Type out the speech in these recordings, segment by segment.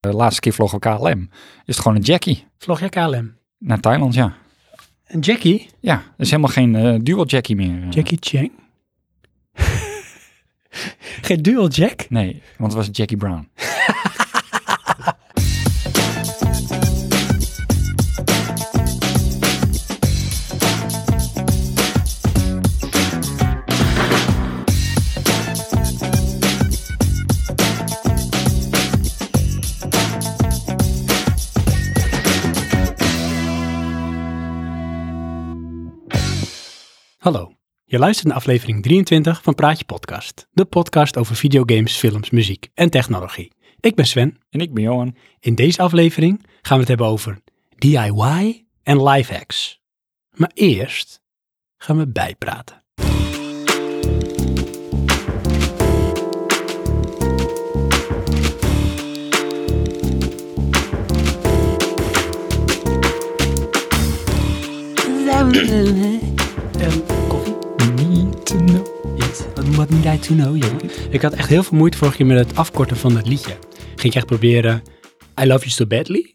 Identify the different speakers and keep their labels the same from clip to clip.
Speaker 1: de laatste keer vloggen we KLM, is het gewoon een Jackie
Speaker 2: Vlog jij KLM?
Speaker 1: naar Thailand, ja.
Speaker 2: En Jackie?
Speaker 1: Ja, er is helemaal geen eh, dual Jackie meer. eh.
Speaker 2: Jackie Chang. Geen dual Jack?
Speaker 1: Nee, want het was Jackie Brown.
Speaker 2: Hallo. Je luistert naar aflevering 23 van Praatje Podcast. De podcast over videogames, films, muziek en technologie. Ik ben Sven.
Speaker 1: En ik ben Johan.
Speaker 2: In deze aflevering gaan we het hebben over DIY en lifehacks. Maar eerst gaan we bijpraten. Koffie?
Speaker 1: Niet te know.
Speaker 2: Yes. What need I to know, jongen? Ik had echt heel veel moeite vorige keer met het afkorten van dat liedje. Ging ik echt proberen, I love you so badly.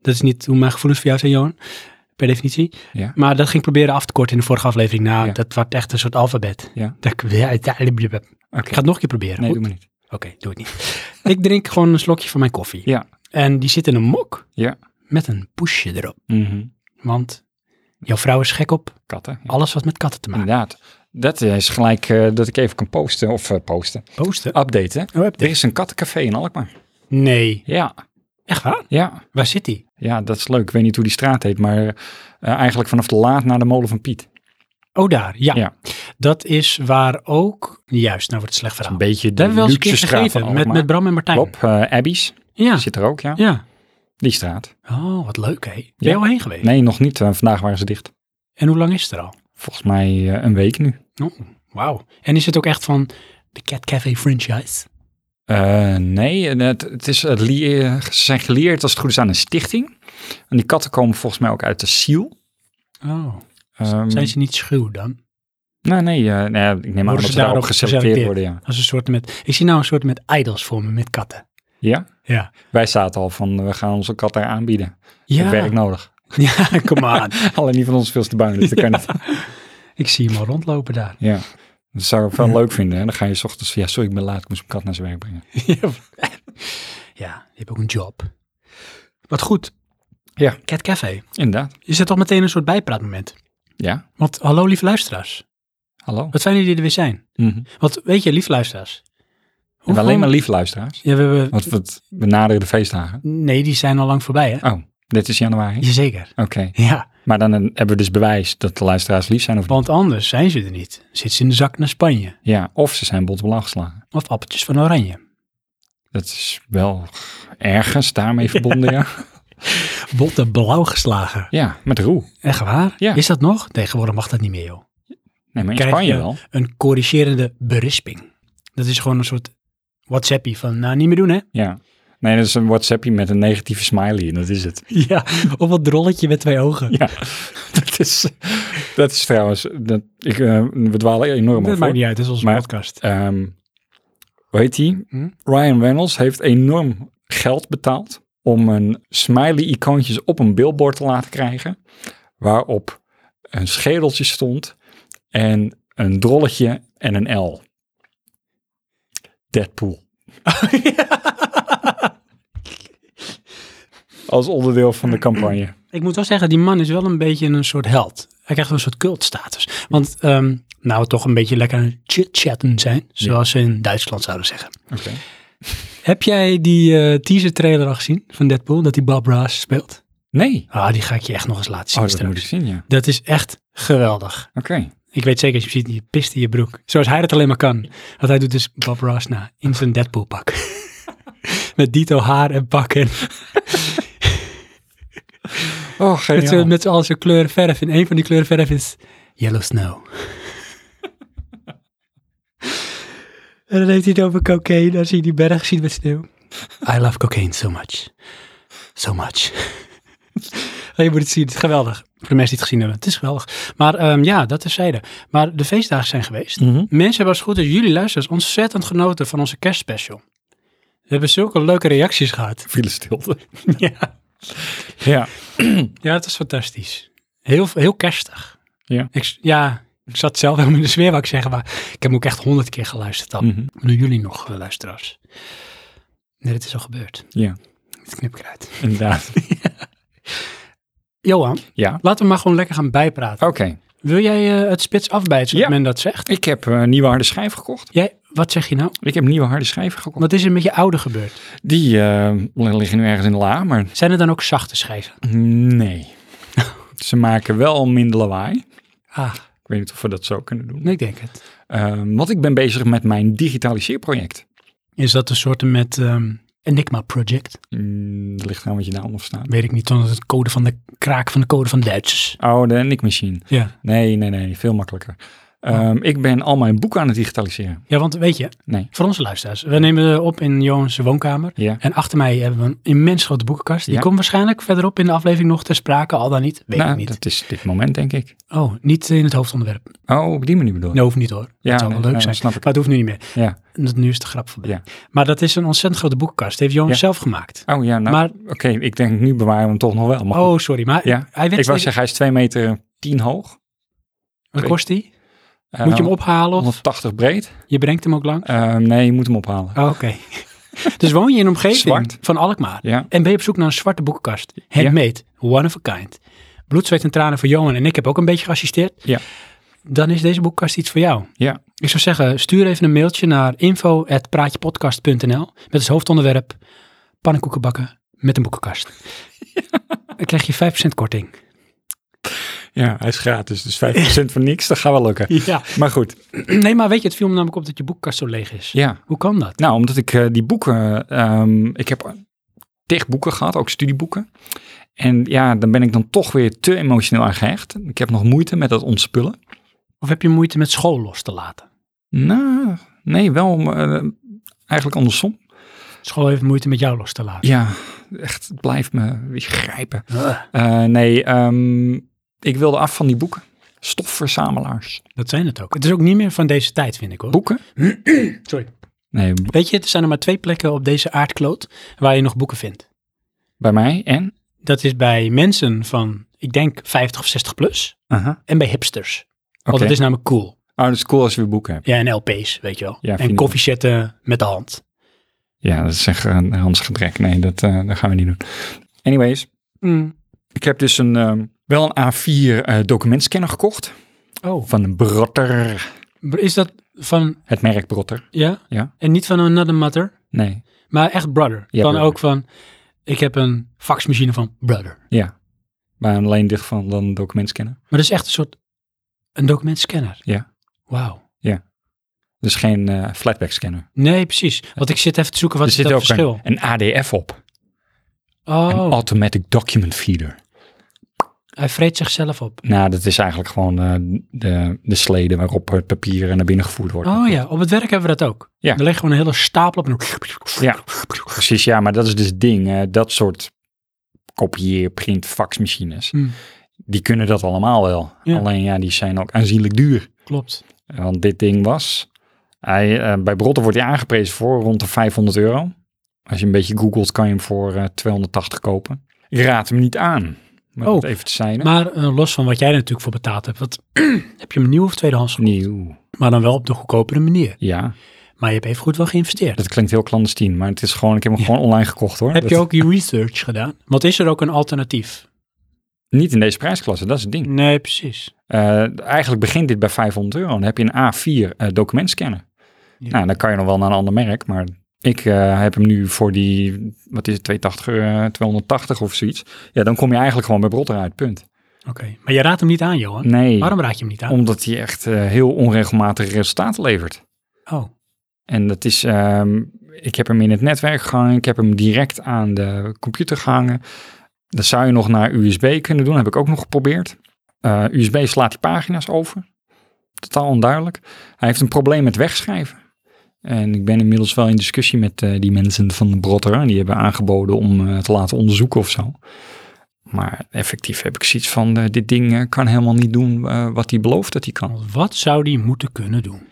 Speaker 2: Dat is niet hoe mijn gevoelens voor jou zijn, Johan. Per definitie.
Speaker 1: Ja.
Speaker 2: Maar dat ging ik proberen af te korten in de vorige aflevering. Nou,
Speaker 1: Ja.
Speaker 2: dat wordt echt een soort alfabet.
Speaker 1: Ja.
Speaker 2: Dat ik, ja, het- Ik ga het nog een keer proberen.
Speaker 1: Nee,
Speaker 2: Goed?
Speaker 1: doe maar niet.
Speaker 2: Oké, doe het niet. ik drink gewoon een slokje van mijn koffie.
Speaker 1: Ja.
Speaker 2: En die zit in een mok
Speaker 1: Ja.
Speaker 2: met een poesje erop.
Speaker 1: Mhm.
Speaker 2: Want jouw vrouw is gek op
Speaker 1: Katten. ja.
Speaker 2: alles wat met katten te maken
Speaker 1: Inderdaad. Dat is gelijk eh, dat ik even kan posten, of eh, posten,
Speaker 2: Posten.
Speaker 1: updaten.
Speaker 2: Oh, heb je-
Speaker 1: Er is een kattencafé in Alkmaar.
Speaker 2: Nee.
Speaker 1: Ja,
Speaker 2: Echt waar?
Speaker 1: ja.
Speaker 2: Waar zit die?
Speaker 1: Ja, dat is leuk. Ik weet niet hoe die straat heet, maar eh, eigenlijk vanaf de Laat naar de Molen van Piet. Dat
Speaker 2: Oh, daar, ja.
Speaker 1: Ja.
Speaker 2: Dat is waar ook... Juist, nou wordt het slecht
Speaker 1: is
Speaker 2: verhaal.
Speaker 1: een beetje
Speaker 2: Dat
Speaker 1: de
Speaker 2: hebben we wel eens
Speaker 1: luxe
Speaker 2: een keer
Speaker 1: straat van
Speaker 2: gegeven met,
Speaker 1: Alkmaar.
Speaker 2: met Ah. Bram en Martijn.
Speaker 1: Klopt, eh, Abby's
Speaker 2: Ja,
Speaker 1: zit er ook, ja.
Speaker 2: ja.
Speaker 1: Die straat.
Speaker 2: Oh, wat leuk hè. Ben
Speaker 1: Ja.
Speaker 2: je al heen geweest?
Speaker 1: Nee, nog niet. eh, vandaag waren ze dicht.
Speaker 2: En hoe lang is het er al?
Speaker 1: Volgens mij eh, een week nu.
Speaker 2: Oh, wauw. En is het ook echt van de Cat Cafe franchise?
Speaker 1: Eh, nee, en het, het is, eh, lie- eh, ze zijn geleerd als het goed is aan een stichting. En die katten komen volgens mij ook uit de ziel.
Speaker 2: Oh,
Speaker 1: Ehm,
Speaker 2: zijn ze niet schuw dan?
Speaker 1: Nou, nee, eh, nou ja, ik neem aan
Speaker 2: Worden
Speaker 1: dat
Speaker 2: ze
Speaker 1: ze daarop
Speaker 2: daarop
Speaker 1: geselecteerd
Speaker 2: geselecteerd?
Speaker 1: worden, ja.
Speaker 2: Als een soort met... Ik zie nou een soort met idols voor me, met katten.
Speaker 1: Ja?
Speaker 2: Ja.
Speaker 1: Wij zaten al van, we gaan onze kat daar aanbieden. Ja.
Speaker 2: Ja,
Speaker 1: werk nodig.
Speaker 2: ja come on.
Speaker 1: Alleen niet van ons veel te bang, dus dat kan niet.
Speaker 2: ik zie hem al rondlopen daar.
Speaker 1: Ja. Dat zou ik wel leuk vinden. Hè? Dan ga je 's ochtends, ja, sorry, ik ben laat, ik moest mijn kat naar zijn werk brengen.
Speaker 2: ja, je hebt ook een job. Wat goed.
Speaker 1: Ja.
Speaker 2: Cat Café.
Speaker 1: Inderdaad.
Speaker 2: Is het toch meteen een soort bijpraatmoment?
Speaker 1: Ja.
Speaker 2: Want hallo lieve luisteraars.
Speaker 1: Hallo.
Speaker 2: Wat fijn dat jullie er weer zijn.
Speaker 1: Mhm.
Speaker 2: Want weet je, lieve luisteraars.
Speaker 1: En
Speaker 2: hoeveel-
Speaker 1: alleen maar lief luisteraars.
Speaker 2: Ja, we hebben...
Speaker 1: Want we, we naderen de feestdagen.
Speaker 2: Nee, die zijn al lang voorbij hè?
Speaker 1: Oh, dit is januari.
Speaker 2: Jazeker.
Speaker 1: Oké.
Speaker 2: Ja,
Speaker 1: Maar dan eh, hebben we dus bewijs dat de luisteraars lief zijn of niet.
Speaker 2: want anders zijn ze er niet. Zit ze in de zak naar Spanje.
Speaker 1: Ja, of ze zijn bot op elkaar geslagen.
Speaker 2: Of appeltjes van oranje.
Speaker 1: Dat is wel ergens daarmee verbonden, ja.
Speaker 2: Botten blauw geslagen.
Speaker 1: Ja, met roe.
Speaker 2: Echt waar?
Speaker 1: Ja.
Speaker 2: Is dat nog? Tegenwoordig mag dat niet meer joh.
Speaker 1: Nee, maar in
Speaker 2: Krijg
Speaker 1: Spanje
Speaker 2: je-
Speaker 1: wel.
Speaker 2: Een corrigerende berisping. Dat is gewoon een soort whatsappie van nou niet meer doen hè.
Speaker 1: Ja. Nee, dat is een WhatsAppje met een negatieve smiley en dat is het.
Speaker 2: Ja, of wat drolletje met twee ogen.
Speaker 1: Ja, dat is, dat is trouwens, dat, ik, eh, we dwalen enorm
Speaker 2: dat
Speaker 1: af,
Speaker 2: maakt
Speaker 1: hoor.
Speaker 2: niet uit, dat is onze
Speaker 1: Maar-
Speaker 2: podcast.
Speaker 1: Ehm, hoe heet die?
Speaker 2: Hm?
Speaker 1: Ryan Reynolds heeft enorm geld betaald om een smiley-icoontjes op een billboard te laten krijgen, waarop een schedeltje stond en een drolletje en een L. Deadpool. Als onderdeel van de campagne.
Speaker 2: Ik moet wel zeggen, die man is wel een beetje een soort held. Hij krijgt een soort cultstatus. Want ehm, nou, we toch een beetje lekker aan het chit-chatten zijn, zoals ze in Duitsland zouden zeggen.
Speaker 1: Oké.
Speaker 2: Heb jij die eh, teaser trailer al gezien van Deadpool, dat die Bob Ross speelt?
Speaker 1: Nee.
Speaker 2: Ah, die ga ik je echt nog eens laten zien
Speaker 1: Oh, dat
Speaker 2: straks.
Speaker 1: moet ik zien, ja.
Speaker 2: Dat is echt geweldig.
Speaker 1: Oké.
Speaker 2: Ik weet zeker, als je hem ziet, je pist in je broek. Zoals hij dat alleen maar kan. Want hij doet dus Bob Ross na in zijn Deadpool pak. Met dito haar en pak en
Speaker 1: Oh,
Speaker 2: Met,
Speaker 1: geniaal.
Speaker 2: z'n- met z'n allen zijn kleuren verf. En een van die kleuren verf is Yellow Snow. en dan heeft hij het over cocaïne. Dan zie je die berg zien met sneeuw. I love cocaine so much. So much. Oh, je moet het zien. Het is geweldig. Voor de mensen die het gezien hebben. Het is geweldig. Maar ehm, ja, dat is zijde. Maar de feestdagen zijn geweest.
Speaker 1: Mhm.
Speaker 2: Mensen hebben als het goed is, jullie luisteraars, ontzettend genoten van onze kerstspecial. We hebben zulke leuke reacties gehad.
Speaker 1: Viele stilte.
Speaker 2: Ja,
Speaker 1: Ja,
Speaker 2: ja het was fantastisch. Heel, heel kerstig.
Speaker 1: Ja.
Speaker 2: Ik, ja, ik zat zelf helemaal in de sfeer, wou ik zeggen. Maar ik heb hem ook echt honderd keer geluisterd dan.
Speaker 1: Mhm.
Speaker 2: Nu jullie nog, eh, luisteraars. Nee, dit is al gebeurd.
Speaker 1: Ja.
Speaker 2: Dit knip ik eruit.
Speaker 1: inderdaad.
Speaker 2: Johan,
Speaker 1: Ja,
Speaker 2: laten we maar gewoon lekker gaan bijpraten.
Speaker 1: oké.
Speaker 2: Wil jij eh, het spits afbijten, zoals
Speaker 1: Ja.
Speaker 2: men dat zegt?
Speaker 1: Ik heb eh, een nieuwe harde schijf gekocht.
Speaker 2: Jij, wat zeg je nou?
Speaker 1: Ik heb nieuwe harde schijven gekocht.
Speaker 2: Wat is er met je oude gebeurd?
Speaker 1: Die eh, liggen nu ergens in de la, maar
Speaker 2: Zijn er dan ook zachte schijven?
Speaker 1: nee. Ze maken wel minder lawaai.
Speaker 2: Ah,
Speaker 1: Ik weet niet of we dat zo kunnen doen.
Speaker 2: nee, ik denk het.
Speaker 1: Ehm, want ik ben bezig met mijn digitaliseerproject.
Speaker 2: Is dat een soort met ehm, Enigma Project?
Speaker 1: Mm, dat ligt aan wat je daar onder staat.
Speaker 2: Weet ik niet, dan is het code van de kraak van de code van Duitsers.
Speaker 1: Oh, de Nick Machine.
Speaker 2: Ja.
Speaker 1: Nee, nee, nee, veel makkelijker.
Speaker 2: Oh.
Speaker 1: Ehm, Ik ben al mijn boeken aan het digitaliseren.
Speaker 2: ja, want weet je,
Speaker 1: Nee.
Speaker 2: voor onze luisteraars, we nemen op in Johan's woonkamer.
Speaker 1: Ja.
Speaker 2: En achter mij hebben we een immens grote boekenkast. Die
Speaker 1: Ja.
Speaker 2: komt waarschijnlijk verderop in de aflevering nog ter sprake, al dan niet. Weet
Speaker 1: nou,
Speaker 2: ik niet.
Speaker 1: dat is dit moment, denk ik.
Speaker 2: Oh, niet in het hoofdonderwerp.
Speaker 1: Oh, op die manier bedoel ik.
Speaker 2: Nee, hoeft niet hoor.
Speaker 1: Ja,
Speaker 2: dat zou
Speaker 1: nee,
Speaker 2: wel leuk
Speaker 1: nee,
Speaker 2: zijn.
Speaker 1: snap ik.
Speaker 2: Maar het hoeft nu niet meer.
Speaker 1: Ja.
Speaker 2: Dat- Nu is de grap voorbij.
Speaker 1: Ja.
Speaker 2: Maar dat is een ontzettend grote boekenkast. Heeft Johan
Speaker 1: Ja.
Speaker 2: zelf gemaakt.
Speaker 1: Oh ja, nou,
Speaker 2: Maar-
Speaker 1: oké, ik denk nu bewaren we hem toch nog wel. Maar goed.
Speaker 2: Oh, sorry. Maar
Speaker 1: ja.
Speaker 2: hij werd
Speaker 1: Ik wou zeggen, hij is 2 meter 10 hoog.
Speaker 2: Wat kost die?
Speaker 1: Eh,
Speaker 2: Moet je hem ophalen of
Speaker 1: 180 breed.
Speaker 2: je brengt hem ook lang?
Speaker 1: Eh, nee, je moet hem ophalen.
Speaker 2: Oh, Oké. dus woon je in een omgeving
Speaker 1: Zwart.
Speaker 2: van Alkmaar
Speaker 1: Ja,
Speaker 2: en ben je op zoek naar een zwarte boekenkast. Handmade, one of a kind. Bloed, zweet en tranen voor Johan en ik heb ook een beetje geassisteerd.
Speaker 1: Ja.
Speaker 2: Dan is deze boekenkast iets voor jou.
Speaker 1: ja,
Speaker 2: Ik zou zeggen, stuur even een mailtje naar info.praatjepodcast.nl met als hoofdonderwerp pannenkoekenbakken met een boekenkast. Dan krijg je 5% korting.
Speaker 1: ja, hij is gratis, dus 5% voor niks, dat gaat wel lukken.
Speaker 2: Ja.
Speaker 1: Maar goed,
Speaker 2: Nee, maar weet je, het viel me namelijk op dat je boekenkast zo leeg is.
Speaker 1: ja.
Speaker 2: Hoe kan dat?
Speaker 1: Nou, omdat ik eh, die boeken, ehm, ik heb tig boeken gehad, ook studieboeken. En ja, dan ben ik dan toch weer te emotioneel aan gehecht. Ik heb nog moeite met dat ontspullen.
Speaker 2: Of heb je moeite met school los te laten?
Speaker 1: Nou, nee, wel eh, eigenlijk andersom.
Speaker 2: School heeft moeite met jou los te laten.
Speaker 1: Ja, echt, het blijft me weer grijpen.
Speaker 2: Ugh.
Speaker 1: Eh, nee, ehm, ik wilde af van die boeken. Stofverzamelaars.
Speaker 2: Dat zijn het ook. Het is ook niet meer van deze tijd, vind ik hoor.
Speaker 1: Boeken?
Speaker 2: Sorry.
Speaker 1: Nee, b-
Speaker 2: Weet je, er zijn er maar twee plekken op deze aardkloot waar je nog boeken vindt.
Speaker 1: bij mij en?
Speaker 2: Dat is bij mensen van, ik denk, 50 of 60 plus.
Speaker 1: Aha, oké.
Speaker 2: En bij hipsters. Want dat is namelijk cool.
Speaker 1: Oh, dat is cool als je weer boeken hebt.
Speaker 2: Ja, en LP's, weet je wel.
Speaker 1: Ja,
Speaker 2: en
Speaker 1: vinyl.
Speaker 2: koffiezetten met de hand.
Speaker 1: Ja, dat is echt een Hans Gedrek. Nee, dat, eh, dat gaan we niet doen. Anyways, ik heb dus een, ehm, wel een A4 eh, documentscanner gekocht.
Speaker 2: Oh,
Speaker 1: Van een Brotter.
Speaker 2: is dat van,
Speaker 1: Het merk Brotter.
Speaker 2: ja?
Speaker 1: Ja.
Speaker 2: En niet van Another Mother,
Speaker 1: Nee,
Speaker 2: maar echt Brother.
Speaker 1: Ja,
Speaker 2: dan
Speaker 1: Brother.
Speaker 2: ook van, ik heb een faxmachine van Brother.
Speaker 1: ja. Maar alleen dicht van dan een documentscanner.
Speaker 2: Maar dat is echt een soort, een documentscanner.
Speaker 1: Ja.
Speaker 2: Wauw.
Speaker 1: Dus geen eh flatback scanner.
Speaker 2: Nee, precies. Want ik zit even te zoeken, wat
Speaker 1: er
Speaker 2: is dat
Speaker 1: zit ook
Speaker 2: verschil?
Speaker 1: een, een ADF op. Een
Speaker 2: Oh,
Speaker 1: Automatic Document Feeder.
Speaker 2: hij vreet zichzelf op.
Speaker 1: Nou, dat is eigenlijk gewoon eh, de, de slede waarop het papier eh, naar binnen gevoerd wordt.
Speaker 2: Oh ja, op het werk hebben we dat ook.
Speaker 1: Ja.
Speaker 2: Er liggen gewoon een hele stapel op. En...
Speaker 1: Ja, precies. Ja, maar dat is dus het ding. eh, dat soort kopieer, print, faxmachines.
Speaker 2: Hmm,
Speaker 1: die kunnen dat allemaal wel.
Speaker 2: Ja.
Speaker 1: Alleen ja, die zijn ook aanzienlijk duur.
Speaker 2: klopt.
Speaker 1: Want dit ding was, hij, eh, bij Brotten wordt hij aangeprezen voor rond de 500 euro. Als je een beetje googelt kan je hem voor eh, 280 kopen. Ik raad hem niet aan, om
Speaker 2: Oh,
Speaker 1: dat even te zijn.
Speaker 2: Maar eh, los van wat jij er natuurlijk voor betaald hebt. Wat, heb je hem nieuw of tweedehands gekocht?
Speaker 1: Nieuw,
Speaker 2: Maar dan wel op de goedkopere manier.
Speaker 1: ja.
Speaker 2: Maar je hebt even goed wel geïnvesteerd.
Speaker 1: Dat klinkt heel clandestien, maar het is gewoon, ik heb hem
Speaker 2: Ja.
Speaker 1: gewoon online gekocht hoor.
Speaker 2: heb
Speaker 1: Dat-
Speaker 2: je ook je research gedaan? Want is er ook een alternatief?
Speaker 1: Niet in deze prijsklasse, dat is het ding.
Speaker 2: Nee, precies.
Speaker 1: Eh, eigenlijk begint dit bij 500 euro. Dan heb je een A4 eh, documentscanner.
Speaker 2: Ja.
Speaker 1: Nou, dan kan je nog wel naar een ander merk, maar ik eh, heb hem nu voor die, wat is het, 280, eh, 280 of zoiets. Ja, dan kom je eigenlijk gewoon bij Brotter uit, punt.
Speaker 2: Oké. Maar je raadt hem niet aan, Johan.
Speaker 1: Nee,
Speaker 2: Waarom raad je hem niet aan?
Speaker 1: omdat hij echt eh, heel onregelmatige resultaten levert.
Speaker 2: Oh,
Speaker 1: En dat is, ehm, ik heb hem in het netwerk gehangen, ik heb hem direct aan de computer gehangen. Dat zou je nog naar USB kunnen doen, heb ik ook nog geprobeerd. Eh, USB slaat die pagina's over. Totaal onduidelijk. Hij heeft een probleem met wegschrijven. En ik ben inmiddels wel in discussie met eh, die mensen van de Brotter. En die hebben aangeboden om eh, te laten onderzoeken of zo. Maar effectief heb ik zoiets van, eh, dit ding eh, kan helemaal niet doen eh, wat hij belooft dat hij kan.
Speaker 2: want wat zou die moeten kunnen doen?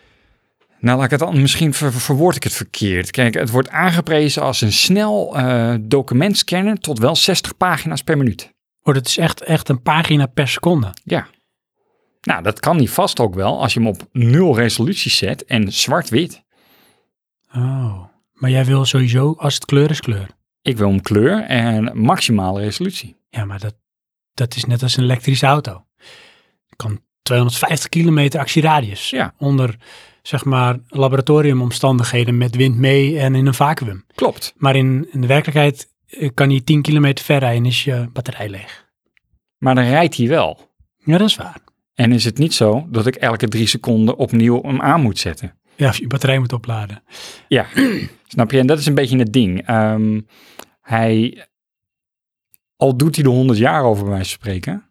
Speaker 1: Nou, laat ik het dan, misschien ver- verwoord ik het verkeerd. Kijk, het wordt aangeprezen als een snel eh, documentscanner tot wel 60 pagina's per minuut.
Speaker 2: Oh, dat is echt, echt een pagina per seconde.
Speaker 1: Ja. Nou, dat kan die vast ook wel als je hem op nul resolutie zet en zwart-wit.
Speaker 2: Oh. Maar jij wil sowieso, als het kleur is, kleur.
Speaker 1: Ik wil hem kleur en maximale resolutie.
Speaker 2: Ja, maar dat, dat is net als een elektrische auto. Je kan 250 kilometer actieradius.
Speaker 1: Ja.
Speaker 2: Onder, zeg maar, laboratoriumomstandigheden met wind mee en in een vacuüm.
Speaker 1: Klopt.
Speaker 2: Maar in, in de werkelijkheid eh, kan hij 10 kilometer ver rijden en is je batterij leeg.
Speaker 1: Maar dan rijdt hij wel.
Speaker 2: Ja, dat is waar.
Speaker 1: En is het niet zo dat ik elke drie seconden opnieuw hem aan moet zetten?
Speaker 2: Ja, of je batterij moet opladen.
Speaker 1: Ja, snap je? En dat is een beetje het ding. Ehm, hij, al doet hij er honderd jaar over bij wijze van spreken,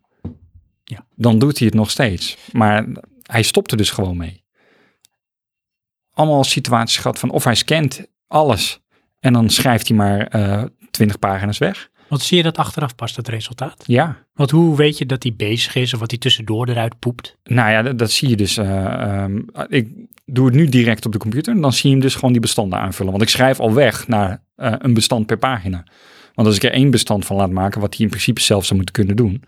Speaker 2: Ja.
Speaker 1: dan doet hij het nog steeds. Maar hij stopt er dus gewoon mee. Allemaal situaties gehad van of hij scant alles en dan schrijft hij maar eh, twintig pagina's weg.
Speaker 2: Want zie je dat achteraf pas, dat resultaat?
Speaker 1: Ja,
Speaker 2: Want hoe weet je dat hij bezig is of wat hij tussendoor eruit poept?
Speaker 1: nou ja, dat, dat zie je dus. eh, ehm, ik doe het nu direct op de computer en dan zie je hem dus gewoon die bestanden aanvullen. Want ik schrijf al weg naar eh, een bestand per pagina. Want als ik er één bestand van laat maken, wat hij in principe zelf zou moeten kunnen doen,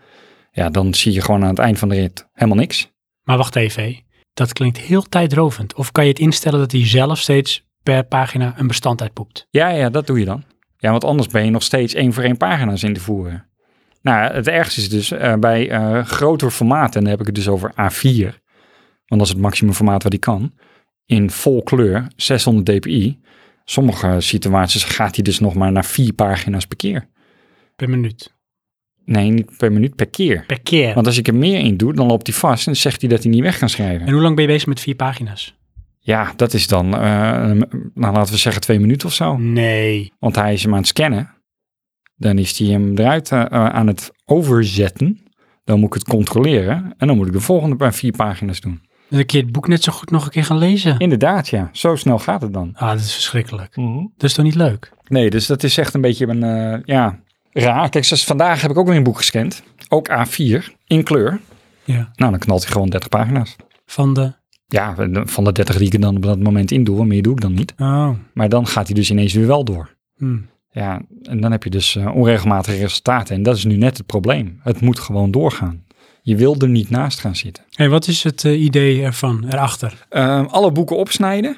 Speaker 1: ja, dan zie je gewoon aan het eind van de rit helemaal niks.
Speaker 2: Maar wacht even, hé. dat klinkt heel tijdrovend. Of kan je het instellen dat hij zelf steeds per pagina een bestand uitpoept?
Speaker 1: Ja, ja, dat doe je dan. Ja, want anders ben je nog steeds één voor één pagina's in te voeren. Nou, het ergste is dus eh, bij eh grotere formaten, en dan heb ik het dus over A4, want dat is het maximum formaat wat die kan, in vol kleur, 600 dpi. Sommige situaties gaat hij dus nog maar naar vier pagina's per keer.
Speaker 2: Per minuut.
Speaker 1: Nee, niet per minuut, per keer.
Speaker 2: Per keer.
Speaker 1: Want als ik er meer in doe, dan loopt hij vast en zegt hij dat hij niet weg kan schrijven.
Speaker 2: En hoe lang ben je bezig met vier pagina's?
Speaker 1: Ja, dat is dan, eh, nou laten we zeggen twee minuten of zo.
Speaker 2: Nee.
Speaker 1: Want hij is hem aan het scannen. Dan is hij hem eruit eh, eh, aan het overzetten. Dan moet ik het controleren. En dan moet ik de volgende paar vier pagina's doen.
Speaker 2: Dan kun je het boek net zo goed nog een keer gaan lezen.
Speaker 1: Inderdaad, ja. Zo snel gaat het dan.
Speaker 2: Ah, dat is verschrikkelijk. Dat is toch niet leuk?
Speaker 1: Nee, dus dat is echt een beetje een, eh, ja, raar. Kijk, zoals vandaag heb ik ook weer een boek gescand. Ook A4, in kleur.
Speaker 2: Ja.
Speaker 1: Nou, dan knalt hij gewoon 30 pagina's.
Speaker 2: Van de...
Speaker 1: Ja, eh, van de 30 die ik er dan op dat moment in doe, meer doe ik dan niet.
Speaker 2: Oh.
Speaker 1: Maar dan gaat hij dus ineens weer wel door.
Speaker 2: Hm.
Speaker 1: Ja, en dan heb je dus eh, onregelmatige resultaten. En dat is nu net het probleem. Het moet gewoon doorgaan. Je wil er niet naast gaan zitten.
Speaker 2: hey, wat is het eh, idee ervan, erachter?
Speaker 1: Ehm, alle boeken opsnijden,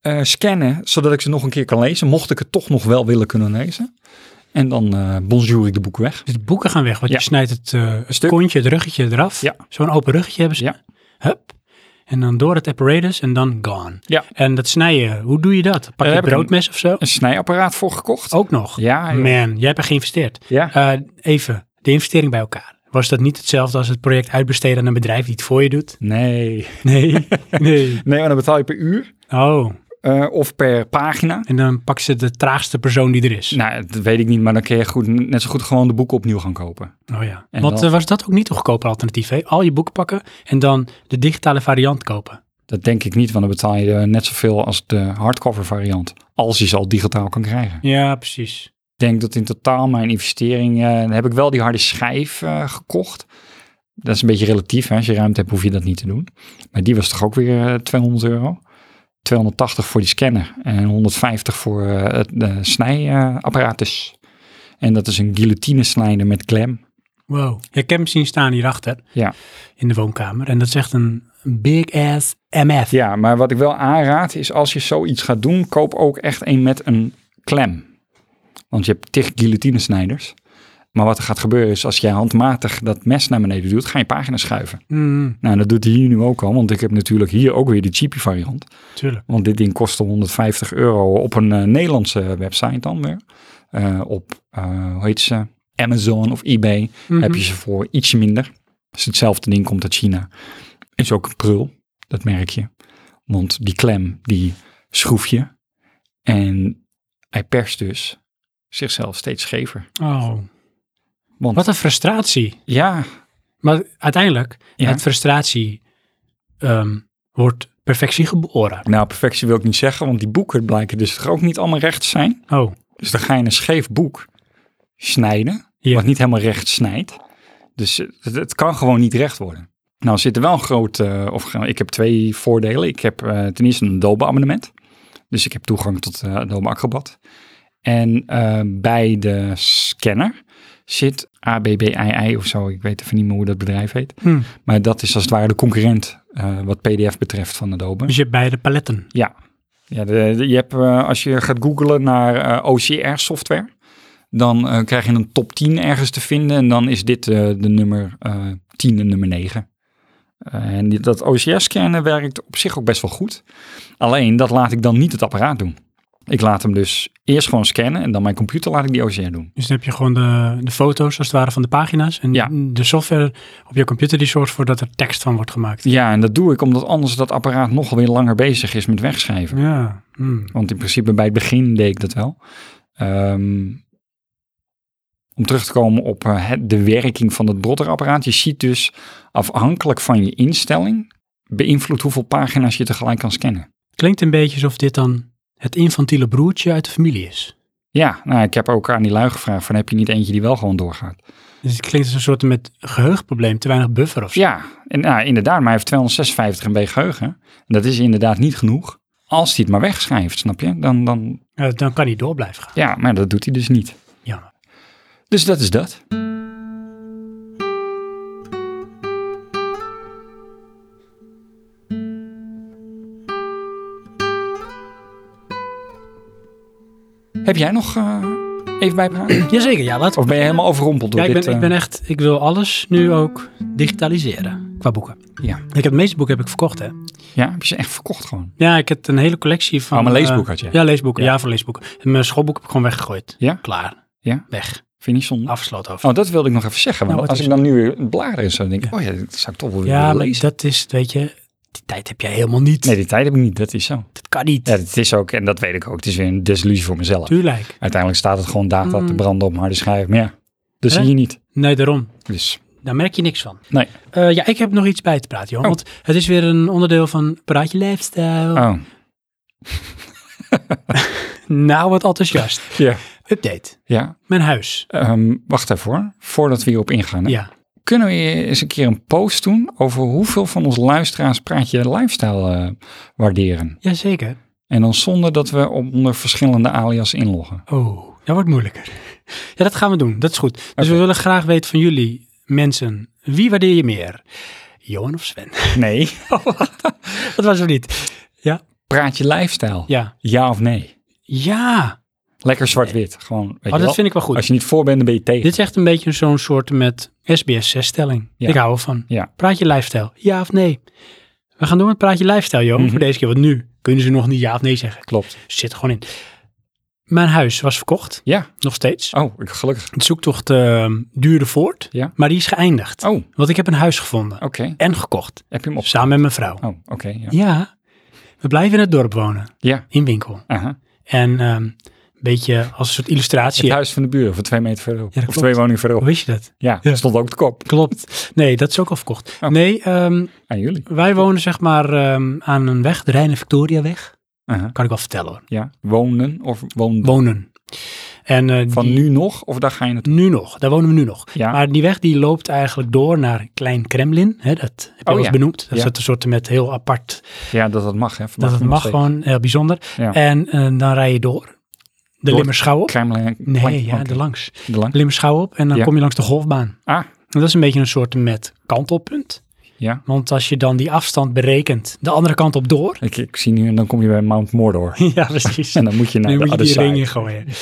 Speaker 1: eh, scannen, zodat ik ze nog een keer kan lezen. Mocht ik het toch nog wel willen kunnen lezen. En dan eh bonjour ik de boeken weg.
Speaker 2: Dus de boeken gaan weg, want
Speaker 1: Ja.
Speaker 2: je snijdt het, eh, het
Speaker 1: Stuk.
Speaker 2: kontje, het ruggetje eraf.
Speaker 1: Ja.
Speaker 2: Zo'n open ruggetje hebben ze.
Speaker 1: Ja.
Speaker 2: Hup. En dan door het apparatus en dan gone.
Speaker 1: Ja.
Speaker 2: En dat snijden, hoe doe je dat? Pak
Speaker 1: Daar
Speaker 2: je een
Speaker 1: heb ik een-
Speaker 2: broodmes of zo?
Speaker 1: Een snijapparaat voor gekocht.
Speaker 2: Ook nog?
Speaker 1: Ja, joh.
Speaker 2: Man, jij hebt er geïnvesteerd.
Speaker 1: ja.
Speaker 2: Eh, even, de investering bij elkaar. Was dat niet hetzelfde als het project uitbesteden aan een bedrijf die het voor je doet?
Speaker 1: Nee.
Speaker 2: Nee, nee.
Speaker 1: Nee, maar dan betaal je per uur
Speaker 2: Oh,
Speaker 1: eh, of per pagina.
Speaker 2: en dan pakken ze de traagste persoon die er is.
Speaker 1: Nou, dat weet ik niet, maar dan kun je goed, net zo goed gewoon de boeken opnieuw gaan kopen.
Speaker 2: Oh ja.
Speaker 1: En
Speaker 2: Want
Speaker 1: dan-
Speaker 2: eh, was dat ook niet een goedkoper alternatief? Hè? Al je boeken pakken en dan de digitale variant kopen.
Speaker 1: Dat denk ik niet, want dan betaal je eh, net zoveel als de hardcover variant. Als je ze al digitaal kan krijgen.
Speaker 2: Ja, precies.
Speaker 1: Ik denk dat in totaal mijn investering, eh, dan heb ik wel die harde schijf eh, gekocht. Dat is een beetje relatief. Hè? Als je ruimte hebt, hoef je dat niet te doen. Maar die was toch ook weer eh, 200 euro. 280 voor die scanner en 150 voor eh, het eh, snijapparatus. en dat is een guillotine snijder met klem.
Speaker 2: Wow. Ja, Ik heb hem zien staan hierachter
Speaker 1: Ja.
Speaker 2: in de woonkamer. En dat is echt een big ass MF.
Speaker 1: ja, maar wat ik wel aanraad is als je zoiets gaat doen, koop ook echt een met een klem. Want je hebt tig guillotine-snijders. Maar wat er gaat gebeuren is als jij handmatig dat mes naar beneden doet, ga je pagina schuiven.
Speaker 2: Mm,
Speaker 1: Nou, dat doet hij hier nu ook al, want ik heb natuurlijk hier ook weer de cheapy variant.
Speaker 2: tuurlijk.
Speaker 1: Want dit ding kostte 150 euro op een eh, Nederlandse website dan weer. Eh, op, eh, hoe heet ze, Amazon of eBay
Speaker 2: Mm-hmm.
Speaker 1: heb je ze voor ietsje minder. Dus hetzelfde ding komt uit China. Is ook een prul, dat merk je. Want die klem, die schroef je. En hij perst dus zichzelf steeds schever.
Speaker 2: Oh.
Speaker 1: Want-
Speaker 2: Wat een frustratie.
Speaker 1: Ja,
Speaker 2: Maar uiteindelijk,
Speaker 1: Ja.
Speaker 2: uit frustratie ehm, wordt perfectie geboren.
Speaker 1: nou perfectie wil ik niet zeggen, want die boeken blijken dus toch ook niet allemaal recht te zijn.
Speaker 2: Oh,
Speaker 1: Dus dan ga je een scheef boek snijden,
Speaker 2: Ja.
Speaker 1: wat niet helemaal recht snijdt. Dus eh, het, het kan gewoon niet recht worden. Nou zit er wel een groot, eh, of eh, ik heb twee voordelen. Ik heb eh, ten eerste een Adobe abonnement. Dus ik heb toegang tot eh, Adobe Acrobat. En eh, bij de scanner zit ABBII of zo. Ik weet even niet meer hoe dat bedrijf heet.
Speaker 2: Hm.
Speaker 1: Maar dat is als het ware de concurrent eh, wat PDF betreft van Adobe.
Speaker 2: Dus je hebt beide paletten.
Speaker 1: Ja, ja de- de- je hebt, eh, als je gaat googlen naar eh, OCR software, dan eh, krijg je een top 10 ergens te vinden. En dan is dit eh, de nummer eh 10 en nummer 9. Eh, en die- dat OCR-scannen werkt op zich ook best wel goed. Alleen dat laat ik dan niet het apparaat doen. Ik laat hem dus eerst gewoon scannen en dan mijn computer laat ik die OCR doen.
Speaker 2: Dus dan heb je gewoon de, de foto's als het ware van de pagina's. En
Speaker 1: Ja.
Speaker 2: de software op je computer die zorgt ervoor dat er tekst van wordt gemaakt.
Speaker 1: Ja, en dat doe ik omdat anders dat apparaat nog weer langer bezig is met wegschrijven.
Speaker 2: Ja. Hm.
Speaker 1: Want in principe bij het begin deed ik dat wel. Ehm, om terug te komen op eh, het- de werking van het brotterapparaat. Je ziet dus afhankelijk van je instelling beïnvloedt hoeveel pagina's je tegelijk kan scannen.
Speaker 2: Klinkt een beetje alsof dit dan het infantiele broertje uit de familie is.
Speaker 1: Ja, nou, ik heb ook aan die lui gevraagd van heb je niet eentje die wel gewoon doorgaat?
Speaker 2: Dus het klinkt als een soort met geheugenprobleem, te weinig buffer of zo.
Speaker 1: Ja, en, nou, inderdaad, maar hij heeft 256 MB geheugen. En dat is inderdaad niet genoeg. Als hij het maar wegschrijft, snap je? Dan, dan,
Speaker 2: Eh, dan kan hij door blijven gaan.
Speaker 1: ja, maar dat doet hij dus niet.
Speaker 2: Jammer.
Speaker 1: Dus dat is dat. Heb jij nog eh, even bijpraten?
Speaker 2: Jazeker, ja. Wat?
Speaker 1: Of ben je helemaal overrompeld door
Speaker 2: Ja, ik ben,
Speaker 1: dit? eh?
Speaker 2: ik ben echt, ik wil alles nu ook digitaliseren qua boeken.
Speaker 1: eh, ja.
Speaker 2: Ik heb de meeste boeken heb ik verkocht, hè?
Speaker 1: ja, heb je ze echt verkocht gewoon?
Speaker 2: Ja, ik heb een hele collectie van.
Speaker 1: Oh, maar
Speaker 2: eh,
Speaker 1: leesboek had je?
Speaker 2: ja, leesboeken.
Speaker 1: Ja.
Speaker 2: Ja, van leesboeken. En mijn schoolboek heb ik gewoon weggegooid.
Speaker 1: Ja?
Speaker 2: Klaar.
Speaker 1: Ja?
Speaker 2: Weg.
Speaker 1: Vind je niet zonde?
Speaker 2: Afgesloten over.
Speaker 1: Oh, dat wilde ik nog even zeggen. Want
Speaker 2: Nou, wat
Speaker 1: als ik
Speaker 2: is
Speaker 1: dan nu weer een blader is, dan denk ik, oh ja, dat zou ik toch wel
Speaker 2: ja,
Speaker 1: willen
Speaker 2: maar
Speaker 1: lezen.
Speaker 2: dat is, weet je, die tijd heb jij helemaal niet.
Speaker 1: Nee, die tijd heb ik niet. Dat is zo.
Speaker 2: Dat kan niet.
Speaker 1: Ja, dat is ook, en dat weet ik ook. Het is weer een desillusie voor mezelf.
Speaker 2: Tuurlijk.
Speaker 1: Uiteindelijk staat het gewoon data te
Speaker 2: Mm.
Speaker 1: branden op een harde schijf. Maar dus ja, dat
Speaker 2: Hè?
Speaker 1: Dus zie je niet.
Speaker 2: Nee, daarom.
Speaker 1: Dus
Speaker 2: Daar merk je niks van.
Speaker 1: nee.
Speaker 2: Eh, ja, ik heb nog iets bij te praten, joh.
Speaker 1: Oh.
Speaker 2: Want het is weer een onderdeel van Praatje Lifestyle.
Speaker 1: Oh,
Speaker 2: Nou, wat enthousiast.
Speaker 1: ja.
Speaker 2: Update.
Speaker 1: ja.
Speaker 2: Mijn huis.
Speaker 1: Ehm, wacht even hoor. Voordat we hierop ingaan. hè.
Speaker 2: Ja.
Speaker 1: Kunnen we eens een keer een post doen over hoeveel van ons luisteraars Praatje Lifestyle eh, waarderen?
Speaker 2: Jazeker.
Speaker 1: En dan zonder dat we onder verschillende alias inloggen.
Speaker 2: Oh, dat wordt moeilijker. Ja, dat gaan we doen. Dat is goed. Dus we
Speaker 1: Oké.
Speaker 2: willen graag weten van jullie, mensen, wie waardeer je meer? Johan of Sven?
Speaker 1: Nee.
Speaker 2: Dat was het niet.
Speaker 1: Praatje Lifestyle. Ja,
Speaker 2: Ja.
Speaker 1: of nee?
Speaker 2: Ja.
Speaker 1: Lekker zwart-wit. Gewoon, weet je
Speaker 2: Oh,
Speaker 1: wel.
Speaker 2: dat vind ik wel goed.
Speaker 1: Als je niet voor bent, dan ben je tegen.
Speaker 2: Dit is echt een beetje zo'n soort met SBS6-stelling.
Speaker 1: Ja.
Speaker 2: Ik hou ervan.
Speaker 1: Ja.
Speaker 2: Praat je lifestyle. Ja of nee? We gaan door met praat je lifestyle, joh.
Speaker 1: Mhm.
Speaker 2: Voor deze keer, want nu kunnen ze nog niet ja of nee zeggen.
Speaker 1: Klopt.
Speaker 2: Zit er gewoon in. Mijn huis was verkocht.
Speaker 1: Ja.
Speaker 2: Nog steeds.
Speaker 1: Oh, gelukkig.
Speaker 2: De zoektocht ehm, duurde voort.
Speaker 1: Ja.
Speaker 2: Maar die is geëindigd.
Speaker 1: Oh, oké.
Speaker 2: Want ik heb een huis gevonden. En gekocht.
Speaker 1: Heb je hem op?
Speaker 2: Samen met mijn vrouw.
Speaker 1: Oh, oké. ja.
Speaker 2: Ja, we blijven in het dorp wonen.
Speaker 1: Ja.
Speaker 2: In winkel.
Speaker 1: Aha.
Speaker 2: En ehm, een beetje als een soort illustratie.
Speaker 1: Het huis van de buren, voor twee meter verderop.
Speaker 2: Ja, dat
Speaker 1: of
Speaker 2: klopt.
Speaker 1: twee woningen
Speaker 2: Hoe
Speaker 1: verderop.
Speaker 2: wist je dat?
Speaker 1: Ja,
Speaker 2: Ja.
Speaker 1: stond ook te kop
Speaker 2: Klopt. Nee, dat is ook al verkocht.
Speaker 1: Oh.
Speaker 2: Nee, ehm,
Speaker 1: aan jullie.
Speaker 2: wij wonen zeg maar ehm, aan een weg, de Rijn- en Victoriaweg.
Speaker 1: Aha.
Speaker 2: Kan ik wel vertellen hoor.
Speaker 1: Ja, wonen of woon
Speaker 2: Wonen. En eh,
Speaker 1: van
Speaker 2: die-
Speaker 1: nu nog of daar ga je naartoe?
Speaker 2: nu nog, daar wonen we nu nog.
Speaker 1: Ja,
Speaker 2: Maar die weg die loopt eigenlijk door naar Klein Kremlin. Hè, dat heb je
Speaker 1: Oh,
Speaker 2: al eens
Speaker 1: ja.
Speaker 2: benoemd. Dat
Speaker 1: Ja.
Speaker 2: is dat een soort met heel apart
Speaker 1: ja dat dat mag. Hè.
Speaker 2: Dat het mag gewoon, heel bijzonder.
Speaker 1: Ja.
Speaker 2: En eh, dan rij je door. De
Speaker 1: Door-
Speaker 2: Limmerschouw op.
Speaker 1: Kremlin.
Speaker 2: Nee,
Speaker 1: plank-
Speaker 2: ja,
Speaker 1: plank-
Speaker 2: er langs.
Speaker 1: de lang.
Speaker 2: Limmerschouw op en dan
Speaker 1: Ja.
Speaker 2: kom je langs de golfbaan.
Speaker 1: Ah,
Speaker 2: En dat is een beetje een soort met kantelpunt.
Speaker 1: Ja.
Speaker 2: Want als je dan die afstand berekent, de andere kant op door.
Speaker 1: ik, ik zie nu en dan kom je bij Mount Mordor.
Speaker 2: ja, precies.
Speaker 1: En dan moet je naar
Speaker 2: nu
Speaker 1: de
Speaker 2: moet je
Speaker 1: other
Speaker 2: die ring in
Speaker 1: side.
Speaker 2: gooien.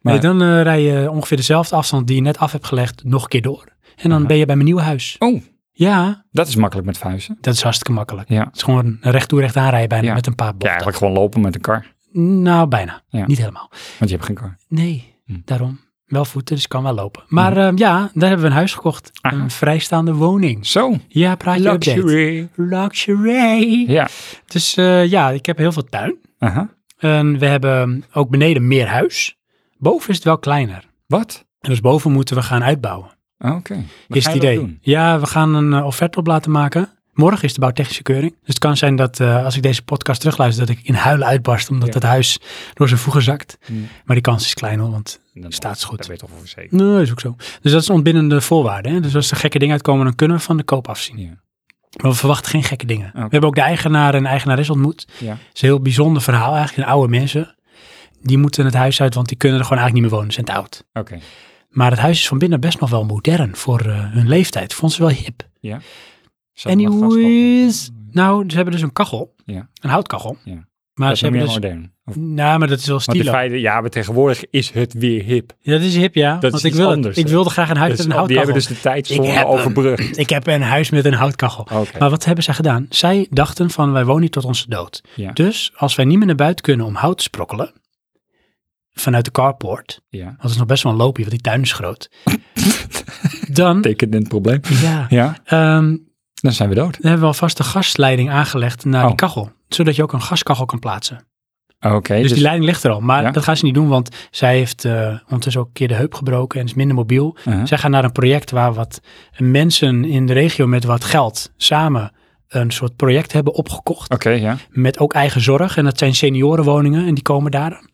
Speaker 1: Maar-
Speaker 2: nee, dan eh, rij je ongeveer dezelfde afstand die je net af hebt gelegd, nog een keer door. En dan
Speaker 1: Aha.
Speaker 2: ben je bij mijn nieuwe huis.
Speaker 1: Oh,
Speaker 2: Ja,
Speaker 1: dat is makkelijk met vuisten.
Speaker 2: dat is hartstikke makkelijk.
Speaker 1: Ja.
Speaker 2: Het is gewoon recht toe, recht aanrijden bijna
Speaker 1: Ja.
Speaker 2: met een paar
Speaker 1: Ja,
Speaker 2: bochten.
Speaker 1: eigenlijk gewoon lopen met een kar.
Speaker 2: nou, bijna.
Speaker 1: Ja.
Speaker 2: Niet helemaal.
Speaker 1: Want je hebt geen kar.
Speaker 2: Nee,
Speaker 1: Hm.
Speaker 2: daarom. Wel voeten, dus kan wel lopen. Maar ehm, ja, daar hebben we een huis gekocht.
Speaker 1: Aha.
Speaker 2: Een vrijstaande woning.
Speaker 1: Zo,
Speaker 2: Ja, praat je update.
Speaker 1: luxury.
Speaker 2: Luxury.
Speaker 1: Ja,
Speaker 2: Dus eh, ja, ik heb heel veel tuin.
Speaker 1: aha.
Speaker 2: En we hebben ook beneden meer huis. Boven is het wel kleiner.
Speaker 1: Wat? Ah,
Speaker 2: En dus boven moeten we gaan uitbouwen.
Speaker 1: Oké. Dan
Speaker 2: is
Speaker 1: ga
Speaker 2: het
Speaker 1: je dat
Speaker 2: idee.
Speaker 1: doen.
Speaker 2: Ja, we gaan een eh, offerte op laten maken. Morgen is de bouwtechnische keuring. Dus het kan zijn dat eh, als ik deze podcast terugluister, dat ik in huilen uitbarst. Omdat
Speaker 1: Ja.
Speaker 2: het huis door zijn voegen zakt.
Speaker 1: Hm.
Speaker 2: Maar die kans is klein hoor, want
Speaker 1: Dan-
Speaker 2: staat goed.
Speaker 1: Daar weet je toch voor zeker.
Speaker 2: Nee, is ook zo. Dus dat is een ontbindende voorwaarde. Hè? Dus als er gekke dingen uitkomen, dan kunnen we van de koop afzien.
Speaker 1: Ja.
Speaker 2: Maar we verwachten geen gekke dingen.
Speaker 1: Oké.
Speaker 2: We hebben ook de eigenaar en eigenares ontmoet.
Speaker 1: Ja.
Speaker 2: Het is een heel bijzonder verhaal eigenlijk. De oude mensen, die moeten het huis uit, want die kunnen er gewoon eigenlijk niet meer wonen. Ze zijn te oud.
Speaker 1: Oké.
Speaker 2: Maar het huis is van binnen best nog wel modern voor eh, hun leeftijd. Vond ze wel hip.
Speaker 1: Zat er nog gas op?
Speaker 2: Anyways, nou, ze hebben dus een kachel.
Speaker 1: Ja.
Speaker 2: Een houtkachel.
Speaker 1: Ja.
Speaker 2: Maar
Speaker 1: Dat is
Speaker 2: ze
Speaker 1: nog meer
Speaker 2: hebben dus...
Speaker 1: modern. Of-
Speaker 2: Nou, maar dat is wel
Speaker 1: Want in
Speaker 2: stilo.
Speaker 1: feite, ja, maar tegenwoordig is het weer hip.
Speaker 2: Ja, dat is hip, ja.
Speaker 1: is
Speaker 2: want ik,
Speaker 1: iets
Speaker 2: wil het.
Speaker 1: anders,
Speaker 2: ik
Speaker 1: hè?
Speaker 2: wilde graag een huis
Speaker 1: Dus
Speaker 2: met een
Speaker 1: die
Speaker 2: houtkachel.
Speaker 1: hebben dus de
Speaker 2: Ik
Speaker 1: tijdzone
Speaker 2: heb hem.
Speaker 1: overbrugd.
Speaker 2: Ik heb een huis met een houtkachel.
Speaker 1: Oké.
Speaker 2: Maar wat hebben zij gedaan? Zij dachten van wij wonen hier tot onze dood.
Speaker 1: Ja.
Speaker 2: Dus als wij niet meer naar buiten kunnen om hout te sprokkelen, vanuit de carport,
Speaker 1: Ja.
Speaker 2: want het is nog best wel een loopje, want die tuin is groot. dan,
Speaker 1: Tekent in het probleem.
Speaker 2: ja,
Speaker 1: Ja,
Speaker 2: ehm,
Speaker 1: dan zijn we dood.
Speaker 2: dan hebben we alvast een gasleiding aangelegd naar
Speaker 1: Oh.
Speaker 2: die kachel. Zodat je ook een gaskachel kan plaatsen.
Speaker 1: Oké.
Speaker 2: Dus,
Speaker 1: dus
Speaker 2: die leiding ligt er al. Maar
Speaker 1: Ja.
Speaker 2: dat gaan ze niet doen, want zij heeft eh, ondertussen ook een keer de heup gebroken en is minder mobiel.
Speaker 1: uh-huh.
Speaker 2: Zij gaan naar een project waar wat mensen in de regio met wat geld samen een soort project hebben opgekocht.
Speaker 1: Oké, ja.
Speaker 2: Met ook eigen zorg. En dat zijn seniorenwoningen en die komen daar dan.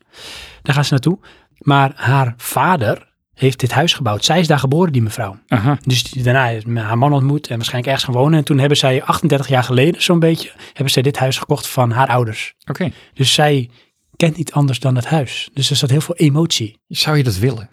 Speaker 2: Daar gaan ze naartoe. Maar haar vader heeft dit huis gebouwd. Zij is daar geboren, die mevrouw.
Speaker 1: Aha.
Speaker 2: Dus die- daarna heeft men haar man ontmoet en waarschijnlijk ergens gaan wonen. En toen hebben zij 38 jaar geleden zo'n beetje, hebben zij dit huis gekocht van haar ouders.
Speaker 1: Oké.
Speaker 2: Dus zij kent niet anders dan het huis. Dus er zat heel veel emotie.
Speaker 1: Zou je dat willen?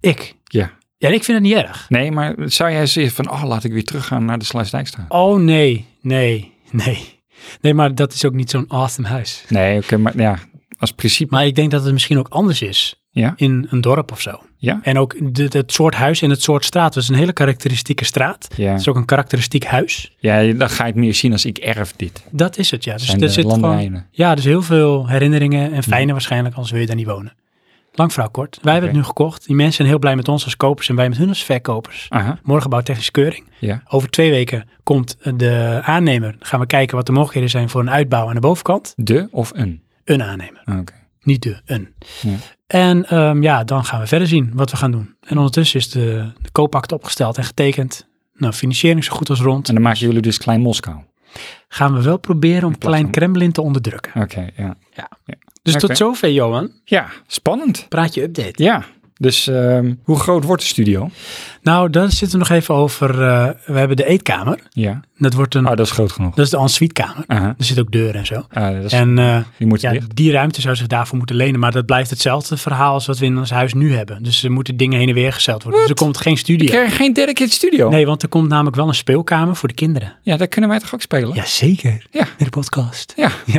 Speaker 2: Ik.
Speaker 1: Ja.
Speaker 2: Ja, en ik vind het niet erg.
Speaker 1: Nee, maar zou jij zeggen van, oh, laat ik weer teruggaan naar de Sluisdijkstraat?
Speaker 2: Oh nee, nee, nee. Nee, maar dat is ook niet zo'n awesome huis.
Speaker 1: Nee, oké, maar ja, als principe.
Speaker 2: Maar ik denk dat het misschien ook anders is
Speaker 1: Ja,
Speaker 2: in een dorp of zo.
Speaker 1: ja,
Speaker 2: En ook de- het soort huis en het soort straat. Het is een hele karakteristieke straat.
Speaker 1: ja.
Speaker 2: Het is ook een karakteristiek huis.
Speaker 1: Ja, dan ga je het meer zien als ik erf dit.
Speaker 2: Dat is het, ja. Dus
Speaker 1: Zijn
Speaker 2: er
Speaker 1: de
Speaker 2: zit gewoon,
Speaker 1: landerijen.
Speaker 2: ja, dus heel veel herinneringen en fijne waarschijnlijk, anders wil je daar niet wonen. Lang verhaal kort. Wij hebben het
Speaker 1: Oké.
Speaker 2: nu gekocht. Die mensen zijn heel blij met ons als kopers en wij met hun als verkopers.
Speaker 1: Aha,
Speaker 2: Morgen bouwtechnische keuring.
Speaker 1: ja,
Speaker 2: Over twee weken komt de aannemer. Dan gaan we kijken wat de mogelijkheden zijn voor een uitbouw aan de bovenkant.
Speaker 1: de of een.
Speaker 2: Een aannemer,
Speaker 1: Oké.
Speaker 2: niet de een.
Speaker 1: Ja.
Speaker 2: En ehm, ja, dan gaan we verder zien wat we gaan doen. En ondertussen is de, de koopact opgesteld en getekend. Nou, financiering zo goed als rond.
Speaker 1: En dan maken jullie dus Klein Moskou. Oké,
Speaker 2: Gaan we wel proberen om
Speaker 1: plaats
Speaker 2: Klein
Speaker 1: van-
Speaker 2: Kremlin te onderdrukken.
Speaker 1: ja.
Speaker 2: Dus
Speaker 1: Oké.
Speaker 2: tot zover, Johan.
Speaker 1: Ja, spannend.
Speaker 2: Praat je update.
Speaker 1: Ja, dus ehm, hoe groot wordt de studio?
Speaker 2: Nou, daar zitten we nog even over. eh, we hebben de eetkamer.
Speaker 1: Ja.
Speaker 2: Ah, Dat wordt een.
Speaker 1: Oh, dat is groot genoeg.
Speaker 2: Dat is de ensuitekamer.
Speaker 1: Aha.
Speaker 2: Er zit ook deuren en zo.
Speaker 1: Ah, dat is,
Speaker 2: En eh,
Speaker 1: die moet
Speaker 2: ja,
Speaker 1: dicht.
Speaker 2: die ruimte zou zich daarvoor moeten lenen. Maar dat blijft hetzelfde verhaal als wat we in ons huis nu hebben. Dus er moeten dingen heen en weer gezeild worden. Dus er komt geen
Speaker 1: Ik
Speaker 2: studie.
Speaker 1: krijg geen dedicated studio.
Speaker 2: Nee, want er komt namelijk wel een speelkamer voor de kinderen.
Speaker 1: Ja, daar kunnen wij toch ook spelen?
Speaker 2: Jazeker.
Speaker 1: Ja.
Speaker 2: In de podcast.
Speaker 1: Ja.
Speaker 2: Ik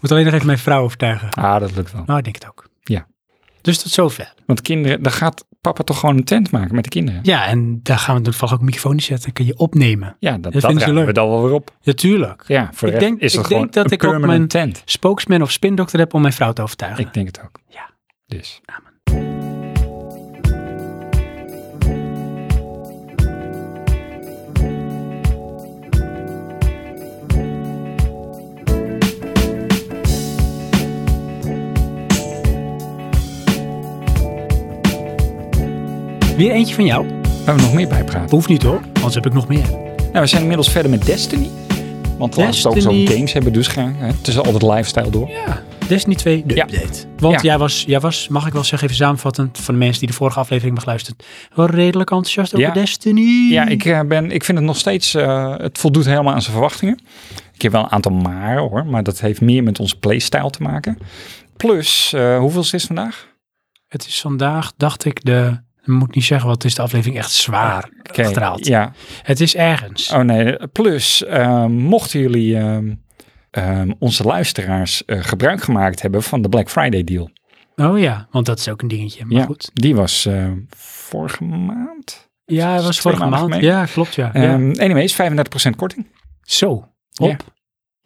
Speaker 2: moet alleen nog even mijn vrouw overtuigen.
Speaker 1: Ah, dat lukt wel.
Speaker 2: Nou, ik denk het ook.
Speaker 1: Ja.
Speaker 2: Dus tot zover.
Speaker 1: Want kinderen, dan gaat papa toch gewoon een tent maken met de kinderen.
Speaker 2: Ja, en daar gaan we toevallig ook een microfoon in zetten. Dan kun je opnemen.
Speaker 1: Ja, dat,
Speaker 2: Dat
Speaker 1: dat
Speaker 2: vinden ze
Speaker 1: ruimen we
Speaker 2: leuk.
Speaker 1: dan wel weer op.
Speaker 2: Natuurlijk.
Speaker 1: Ja, voor de rest
Speaker 2: Ik denk-
Speaker 1: is dat
Speaker 2: ik
Speaker 1: gewoon
Speaker 2: denk dat
Speaker 1: een
Speaker 2: ik ook
Speaker 1: permanent
Speaker 2: mijn-
Speaker 1: tent.
Speaker 2: Spokesman of spindokter heb om mijn vrouw te overtuigen.
Speaker 1: Ik denk het ook.
Speaker 2: Ja.
Speaker 1: Dus.
Speaker 2: Weer eentje van jou.
Speaker 1: Waar we nog meer bij praten.
Speaker 2: Hoeft niet hoor, anders heb ik nog meer.
Speaker 1: Nou, we zijn inmiddels verder met Destiny. Want we het ook zo'n
Speaker 2: Destiny.
Speaker 1: games hebben dus graag. Hè. Tussen al dat lifestyle door.
Speaker 2: Ja. Destiny 2, de
Speaker 1: Ja.
Speaker 2: update. Want
Speaker 1: Ja.
Speaker 2: jij, was, jij was, mag ik wel zeggen, even samenvattend van de mensen die de vorige aflevering hebben geluisterd. Wel redelijk enthousiast over
Speaker 1: Ja.
Speaker 2: Destiny.
Speaker 1: Ja, ik, eh, ben, ik vind het nog steeds, eh, het voldoet helemaal aan zijn verwachtingen. Ik heb wel een aantal maar hoor, maar dat heeft meer met onze playstyle te maken. Plus, eh, hoeveel is het vandaag?
Speaker 2: Het is vandaag, dacht ik, de. Ik moet niet zeggen, want het is de aflevering echt zwaar
Speaker 1: Oké,
Speaker 2: gestraald.
Speaker 1: eh, Ja,
Speaker 2: Het is ergens.
Speaker 1: oh nee. Plus, eh, mochten jullie ehm, ehm, onze luisteraars eh, gebruik gemaakt hebben van de Black Friday deal.
Speaker 2: Oh ja, want dat is ook een dingetje. Maar
Speaker 1: ja,
Speaker 2: goed.
Speaker 1: die was eh, vorige maand.
Speaker 2: Ja, het was
Speaker 1: Twee
Speaker 2: vorige
Speaker 1: maanden
Speaker 2: maand.
Speaker 1: geleden.
Speaker 2: Ja, klopt ja. ja.
Speaker 1: Ehm anyways, 35% korting.
Speaker 2: Zo. Op.
Speaker 1: Ja.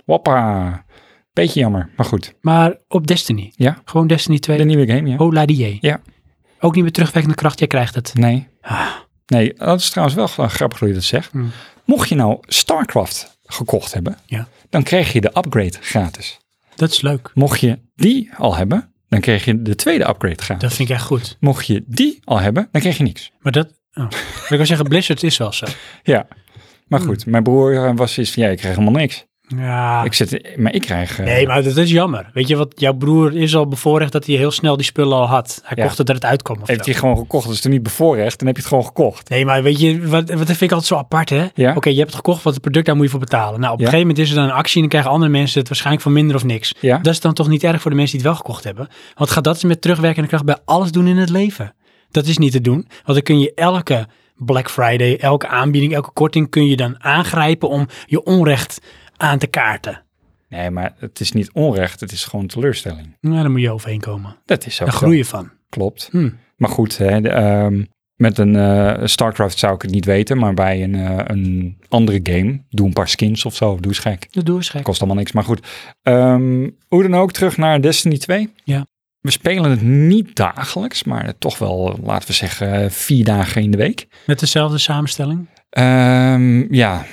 Speaker 1: Wappa. Beetje jammer, maar goed.
Speaker 2: Maar op Destiny.
Speaker 1: Ja.
Speaker 2: Gewoon Destiny 2.
Speaker 1: De nieuwe game, ja.
Speaker 2: Hola die.
Speaker 1: Ja.
Speaker 2: Ook niet meer terugwerkende kracht, jij krijgt het.
Speaker 1: Nee.
Speaker 2: Ah.
Speaker 1: Nee, dat is trouwens wel gra- grappig hoe je dat zegt.
Speaker 2: Hmm.
Speaker 1: Mocht je nou StarCraft gekocht hebben,
Speaker 2: Ja.
Speaker 1: dan kreeg je de upgrade gratis.
Speaker 2: Dat is leuk.
Speaker 1: Mocht je die al hebben, dan kreeg je de tweede upgrade gratis.
Speaker 2: Dat vind ik echt goed.
Speaker 1: Mocht je die al hebben, dan kreeg je niks.
Speaker 2: Maar dat... Oh. ik wil zeggen, Blizzard is wel zo. Hmm.
Speaker 1: Ja. Maar goed, mijn broer eh, was eens van, ja, ik kreeg helemaal niks.
Speaker 2: Ja.
Speaker 1: Ik zit, maar ik krijg... eh,
Speaker 2: Ah. Nee, maar dat is jammer. Weet je wat? Jouw broer is al bevoorrecht dat hij heel snel die spullen al had. Hij
Speaker 1: Ja.
Speaker 2: kocht het dat het uitkwam. Of
Speaker 1: Heeft
Speaker 2: zo.
Speaker 1: hij gewoon gekocht, dus er niet bevoorrecht, dan heb je het gewoon gekocht.
Speaker 2: Nee, maar weet je, wat, wat vind ik altijd zo apart, hè?
Speaker 1: Ja.
Speaker 2: Oké, je hebt het gekocht, wat het product, daar moet je voor betalen. Nou, op
Speaker 1: Ja.
Speaker 2: een gegeven moment is er dan een actie en dan krijgen andere mensen het waarschijnlijk voor minder of niks.
Speaker 1: Ja?
Speaker 2: Dat is dan toch niet erg voor de mensen die het wel gekocht hebben. Want ga dat eens met terugwerkende kracht bij alles doen in het leven. Dat is niet te doen. Want dan kun je elke Black Friday, elke aanbieding, elke korting kun je dan aangrijpen om je onrecht aan te kaarten.
Speaker 1: Nee, maar het is niet onrecht, het is gewoon teleurstelling.
Speaker 2: Nou, daar moet je overheen komen.
Speaker 1: Dat is ook
Speaker 2: Daar
Speaker 1: zo.
Speaker 2: groei je van.
Speaker 1: Klopt.
Speaker 2: Hm.
Speaker 1: Maar goed, hè, de, ehm, met een eh, StarCraft zou ik het niet weten, maar bij een, eh, een andere game, doe een paar skins of zo, doe eens gek.
Speaker 2: Dat doe eens gek.
Speaker 1: Kost allemaal niks, maar goed. Ehm, hoe dan ook, terug naar Destiny 2.
Speaker 2: Ja.
Speaker 1: We spelen het niet dagelijks, maar toch wel, eh, laten we zeggen, eh, vier dagen in de week.
Speaker 2: Met dezelfde samenstelling.
Speaker 1: Ehm, ja,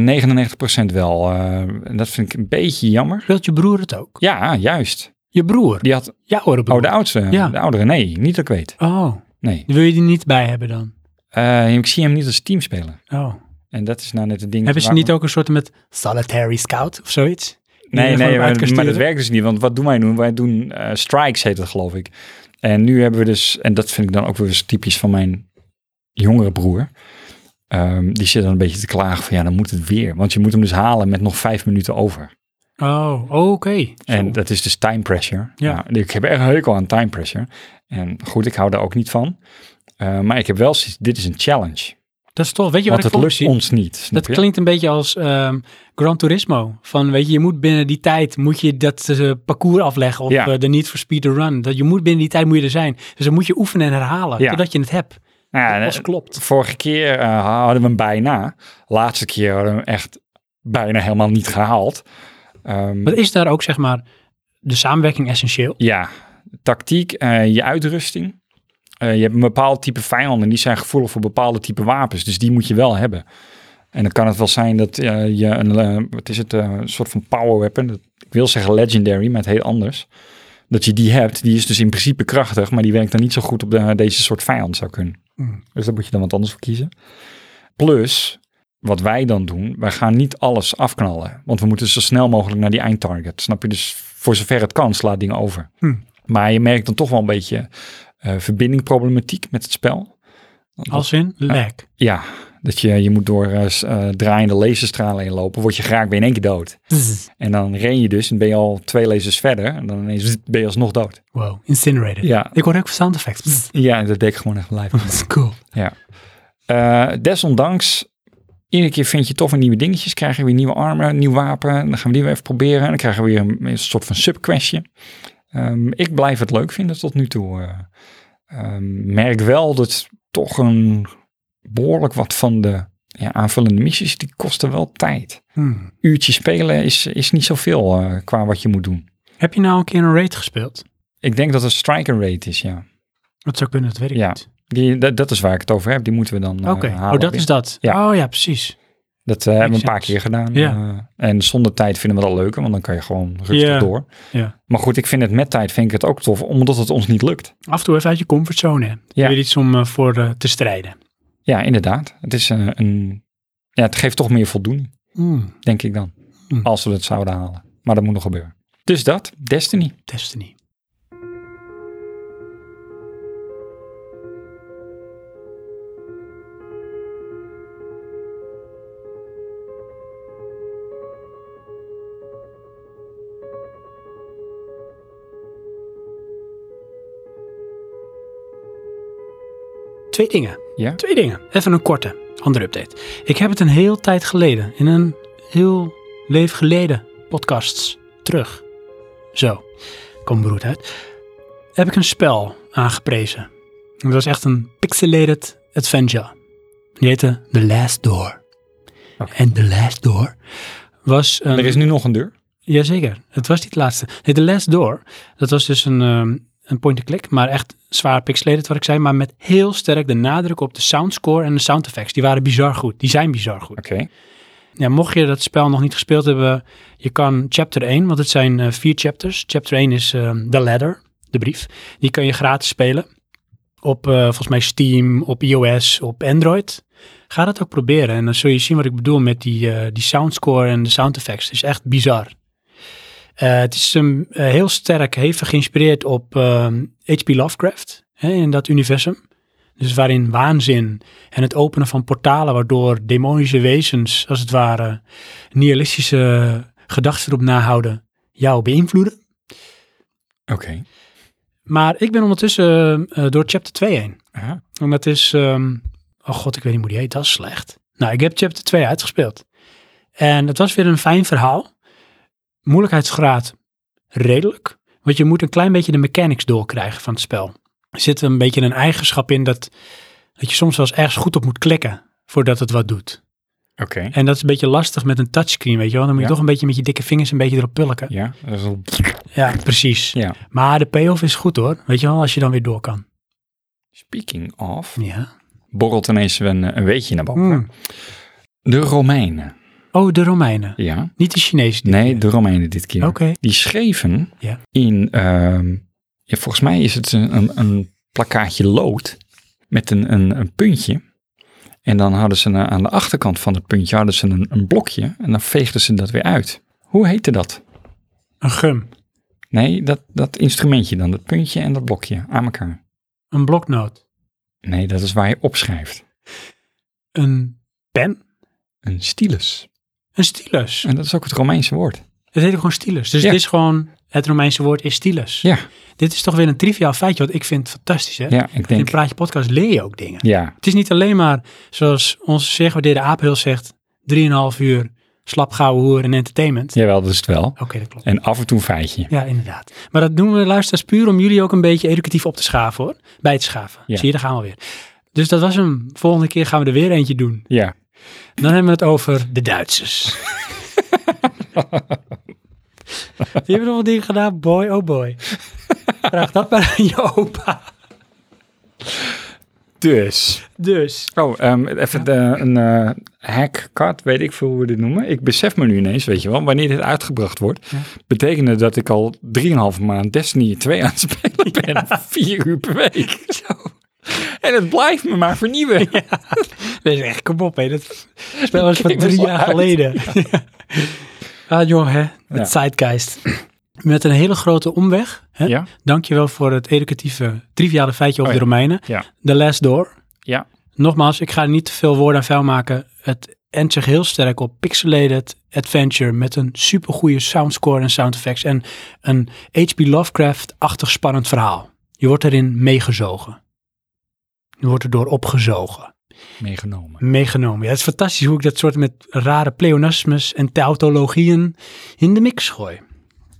Speaker 1: 99% wel. eh, en dat vind ik een beetje jammer.
Speaker 2: Speelt je broer het ook?
Speaker 1: Ja, juist.
Speaker 2: Je broer?
Speaker 1: Die had,
Speaker 2: Ja, hoor.
Speaker 1: oh, de oudste,
Speaker 2: Ja.
Speaker 1: de oudere, nee, niet dat ik weet.
Speaker 2: Oh,
Speaker 1: Nee,
Speaker 2: wil je die niet bij hebben dan?
Speaker 1: Eh, ik zie hem niet als team spelen.
Speaker 2: Oh.
Speaker 1: En dat is nou net het ding.
Speaker 2: Hebben ze
Speaker 1: waarom-
Speaker 2: niet ook een soort met solitary scout of zoiets?
Speaker 1: Nee,
Speaker 2: Die
Speaker 1: nee
Speaker 2: gewoon uit
Speaker 1: maar,
Speaker 2: kan
Speaker 1: maar dat
Speaker 2: sturen?
Speaker 1: werkt dus niet. Want wat doen wij nu? Wij doen eh, strikes, heet dat geloof ik. En nu hebben we dus, en dat vind ik dan ook weer eens typisch van mijn jongere broer. Ehm, die zit dan een beetje te klagen van ja, dan moet het weer. Want je moet hem dus halen met nog vijf minuten over.
Speaker 2: Oh, oké. Zo.
Speaker 1: En dat is dus time pressure.
Speaker 2: Ja.
Speaker 1: Nou, ik heb echt een hekel aan time pressure. En goed, ik hou daar ook niet van. Eh, maar ik heb wel zoiets, dit is een challenge.
Speaker 2: Dat is tof. Weet je
Speaker 1: Want
Speaker 2: wat
Speaker 1: het
Speaker 2: ik
Speaker 1: lukt
Speaker 2: lukt
Speaker 1: ons niet. snap
Speaker 2: Dat
Speaker 1: je?
Speaker 2: klinkt een beetje als ehm Gran Turismo. Van, weet je, je moet binnen die tijd moet je dat eh, parcours afleggen of
Speaker 1: Ja.
Speaker 2: eh, de Need for Speed to Run. Dat je moet binnen die tijd moet je er zijn. Dus dan moet je oefenen en herhalen,
Speaker 1: Ja.
Speaker 2: totdat je het hebt.
Speaker 1: Nou ja,
Speaker 2: Dat
Speaker 1: eh,
Speaker 2: pas klopt.
Speaker 1: Vorige keer eh, hadden we hem bijna. Laatste keer hadden we hem echt bijna helemaal niet gehaald. Ehm,
Speaker 2: Maar is daar ook, zeg maar, de samenwerking essentieel?
Speaker 1: ja, tactiek, eh, je uitrusting. Eh, je hebt een bepaald type vijanden. Die zijn gevoelig voor bepaalde type wapens. Dus die moet je wel hebben. En dan kan het wel zijn dat eh, je een eh, wat is het, eh, een soort van power weapon. dat- ik wil zeggen legendary, maar het heet anders. Dat je die hebt. Die is dus in principe krachtig. Maar die werkt dan niet zo goed op de- deze soort vijand zou kunnen.
Speaker 2: Mm.
Speaker 1: Dus daar moet je dan wat anders voor kiezen. Plus, wat wij dan doen, wij gaan niet alles afknallen. Want we moeten zo snel mogelijk naar die eindtarget. Snap je? Dus voor zover het kan, sla dingen over.
Speaker 2: Hm.
Speaker 1: Maar je merkt dan toch wel een beetje eh, verbindingproblematiek met het spel. Dat-
Speaker 2: Als in lag.
Speaker 1: Ja, dat je, je moet door eh, s- eh, draaiende laserstralen heen lopen, word je graag weer in één keer dood.
Speaker 2: Zzz.
Speaker 1: En dan ren je dus en ben je al twee lasers verder en dan ineens zzz, ben je alsnog dood.
Speaker 2: Wow, incinerated.
Speaker 1: Ja,
Speaker 2: Ik hoor ook sound effects. Zzz.
Speaker 1: ja dat deed ik gewoon echt live.
Speaker 2: Dat is cool.
Speaker 1: Eh, desondanks, iedere keer vind je toch weer nieuwe dingetjes. Krijgen we weer nieuwe armen, een nieuw wapen. En dan gaan we die weer even proberen. En dan krijgen we weer een, een soort van subquestje. Ehm, ik blijf het leuk vinden tot nu toe. eh. Ehm, merk wel dat toch een behoorlijk wat van de ja, aanvullende missies, die kosten wel tijd.
Speaker 2: Hmm.
Speaker 1: Uurtje spelen is, is niet zoveel eh, qua wat je moet doen.
Speaker 2: Heb je nou een keer een raid gespeeld?
Speaker 1: Ik denk dat het striker rate is, ja.
Speaker 2: Dat zou kunnen, dat weet ik
Speaker 1: Ja.
Speaker 2: niet.
Speaker 1: Die, dat, dat is waar ik het over heb. Die moeten we dan eh,
Speaker 2: Oké,
Speaker 1: halen.
Speaker 2: oh, dat
Speaker 1: weer.
Speaker 2: is dat.
Speaker 1: Ja.
Speaker 2: Oh ja, precies.
Speaker 1: Dat eh, hebben we een paar
Speaker 2: sense.
Speaker 1: keer gedaan.
Speaker 2: Ja.
Speaker 1: eh, en zonder tijd vinden we dat leuker, want dan kan je gewoon rustig
Speaker 2: Ja.
Speaker 1: door.
Speaker 2: Ja.
Speaker 1: Maar goed, ik vind het met tijd vind ik het ook tof, omdat het ons niet lukt.
Speaker 2: Af en toe even uit je comfortzone. hè.
Speaker 1: Ja.
Speaker 2: Weer iets om eh, voor eh, te strijden.
Speaker 1: Ja, inderdaad. Het, is, eh, een, ja, het geeft toch meer voldoening, denk ik dan.
Speaker 2: Hm.
Speaker 1: Als we het zouden halen. Maar dat moet nog gebeuren. Dus dat, Destiny.
Speaker 2: Destiny. Twee dingen.
Speaker 1: Ja?
Speaker 2: Twee dingen. Even een korte, andere update. Ik heb het een heel tijd geleden, in een heel leven geleden podcasts terug. Zo, kom beroerd uit. Heb ik een spel aangeprezen. En Dat was echt een pixelated adventure. Die heette The Last Door.
Speaker 1: Oké.
Speaker 2: En The Last Door was een...
Speaker 1: Er is nu nog een deur.
Speaker 2: Jazeker, het was niet het laatste. Nee, The Last Door, dat was dus een, ehm, een point-and-click, maar echt zwaar pixelated wat ik zei, maar met heel sterk de nadruk op de soundscore en de sound effects. Die waren bizar goed, die zijn bizar goed.
Speaker 1: Oké.
Speaker 2: Ja, mocht je dat spel nog niet gespeeld hebben, je kan chapter 1, want het zijn eh, vier chapters. Chapter 1 is ehm The Ladder, de brief. Die kan je gratis spelen. op eh, volgens mij Steam, op iOS, op Android. Ga dat ook proberen en dan zul je zien wat ik bedoel met die, eh, die soundscore en de sound effects. Het is echt bizar. Eh, het is hem eh, heel sterk, hevig geïnspireerd op ehm, H.P. Lovecraft hè, in dat universum. Dus waarin waanzin en het openen van portalen, waardoor demonische wezens, als het ware, nihilistische gedachten erop nahouden, jou beïnvloeden.
Speaker 1: Oké.
Speaker 2: Maar ik ben ondertussen eh, eh, door chapter 2 heen.
Speaker 1: Ja.
Speaker 2: En dat is, ehm, oh god, ik weet niet hoe die heet, dat is slecht. Nou, ik heb chapter 2 uitgespeeld. En het was weer een fijn verhaal. Moeilijkheidsgraad redelijk. Want je moet een klein beetje de mechanics doorkrijgen van het spel. Er zit een beetje een eigenschap in dat, dat je soms wel eens ergens goed op moet klikken voordat het wat doet.
Speaker 1: Oké.
Speaker 2: En dat is een beetje lastig met een touchscreen, weet je wel. Dan moet je
Speaker 1: Ja.
Speaker 2: toch een beetje met je dikke vingers een beetje erop pulken.
Speaker 1: Ja, dat is wel-
Speaker 2: Ja, precies.
Speaker 1: ja.
Speaker 2: Maar de payoff is goed hoor. Weet je wel, als je dan weer door kan.
Speaker 1: Speaking of,
Speaker 2: Ja.
Speaker 1: borrelt ineens een, een weetje naar boven.
Speaker 2: Mm.
Speaker 1: De Romeinen.
Speaker 2: Oh, de Romeinen.
Speaker 1: Ja.
Speaker 2: Niet de Chinezen. dit
Speaker 1: Nee,
Speaker 2: keer.
Speaker 1: de Romeinen dit keer.
Speaker 2: Oké.
Speaker 1: Die schreven
Speaker 2: Ja.
Speaker 1: in, ehm, ja, volgens mij is het een, een, een plakkaatje lood met een, een, een puntje. En dan hadden ze een- aan de achterkant van het puntje hadden ze een, een blokje en dan veegden ze dat weer uit. Hoe heette dat?
Speaker 2: Een gum.
Speaker 1: Nee, dat, dat instrumentje dan, dat puntje en dat blokje aan elkaar.
Speaker 2: Een bloknoot.
Speaker 1: Nee, dat is waar je opschrijft.
Speaker 2: Een pen.
Speaker 1: Een stylus.
Speaker 2: Een stylus.
Speaker 1: En dat is ook het Romeinse woord.
Speaker 2: Het heet ook gewoon stylus. Dus
Speaker 1: Ja.
Speaker 2: het is gewoon, het Romeinse woord is stylus.
Speaker 1: Ja.
Speaker 2: Dit is toch weer een triviaal feitje, wat ik vind fantastisch. Hè?
Speaker 1: Ja, ik
Speaker 2: In
Speaker 1: denk.
Speaker 2: Praatje Podcast leer je ook dingen.
Speaker 1: Ja,
Speaker 2: Het is niet alleen maar, zoals onze zeer gewaardeerde aap heel zegt, 3,5 uur slap gouden hoer en entertainment.
Speaker 1: jawel, dat is het wel.
Speaker 2: Oké, dat klopt.
Speaker 1: En af en toe een feitje.
Speaker 2: Ja, inderdaad. Maar dat doen we luisteraars puur om jullie ook een beetje educatief op te schaven hoor. Bij te schaven.
Speaker 1: Ja.
Speaker 2: Zie je, daar gaan we weer. Dus dat was hem. Volgende keer gaan we er weer eentje doen.
Speaker 1: Ja.
Speaker 2: Dan hebben we het over de Duitsers. Die hebben nog wat dingen gedaan, boy oh boy. Vraag dat maar aan je opa.
Speaker 1: Dus.
Speaker 2: Dus,
Speaker 1: Oh, ehm, even de- een eh hack card, weet ik veel hoe we dit noemen. Ik besef me nu ineens, weet je wel, wanneer dit uitgebracht wordt,
Speaker 2: Ja.
Speaker 1: betekende dat ik al 3,5 maand Destiny 2 aan het spelen ben. Vier uur per week. En het blijft me maar vernieuwen.
Speaker 2: dat is echt, kom op hè. Dat spel was van
Speaker 1: Ik was
Speaker 2: drie
Speaker 1: al
Speaker 2: jaar
Speaker 1: uit.
Speaker 2: geleden. ah joh hè,
Speaker 1: Ja.
Speaker 2: met Zeitgeist. Met een hele grote omweg. Hè?
Speaker 1: Ja,
Speaker 2: Dankjewel voor het educatieve, triviale feitje over
Speaker 1: Oh ja.
Speaker 2: de Romeinen.
Speaker 1: Ja.
Speaker 2: The Last Door.
Speaker 1: Ja.
Speaker 2: Nogmaals, ik ga er niet te veel woorden aan vuil maken. Het endt zich heel sterk op pixelated adventure met een supergoeie soundscore en sound effects en een H.P. Lovecraft-achtig spannend verhaal. Je wordt erin meegezogen. Je wordt erdoor opgezogen.
Speaker 1: meegenomen.
Speaker 2: Meegenomen. Ja, het is fantastisch hoe ik dat soort met rare pleonasmes en tautologieën in de mix gooi.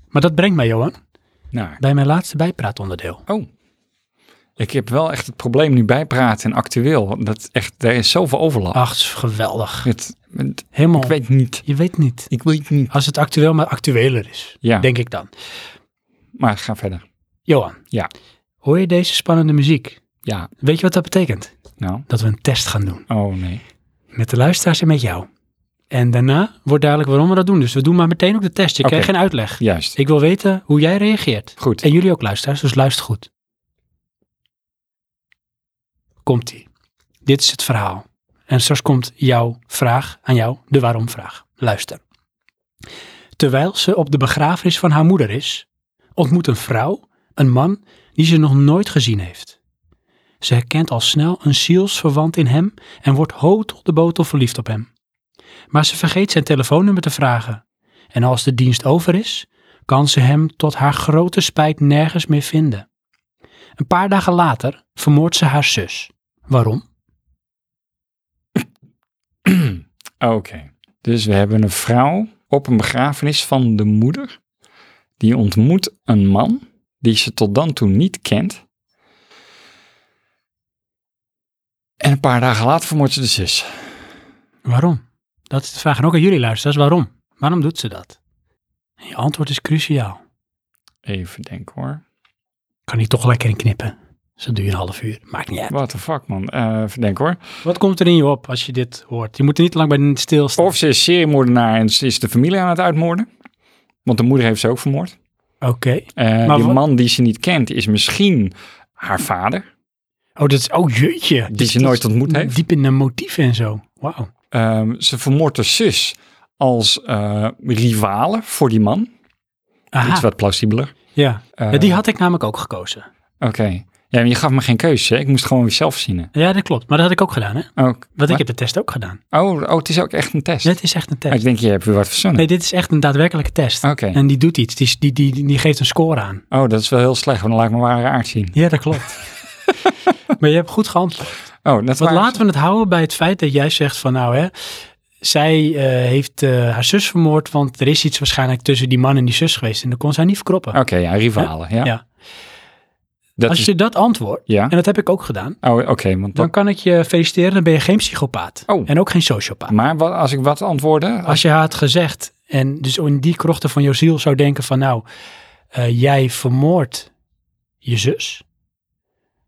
Speaker 2: Maar dat brengt mij, Johan,
Speaker 1: Nou,
Speaker 2: bij mijn laatste bijpraatonderdeel.
Speaker 1: oh. Ik heb wel echt het probleem nu bijpraten en actueel. Dat echt, er is zoveel overlap.
Speaker 2: Ach, het is geweldig.
Speaker 1: Het, het-
Speaker 2: Helemaal.
Speaker 1: ik weet niet.
Speaker 2: Je weet niet.
Speaker 1: Ik weet niet.
Speaker 2: Als het actueel maar actueler is,
Speaker 1: Ja,
Speaker 2: denk ik dan.
Speaker 1: maar ga verder.
Speaker 2: Johan.
Speaker 1: Ja.
Speaker 2: Hoor je deze spannende muziek?
Speaker 1: Ja,
Speaker 2: Weet je wat dat betekent?
Speaker 1: nou.
Speaker 2: Dat we een test gaan doen.
Speaker 1: Oh nee.
Speaker 2: Met de luisteraars en met jou. En daarna wordt duidelijk waarom we dat doen. Dus we doen maar meteen ook de test. Je
Speaker 1: Oké.
Speaker 2: krijgt geen uitleg.
Speaker 1: Juist.
Speaker 2: Ik wil weten hoe jij reageert.
Speaker 1: Goed.
Speaker 2: En jullie ook luisteraars, dus luister goed. Komt-ie. Dit is het verhaal. En straks komt jouw vraag aan jou, de waarom-vraag. Luister. Terwijl ze op de begrafenis van haar moeder is, ontmoet een vrouw een man die ze nog nooit gezien heeft. Ze herkent al snel een zielsverwant in hem en wordt hotel de botel verliefd op hem. Maar ze vergeet zijn telefoonnummer te vragen. En als de dienst over is, kan ze hem tot haar grote spijt nergens meer vinden. Een paar dagen later vermoordt ze haar zus. Waarom?
Speaker 1: Oké. Dus we hebben een vrouw op een begrafenis van de moeder. Die ontmoet een man die ze tot dan toe niet kent. En een paar dagen later vermoordt ze de zus.
Speaker 2: Waarom? Dat is de vraag en ook aan jullie luisteraars. Waarom? Waarom doet ze dat? En je antwoord is cruciaal.
Speaker 1: Even denken hoor.
Speaker 2: Kan hij toch lekker in knippen? Zo duurt een half uur. Maakt niet uit.
Speaker 1: What the fuck man. Eh, even denken hoor.
Speaker 2: Wat komt er in je op als je dit hoort? Je moet er niet lang bij stilstaan.
Speaker 1: Of ze is seriemoordenaar en ze is de familie aan het uitmoorden. Want de moeder heeft ze ook vermoord.
Speaker 2: Oké.
Speaker 1: Eh, die
Speaker 2: wat-
Speaker 1: man die ze niet kent is misschien haar vader.
Speaker 2: Oh, dat is, oh jeetje.
Speaker 1: die ze nooit ontmoet heeft.
Speaker 2: Diep in de motieven en zo. Wauw.
Speaker 1: Ehm, ze vermoordt haar zus als eh rivale voor die man. Iets
Speaker 2: Aha,
Speaker 1: wat plausibeler.
Speaker 2: ja.
Speaker 1: Eh,
Speaker 2: ja. Die had ik namelijk ook gekozen.
Speaker 1: Oké. Ja, maar je gaf me geen keuze. hè? Ik moest gewoon weer zelf zien.
Speaker 2: Ja, dat klopt. Maar dat had ik ook gedaan, hè?
Speaker 1: Ook.
Speaker 2: Want ik heb de test ook gedaan.
Speaker 1: Oh, oh, het is ook echt een test.
Speaker 2: Dus Dit is echt een
Speaker 1: Ah,
Speaker 2: test.
Speaker 1: ik denk, je hebt weer wat verzonnen.
Speaker 2: Nee, dit is echt een daadwerkelijke test.
Speaker 1: Oké.
Speaker 2: En die doet iets. Die, die, die, die geeft een score aan.
Speaker 1: Oh, dat is wel heel slecht, want dan laat ik mijn ware aard zien.
Speaker 2: Ja, dat klopt. maar je hebt goed geantwoord.
Speaker 1: Oh, dat
Speaker 2: Want
Speaker 1: waren-
Speaker 2: laten we het houden bij het feit dat jij zegt van nou hè, zij eh, heeft eh, haar zus vermoord, want er is iets waarschijnlijk tussen die man en die zus geweest en dat kon zij niet verkroppen.
Speaker 1: Oké, ja, rivalen. Oh, Ja.
Speaker 2: Ja.
Speaker 1: Dat
Speaker 2: Als
Speaker 1: is...
Speaker 2: je dat antwoordt,
Speaker 1: ja.
Speaker 2: en dat heb ik ook gedaan,
Speaker 1: Oh, oké. want
Speaker 2: dan
Speaker 1: dat...
Speaker 2: kan ik je feliciteren, dan ben je geen psychopaat
Speaker 1: Oh.
Speaker 2: en ook geen sociopaat.
Speaker 1: Maar wat, als ik wat antwoordde?
Speaker 2: Als je haar had gezegd en dus in die krochten van jouw ziel zou denken van nou, eh, jij vermoordt je zus,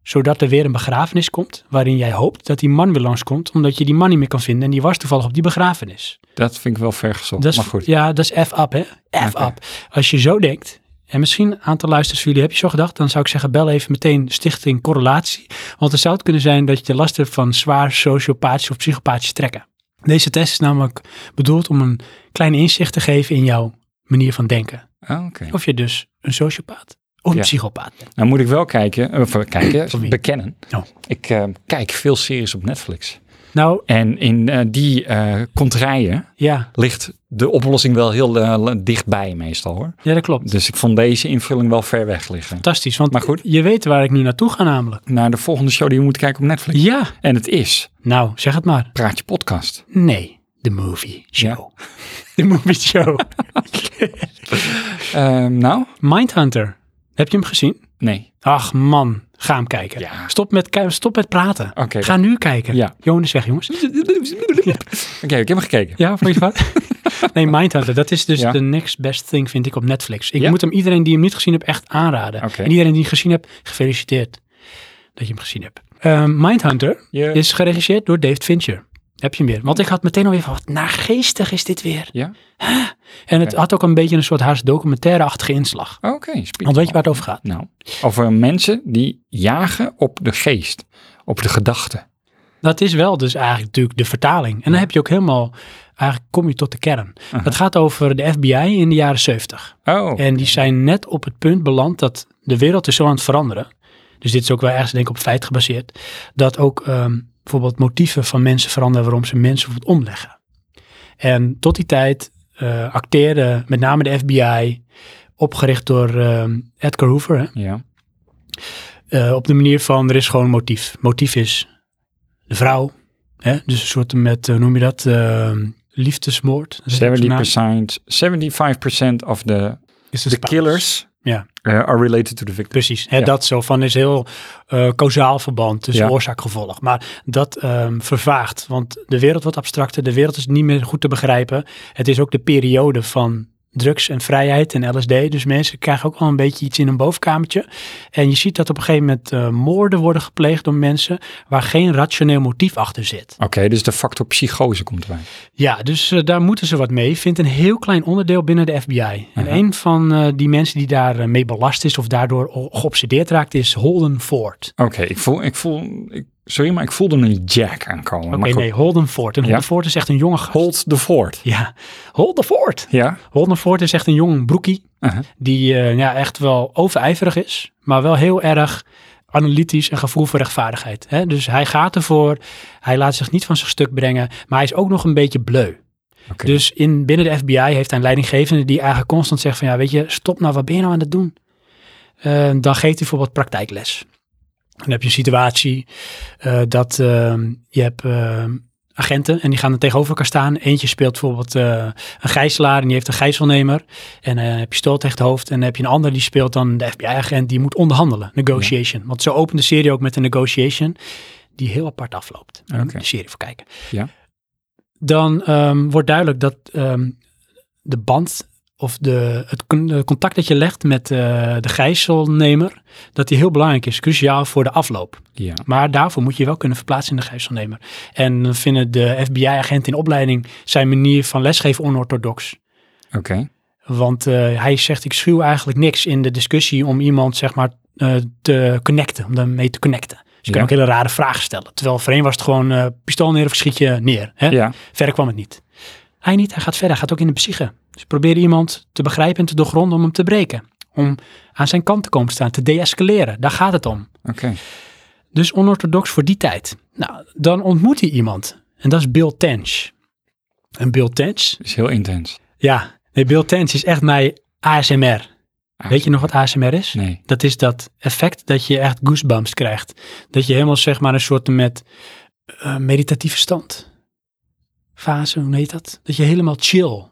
Speaker 2: zodat er weer een begrafenis komt waarin jij hoopt dat die man weer langskomt, omdat je die man niet meer kan vinden en die was toevallig op die begrafenis.
Speaker 1: Dat vind ik wel ver gezocht.
Speaker 2: Dat is,
Speaker 1: maar goed.
Speaker 2: Ja, dat is F-up hè, F-up.
Speaker 1: Oké.
Speaker 2: Als je zo denkt, en misschien een aantal luisteraars van jullie heb je zo gedacht, dan zou ik zeggen bel even meteen stichting correlatie, want het zou het kunnen zijn dat je last hebt van zwaar sociopathische of psychopathische trekken. Deze test is namelijk bedoeld om een klein inzicht te geven in jouw manier van denken.
Speaker 1: Oh, oké.
Speaker 2: Of je dus een sociopaat of een
Speaker 1: Ja.
Speaker 2: psychopaat bent.
Speaker 1: Nou moet ik wel kijken, of eh, kijken,
Speaker 2: Sorry.
Speaker 1: bekennen.
Speaker 2: Oh.
Speaker 1: Ik eh, kijk veel series op Netflix.
Speaker 2: Nou,
Speaker 1: En in eh, die eh contraien
Speaker 2: ja,
Speaker 1: ligt de oplossing wel heel eh, dichtbij meestal hoor.
Speaker 2: ja dat klopt.
Speaker 1: Dus ik vond deze invulling wel ver weg liggen.
Speaker 2: Fantastisch, want
Speaker 1: Maar goed.
Speaker 2: je weet waar ik nu naartoe ga namelijk.
Speaker 1: Naar de volgende show die we moeten kijken op Netflix.
Speaker 2: Ja,
Speaker 1: En het is
Speaker 2: nou, zeg het maar.
Speaker 1: Praatje Podcast.
Speaker 2: Nee, de movie show. De movie show.
Speaker 1: Ehm, nou,
Speaker 2: Mindhunter. Heb je hem gezien?
Speaker 1: nee.
Speaker 2: Ach man, ga hem kijken.
Speaker 1: Ja.
Speaker 2: Stop, met, ki- stop met praten.
Speaker 1: Oké.
Speaker 2: Ga nu kijken.
Speaker 1: Ja.
Speaker 2: Johan is weg, jongens.
Speaker 1: Oké, ik heb hem gekeken.
Speaker 2: Ja, vond je het wat? nee, Mindhunter. Dat is dus
Speaker 1: Ja.
Speaker 2: de next best thing, vind ik, op Netflix. Ik
Speaker 1: Ja?
Speaker 2: moet hem iedereen die hem niet gezien heeft echt aanraden.
Speaker 1: Oké.
Speaker 2: En iedereen die hem gezien hebt, gefeliciteerd dat je hem gezien hebt. Ehm, Mindhunter
Speaker 1: Ja.
Speaker 2: is geregisseerd door David Fincher. Heb je hem weer? Want ik had meteen alweer van, wat naargeestig is dit weer.
Speaker 1: Ja?
Speaker 2: En het
Speaker 1: Oké.
Speaker 2: had ook een beetje een soort haast documentaire-achtige inslag.
Speaker 1: Oké.
Speaker 2: Want
Speaker 1: speed.
Speaker 2: weet je waar het over gaat?
Speaker 1: Nou, over mensen die jagen op de geest, op de gedachten.
Speaker 2: Dat is wel dus eigenlijk natuurlijk de vertaling. En dan heb je ook helemaal, eigenlijk kom je tot de kern. Het gaat over de FBI in de jaren 70.
Speaker 1: Oh,
Speaker 2: En die zijn net op het punt beland dat de wereld is zo aan het veranderen. Dus dit is ook wel ergens denk ik op feit gebaseerd. Dat ook ehm, bijvoorbeeld motieven van mensen veranderen waarom ze mensen bijvoorbeeld omleggen. En tot die tijd eh acteerde met name de FBI, opgericht door ehm, Edgar Hoover, hè,
Speaker 1: ja.
Speaker 2: eh, op de manier van er is gewoon een motief. Motief is de vrouw. Hè? Dus een soort met, eh, hoe noem je dat, ehm, liefdesmoord. Dat is zo'n naam.
Speaker 1: 70%, 75% of the,
Speaker 2: Is
Speaker 1: the
Speaker 2: het spouse.
Speaker 1: killers
Speaker 2: Ja.
Speaker 1: eh, are related to the victim.
Speaker 2: Precies, hè,
Speaker 1: Ja.
Speaker 2: dat zo van is heel eh causaal verband tussen
Speaker 1: Ja.
Speaker 2: oorzaak-gevolg. Maar dat ehm, vervaagt, want de wereld wordt abstracter, de wereld is niet meer goed te begrijpen. Het is ook de periode van drugs en vrijheid en LSD, dus mensen krijgen ook wel een beetje iets in een bovenkamertje. En je ziet dat op een gegeven moment eh, moorden worden gepleegd door mensen waar geen rationeel motief achter zit.
Speaker 1: Oké, dus de factor psychose komt erbij.
Speaker 2: Ja, dus eh, daar moeten ze wat mee. Vindt een heel klein onderdeel binnen de FBI. En
Speaker 1: Aha.
Speaker 2: een van eh, die mensen die daar eh, mee belast is of daardoor o- geobsedeerd raakt, is Holden Ford.
Speaker 1: Oké, ik voel, ik voel, ik, sorry, maar ik voelde een jack aankomen.
Speaker 2: Oké,
Speaker 1: maar goed.
Speaker 2: nee, Holden Ford. En
Speaker 1: Ja.
Speaker 2: Holden Ford is echt een jonge gast.
Speaker 1: Hold the fort.
Speaker 2: ja, Holden Ford.
Speaker 1: Ja?
Speaker 2: Holden Ford is echt een jong broekie
Speaker 1: Aha.
Speaker 2: die eh, ja, echt wel overijverig is, maar wel heel erg analytisch en gevoel voor rechtvaardigheid. Hè? Dus hij gaat ervoor, hij laat zich niet van zijn stuk brengen, maar hij is ook nog een beetje bleu.
Speaker 1: Oké.
Speaker 2: Dus in, binnen de FBI heeft hij een leidinggevende die eigenlijk constant zegt van ja, weet je, stop nou, wat ben je nou aan het doen? Eh, dan geeft hij bijvoorbeeld praktijkles. Dan heb je een situatie eh, dat ehm, je hebt ehm, agenten en die gaan er tegenover elkaar staan. Eentje speelt bijvoorbeeld eh, een gijzelaar en die heeft een gijzelnemer en eh, een pistool tegen het hoofd. En dan heb je een ander die speelt dan de FBI-agent die moet onderhandelen, negotiation. Want zo opent de serie ook met een negotiation die heel apart afloopt. Daar moet je
Speaker 1: Oké.
Speaker 2: de serie voor kijken dan ehm, wordt duidelijk dat ehm, de band of de, het con- de contact dat je legt met eh, de gijzelnemer, dat die heel belangrijk is, cruciaal voor de afloop.
Speaker 1: Ja.
Speaker 2: Maar daarvoor moet je wel kunnen verplaatsen in de gijzelnemer. En dan vinden de FBI-agenten in opleiding zijn manier van lesgeven onorthodox.
Speaker 1: Oké.
Speaker 2: Want eh, hij zegt, ik schuw eigenlijk niks in de discussie om iemand, zeg maar, eh, te connecten, om daarmee te connecten. Dus je kan
Speaker 1: Ja.
Speaker 2: ook hele rare vragen stellen. Terwijl voorheen was het gewoon eh, pistool neer of schiet je neer. Hè?
Speaker 1: Ja,
Speaker 2: Verder kwam het niet. Hij niet, hij gaat verder. Hij gaat ook in de psyche. Dus probeer iemand te begrijpen en te doorgronden om hem te breken. Om aan zijn kant te komen te staan, te deescaleren. Daar gaat het om.
Speaker 1: oké.
Speaker 2: Dus onorthodox voor die tijd. Nou, dan ontmoet hij iemand. En dat is Bill Tench. En Bill Tench,
Speaker 1: Is heel intens.
Speaker 2: ja. Nee, Bill Tench is echt mijn ASMR. Weet je nog wat ASMR is?
Speaker 1: Nee.
Speaker 2: Dat is dat effect dat je echt goosebumps krijgt. Dat je helemaal zeg maar een soort met eh, meditatieve stand. Fase, hoe heet dat? Dat je helemaal chill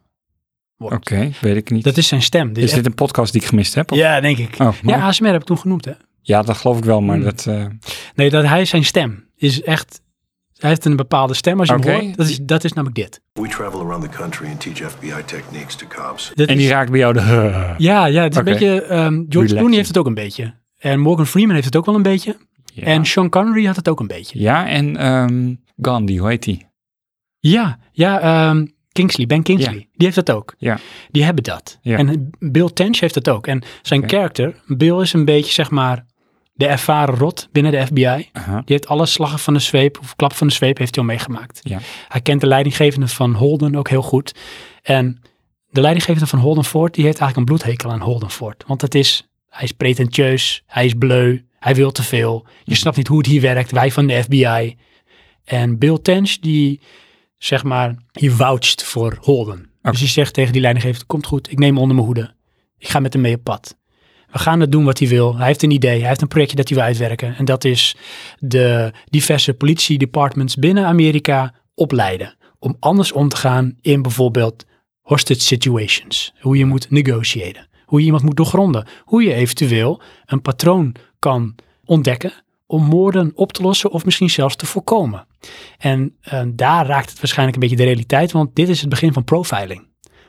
Speaker 2: wordt.
Speaker 1: Oké, weet ik niet.
Speaker 2: Dat is zijn stem. Dit
Speaker 1: is
Speaker 2: is echt-
Speaker 1: dit een podcast die ik gemist heb? Of-
Speaker 2: Ja, denk ik.
Speaker 1: Oh, mooi.
Speaker 2: Ja,
Speaker 1: ja.
Speaker 2: ASMR heb ik toen genoemd hè.
Speaker 1: dat geloof ik wel, maar
Speaker 2: Hmm.
Speaker 1: dat... eh,
Speaker 2: Nee, dat hij zijn stem is echt... Hij heeft een bepaalde stem als je
Speaker 1: Oké.
Speaker 2: hem hoort. Dat is, dat is namelijk dit.
Speaker 3: We travel around the country and teach FBI techniques to cops.
Speaker 2: Dit
Speaker 1: En
Speaker 2: is-
Speaker 1: die raakt bij jou de...
Speaker 2: Ja, ja, het is
Speaker 1: Oké.
Speaker 2: een beetje... ehm, George
Speaker 1: Relaxing.
Speaker 2: Clooney heeft het ook een beetje. En Morgan Freeman heeft het ook wel een beetje.
Speaker 1: Ja.
Speaker 2: En Sean Connery had het ook een beetje.
Speaker 1: Ja, en ehm, Gandhi, hoe heet die?
Speaker 2: Ja, ja, ehm, Kingsley, Ben Kingsley.
Speaker 1: Ja.
Speaker 2: Die heeft dat ook.
Speaker 1: Ja.
Speaker 2: Die hebben dat.
Speaker 1: Ja.
Speaker 2: En Bill Tench heeft dat ook. En zijn
Speaker 1: Oké.
Speaker 2: character, Bill is een beetje zeg maar de ervaren rot binnen de FBI.
Speaker 1: Aha.
Speaker 2: Die heeft alle slagen van de zweep of klap van de zweep heeft hij al meegemaakt.
Speaker 1: Ja.
Speaker 2: Hij kent de leidinggevende van Holden ook heel goed. En de leidinggevende van Holden Ford, die heeft eigenlijk een bloedhekel aan Holden Ford. Want dat is, hij is pretentieus, hij is bleu, hij wil te veel. Je snapt niet hoe het hier werkt, wij van de FBI. En Bill Tench, die zeg maar, die voucht voor Holden. Dus die zegt tegen die leidinggever, komt goed, ik neem hem onder mijn hoede. Ik ga met hem mee op pad. We gaan het doen wat hij wil. Hij heeft een idee, hij heeft een projectje dat hij wil uitwerken. En dat is de diverse politiedepartments binnen Amerika opleiden. Om anders om te gaan in bijvoorbeeld hostage situations. Hoe je moet negotiëren. Hoe je iemand moet doorgronden. Hoe je eventueel een patroon kan ontdekken om moorden op te lossen of misschien zelfs te voorkomen. En eh, daar raakt het waarschijnlijk een beetje de realiteit, want dit is het begin van profiling.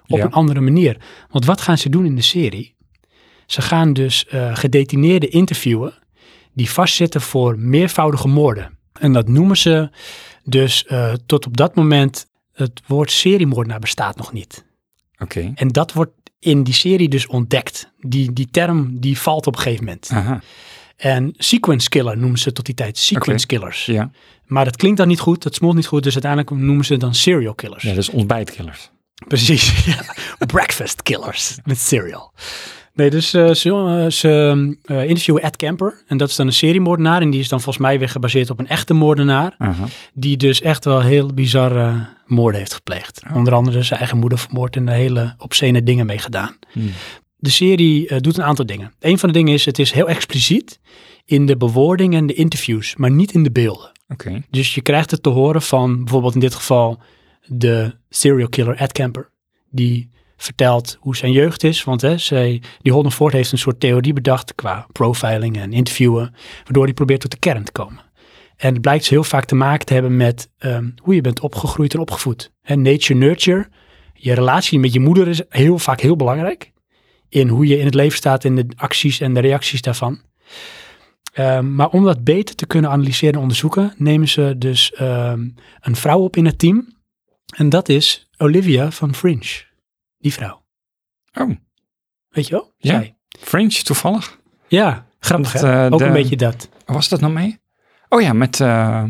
Speaker 2: Op
Speaker 1: Ja.
Speaker 2: een andere manier. Want wat gaan ze doen in de serie? Ze gaan dus eh, gedetineerden interviewen die vastzitten voor meervoudige moorden. En dat noemen ze dus eh, tot op dat moment, het woord seriemoordenaar bestaat nog niet.
Speaker 1: Oké.
Speaker 2: En dat wordt in die serie dus ontdekt. Die, die term die valt op een gegeven moment.
Speaker 1: Aha,
Speaker 2: En sequence killer noemen ze tot die tijd sequence killers.
Speaker 1: ja.
Speaker 2: Maar dat klinkt dan niet goed, dat smolt niet goed, dus uiteindelijk noemen ze dan serial killers.
Speaker 1: Ja, dat is ontbijtkillers.
Speaker 2: Precies, ja. breakfast killers met cereal. Nee, dus eh, ze, eh, ze eh, interviewen Ed Kemper en dat is dan een seriemoordenaar en die is dan volgens mij weer gebaseerd op een echte moordenaar
Speaker 1: Aha.
Speaker 2: die dus echt wel heel bizarre moorden heeft gepleegd. Onder andere zijn eigen moeder vermoord en er hele obscene dingen mee gedaan.
Speaker 1: Hmm.
Speaker 2: De serie eh, doet een aantal dingen. Een van de dingen is, het is heel expliciet in de bewoording en de interviews, maar niet in de beelden.
Speaker 1: Oké.
Speaker 2: Dus je krijgt het te horen van bijvoorbeeld in dit geval de serial killer Ed Kemper. Die vertelt hoe zijn jeugd is, want hè, zij, die Holden Ford heeft een soort theorie bedacht qua profiling en interviewen, waardoor hij probeert tot de kern te komen. En het blijkt dus heel vaak te maken te hebben met ehm, hoe je bent opgegroeid en opgevoed. Hè, nature nurture, je relatie met je moeder is heel vaak heel belangrijk in hoe je in het leven staat, in de acties en de reacties daarvan. Ehm, maar om dat beter te kunnen analyseren en onderzoeken, nemen ze dus ehm, een vrouw op in het team. En dat is Olivia van Fringe. Die vrouw.
Speaker 1: Oh,
Speaker 2: Weet je wel?
Speaker 1: Ja.
Speaker 2: Zij.
Speaker 1: Fringe toevallig.
Speaker 2: Ja, grappig
Speaker 1: Dat,
Speaker 2: hè?
Speaker 1: eh,
Speaker 2: Ook
Speaker 1: de-
Speaker 2: een beetje dat.
Speaker 1: Was dat nou mee? Oh ja, met eh,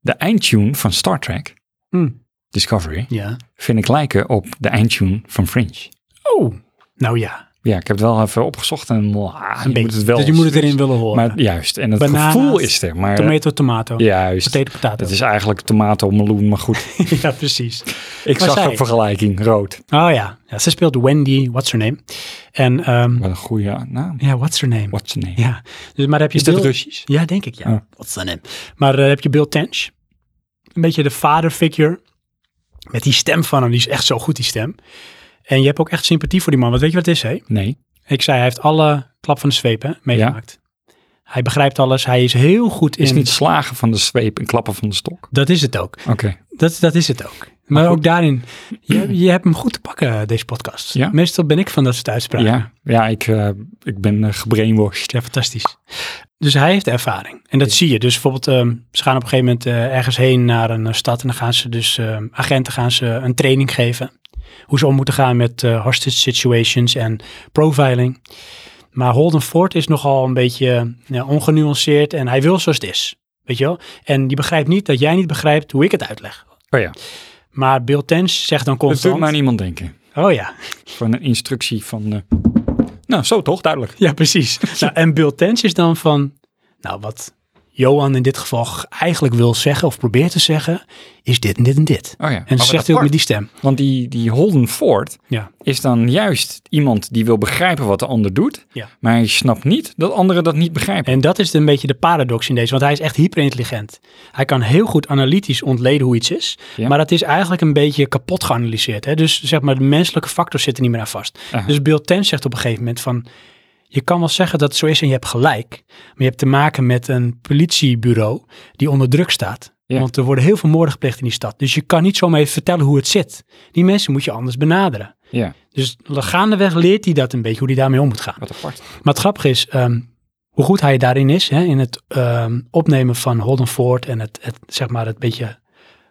Speaker 1: de eindtune van Star Trek,
Speaker 2: Hm,
Speaker 1: Discovery,
Speaker 2: Ja.
Speaker 1: vind ik lijken op de eindtune van Fringe.
Speaker 2: Oh, nou ja.
Speaker 1: Ja, ik heb het wel even opgezocht en ah, je
Speaker 2: beetje.
Speaker 1: moet het wel...
Speaker 2: dus je moet het erin willen horen.
Speaker 1: Maar juist, en het
Speaker 2: Bananas,
Speaker 1: gevoel is er, maar...
Speaker 2: tomato, tomato.
Speaker 1: Juist.
Speaker 2: Potato, potato.
Speaker 1: Het is eigenlijk tomato, meloen, maar goed.
Speaker 2: ja, precies.
Speaker 1: Ik
Speaker 2: Maar
Speaker 1: zag
Speaker 2: zij-
Speaker 1: een vergelijking, rood.
Speaker 2: Oh ja. ja. Ze speelt Wendy, what's her name? En, ehm,
Speaker 1: Wat een goede naam.
Speaker 2: ja, what's her name?
Speaker 1: What's the name?
Speaker 2: Ja. Dus, maar heb je
Speaker 1: Is dat
Speaker 2: Bill-
Speaker 1: Russisch? Oh.
Speaker 2: Ja, denk ik, ja.
Speaker 1: Ja.
Speaker 2: Wat is dan hem? Maar eh, heb je Bill Tench. Een beetje de vaderfigure. Met die stem van hem, die is echt zo goed, die stem. En je hebt ook echt sympathie voor die man. Want weet je wat het is, hè?
Speaker 1: Nee.
Speaker 2: Ik zei, hij heeft alle klap van de zweep hè, meegemaakt. Hij begrijpt alles. Hij is heel goed in...
Speaker 1: Is niet slagen van de zweep en klappen van de stok.
Speaker 2: Dat is het ook.
Speaker 1: Oké.
Speaker 2: Dat, dat is het ook. Maar, ook daarin, je, je hebt hem goed te pakken, deze podcast.
Speaker 1: Ja.
Speaker 2: Meestal ben ik van dat soort uitspraken.
Speaker 1: Ja, ja ik, eh, ik ben eh, gebrainwashed.
Speaker 2: Ja, fantastisch. Dus hij heeft ervaring. En dat zie je. Dus bijvoorbeeld, ehm, ze gaan op een gegeven moment eh, ergens heen naar een eh, stad. En dan gaan ze dus, ehm, agenten gaan ze een training geven. Hoe ze om moeten gaan met eh, hostage situations en profiling. Maar Holden Ford is nogal een beetje eh, ja, ongenuanceerd en hij wil zoals het is. Weet je wel? En die begrijpt niet dat jij niet begrijpt hoe ik het uitleg.
Speaker 1: Oh ja,
Speaker 2: Maar Bill Tench zegt dan
Speaker 1: dat doet
Speaker 2: constant...
Speaker 1: maar aan iemand denken.
Speaker 2: Oh ja,
Speaker 1: Van een instructie van... eh, nou, zo toch, duidelijk.
Speaker 2: ja precies. nou, en Bill Tench is dan van... Nou, wat Johan in dit geval eigenlijk wil zeggen of probeert te zeggen... is dit en dit en dit.
Speaker 1: Oh ja. maar
Speaker 2: En
Speaker 1: wat
Speaker 2: ze zegt hij ook
Speaker 1: apart.
Speaker 2: met die stem.
Speaker 1: Want die, die Holden Ford
Speaker 2: Ja,
Speaker 1: is dan juist iemand die wil begrijpen wat de ander doet.
Speaker 2: Ja.
Speaker 1: Maar hij snapt niet dat anderen dat niet begrijpen.
Speaker 2: En dat is een beetje de paradox in deze, want hij is echt hyperintelligent. Hij kan heel goed analytisch ontleden hoe iets is,
Speaker 1: Ja.
Speaker 2: maar dat is eigenlijk een beetje kapot geanalyseerd. Hè? Dus zeg maar, de menselijke factor zit er niet meer aan vast.
Speaker 1: Aha.
Speaker 2: Dus Bill Ten zegt op een gegeven moment van, je kan wel zeggen dat het zo is en je hebt gelijk, maar je hebt te maken met een politiebureau die onder druk staat.
Speaker 1: Ja.
Speaker 2: Want er worden heel veel moorden gepleegd in die stad. Dus je kan niet zomaar even vertellen hoe het zit. Die mensen moet je anders benaderen.
Speaker 1: Ja,
Speaker 2: Dus gaandeweg leert hij dat een beetje, hoe hij daarmee om moet gaan.
Speaker 1: wat apart.
Speaker 2: Maar het grappige is, ehm, hoe goed hij daarin is, hè, in het ehm, opnemen van Holden Ford en het, het, zeg maar, het beetje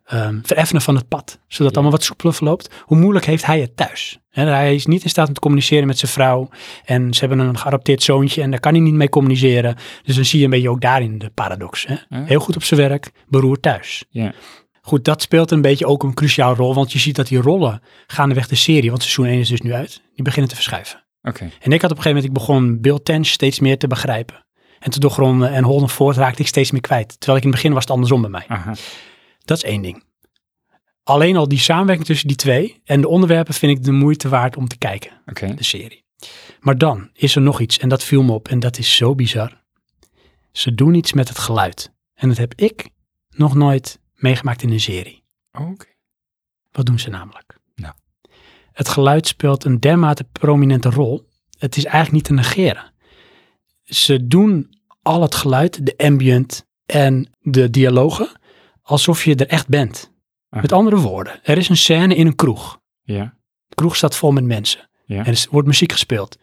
Speaker 2: ehm vereffenen van het pad, zodat het allemaal wat soepeler verloopt. Hoe moeilijk heeft hij het thuis? Hè, hij is niet in staat om te communiceren met zijn vrouw en ze hebben een geadopteerd zoontje en daar kan hij niet mee communiceren. Dus dan zie je een beetje ook daarin de paradox. Hè?
Speaker 1: Ja.
Speaker 2: Heel goed op zijn werk, beroerd thuis.
Speaker 1: Ja.
Speaker 2: Goed, dat speelt een beetje ook een cruciaal rol, want je ziet dat die rollen gaandeweg de serie, want seizoen 1 is dus nu uit, die beginnen te verschuiven.
Speaker 1: Oké.
Speaker 2: En ik had op een gegeven moment, ik begon Bill Tench steeds meer te begrijpen. En te doorgronden en Holden Ford raakte ik steeds meer kwijt. Terwijl ik in het begin was het andersom bij mij.
Speaker 1: Aha.
Speaker 2: Dat is één ding. Alleen al die samenwerking tussen die twee en de onderwerpen vind ik de moeite waard om te kijken,
Speaker 1: Oké.
Speaker 2: de serie. Maar dan is er nog iets en dat viel me op en dat is zo bizar. Ze doen iets met het geluid. En dat heb ik nog nooit meegemaakt in een serie.
Speaker 1: Oké.
Speaker 2: Wat doen ze namelijk?
Speaker 1: Nou.
Speaker 2: Het geluid speelt een dermate prominente rol. Het is eigenlijk niet te negeren. Ze doen al het geluid, de ambient en de dialogen, alsof je er echt bent.
Speaker 1: Aha.
Speaker 2: Met andere woorden, er is een scène in een kroeg.
Speaker 1: Ja.
Speaker 2: De kroeg staat vol met mensen.
Speaker 1: Ja.
Speaker 2: En er wordt muziek gespeeld.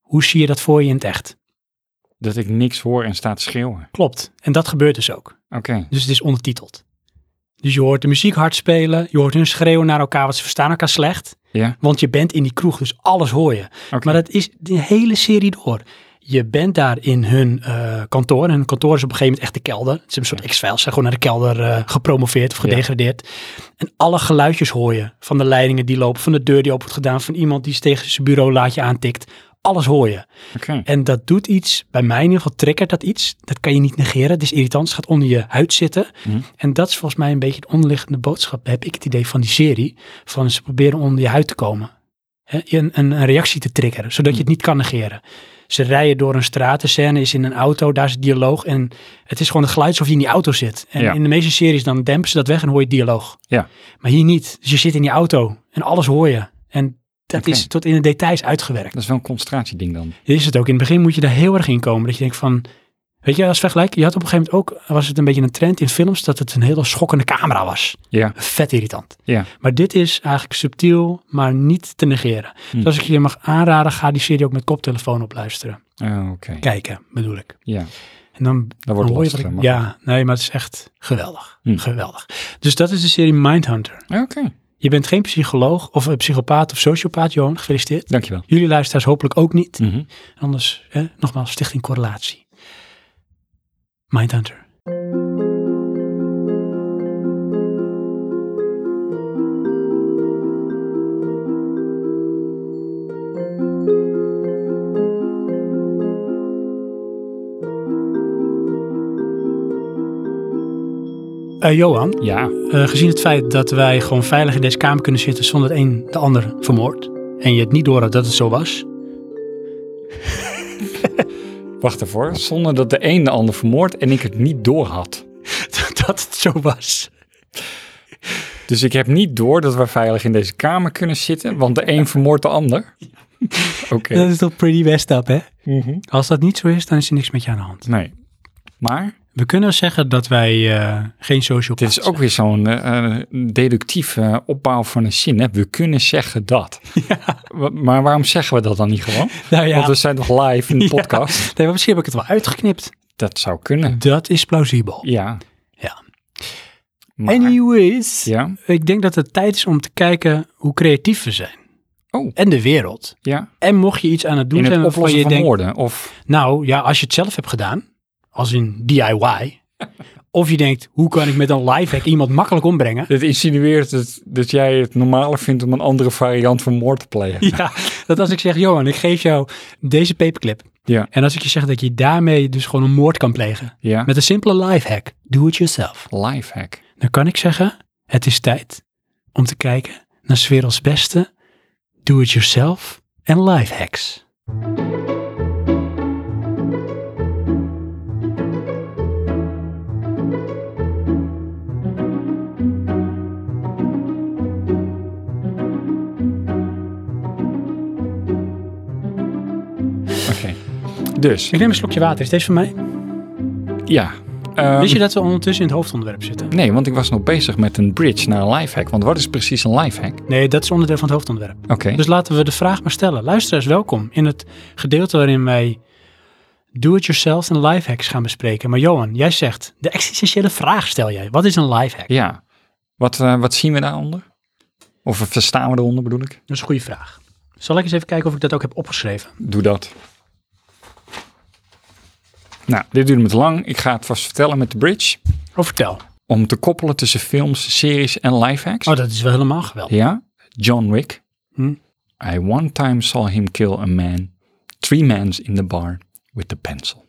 Speaker 2: Hoe zie je dat voor je in het echt?
Speaker 1: Dat ik niks hoor en sta te schreeuwen.
Speaker 2: Klopt. En dat gebeurt dus ook.
Speaker 1: Oké.
Speaker 2: Dus het is ondertiteld. Dus je hoort de muziek hard spelen. Je hoort hun schreeuwen naar elkaar, want ze verstaan elkaar slecht.
Speaker 1: Ja.
Speaker 2: Want je bent in die kroeg, dus alles hoor je.
Speaker 1: Oké.
Speaker 2: Maar dat is de hele serie door. Je bent daar in hun eh, kantoor. En hun kantoor is op een gegeven moment echt de kelder. Het is een soort X-Files. Ze zijn gewoon naar de kelder eh, gepromoveerd of gedegradeerd. En alle geluidjes hoor je. Van de leidingen die lopen, van de deur die open wordt gedaan, van iemand die tegen zijn bureau laatje aantikt. Alles hoor je.
Speaker 1: Oké.
Speaker 2: En dat doet iets, bij mij in ieder geval triggert dat iets. Dat kan je niet negeren. Het is irritant. Het gaat onder je huid zitten.
Speaker 1: Hm.
Speaker 2: En dat is volgens mij een beetje de onderliggende boodschap, heb ik het idee van die serie. Van ze proberen onder je huid te komen. Hè, een, een, een reactie te triggeren, zodat
Speaker 1: Hm.
Speaker 2: je het niet kan negeren. Ze rijden door een straat, de scène is in een auto, daar is het dialoog. En het is gewoon het geluid alsof je in die auto zit. En
Speaker 1: Ja.
Speaker 2: in de meeste series dan dempen ze dat weg en hoor je het dialoog.
Speaker 1: Ja.
Speaker 2: Maar hier niet. Dus je zit in die auto en alles hoor je. En dat
Speaker 1: Oké.
Speaker 2: is tot in de details uitgewerkt.
Speaker 1: Dat is wel een concentratieding dan.
Speaker 2: Dit is het ook. In het begin moet je daar heel erg in komen. Dat je denkt van, weet je, als vergelijk, je had op een gegeven moment ook, was het een beetje een trend in films, dat het een hele schokkende camera was.
Speaker 1: Ja.
Speaker 2: Vet irritant.
Speaker 1: Ja.
Speaker 2: Maar dit is eigenlijk subtiel, maar niet te negeren.
Speaker 1: Hm.
Speaker 2: Dus als ik je mag aanraden, ga die serie ook met koptelefoon op luisteren.
Speaker 1: Oh, Oké.
Speaker 2: Kijken, bedoel ik.
Speaker 1: Ja.
Speaker 2: En dan,
Speaker 1: Dat wordt
Speaker 2: dan hoor je wat
Speaker 1: lastiger.
Speaker 2: ik-
Speaker 1: maar-
Speaker 2: Ja, nee, maar het is echt geweldig.
Speaker 1: Hm.
Speaker 2: Geweldig. Dus dat is de serie Mindhunter.
Speaker 1: Oké.
Speaker 2: Je bent geen psycholoog of een psychopaat of sociopaat, Johan. Gefeliciteerd.
Speaker 1: Dankjewel.
Speaker 2: Jullie luisteraars hopelijk ook niet.
Speaker 1: Mhm.
Speaker 2: Anders, hè, nogmaals, stichting correlatie. Mindhunter. Eh, Johan,
Speaker 1: Ja.
Speaker 2: eh, gezien het feit dat wij gewoon veilig in deze kamer kunnen zitten zonder het een de ander vermoord en je het niet door had dat het zo was,
Speaker 1: Wacht ervoor. Zonder dat de een de ander vermoord en ik het niet door had.
Speaker 2: dat het zo was.
Speaker 1: Dus ik heb niet door dat we veilig in deze kamer kunnen zitten, want de een vermoordt de ander. Oké.
Speaker 2: Dat is toch pretty messed up, hè?
Speaker 1: Mhm.
Speaker 2: Als dat niet zo is, dan is er niks met je aan de hand.
Speaker 1: Nee. Maar
Speaker 2: We kunnen zeggen dat wij eh, geen social
Speaker 1: dit is ook weer zo'n eh, eh, deductieve opbouw van een zin. Hè? We kunnen zeggen dat. Wa- Maar waarom zeggen we dat dan niet gewoon?
Speaker 2: Nou ja,
Speaker 1: Want we zijn toch live in de
Speaker 2: Ja.
Speaker 1: podcast?
Speaker 2: nee, maar misschien heb ik het wel uitgeknipt.
Speaker 1: Dat zou kunnen.
Speaker 2: Dat is plausibel.
Speaker 1: Ja.
Speaker 2: Ja.
Speaker 1: Maar,
Speaker 2: Anyways,
Speaker 1: Ja.
Speaker 2: ik denk dat het tijd is om te kijken hoe creatief we zijn.
Speaker 1: Oh.
Speaker 2: en de wereld.
Speaker 1: Ja,
Speaker 2: En mocht je iets aan het doen
Speaker 1: in
Speaker 2: zijn
Speaker 1: het
Speaker 2: waarvan
Speaker 1: oplossen
Speaker 2: je
Speaker 1: van
Speaker 2: denkt,
Speaker 1: moorden. Of,
Speaker 2: nou ja, als je het zelf hebt gedaan, als in DIY, of je denkt, hoe kan ik met een lifehack iemand makkelijk ombrengen?
Speaker 1: dit insinueert het, dat jij het normaler vindt om een andere variant van moord te plegen.
Speaker 2: Ja, dat als ik zeg, Johan, ik geef jou deze paperclip.
Speaker 1: Ja.
Speaker 2: En als ik je zeg dat je daarmee dus gewoon een moord kan plegen.
Speaker 1: Ja,
Speaker 2: Met een simpele lifehack, do it yourself.
Speaker 1: lifehack.
Speaker 2: Dan kan ik zeggen, het is tijd om te kijken naar 's werelds beste do it yourself en lifehacks.
Speaker 1: Oké. Dus,
Speaker 2: Ik neem een slokje water, is deze van mij?
Speaker 1: ja. Ehm,
Speaker 2: Wist je dat we ondertussen in het hoofdonderwerp zitten?
Speaker 1: Nee, want ik was nog bezig met een bridge naar een lifehack. Want wat is precies een lifehack?
Speaker 2: Nee, dat is onderdeel van het hoofdonderwerp.
Speaker 1: Oké.
Speaker 2: Dus laten we de vraag maar stellen. Luisteraars, welkom in het gedeelte waarin wij do-it-yourself en lifehacks gaan bespreken. Maar Johan, jij zegt, de existentiële vraag stel jij. Wat is een lifehack?
Speaker 1: Ja. Wat, eh, wat zien we daaronder? Of verstaan we daaronder bedoel ik?
Speaker 2: Dat is een goede vraag. Zal ik eens even kijken of ik dat ook heb opgeschreven?
Speaker 1: Doe dat. Nou, dit duurt me te lang. Ik ga het vast vertellen met de bridge.
Speaker 2: Of Oh, vertel.
Speaker 1: Om te koppelen tussen films, series en lifehacks.
Speaker 2: Oh, dat is wel helemaal geweldig.
Speaker 1: Ja, John Wick.
Speaker 2: Hm.
Speaker 1: I one time saw him kill a man, three mans in the bar, with a pencil.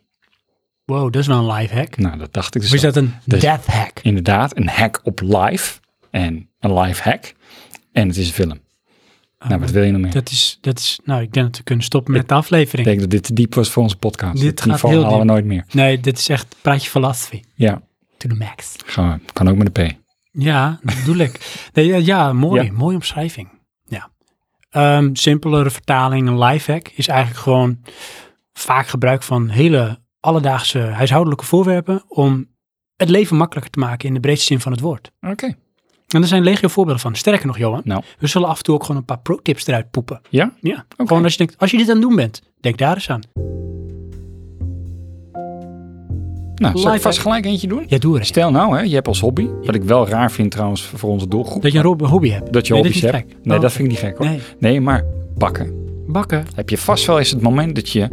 Speaker 2: Wow, dat is wel een lifehack.
Speaker 1: Nou, dat dacht ik dus
Speaker 2: Of is
Speaker 1: al.
Speaker 2: dat een
Speaker 1: Dus-
Speaker 2: death hack?
Speaker 1: Inderdaad, een hack op live. En een live hack. En het is een film. nou, wat wil je nog meer?
Speaker 2: Dat is, dat is, nou, ik denk dat we kunnen stoppen met de aflevering.
Speaker 1: Ik denk dat dit te diep was voor onze podcast.
Speaker 2: Dit
Speaker 1: Dit
Speaker 2: gaat
Speaker 1: niveau
Speaker 2: heel
Speaker 1: halen we
Speaker 2: diep.
Speaker 1: nooit meer.
Speaker 2: Nee, dit is echt praatje philosophy.
Speaker 1: Ja,
Speaker 2: To the max.
Speaker 1: gaan we. kan ook met de P.
Speaker 2: Ja, dat bedoel ik. Nee, ja, ja, mooi.
Speaker 1: Ja.
Speaker 2: Mooie omschrijving. Ja. Ehm, simpelere vertaling, een lifehack, is eigenlijk gewoon vaak gebruik van hele alledaagse huishoudelijke voorwerpen om het leven makkelijker te maken in de breedste zin van het woord.
Speaker 1: Oké.
Speaker 2: En er zijn legio voorbeelden van. Sterker nog, Johan,
Speaker 1: Nou.
Speaker 2: we zullen af en toe ook gewoon een paar pro-tips eruit poepen.
Speaker 1: Ja?
Speaker 2: Ja, gewoon als je denkt, als je dit aan het doen bent, denk daar eens aan.
Speaker 1: Nou, zal ik
Speaker 2: Live
Speaker 1: vast
Speaker 2: hack.
Speaker 1: gelijk eentje doen?
Speaker 2: Ja, doe er eens.
Speaker 1: Stel nou, hè, je hebt als hobby, wat ik wel raar vind trouwens voor onze doelgroep,
Speaker 2: Dat je een rob- hobby hebt.
Speaker 1: dat je
Speaker 2: Nee, dit
Speaker 1: hobby's
Speaker 2: is niet
Speaker 1: hebt.
Speaker 2: gek.
Speaker 1: Nee,
Speaker 2: Oh,
Speaker 1: dat vind ik niet gek hoor.
Speaker 2: Nee.
Speaker 1: nee, maar bakken.
Speaker 2: Bakken.
Speaker 1: heb je vast wel eens het moment dat je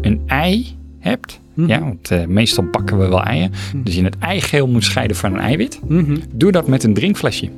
Speaker 1: een ei hebt.
Speaker 2: Hm.
Speaker 1: Ja, want eh, meestal bakken we wel eieren. Dus je het eigeel moet scheiden van een eiwit.
Speaker 2: Mhm.
Speaker 1: Doe dat met een drinkflesje.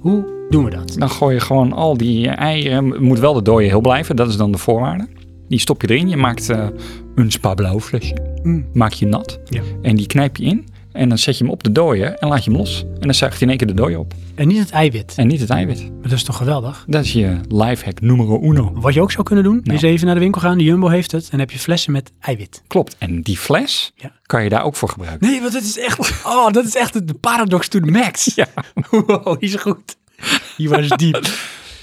Speaker 2: Hoe doen we dat?
Speaker 1: Dan gooi je gewoon al die eh, eieren. Het moet wel de dode heel blijven, dat is dan de voorwaarde. Die stop je erin. Je maakt eh, een spa blauw flesje.
Speaker 2: Mm.
Speaker 1: Maak je nat.
Speaker 2: Ja.
Speaker 1: En die knijp je in. En dan zet je hem op de dooier en laat je hem los. En dan zuigt hij in één keer de dooier op.
Speaker 2: En niet het eiwit.
Speaker 1: En niet het eiwit.
Speaker 2: Maar dat is toch geweldig?
Speaker 1: Dat is je lifehack numero uno.
Speaker 2: Wat je ook zou kunnen doen, is even naar de winkel gaan. De Jumbo heeft het. En heb je flessen met eiwit.
Speaker 1: Klopt. En die fles
Speaker 2: Ja.
Speaker 1: kan je daar ook voor gebruiken.
Speaker 2: Nee, want dat is echt... Oh, dat is echt de paradox to the max. Ja. Wow, die is goed. Die was diep.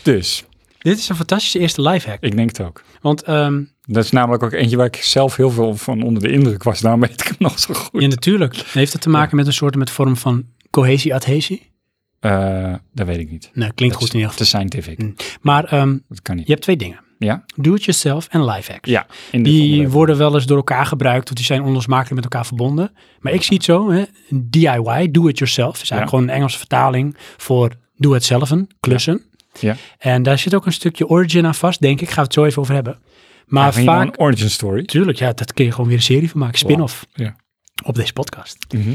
Speaker 1: Dus,
Speaker 2: Dit is een fantastische eerste lifehack.
Speaker 1: ik denk het ook.
Speaker 2: Want ehm,
Speaker 1: Dat is namelijk ook eentje waar ik zelf heel veel van onder de indruk was. Daarom weet ik hem nog zo goed.
Speaker 2: ja, natuurlijk heeft het te maken met een soort met vorm van cohesie-adhesie.
Speaker 1: Eh, dat weet ik niet.
Speaker 2: Nee, klinkt
Speaker 1: Dat
Speaker 2: goed
Speaker 1: is
Speaker 2: in ieder
Speaker 1: Te
Speaker 2: geval.
Speaker 1: scientific.
Speaker 2: Maar ehm,
Speaker 1: Dat kan niet.
Speaker 2: je hebt twee dingen.
Speaker 1: Ja?
Speaker 2: Do it yourself en lifehacks.
Speaker 1: Ja. in dit
Speaker 2: Die
Speaker 1: onderwerp.
Speaker 2: worden wel eens door elkaar gebruikt, want die zijn onlosmakelijk met elkaar verbonden. Maar ik zie het zo, hè, een DIY, do it yourself, is eigenlijk
Speaker 1: Ja.
Speaker 2: gewoon een Engelse vertaling voor doe het zelf, een, klussen.
Speaker 1: Ja.
Speaker 2: En daar zit ook een stukje origin aan vast, denk ik. Gaan we het zo even over hebben. Maar
Speaker 1: Vind je nou
Speaker 2: vaak,
Speaker 1: een origin story.
Speaker 2: natuurlijk, ja, dat kun je gewoon weer een serie van maken, spin-off
Speaker 1: Ja.
Speaker 2: op deze podcast.
Speaker 1: Mhm.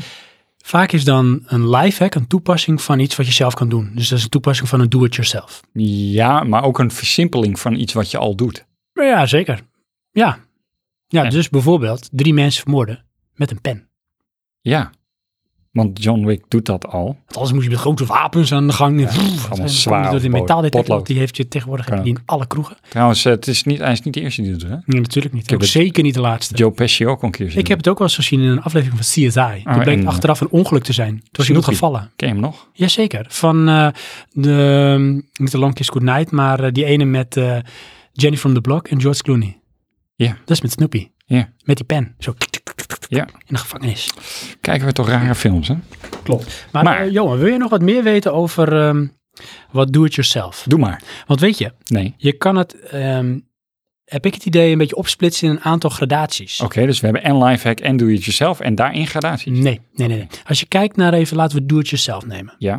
Speaker 2: Vaak is dan een lifehack een toepassing van iets wat je zelf kan doen. Dus dat is een toepassing van een do it yourself.
Speaker 1: Ja, maar ook een versimpeling van iets wat je al doet.
Speaker 2: Maar ja, zeker. Ja. Ja,
Speaker 1: En-
Speaker 2: dus bijvoorbeeld drie mensen vermoorden met een pen.
Speaker 1: Ja. Want John Wick doet dat al.
Speaker 2: Want anders moet je met grote wapens aan de gang. Ja,
Speaker 1: allemaal zwaar
Speaker 2: Door die
Speaker 1: of
Speaker 2: metaaldetector,
Speaker 1: potlood.
Speaker 2: die heeft je tegenwoordig
Speaker 1: Kan
Speaker 2: heb je die in alle kroegen.
Speaker 1: Trouwens, eh, het is niet, hij is niet de eerste die dat doet. Hè?
Speaker 2: Nee, natuurlijk niet.
Speaker 1: heb
Speaker 2: Ook
Speaker 1: het-
Speaker 2: zeker niet de laatste.
Speaker 1: Joe Pesci ook al een keer. zien
Speaker 2: ik heb
Speaker 1: doen.
Speaker 2: het ook wel eens gezien in een aflevering van CSI. Toen
Speaker 1: Ah,
Speaker 2: bleek
Speaker 1: en,
Speaker 2: achteraf een ongeluk te zijn. Toen was iemand
Speaker 1: Snoopy.
Speaker 2: gevallen.
Speaker 1: Ken je hem nog?
Speaker 2: Jazeker. Van eh, de, ehm, niet de Long Kiss Good Night, maar eh, die ene met eh, Jenny from the Block en George Clooney.
Speaker 1: Ja.
Speaker 2: Dat is met Snoopy.
Speaker 1: Ja.
Speaker 2: Met die pen. Zo tik, tik, tik, tik, tik,
Speaker 1: Ja.
Speaker 2: in de gevangenis.
Speaker 1: Kijken we toch rare films, hè?
Speaker 2: Klopt. Maar,
Speaker 1: Maar-
Speaker 2: eh, Johan, wil je nog wat meer weten over ehm, wat do-it-yourself?
Speaker 1: Doe maar.
Speaker 2: Want weet je,
Speaker 1: Nee.
Speaker 2: Je kan het, ehm, heb ik het idee, een beetje opsplitsen in een aantal gradaties.
Speaker 1: Oké, dus we hebben en lifehack en doe it yourself en daarin gradaties.
Speaker 2: Nee, nee, nee, nee. Als je kijkt naar even, laten we do-it-yourself nemen.
Speaker 1: Ja.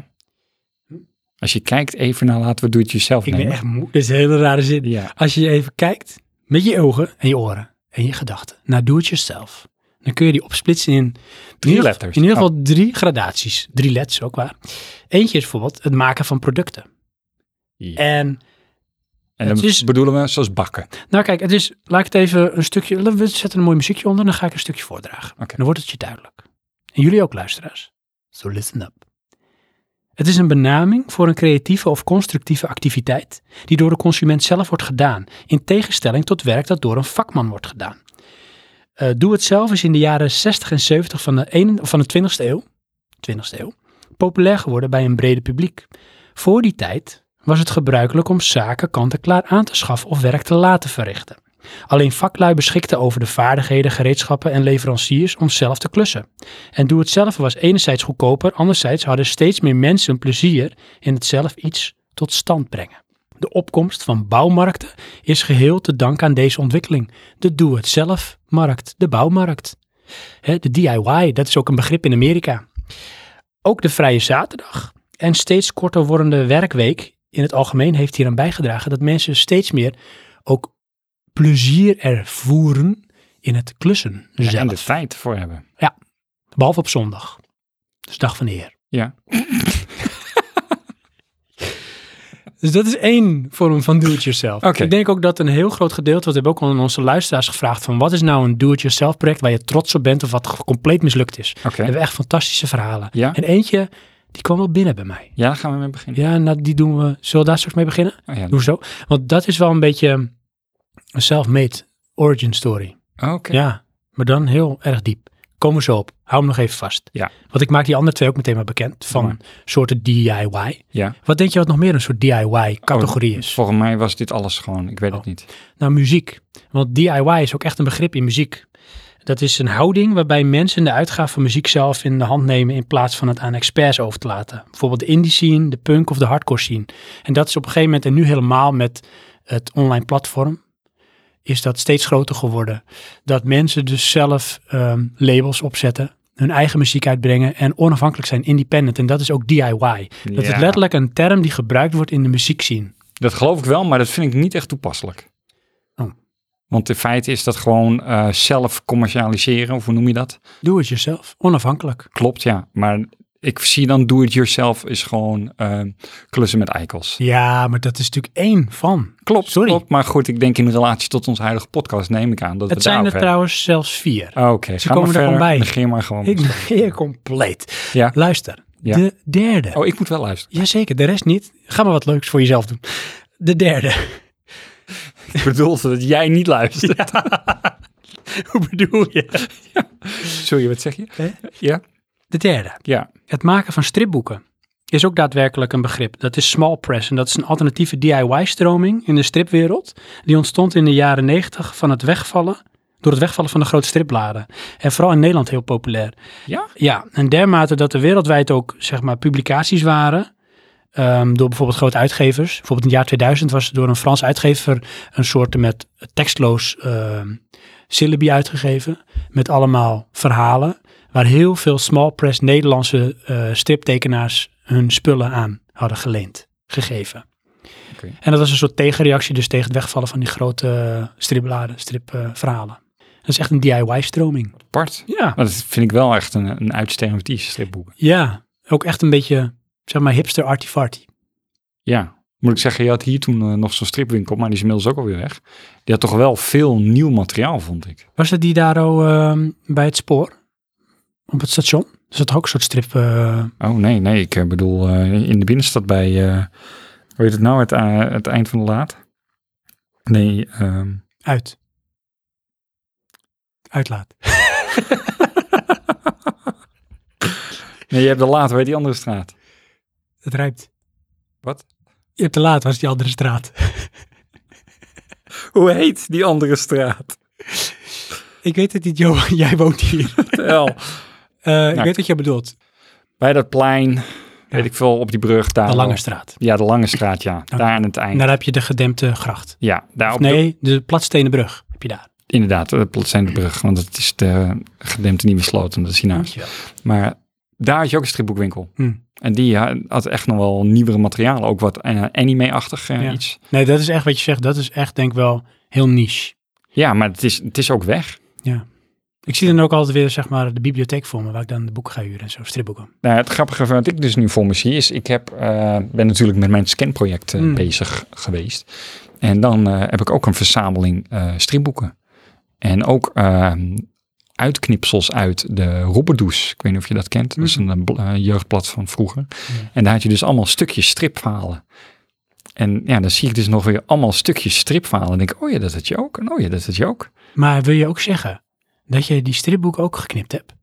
Speaker 1: Oké. Als je kijkt even naar laten we doe het jezelf
Speaker 2: Ik ben
Speaker 1: nemen.
Speaker 2: echt moe. Dit is een hele rare zin.
Speaker 1: Ja,
Speaker 2: Als je even kijkt met je ogen en je oren en je gedachten naar do it yourself, dan kun je die opsplitsen in
Speaker 1: Drie
Speaker 2: in ieder-
Speaker 1: letters.
Speaker 2: In ieder geval drie gradaties, drie leds ook waar. Eentje is bijvoorbeeld het maken van producten.
Speaker 1: Ja.
Speaker 2: En
Speaker 1: en dan
Speaker 2: het is-
Speaker 1: bedoelen we zoals bakken.
Speaker 2: nou kijk, het is, laat ik het even een stukje, we zetten een mooi muziekje onder, dan ga ik een stukje voordragen.
Speaker 1: Oké.
Speaker 2: Dan wordt het je duidelijk. En jullie ook luisteraars. So listen up. Het is een benaming voor een creatieve of constructieve activiteit die door de consument zelf wordt gedaan, in tegenstelling tot werk dat door een vakman wordt gedaan. Eh, Doe het zelf is in de jaren 60 en 70 van de, een, van de 20ste, eeuw, 20ste eeuw populair geworden bij een brede publiek. Voor die tijd was het gebruikelijk om zaken kant-en-klaar aan te schaffen of werk te laten verrichten. Alleen vaklui beschikten over de vaardigheden, gereedschappen en leveranciers om zelf te klussen. En doe het zelf was enerzijds goedkoper, anderzijds hadden steeds meer mensen plezier in het zelf iets tot stand brengen. De opkomst van bouwmarkten is geheel te danken aan deze ontwikkeling. De doe-het-zelf-markt, de bouwmarkt. Hè, de DIY, dat is ook een begrip in Amerika. Ook de vrije zaterdag en steeds korter wordende werkweek in het algemeen heeft hieraan bijgedragen dat mensen steeds meer ook plezier ervoeren in het klussen zelf.
Speaker 1: En de tijd voor hebben.
Speaker 2: Behalve op zondag. Dus dag van de Heer.
Speaker 1: Ja.
Speaker 2: Dus dat is één vorm van do-it-yourself.
Speaker 1: Oké.
Speaker 2: Ik denk ook dat een heel groot gedeelte, want we hebben ook al aan onze luisteraars gevraagd van wat is nou een do-it-yourself project waar je trots op bent of wat g- compleet mislukt is.
Speaker 1: Oké.
Speaker 2: We hebben echt fantastische verhalen.
Speaker 1: Ja?
Speaker 2: En eentje, die kwam wel binnen bij mij.
Speaker 1: Ja, daar gaan we mee beginnen.
Speaker 2: Ja, nou, die doen we. Zullen we daar straks mee beginnen?
Speaker 1: Oh, ja.
Speaker 2: Hoezo? Want dat is wel een beetje een self-made origin story.
Speaker 1: Oké.
Speaker 2: Ja, maar dan heel erg diep. Komen we zo op. Hou hem nog even vast.
Speaker 1: Ja.
Speaker 2: Want ik maak die andere twee ook meteen maar bekend. Van
Speaker 1: Doe maar.
Speaker 2: soorten DIY.
Speaker 1: Ja.
Speaker 2: Wat denk je wat nog meer een soort DIY-categorie is?
Speaker 1: Oh, Volgens mij was dit alles gewoon, ik weet
Speaker 2: Oh.
Speaker 1: het niet.
Speaker 2: Nou, muziek. Want DIY is ook echt een begrip in muziek. Dat is een houding waarbij mensen de uitgave van muziek zelf in de hand nemen in plaats van het aan experts over te laten. Bijvoorbeeld de indie scene, de punk of de hardcore scene. En dat is op een gegeven moment, en nu helemaal met het online platform, is dat steeds groter geworden. Dat mensen dus zelf ehm, labels opzetten, hun eigen muziek uitbrengen en onafhankelijk zijn, independent. En dat is ook DIY. Dat
Speaker 1: Ja.
Speaker 2: is letterlijk een term die gebruikt wordt in de muziekscene.
Speaker 1: Dat geloof ik wel, maar dat vind ik niet echt toepasselijk.
Speaker 2: Oh.
Speaker 1: Want in feite is dat gewoon eh, zelf commercialiseren, of hoe noem je dat?
Speaker 2: Doe het jezelf, onafhankelijk.
Speaker 1: Klopt, ja. Maar ik zie dan do-it-yourself is gewoon eh, klussen met eikels.
Speaker 2: Ja, maar dat is natuurlijk één van.
Speaker 1: Klopt,
Speaker 2: Sorry.
Speaker 1: klopt. Maar goed, ik denk in relatie tot onze huidige podcast neem ik aan dat we
Speaker 2: het zijn er
Speaker 1: daarover hebben. Oh,
Speaker 2: trouwens zelfs vier.
Speaker 1: Oké,
Speaker 2: Ze
Speaker 1: ga maar
Speaker 2: komen er
Speaker 1: verder.
Speaker 2: gewoon bij.
Speaker 1: Negeer maar gewoon.
Speaker 2: ik negeer compleet.
Speaker 1: Ja.
Speaker 2: Luister,
Speaker 1: Ja.
Speaker 2: de derde.
Speaker 1: Oh, ik moet wel luisteren.
Speaker 2: Jazeker, de rest niet. Ga maar wat leuks voor jezelf doen. De derde.
Speaker 1: Ik bedoelde dat jij niet luistert.
Speaker 2: Hoe bedoel je?
Speaker 1: Sorry, wat zeg je?
Speaker 2: Hè?
Speaker 1: Ja?
Speaker 2: De derde.
Speaker 1: Ja.
Speaker 2: Het maken van stripboeken is ook daadwerkelijk een begrip. Dat is small press en dat is een alternatieve DIY-stroming in de stripwereld. Die ontstond in de jaren 90 van het wegvallen, door het wegvallen van de grote stripbladen. En vooral in Nederland heel populair.
Speaker 1: Ja?
Speaker 2: Ja, en dermate dat er wereldwijd ook zeg maar, publicaties waren. ehm, door bijvoorbeeld grote uitgevers. Bijvoorbeeld in het jaar 2000 was er door een Frans uitgever een soort met tekstloos ehm syllabi uitgegeven. Met allemaal verhalen. Waar heel veel small press Nederlandse eh, striptekenaars hun spullen aan hadden geleend, gegeven.
Speaker 1: Oké.
Speaker 2: En dat was een soort tegenreactie dus tegen het wegvallen van die grote eh, stripbladen, stripverhalen. dat is echt een DIY-stroming.
Speaker 1: Bart.
Speaker 2: Ja.
Speaker 1: Maar dat vind ik wel echt een, een uitsterend iets, stripboeken.
Speaker 2: Ja, ook echt een beetje, zeg maar, hipster artifarty.
Speaker 1: Ja. Moet ik zeggen, je had hier toen eh, nog zo'n stripwinkel, maar die is inmiddels ook alweer weg. Die had toch wel veel nieuw materiaal, vond ik.
Speaker 2: Was dat die daar al ehm, bij het spoor? Op het station? Is dat ook een soort strip? eh,
Speaker 1: Oh nee, nee, ik eh, bedoel eh, in de binnenstad bij, eh, hoe heet het nou, het, eh, het eind van de laat? Nee, ehm,
Speaker 2: uit. Uitlaat.
Speaker 1: nee, je hebt de laat, weet die andere straat?
Speaker 2: Het rijpt.
Speaker 1: Wat?
Speaker 2: Je hebt te laat, was die andere straat.
Speaker 1: Hoe heet die andere straat?
Speaker 2: Ik weet het niet, Johan, jij woont hier.
Speaker 1: Wel,
Speaker 2: Eh, ik
Speaker 1: Nou,
Speaker 2: weet wat jij bedoelt.
Speaker 1: bij dat plein, weet ik veel, op die brug daar.
Speaker 2: De lange
Speaker 1: wel.
Speaker 2: straat.
Speaker 1: Ja, de lange straat, ja. Daar aan het eind.
Speaker 2: En daar heb je de gedempte gracht.
Speaker 1: ja, daar op de-
Speaker 2: Nee, de platstenen brug heb je daar.
Speaker 1: eh, inderdaad, de Placentenbrug, want dat is de gedempte nieuwe sloot en dat is hiernaast.
Speaker 2: Dankjewel.
Speaker 1: Maar Daar had je ook een stripboekwinkel.
Speaker 2: Hmm.
Speaker 1: En die ha- had echt nog wel nieuwere materialen. Ook wat eh, anime-achtig eh,
Speaker 2: Ja.
Speaker 1: iets.
Speaker 2: Nee, dat is echt wat je zegt. Dat is echt, denk ik wel, heel niche.
Speaker 1: Ja, maar het is, het is ook weg.
Speaker 2: Ik zie dan ook altijd weer, zeg maar, de bibliotheek voor me, waar ik dan de boeken ga huren en zo, stripboeken.
Speaker 1: Nou, het grappige wat ik dus nu voor me zie is, ik heb, eh, ben natuurlijk met mijn scanproject eh,
Speaker 2: Hmm.
Speaker 1: bezig geweest. En dan eh, heb ik ook een verzameling eh, stripboeken. En ook eh, uitknipsels uit de Robbedoes. Ik weet niet of je dat kent. Dat is een eh, bl- eh, jeugdblad van vroeger.
Speaker 2: Hmm. Ja.
Speaker 1: En daar had je dus allemaal stukjes stripverhalen. En ja, dan zie ik dus nog weer allemaal stukjes stripverhalen. En denk ik, oh ja, dat had je ook. En oh ja, dat had je ook.
Speaker 2: Maar wil je ook zeggen dat je die stripboek ook geknipt hebt?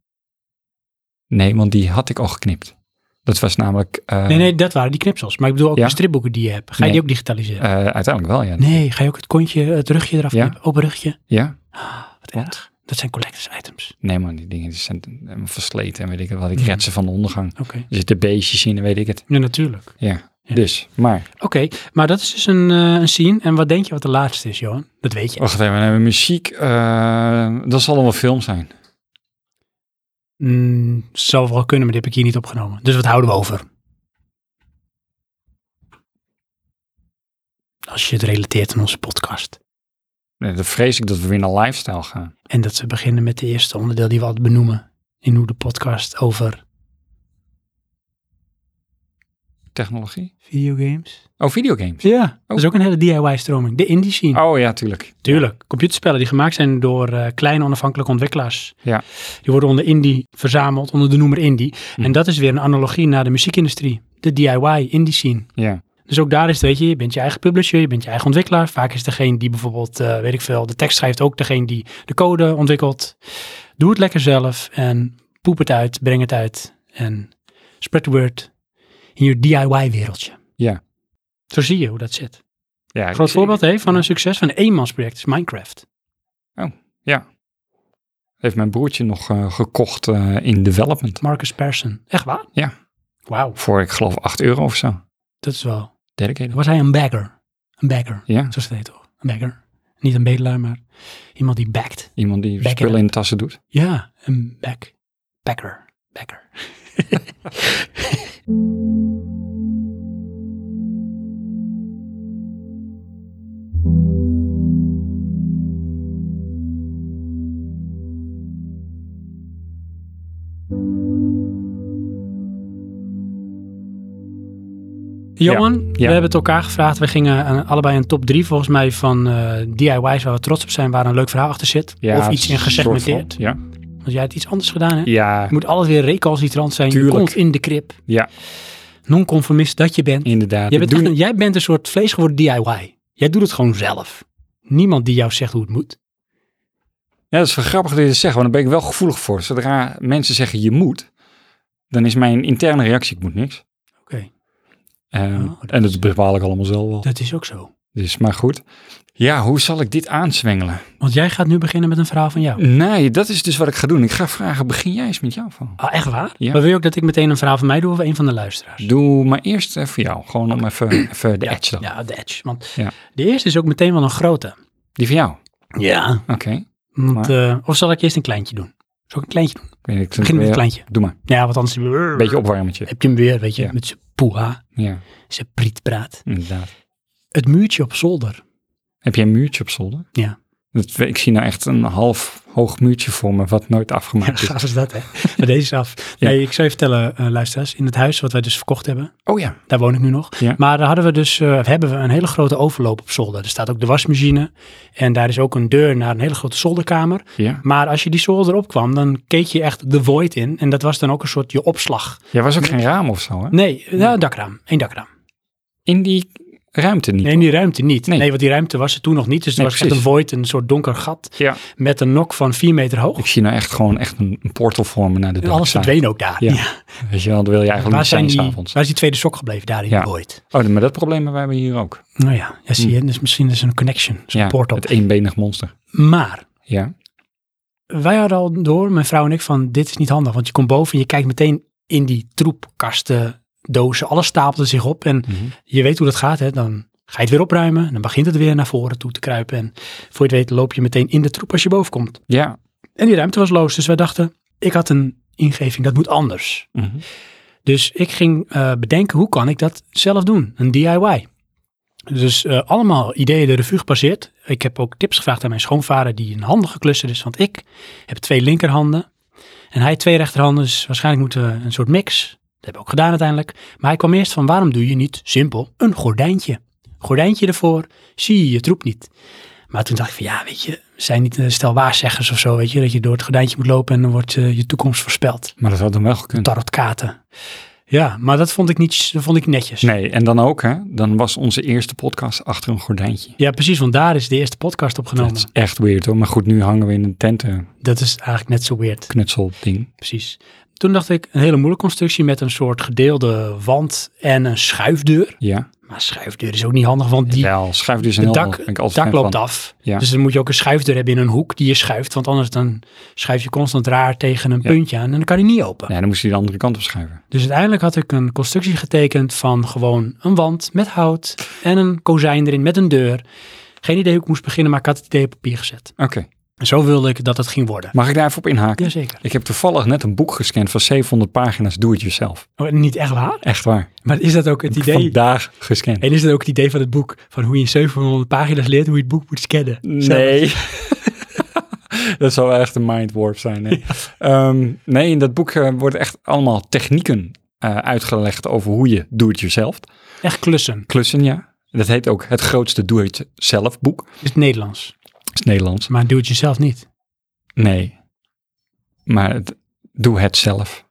Speaker 1: Nee, want die had ik al geknipt. Dat was namelijk... eh,
Speaker 2: nee, nee, dat waren die knipsels. Maar ik bedoel ook
Speaker 1: Ja.
Speaker 2: de stripboeken die je hebt. Ga je
Speaker 1: Nee.
Speaker 2: die ook digitaliseren?
Speaker 1: eh, uiteindelijk wel, ja.
Speaker 2: nee, ga je ook het kontje, het rugje eraf
Speaker 1: Ja.
Speaker 2: knippen? Open rugje?
Speaker 1: Ja?
Speaker 2: Ah, wat erg. Dat zijn collectors items.
Speaker 1: Nee man, die dingen die zijn helemaal versleten en weet ik het wat. Ik
Speaker 2: Ja.
Speaker 1: red ze van de ondergang.
Speaker 2: Oké.
Speaker 1: Er zitten beestjes in en weet ik het.
Speaker 2: Ja, natuurlijk.
Speaker 1: Ja,
Speaker 2: Ja.
Speaker 1: dus. Maar,
Speaker 2: Oké, maar dat is dus een, eh, een scene. En wat denk je wat de laatste is, Johan? Dat weet je.
Speaker 1: wacht even, we hebben muziek. eh, dat zal dan wel film zijn.
Speaker 2: Mm, zou wel kunnen, maar die heb ik hier niet opgenomen. Dus wat houden we over? Als je het relateert aan onze podcast.
Speaker 1: Nee, dan vrees ik dat we weer naar lifestyle gaan.
Speaker 2: En dat we beginnen met het eerste onderdeel die we altijd benoemen. In hoe de podcast over
Speaker 1: Technologie?
Speaker 2: videogames.
Speaker 1: Oh, videogames.
Speaker 2: Ja, dat is ook een hele DIY-stroming. De indie scene.
Speaker 1: Oh ja, tuurlijk.
Speaker 2: Tuurlijk, computerspellen die gemaakt zijn door eh, kleine onafhankelijke ontwikkelaars.
Speaker 1: Ja.
Speaker 2: Die worden onder indie verzameld, onder de noemer indie.
Speaker 1: Hm.
Speaker 2: En dat is weer een analogie naar de muziekindustrie, de DIY indie scene.
Speaker 1: Ja,
Speaker 2: Dus ook daar is het, weet je, je bent je eigen publisher, je bent je eigen ontwikkelaar. Vaak is degene die bijvoorbeeld, eh, weet ik veel, de tekst schrijft ook degene die de code ontwikkelt. Doe het lekker zelf en poep het uit, breng het uit en spread the word in je DIY-wereldje.
Speaker 1: Ja.
Speaker 2: Zo zie je hoe dat zit.
Speaker 1: ja ik
Speaker 2: Groot
Speaker 1: zie-
Speaker 2: voorbeeld hè, van een succes van een eenmansproject is Minecraft.
Speaker 1: Heeft mijn broertje nog eh, gekocht eh, in development.
Speaker 2: Marcus Persson. Echt waar?
Speaker 1: Ja.
Speaker 2: Wauw,
Speaker 1: Voor, ik geloof, 8 euro of zo.
Speaker 2: dat is wel.
Speaker 1: Dedicated.
Speaker 2: Was hij een bagger? Een bagger,
Speaker 1: Ja,
Speaker 2: zoals het heet toch? Een bagger. Niet een bedelaar, maar iemand die backt.
Speaker 1: iemand die
Speaker 2: Back it
Speaker 1: spullen in de tassen doet.
Speaker 2: Ja, een back. Backer. Backer. Johan, we hebben het elkaar gevraagd. We gingen eh, allebei een top 3 volgens mij van eh, DIY's waar we trots op zijn, waar een leuk verhaal achter zit.
Speaker 1: Ja,
Speaker 2: of iets in
Speaker 1: een soort
Speaker 2: gesegmenteerd.
Speaker 1: van- Ja,
Speaker 2: Want jij hebt iets anders gedaan, hè?
Speaker 1: ja,
Speaker 2: Je moet alles weer recalcitrant zijn.
Speaker 1: Tuurlijk.
Speaker 2: Je komt in de krib.
Speaker 1: Ja.
Speaker 2: Non-conformist dat je bent.
Speaker 1: inderdaad.
Speaker 2: Jij bent,
Speaker 1: Ik doe
Speaker 2: echt een, jij bent een soort vlees geworden DIY. Jij doet het gewoon zelf. Niemand die jou zegt hoe het moet.
Speaker 1: Ja, dat is wel grappig dat je dat zegt, want daar ben ik wel gevoelig voor. Zodra mensen zeggen je moet, dan is mijn interne reactie ik moet niks.
Speaker 2: Oké,
Speaker 1: Ehm,
Speaker 2: Oh, dat
Speaker 1: en
Speaker 2: is-
Speaker 1: dat bepaal ik allemaal zelf wel.
Speaker 2: dat is ook zo.
Speaker 1: Dus, maar goed. Ja, hoe zal ik dit aanzwengelen?
Speaker 2: Want jij gaat nu beginnen met een verhaal van jou.
Speaker 1: Nee, dat is dus wat ik ga doen. Ik ga vragen, begin jij eens met jou van.
Speaker 2: Ah, echt waar?
Speaker 1: Ja.
Speaker 2: Maar wil je ook dat ik meteen een verhaal van mij doe of een van de luisteraars?
Speaker 1: Doe maar eerst eh, voor jou, gewoon om even, even de edge dan.
Speaker 2: Ja, de edge. Want
Speaker 1: Ja.
Speaker 2: de eerste is ook meteen wel een grote.
Speaker 1: Die van jou,
Speaker 2: Ja.
Speaker 1: oké.
Speaker 2: Want, eh, of zal ik eerst een kleintje doen? Zal ik een kleintje doen?
Speaker 1: Ik weet niet, ik
Speaker 2: Begin met een
Speaker 1: weer-
Speaker 2: kleintje.
Speaker 1: Doe maar,
Speaker 2: Ja, want anders
Speaker 1: een beetje opwarmetje.
Speaker 2: heb je hem weer, weet je,
Speaker 1: Ja.
Speaker 2: met zijn poeha,
Speaker 1: Ja,
Speaker 2: zijn prietpraat.
Speaker 1: inderdaad.
Speaker 2: Het muurtje op zolder.
Speaker 1: Heb jij een muurtje op zolder?
Speaker 2: Ja.
Speaker 1: Dat, ik zie nou echt een half hoog muurtje voor me, wat nooit afgemaakt is.
Speaker 2: Gaaf is dat, hè? Maar deze is af.
Speaker 1: Ja.
Speaker 2: Nee, ik zou je vertellen, eh, luisteraars. In het huis wat wij dus verkocht hebben,
Speaker 1: Oh ja,
Speaker 2: daar woon ik nu nog.
Speaker 1: Ja.
Speaker 2: Maar daar hadden we dus, eh, hebben we een hele grote overloop op zolder. Er staat ook de wasmachine. En daar is ook een deur naar een hele grote zolderkamer.
Speaker 1: ja.
Speaker 2: Maar als je die zolder opkwam, dan keek je echt de void in. En dat was dan ook een soort je opslag.
Speaker 1: Jij was ook geen raam of zo, hè?
Speaker 2: Nee, nou, een dakraam. Eén dakraam.
Speaker 1: In die ruimte niet.
Speaker 2: Nee, in die ruimte niet.
Speaker 1: Nee.
Speaker 2: Nee. want die ruimte was er toen nog niet. Dus er
Speaker 1: Nee,
Speaker 2: was echt
Speaker 1: precies.
Speaker 2: een void, een soort donker gat.
Speaker 1: Ja.
Speaker 2: Met een nok van vier meter hoog.
Speaker 1: Ik zie nou echt gewoon echt een, een portal vormen naar de
Speaker 2: En
Speaker 1: dark
Speaker 2: alles
Speaker 1: side.
Speaker 2: verdween ook daar.
Speaker 1: Ja.
Speaker 2: Ja.
Speaker 1: Weet je wel, dat wil je eigenlijk
Speaker 2: Waar,
Speaker 1: niet
Speaker 2: zijn
Speaker 1: zijn
Speaker 2: die,
Speaker 1: s'avonds.
Speaker 2: waar is die tweede sok gebleven? Daar in
Speaker 1: Ja.
Speaker 2: die void.
Speaker 1: Oh, maar dat probleem hebben wij hier ook.
Speaker 2: Nou ja, ja zie je. Dus misschien is er een connection, zo'n
Speaker 1: Hm. Ja,
Speaker 2: portal.
Speaker 1: het e- eenbenig monster.
Speaker 2: Maar
Speaker 1: Ja,
Speaker 2: wij hadden al door, mijn vrouw en ik, van dit is niet handig. Want je komt boven en je kijkt meteen in die troepkasten, dozen. Alles stapelde zich op en
Speaker 1: Mhm.
Speaker 2: je weet hoe dat gaat. Hè? Dan ga je het weer opruimen en dan begint het weer naar voren toe te kruipen. En voor je het weet loop je meteen in de troep als je boven komt.
Speaker 1: ja,
Speaker 2: En die ruimte was loos, dus wij dachten, ik had een ingeving, dat moet anders.
Speaker 1: Mhm.
Speaker 2: Dus ik ging eh, bedenken, hoe kan ik dat zelf doen? Een DIY. Dus eh, allemaal ideeën de revue gepasseerd. Ik heb ook tips gevraagd aan mijn schoonvader, die een handige klusser is. Want ik heb twee linkerhanden en hij twee rechterhanden. Dus waarschijnlijk moeten we een soort mix. Dat heb ik ook gedaan uiteindelijk. Maar hij kwam eerst van, waarom doe je niet, simpel, een gordijntje? Gordijntje ervoor, zie je je troep niet. Maar toen dacht ik van, ja, weet je, zijn niet een stel waarzeggers of zo, weet je. Dat je door het gordijntje moet lopen en dan wordt eh, je toekomst voorspeld
Speaker 1: Maar dat had dan wel gekund.
Speaker 2: tarotkaarten. Ja, maar dat vond ik, niet, dat vond ik netjes.
Speaker 1: Nee, en dan ook, hè? Dan was onze eerste podcast achter een gordijntje.
Speaker 2: Ja, precies, want daar is de eerste podcast opgenomen.
Speaker 1: Dat is echt weird hoor. Maar goed, nu hangen we in een tentenknutselding.
Speaker 2: eigenlijk net zo weird. Precies. Toen dacht ik, een hele moeilijke constructie met een soort gedeelde wand en een schuifdeur.
Speaker 1: Ja.
Speaker 2: Maar schuifdeur is ook niet handig, want die
Speaker 1: Wel, schuif dus een
Speaker 2: de
Speaker 1: heel
Speaker 2: dak,
Speaker 1: handig. Ben ik altijd
Speaker 2: dak
Speaker 1: fan
Speaker 2: loopt
Speaker 1: van.
Speaker 2: af.
Speaker 1: Ja.
Speaker 2: Dus dan moet je ook een schuifdeur hebben in een hoek die je schuift. Want anders dan schuif je constant raar tegen een
Speaker 1: Ja.
Speaker 2: puntje aan en dan kan hij niet open.
Speaker 1: Ja, dan moest je de andere kant op schuiven.
Speaker 2: Dus uiteindelijk had ik een constructie getekend van gewoon een wand met hout en een kozijn erin met een deur. Geen idee hoe ik moest beginnen, maar ik had het idee op papier gezet.
Speaker 1: Oké,
Speaker 2: En zo wilde ik dat het ging worden.
Speaker 1: mag ik daar even op inhaken?
Speaker 2: Jazeker.
Speaker 1: Ik heb toevallig net een boek gescand van 700 pagina's Do It Yourself.
Speaker 2: Oh, niet echt waar?
Speaker 1: Echt waar.
Speaker 2: Maar is dat ook het idee?
Speaker 1: Vandaag gescand.
Speaker 2: En is dat ook het idee van het boek? Van hoe je in 700 pagina's leert hoe je het boek moet scannen? Zelf.
Speaker 1: Nee. dat zou echt een mind warp zijn. hè. Ehm, nee, in dat boek eh, worden echt allemaal technieken eh, uitgelegd over hoe je Do It Yourself
Speaker 2: Echt klussen.
Speaker 1: klussen, ja. Dat heet ook het grootste doe-het-zelf boek.
Speaker 2: Is het Nederlands.
Speaker 1: Dat is Nederlands.
Speaker 2: Maar doe het jezelf niet.
Speaker 1: Nee. Maar het- doe het zelf.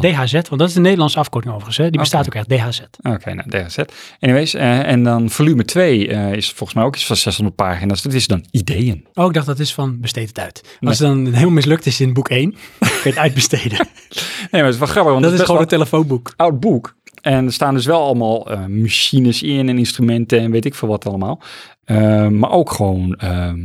Speaker 2: DHZ, want dat is de Nederlandse afkorting overigens. Hè? Die bestaat
Speaker 1: Oké.
Speaker 2: ook echt, DHZ.
Speaker 1: Oké, nou, daar is het. Anyways, eh, en dan volume 2 is volgens mij ook iets van 600 pagina's. Dat is dan ideeën.
Speaker 2: Oh, ik dacht dat is van besteed het uit. Als het dan heel mislukt is in boek 1, kun je het uitbesteden.
Speaker 1: Nee, maar het is wel grappig, want het
Speaker 2: dat
Speaker 1: is
Speaker 2: is
Speaker 1: best
Speaker 2: gewoon
Speaker 1: wel
Speaker 2: een telefoonboek.
Speaker 1: een oud boek. En er staan dus wel allemaal eh, machines in en instrumenten en weet ik veel wat allemaal. Eh, maar ook gewoon ehm,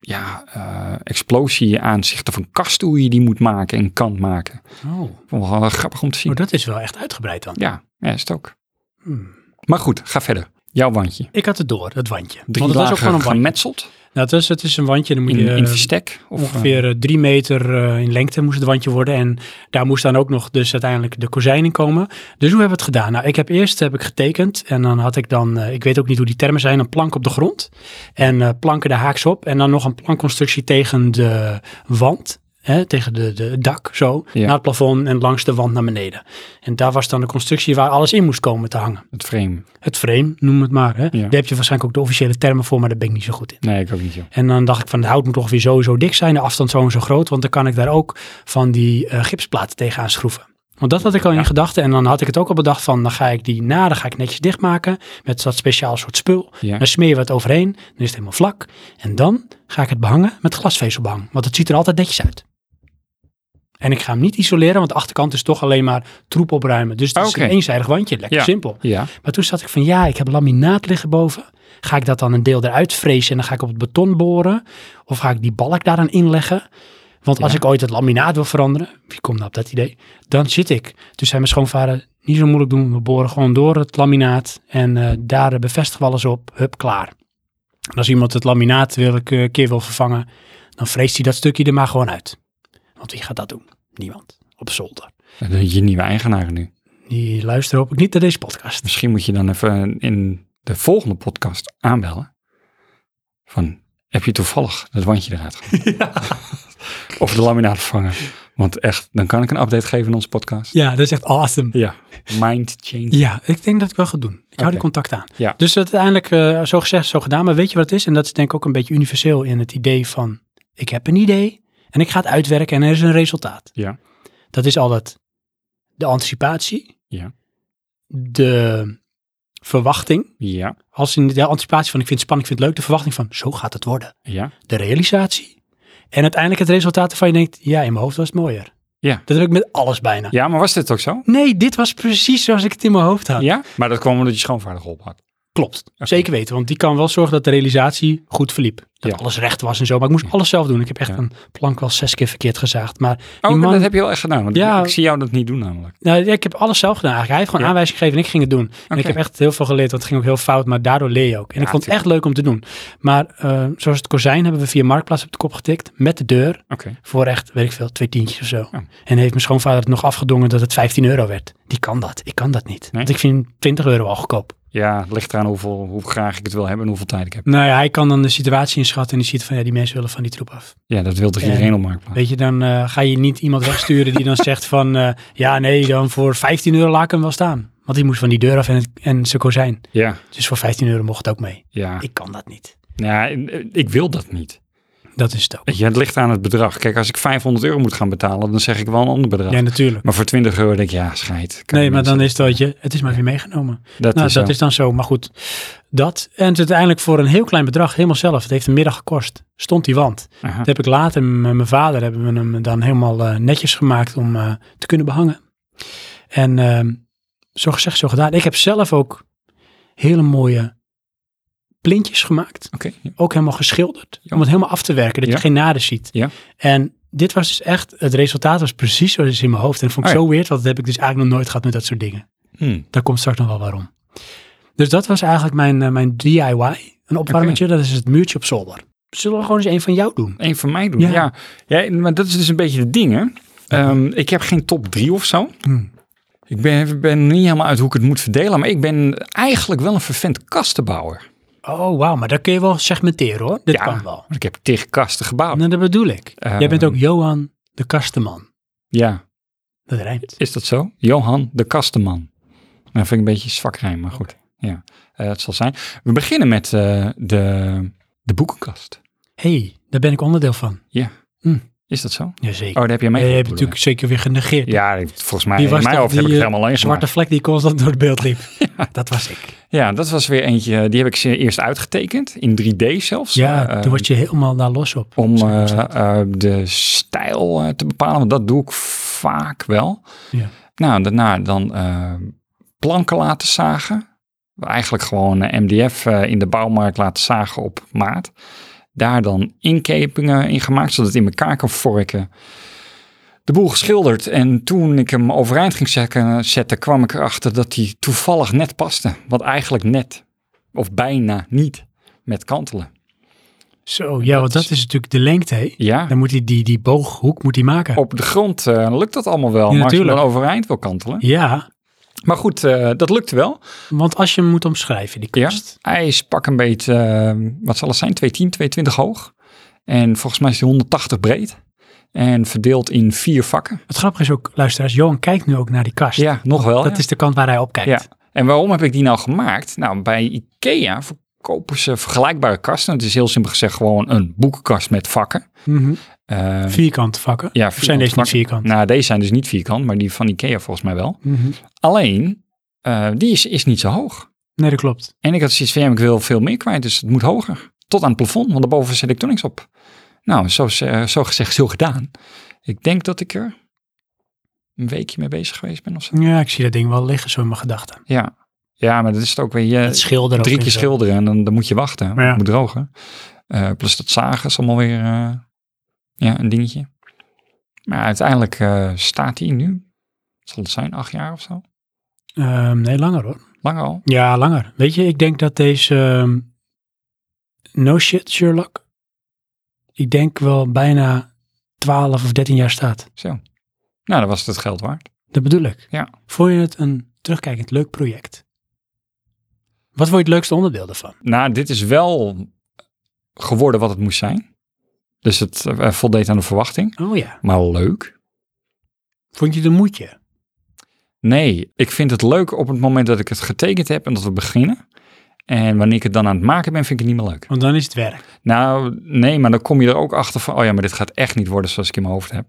Speaker 1: ja, eh, explosie aanzichten van kasten, hoe je die moet maken en kan maken.
Speaker 2: Oh.
Speaker 1: Vond ik wel eh, grappig om te zien.
Speaker 2: Oh, dat is wel echt uitgebreid dan.
Speaker 1: Ja, ja, is het ook.
Speaker 2: Hmm.
Speaker 1: Maar goed, ga verder. Jouw wandje.
Speaker 2: Ik had het door, dat wandje.
Speaker 1: Drie
Speaker 2: Want het was
Speaker 1: lagen
Speaker 2: ook gewoon een wandje.
Speaker 1: gemetseld
Speaker 2: Nou, het, is, het is een wandje, dan moet
Speaker 1: in,
Speaker 2: je
Speaker 1: in
Speaker 2: eh,
Speaker 1: verstek. Of, eh,
Speaker 2: ongeveer eh, drie meter eh, in lengte moest het wandje worden. En daar moest dan ook nog dus uiteindelijk de kozijn in komen. Dus hoe hebben we het gedaan? Nou, ik heb eerst heb ik getekend en dan had ik dan, eh, ik weet ook niet hoe die termen zijn, een plank op de grond. En eh, planken daar haaks op en dan nog een plankconstructie tegen de wand. Hè, tegen de, de het dak zo,
Speaker 1: Ja.
Speaker 2: naar het plafond en langs de wand naar beneden. En daar was dan de constructie waar alles in moest komen te hangen.
Speaker 1: het frame.
Speaker 2: het frame, noem het maar. Hè?
Speaker 1: Ja.
Speaker 2: Daar heb je waarschijnlijk ook de officiële termen voor, maar daar ben ik niet zo goed in.
Speaker 1: Nee, ik ook niet zo.
Speaker 2: En dan dacht ik van, het hout moet ongeveer sowieso dik zijn, de afstand zo en zo groot, want dan kan ik daar ook van die eh, gipsplaten tegenaan schroeven. Want dat had ik al in
Speaker 1: Ja.
Speaker 2: gedachten en dan had ik het ook al bedacht van, dan ga ik die naden ga ik netjes dichtmaken met dat speciaal soort spul.
Speaker 1: Ja.
Speaker 2: Dan smeren we het overheen, dan is het helemaal vlak. En dan ga ik het behangen met glasvezelbehang, want het ziet er altijd netjes uit. En ik ga hem niet isoleren, want de achterkant is toch alleen maar troep opruimen. Dus het is
Speaker 1: Ah, Oké.
Speaker 2: een eenzijdig wandje, lekker
Speaker 1: Ja.
Speaker 2: simpel.
Speaker 1: Ja,
Speaker 2: Maar toen zat ik van ja, ik heb laminaat liggen boven. Ga ik dat dan een deel eruit vrezen en dan ga ik op het beton boren? Of ga ik die balk daaraan inleggen? Want als
Speaker 1: Ja.
Speaker 2: ik ooit het laminaat wil veranderen, wie komt nou op dat idee? Dan zit ik. Toen zei mijn schoonvader, niet zo moeilijk doen, we boren gewoon door het laminaat. En eh, daar eh, bevestigen we alles op, hup, klaar. En als iemand het laminaat wil, ik, eh, een keer wil vervangen, dan vreest hij dat stukje er maar gewoon uit. Want wie gaat dat doen? Niemand. Op zolder.
Speaker 1: je nieuwe eigenaar nu.
Speaker 2: Die luisteren hoop ik niet naar deze podcast.
Speaker 1: Misschien moet je dan even in de volgende podcast aanbellen. Van, heb je toevallig dat wandje eruit gehaald? of de laminaat vervangen. Want echt, dan kan ik een update geven in onze podcast.
Speaker 2: Ja, dat is echt awesome.
Speaker 1: Ja. Mind change.
Speaker 2: Ja, ik denk dat ik wel ga doen. Ik hou die
Speaker 1: Oké.
Speaker 2: contact aan.
Speaker 1: Ja.
Speaker 2: Dus uiteindelijk, eh, zo gezegd, zo gedaan. Maar weet je wat het is? En dat is denk ik ook een beetje universeel in het idee van... ik heb een idee en ik ga het uitwerken en er is een resultaat.
Speaker 1: Ja.
Speaker 2: Dat is altijd de anticipatie.
Speaker 1: Ja.
Speaker 2: De verwachting.
Speaker 1: Ja.
Speaker 2: Als in de anticipatie van ik vind het spannend, ik vind het leuk. De verwachting van zo gaat het worden.
Speaker 1: Ja.
Speaker 2: De realisatie. En uiteindelijk het resultaat waarvan je denkt... ja, in mijn hoofd was het mooier.
Speaker 1: Ja.
Speaker 2: Dat heb ik met alles bijna.
Speaker 1: Ja, maar was dit ook zo?
Speaker 2: Nee, dit was precies zoals ik het in mijn hoofd had.
Speaker 1: Ja? Maar dat kwam omdat je schoonvader geholpen had.
Speaker 2: Klopt. Zeker weten, want die kan wel zorgen dat de realisatie goed verliep. Dat
Speaker 1: Ja.
Speaker 2: alles recht was en zo, maar ik moest alles zelf doen. Ik heb echt
Speaker 1: Ja.
Speaker 2: een plank wel zes keer verkeerd gezaagd. Maar
Speaker 1: Oh,
Speaker 2: die man,
Speaker 1: dat heb je wel echt gedaan. Want
Speaker 2: Ja.
Speaker 1: ik zie jou dat niet doen namelijk.
Speaker 2: nou, ja, ik heb alles zelf gedaan eigenlijk. Hij heeft gewoon
Speaker 1: Ja.
Speaker 2: aanwijzingen gegeven en ik ging het doen. En ik
Speaker 1: Oké.
Speaker 2: heb echt heel veel geleerd, want het ging ook heel fout, maar daardoor leer je ook. En ik
Speaker 1: Ja,
Speaker 2: vond het echt leuk om te doen. Maar eh, zoals het kozijn hebben we via Marktplaats op de kop getikt, met de deur,
Speaker 1: Oké.
Speaker 2: voor echt, weet ik veel, twee tientjes of zo.
Speaker 1: Ja.
Speaker 2: En heeft mijn schoonvader het nog afgedongen dat het 15 euro werd. Die kan dat, ik kan dat niet. Want ik vind 20 euro al goedkoop.
Speaker 1: Ja, het ligt eraan hoeveel, hoe graag ik het wil hebben en hoeveel tijd ik heb.
Speaker 2: Nou ja, hij kan dan de situatie inschatten en die ziet van ja, die mensen willen van die troep af.
Speaker 1: Ja, dat wil toch
Speaker 2: En-
Speaker 1: iedereen op marktplaats?
Speaker 2: Weet je, dan eh, ga je niet iemand wegsturen die dan zegt van eh, ja, nee, dan voor 15 euro laat ik hem wel staan. Want die moest van die deur af en, het, en zijn kozijn.
Speaker 1: Ja,
Speaker 2: Dus voor 15 euro mocht het ook mee.
Speaker 1: ja.
Speaker 2: Ik kan dat niet.
Speaker 1: ja ik, ik wil dat niet.
Speaker 2: Dat is het ook.
Speaker 1: Weet je, het ligt aan het bedrag. Kijk, als ik 500 euro moet gaan betalen, dan zeg ik wel een ander bedrag.
Speaker 2: Ja, natuurlijk.
Speaker 1: Maar voor 20 euro denk ik, ja, scheid. Kan
Speaker 2: Nee, maar
Speaker 1: mensen-
Speaker 2: dan is het dat je, het is maar weer meegenomen.
Speaker 1: Dat
Speaker 2: nou,
Speaker 1: is
Speaker 2: dat
Speaker 1: zo.
Speaker 2: is dan zo. Maar goed, dat. En het is uiteindelijk voor een heel klein bedrag, helemaal zelf. Het heeft een middag gekost. Stond die wand.
Speaker 1: Aha.
Speaker 2: Dat heb ik later met mijn vader hebben we hem dan helemaal eh, netjes gemaakt om eh, te kunnen behangen. En ehm, zo gezegd, zo gedaan. Ik heb zelf ook hele mooie plintjes gemaakt.
Speaker 1: Oké, ja.
Speaker 2: Ook helemaal geschilderd.
Speaker 1: Ja.
Speaker 2: Om het helemaal af te werken, dat
Speaker 1: Ja.
Speaker 2: je geen naden ziet.
Speaker 1: Ja.
Speaker 2: En dit was dus echt, het resultaat was precies zoals het is in mijn hoofd. En dat vond ik
Speaker 1: Oh ja.
Speaker 2: zo weird, want dat heb ik dus eigenlijk nog nooit gehad met dat soort dingen.
Speaker 1: Hm.
Speaker 2: Daar komt straks nog wel waarom. Dus dat was eigenlijk mijn, eh, mijn DIY. Een opwarmetje, dat is het muurtje op zolder. Zullen we gewoon eens een van jou doen?
Speaker 1: Eén van mij doen.
Speaker 2: Ja.
Speaker 1: Ja. Ja. maar dat is dus een beetje de ding, hè. Ehm, ik heb geen top 3 of zo.
Speaker 2: Hmm.
Speaker 1: Ik ben, ben niet helemaal uit hoe ik het moet verdelen, maar ik ben eigenlijk wel een vervent kastenbouwer.
Speaker 2: Oh, wauw, maar dat kun je wel segmenteren hoor. Dit
Speaker 1: Ja.
Speaker 2: kan wel.
Speaker 1: Want ik heb tegen kasten gebouwd.
Speaker 2: Nou, dat bedoel ik. Jij
Speaker 1: Ehm.
Speaker 2: bent ook Johan de Kastenman.
Speaker 1: Ja,
Speaker 2: Dat rijmt.
Speaker 1: is dat zo? Johan de Kastenman. Nou, vind ik een beetje zwakrijm, maar goed. Ja, Eh, het zal zijn. We beginnen met eh, de, de boekenkast.
Speaker 2: Hé, hey, daar ben ik onderdeel van.
Speaker 1: Ja.
Speaker 2: Hm.
Speaker 1: Is dat zo? Oh,
Speaker 2: Jazeker.
Speaker 1: daar heb je
Speaker 2: Jij
Speaker 1: mee.
Speaker 2: hebt natuurlijk zeker weer genegeerd.
Speaker 1: Ja, ik- volgens mij,
Speaker 2: Wie
Speaker 1: in
Speaker 2: was
Speaker 1: mijn
Speaker 2: dat
Speaker 1: hoofd heb ik
Speaker 2: die,
Speaker 1: het
Speaker 2: eh,
Speaker 1: helemaal alleen
Speaker 2: Zwarte vlek die constant door het beeld liep. Dat was ik.
Speaker 1: Ja, dat was weer eentje. eh, Die heb ik ze eerst uitgetekend. In 3D zelfs.
Speaker 2: Ja,
Speaker 1: Eh,
Speaker 2: toen word je helemaal daar los op.
Speaker 1: Om
Speaker 2: Zo
Speaker 1: eh,
Speaker 2: is dat.
Speaker 1: eh, de stijl eh, te bepalen. Want dat doe ik vaak wel.
Speaker 2: Ja.
Speaker 1: Nou, daarna dan eh, planken laten zagen. Eigenlijk gewoon eh, MDF eh, in de bouwmarkt laten zagen op maat. Daar dan inkepingen in gemaakt, zodat het in elkaar kan vorken. De boel geschilderd. En toen ik hem overeind ging zetten, zetten kwam ik erachter dat hij toevallig net paste. Wat eigenlijk net, of bijna niet, met kantelen.
Speaker 2: Zo, ja, want
Speaker 1: dat
Speaker 2: dat is natuurlijk de lengte. hè?
Speaker 1: Ja,
Speaker 2: Dan moet hij die, die booghoek moet hij maken.
Speaker 1: op de grond eh, lukt dat allemaal wel.
Speaker 2: Ja,
Speaker 1: maar als je hem dan
Speaker 2: natuurlijk.
Speaker 1: overeind wil kantelen.
Speaker 2: Ja,
Speaker 1: Maar goed, eh, dat lukte wel.
Speaker 2: want als je hem moet omschrijven, die
Speaker 1: Ja,
Speaker 2: kast.
Speaker 1: hij is pak een beetje, eh, wat zal het zijn, 210, 220 hoog. En volgens mij is hij 180 breed. En verdeeld in vier vakken.
Speaker 2: Het grappige is ook, luisteraars, Johan kijkt nu ook naar die kast.
Speaker 1: Ja, nog wel.
Speaker 2: Dat
Speaker 1: ja.
Speaker 2: is de kant waar hij op kijkt.
Speaker 1: Ja. En waarom heb ik die nou gemaakt? Nou, bij IKEA verkopen ze vergelijkbare kasten. Het is heel simpel gezegd gewoon een boekenkast met vakken.
Speaker 2: Mhm.
Speaker 1: Eh,
Speaker 2: Vierkant vakken?
Speaker 1: ja,
Speaker 2: Of zijn deze niet
Speaker 1: vakken.
Speaker 2: vierkant?
Speaker 1: Nou, deze zijn dus niet vierkant, maar die van IKEA volgens mij wel.
Speaker 2: Mhm.
Speaker 1: Alleen, eh, die is, is niet zo hoog.
Speaker 2: Nee, dat klopt.
Speaker 1: En ik had zoiets van, ja, maar ik wil veel meer kwijt, dus het moet hoger. Tot aan het plafond, want daarboven zet ik toch niks op. Nou, zo, ze- zo gezegd, zo gedaan. Ik denk dat ik er een weekje mee bezig geweest ben of zo.
Speaker 2: Ja, ik zie dat ding wel liggen zo in mijn gedachten.
Speaker 1: Ja, ja maar dat is het ook weer... je-
Speaker 2: Het schilderen. ook
Speaker 1: drie
Speaker 2: en
Speaker 1: keer
Speaker 2: zo.
Speaker 1: schilderen en dan, dan moet je wachten.
Speaker 2: Maar ja.
Speaker 1: Het moet drogen. Eh, plus dat zagen is allemaal weer eh, ja, een dingetje. Maar uiteindelijk eh, staat hij nu, zal het zijn, acht jaar of zo?
Speaker 2: Ehm, nee, langer hoor.
Speaker 1: Lang al.
Speaker 2: Ja, langer. Weet je, ik denk dat deze ehm, No Shit Sherlock, ik denk wel bijna 12 of 13 jaar staat.
Speaker 1: Zo. Nou, dat was het geld waard.
Speaker 2: Dat bedoel ik.
Speaker 1: Ja.
Speaker 2: Vond je het een terugkijkend leuk project? Wat vond je het leukste onderdeel ervan?
Speaker 1: Nou, dit is wel geworden wat het moest zijn. Dus het eh, voldeed aan de verwachting.
Speaker 2: Oh ja.
Speaker 1: Maar leuk?
Speaker 2: Vond je het een moedje?
Speaker 1: Nee, ik vind het leuk op het moment dat ik het getekend heb en dat we beginnen. En wanneer ik het dan aan het maken ben, vind ik het niet meer leuk.
Speaker 2: Want dan is het werk.
Speaker 1: Nou, nee, maar dan kom je er ook achter van, oh ja, maar dit gaat echt niet worden zoals ik in mijn hoofd heb.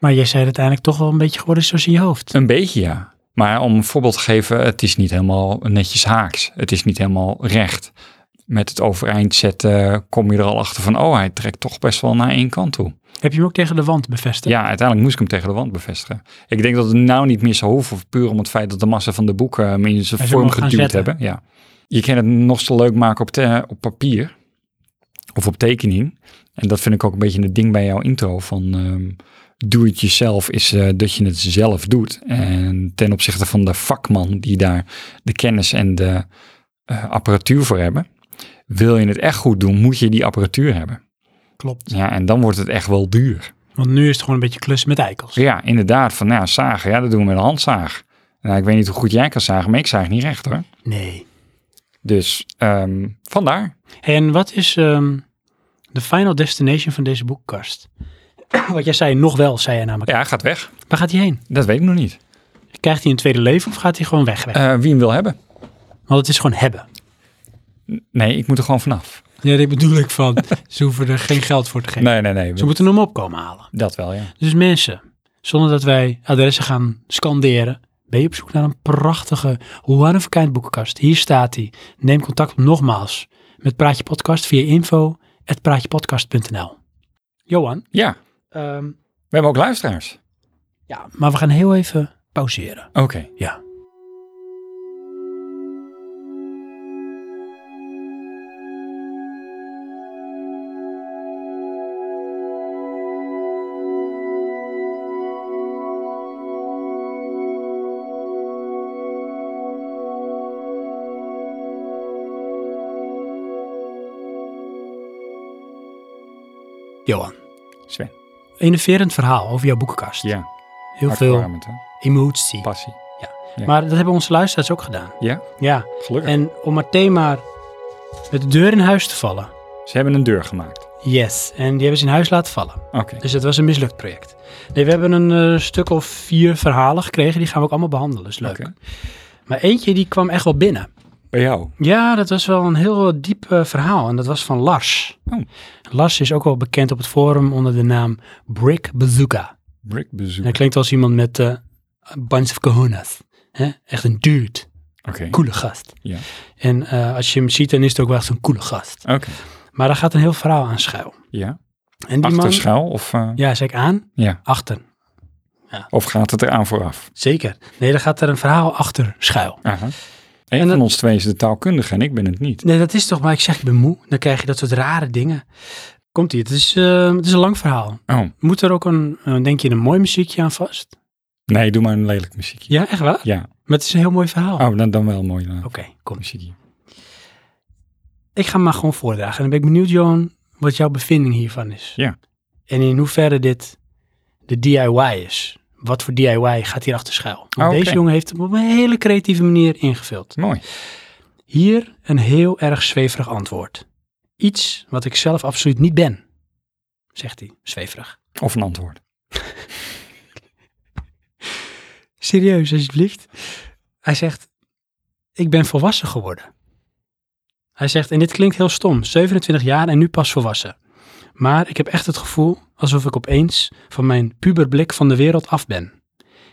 Speaker 2: Maar jij zei dat uiteindelijk toch wel een beetje geworden is zoals in je hoofd.
Speaker 1: Een beetje ja. Maar om een voorbeeld te geven, het is niet helemaal netjes haaks. Het is niet helemaal recht. Met het overeind zetten kom je er al achter van, oh, hij trekt toch best wel naar één kant toe.
Speaker 2: Heb je hem ook tegen de wand bevestigd?
Speaker 1: Ja, uiteindelijk moest ik hem tegen de wand bevestigen. Ik denk dat het nou niet meer zo hoeft, puur om het feit dat de massa van de boeken hem in zijn
Speaker 2: Hij zou
Speaker 1: vorm
Speaker 2: hem gaan
Speaker 1: geduwd
Speaker 2: zetten.
Speaker 1: hebben. Ja. je kan het nog zo leuk maken op, te- op papier of op tekening. En dat vind ik ook een beetje het ding bij jouw intro van ehm doe het jezelf is eh, dat je het zelf doet. En ten opzichte van de vakman die daar de kennis en de eh, apparatuur voor hebben, wil je het echt goed doen, moet je die apparatuur hebben.
Speaker 2: Klopt.
Speaker 1: Ja, en dan wordt het echt wel duur.
Speaker 2: Want nu is het gewoon een beetje klussen met eikels.
Speaker 1: Ja, inderdaad. Van nou, zagen, ja, dat doen we met een handzaag. Nou, ik weet niet hoe goed jij kan zagen, maar ik zaag niet recht hoor.
Speaker 2: Nee.
Speaker 1: Dus ehm, vandaar.
Speaker 2: Hey, en wat is ehm, de final destination van deze boekkast? Wat jij zei, nog wel, zei jij namelijk.
Speaker 1: Ja, hij gaat weg.
Speaker 2: Waar gaat hij heen?
Speaker 1: Dat weet ik nog niet.
Speaker 2: Krijgt hij een tweede leven of gaat hij gewoon weg? weg?
Speaker 1: Eh, wie hem wil hebben?
Speaker 2: Want het is gewoon hebben.
Speaker 1: Nee, ik moet er gewoon vanaf.
Speaker 2: Ja, dat bedoel ik van. ze hoeven er geen geld voor te geven.
Speaker 1: Nee, nee, nee.
Speaker 2: Ze moeten hem opkomen halen.
Speaker 1: Dat wel, ja.
Speaker 2: Dus mensen, zonder dat wij adressen gaan scanderen, ben je op zoek naar een prachtige one-of-kind boekenkast. Hier staat hij. Neem contact op nogmaals met Praatje Podcast via info.praatjepodcast.nl Johan,
Speaker 1: Ja,
Speaker 2: ehm,
Speaker 1: we hebben ook luisteraars.
Speaker 2: ja, maar we gaan heel even pauzeren.
Speaker 1: Oké.
Speaker 2: Ja. Johan,
Speaker 1: Sven.
Speaker 2: innoverend verhaal over jouw boekenkast.
Speaker 1: Ja,
Speaker 2: heel veel
Speaker 1: hartverwarmend, hè?
Speaker 2: emotie.
Speaker 1: Passie. Ja.
Speaker 2: Maar dat hebben onze luisteraars ook gedaan.
Speaker 1: Ja,
Speaker 2: Ja,
Speaker 1: gelukkig.
Speaker 2: en om meteen maar met de deur in huis te vallen.
Speaker 1: Ze hebben een deur gemaakt.
Speaker 2: Yes, en die hebben ze in huis laten vallen.
Speaker 1: Oké.
Speaker 2: Dus dat was een mislukt project. Nee, we hebben een eh, stuk of vier verhalen gekregen. Die gaan we ook allemaal behandelen. is leuk.
Speaker 1: Oké.
Speaker 2: Maar eentje die kwam echt wel binnen.
Speaker 1: Bij jou.
Speaker 2: Ja, dat was wel een heel eh, diep eh, verhaal. En dat was van Lars.
Speaker 1: Oh.
Speaker 2: Lars is ook wel bekend op het forum onder de naam Brick Bazooka.
Speaker 1: Brick
Speaker 2: En
Speaker 1: bezoek.
Speaker 2: hij klinkt als iemand met eh, een bunch of cojones. hè? Echt een dude.
Speaker 1: Oké.
Speaker 2: Coole gast.
Speaker 1: Ja.
Speaker 2: En eh, als je hem ziet, dan is het ook wel echt een coole gast.
Speaker 1: Oké.
Speaker 2: Maar daar gaat een heel verhaal aan schuil.
Speaker 1: Ja.
Speaker 2: En die man,
Speaker 1: Achter schuil of, eh,
Speaker 2: ja, zeg ik aan,
Speaker 1: ja.
Speaker 2: achter.
Speaker 1: of gaat het eraan vooraf?
Speaker 2: Zeker. Nee, daar gaat er een verhaal achter schuil.
Speaker 1: Aha. Een
Speaker 2: En
Speaker 1: van
Speaker 2: dat-
Speaker 1: ons twee is de taalkundige en ik ben het niet.
Speaker 2: Nee, dat is toch, maar ik zeg, ik ben moe. Dan krijg je dat soort rare dingen. Komt ie, het is, eh, het is een lang verhaal.
Speaker 1: Oh,
Speaker 2: Moet er ook een, eh, denk je, een mooi muziekje aan vast?
Speaker 1: nee, doe maar een lelijk muziekje.
Speaker 2: Ja, echt waar?
Speaker 1: Ja,
Speaker 2: Maar het is een heel mooi verhaal. Oké,
Speaker 1: oh, dan, dan wel mooi. eh,
Speaker 2: kom eens.
Speaker 1: muziekje.
Speaker 2: Ik ga hem maar gewoon voordragen. En dan ben ik benieuwd, Johan, wat jouw bevinding hiervan is.
Speaker 1: Ja.
Speaker 2: En in hoeverre dit de DIY is. Wat voor DIY gaat hier achter schuil? Want
Speaker 1: Ah, Oké.
Speaker 2: deze jongen heeft hem op een hele creatieve manier ingevuld.
Speaker 1: Mooi.
Speaker 2: Hier een heel erg zweverig antwoord. Iets wat ik zelf absoluut niet ben, zegt hij, zweverig.
Speaker 1: Of een antwoord.
Speaker 2: Serieus, alsjeblieft. Hij zegt, ik ben volwassen geworden. Hij zegt, en dit klinkt heel stom, 27 jaar en nu pas volwassen. Maar ik heb echt het gevoel alsof ik opeens van mijn puberblik van de wereld af ben.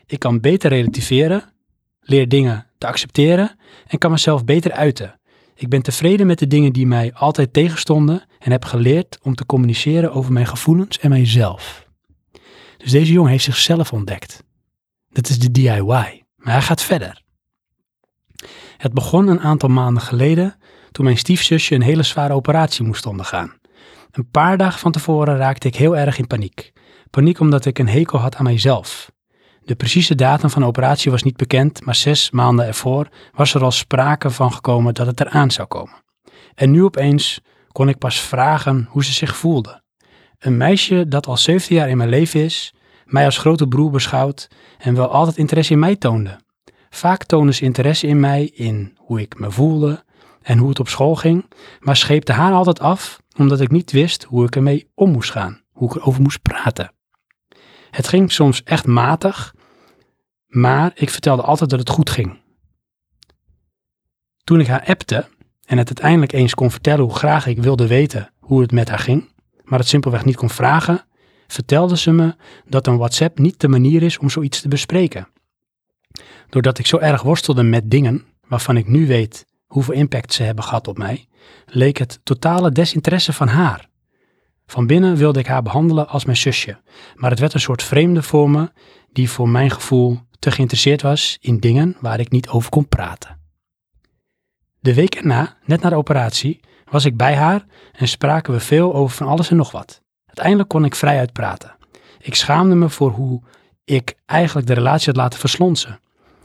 Speaker 2: Ik kan beter relativeren, leer dingen te accepteren en kan mezelf beter uiten. Ik ben tevreden met de dingen die mij altijd tegenstonden en heb geleerd om te communiceren over mijn gevoelens en mijzelf. Dus deze jongen heeft zichzelf ontdekt. Dat is de DIY. Maar hij gaat verder. Het begon een aantal maanden geleden toen mijn stiefzusje een hele zware operatie moest ondergaan. Een paar dagen van tevoren raakte ik heel erg in paniek. Paniek omdat ik een hekel had aan mijzelf. De precieze datum van de operatie was niet bekend, maar zes maanden ervoor was er al sprake van gekomen dat het eraan zou komen. En nu opeens kon ik pas vragen hoe ze zich voelde. Een meisje dat al 17 jaar in mijn leven is, mij als grote broer beschouwt en wel altijd interesse in mij toonde. Vaak toonden ze interesse in mij in hoe ik me voelde en hoe het op school ging, maar scheepte haar altijd af omdat ik niet wist hoe ik ermee om moest gaan, hoe ik erover moest praten. Het ging soms echt matig, maar ik vertelde altijd dat het goed ging. Toen ik haar appte en het uiteindelijk eens kon vertellen hoe graag ik wilde weten hoe het met haar ging, maar het simpelweg niet kon vragen, vertelde ze me dat een WhatsApp niet de manier is om zoiets te bespreken. Doordat ik zo erg worstelde met dingen waarvan ik nu weet hoeveel impact ze hebben gehad op mij, leek het totale desinteresse van haar. Van binnen wilde ik haar behandelen als mijn zusje, maar het werd een soort vreemde voor me die voor mijn gevoel te geïnteresseerd was in dingen waar ik niet over kon praten. De week erna, net na de operatie, was ik bij haar en spraken we veel over van alles en nog wat. Uiteindelijk kon ik vrijuit praten. Ik schaamde me voor hoe ik eigenlijk de relatie had laten verslonsen.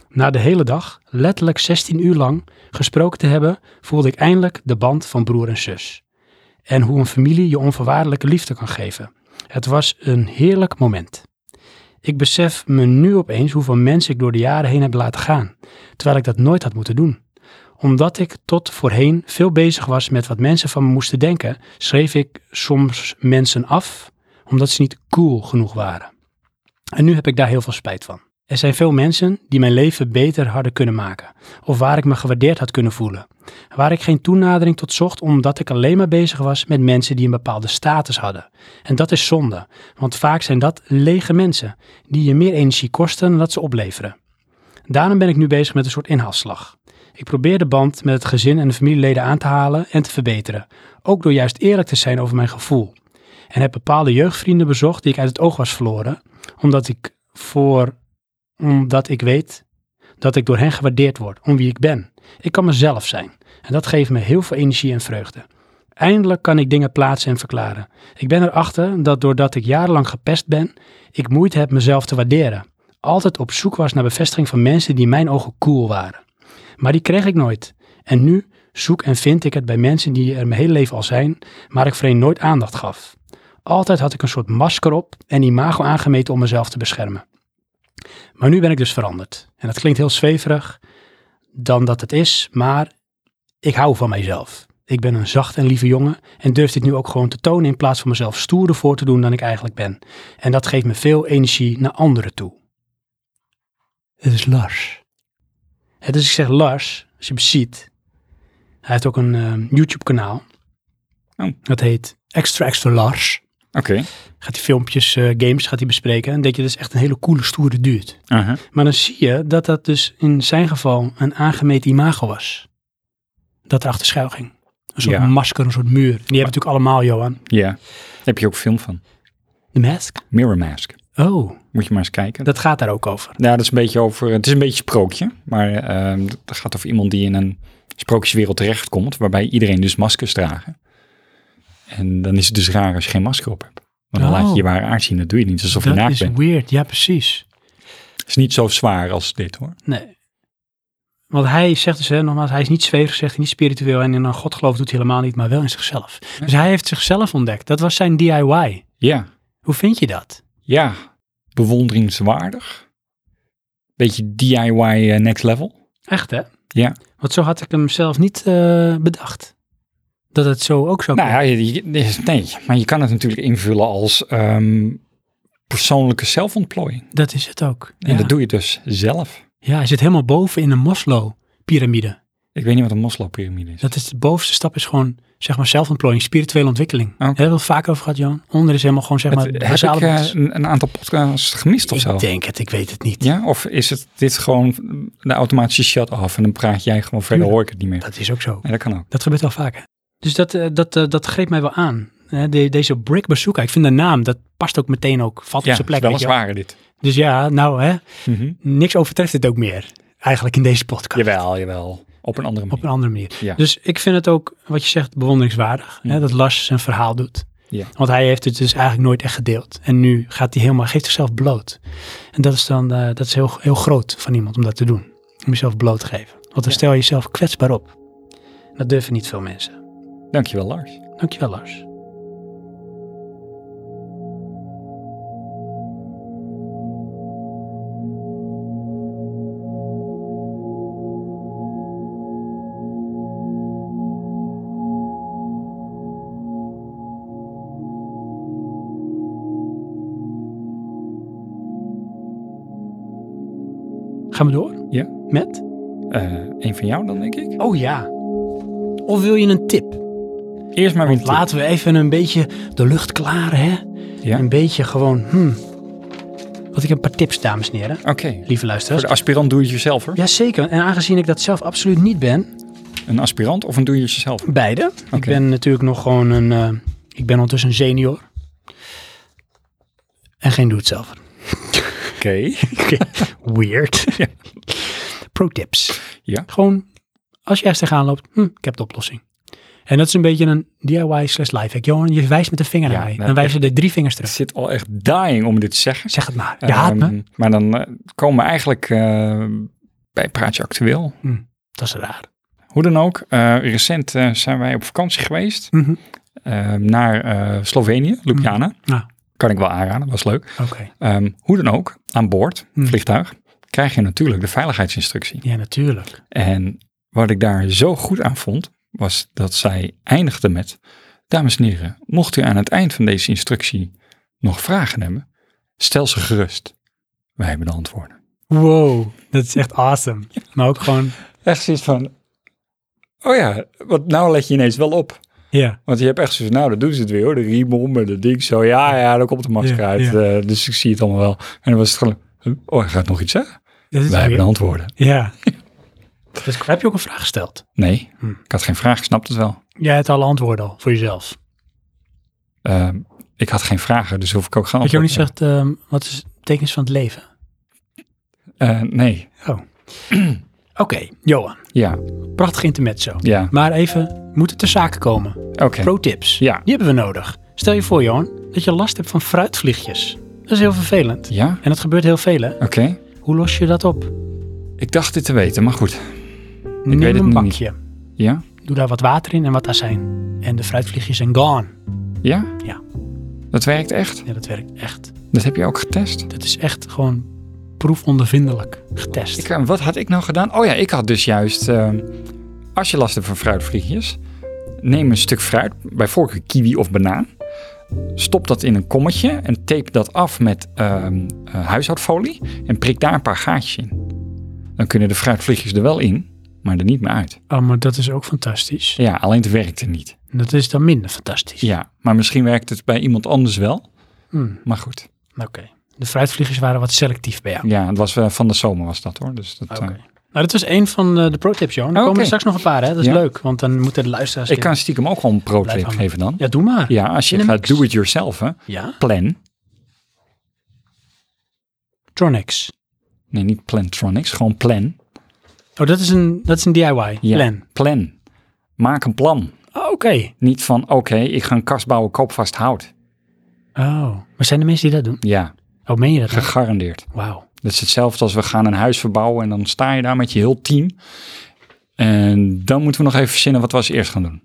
Speaker 2: Na de hele dag, letterlijk 16 uur lang, gesproken te hebben, voelde ik eindelijk de band van broer en zus. En hoe een familie je onvoorwaardelijke liefde kan geven. Het was een heerlijk moment. Ik besef me nu opeens hoeveel mensen ik door de jaren heen heb laten gaan, terwijl ik dat nooit had moeten doen. Omdat ik tot voorheen veel bezig was met wat mensen van me moesten denken, schreef ik soms mensen af omdat ze niet cool genoeg waren. En nu heb ik daar heel veel spijt van. Er zijn veel mensen die mijn leven beter hadden kunnen maken, of waar ik me gewaardeerd had kunnen voelen, waar ik geen toenadering tot zocht omdat ik alleen maar bezig was met mensen die een bepaalde status hadden. En dat is zonde, want vaak zijn dat lege mensen die je meer energie kosten dan dat ze opleveren. Daarom ben ik nu bezig met een soort inhaalslag. Ik probeer de band met het gezin en de familieleden aan te halen en te verbeteren, ook door juist eerlijk te zijn over mijn gevoel. En heb bepaalde jeugdvrienden bezocht die ik uit het oog was verloren, omdat ik voor omdat ik weet dat ik door hen gewaardeerd word om wie ik ben. Ik kan mezelf zijn en dat geeft me heel veel energie en vreugde. Eindelijk kan ik dingen plaatsen en verklaren. Ik ben erachter dat doordat ik jarenlang gepest ben, ik moeite heb mezelf te waarderen. Altijd op zoek was naar bevestiging van mensen die in mijn ogen cool waren. Maar die kreeg ik nooit. En nu zoek en vind ik het bij mensen die er mijn hele leven al zijn, maar ik vreemd nooit aandacht gaf. Altijd had ik een soort masker op en imago aangemeten om mezelf te beschermen. Maar nu ben ik dus veranderd. En dat klinkt heel zweverig dan dat het is, maar ik hou van mijzelf. Ik ben een zacht en lieve jongen en durf dit nu ook gewoon te tonen in plaats van mezelf stoerder voor te doen dan ik eigenlijk ben. En dat geeft me veel energie naar anderen toe. Het is Lars. Het is, dus ik zeg Lars, als je hem ziet. Hij heeft ook een eh, YouTube-kanaal.
Speaker 1: Oh.
Speaker 2: Dat heet Extra Extra Lars.
Speaker 1: Oké.
Speaker 2: Gaat hij filmpjes, eh, games gaat hij bespreken. En denk je, dat is echt een hele coole, stoere dude.
Speaker 1: Aha.
Speaker 2: Maar dan zie je dat dat dus in zijn geval een aangemeten imago was. Dat erachter schuil ging. Een soort
Speaker 1: Ja.
Speaker 2: masker, een soort muur. Die hebben we natuurlijk allemaal, Johan.
Speaker 1: Ja. Daar heb je ook film van.
Speaker 2: De mask?
Speaker 1: Mirror Mask.
Speaker 2: Oh,
Speaker 1: Moet je maar eens kijken.
Speaker 2: dat gaat daar ook over.
Speaker 1: Nou, dat is een beetje over. Het is een beetje sprookje, maar ehm dat gaat over iemand die in een sprookjeswereld terechtkomt, waarbij iedereen dus maskers dragen. En dan is het dus raar als je geen masker op hebt. Want dan
Speaker 2: Oh.
Speaker 1: laat je je ware aard zien. Dat doe je niet alsof je
Speaker 2: dat
Speaker 1: naakt
Speaker 2: is
Speaker 1: bent.
Speaker 2: weird. Ja, precies.
Speaker 1: Het is niet zo zwaar als dit hoor.
Speaker 2: Nee. Want hij zegt dus, hè, nogmaals, hij is niet zweverig, zegt hij, niet spiritueel. En in een godgeloof doet hij helemaal niet, maar wel in zichzelf. Dus hij heeft zichzelf ontdekt. Dat was zijn DIY.
Speaker 1: Ja,
Speaker 2: Hoe vind je dat?
Speaker 1: ja. Bewonderingswaardig. Beetje DIY eh, next level.
Speaker 2: Echt, hè?
Speaker 1: Ja.
Speaker 2: Want zo had ik hem zelf niet eh, bedacht. Dat het zo ook zou
Speaker 1: Nou
Speaker 2: kunnen.
Speaker 1: ja, je- je- nee, maar je kan het natuurlijk invullen als ehm, persoonlijke zelfontplooiing.
Speaker 2: Dat is het ook.
Speaker 1: En
Speaker 2: Ja.
Speaker 1: dat doe je dus zelf.
Speaker 2: ja, hij zit helemaal boven in een Moslow-pyramide.
Speaker 1: Ik weet niet wat een Moslow-pyramide is.
Speaker 2: Dat is de bovenste stap, is gewoon zeg maar zelfontplooiing, spirituele ontwikkeling.
Speaker 1: Oké.
Speaker 2: Daar hebben we het vaker over gehad, Jan. Onder is helemaal gewoon zeg maar
Speaker 1: Oh. Het- heb
Speaker 2: basale
Speaker 1: ik eh,
Speaker 2: behoeftes.
Speaker 1: een, een aantal podcasts gemist of zo?
Speaker 2: Ik denk het, ik weet het niet.
Speaker 1: Ja, of is het dit gewoon de automatische shut-off en dan praat jij gewoon verder,
Speaker 2: Tuurlijk.
Speaker 1: hoor ik het niet meer.
Speaker 2: Dat is ook zo.
Speaker 1: Nee, dat kan ook.
Speaker 2: Dat gebeurt wel vaker. Dus dat, eh, dat, eh, dat greep mij wel aan. Hè, de- deze Brick Bazooka, ik vind de naam, dat past ook meteen ook, valt
Speaker 1: Ja,
Speaker 2: op zijn plek.
Speaker 1: wel
Speaker 2: weet
Speaker 1: eens
Speaker 2: je wel.
Speaker 1: waar dit.
Speaker 2: Dus ja, nou hè,
Speaker 1: Mhm.
Speaker 2: niks overtreft het ook meer. Eigenlijk in deze podcast.
Speaker 1: Jawel, jawel. Op een andere
Speaker 2: Op
Speaker 1: manier.
Speaker 2: een andere manier.
Speaker 1: Ja.
Speaker 2: Dus ik vind het ook, wat je zegt, bewonderingswaardig. Hè, dat Lars zijn verhaal doet.
Speaker 1: Ja.
Speaker 2: Want hij heeft het dus eigenlijk nooit echt gedeeld. En nu gaat hij helemaal, geeft zichzelf bloot. En dat is dan, eh, dat is heel, heel groot van iemand om dat te doen. Om jezelf bloot te geven. Want dan stel je jezelf kwetsbaar op. Dat durven niet veel mensen.
Speaker 1: Dankjewel, Lars.
Speaker 2: Dankjewel Lars. Gaan we door?
Speaker 1: Ja.
Speaker 2: Met?
Speaker 1: Eh een van jou dan, denk ik.
Speaker 2: Oh ja. Of wil je een tip?
Speaker 1: Eerst maar weer een tip.
Speaker 2: Laten we even een beetje de lucht klaren, hè?
Speaker 1: Ja.
Speaker 2: Een beetje gewoon, hmm. Want ik heb een paar tips, dames en heren.
Speaker 1: Oké.
Speaker 2: Lieve
Speaker 1: Voor
Speaker 2: luisteraars.
Speaker 1: de aspirant doe je jezelf hoor.
Speaker 2: Jazeker. En aangezien ik dat zelf absoluut niet ben,
Speaker 1: Een aspirant of een doe je jezelf?
Speaker 2: beide. Ik
Speaker 1: Oké.
Speaker 2: ben natuurlijk nog gewoon een, eh, ik ben ondertussen een senior. En geen doe het zelf.
Speaker 1: Oké.
Speaker 2: Weird. Pro tips.
Speaker 1: Ja.
Speaker 2: Gewoon als je ergens tegenaan loopt, hm, ik heb de oplossing. En dat is een beetje een DIY slash lifehack. Johan, je wijst met de vinger
Speaker 1: Ja,
Speaker 2: naar mij.
Speaker 1: nou,
Speaker 2: Dan wijzen de drie vingers
Speaker 1: Ik
Speaker 2: terug.
Speaker 1: zit al echt dying om dit te zeggen.
Speaker 2: Zeg het maar. Je haat me.
Speaker 1: Ehm, Maar dan eh, komen we eigenlijk eh, bij Praatje Actueel.
Speaker 2: Dat is raar.
Speaker 1: Hoe dan ook, eh, recent eh, zijn wij op vakantie geweest
Speaker 2: Mhm.
Speaker 1: eh, naar eh, Slovenië, Ljubljana.
Speaker 2: Ja.
Speaker 1: Kan ik wel aanraden, was leuk.
Speaker 2: Oké.
Speaker 1: Ehm, hoe dan ook, aan boord,
Speaker 2: Mm.
Speaker 1: vliegtuig, krijg je natuurlijk de veiligheidsinstructie.
Speaker 2: Ja, natuurlijk.
Speaker 1: En wat ik daar zo goed aan vond, was dat zij eindigde met: Dames en heren, mocht u aan het eind van deze instructie nog vragen hebben, stel ze gerust. Wij hebben de antwoorden.
Speaker 2: Wow, dat is echt awesome. Maar ook gewoon,
Speaker 1: Echt zoiets van: Oh ja, wat nou let je ineens wel op.
Speaker 2: ja.
Speaker 1: Want je hebt echt zoiets van, nou, dat doen ze het weer hoor. De riem om en dat ding zo. Ja, ja, dan komt de masker
Speaker 2: Ja,
Speaker 1: uit.
Speaker 2: ja.
Speaker 1: eh, dus ik zie het allemaal wel. En dan was het gewoon, huh, oh, hij gaat nog iets zeggen.
Speaker 2: dat is
Speaker 1: Wij hebben
Speaker 2: weer-
Speaker 1: de antwoorden.
Speaker 2: Ja. Dus heb je ook een vraag gesteld?
Speaker 1: Nee,
Speaker 2: Hm.
Speaker 1: ik had geen vraag, ik snapte het wel.
Speaker 2: Jij hebt alle antwoorden al voor jezelf.
Speaker 1: Ehm, ik had geen vragen, dus hoef ik ook geen
Speaker 2: Dat je ook niet
Speaker 1: antwoord
Speaker 2: zegt, ehm, wat is het betekenis van het leven?
Speaker 1: te hebben. Eh, nee,
Speaker 2: Oh. Oké, Johan.
Speaker 1: ja,
Speaker 2: Prachtig intermezzo.
Speaker 1: ja,
Speaker 2: Maar even, moet het ter zake komen?
Speaker 1: oké.
Speaker 2: Pro-tips.
Speaker 1: Ja.
Speaker 2: Die hebben we nodig. Stel je voor, Johan, dat je last hebt van fruitvliegjes. Dat is heel vervelend.
Speaker 1: Ja,
Speaker 2: En dat gebeurt heel veel, hè?
Speaker 1: oké.
Speaker 2: Hoe los je dat op?
Speaker 1: Ik dacht dit te weten, maar goed.
Speaker 2: Neem
Speaker 1: weet het
Speaker 2: een
Speaker 1: nu
Speaker 2: bakje.
Speaker 1: Ja,
Speaker 2: Doe daar wat water in en wat azijn. En de fruitvliegjes zijn gone.
Speaker 1: ja?
Speaker 2: Ja.
Speaker 1: Dat werkt echt?
Speaker 2: Ja, dat werkt echt.
Speaker 1: Dat heb je ook getest?
Speaker 2: Dat is echt gewoon proefondervindelijk getest.
Speaker 1: Ik, eh, wat had ik nou gedaan? Oh ja, ik had dus juist, ehm, als je last hebt van fruitvliegjes, neem een stuk fruit, bij voorkeur kiwi of banaan. Stop dat in een kommetje en tape dat af met ehm, eh, huishoudfolie en prik daar een paar gaatjes in. Dan kunnen de fruitvliegjes er wel in, maar er niet meer uit.
Speaker 2: Oh, maar dat is ook fantastisch.
Speaker 1: Ja, alleen het werkte niet.
Speaker 2: Dat is dan minder fantastisch.
Speaker 1: Ja, maar misschien werkt het bij iemand anders wel.
Speaker 2: Hmm.
Speaker 1: Maar goed.
Speaker 2: Oké. De fruitvliegers waren wat selectief bij jou.
Speaker 1: Ja, het was eh, van de zomer was dat hoor. Dus dat,
Speaker 2: Oké.
Speaker 1: eh,
Speaker 2: Nou, dat was één van eh, de pro-tips, Johan. Er
Speaker 1: Oh,
Speaker 2: komen
Speaker 1: oké.
Speaker 2: er straks nog een paar, hè? Dat is
Speaker 1: Ja.
Speaker 2: leuk, want dan moeten de luisteraars...
Speaker 1: ik kan stiekem ook gewoon een pro-tip
Speaker 2: Blijf hangen.
Speaker 1: geven dan.
Speaker 2: Ja, doe maar.
Speaker 1: Ja, als je
Speaker 2: In een
Speaker 1: gaat
Speaker 2: mix.
Speaker 1: do it yourself, hè.
Speaker 2: Ja?
Speaker 1: Plan.
Speaker 2: Tronics.
Speaker 1: Nee, niet Plantronics, gewoon plan.
Speaker 2: Oh, dat is een, dat is een DIY.
Speaker 1: Ja,
Speaker 2: Plan.
Speaker 1: Plan. Maak een plan.
Speaker 2: Oh, Oké.
Speaker 1: Niet van, oké, ik ga een kast bouwen, koop vast hout.
Speaker 2: Oh. Maar zijn er mensen die dat doen?
Speaker 1: Ja,
Speaker 2: Oh, meen je dat? nou?
Speaker 1: gegarandeerd.
Speaker 2: Wauw.
Speaker 1: Dat is hetzelfde als we gaan een huis verbouwen en dan sta je daar met je heel team. En dan moeten we nog even verzinnen wat we als eerst gaan doen.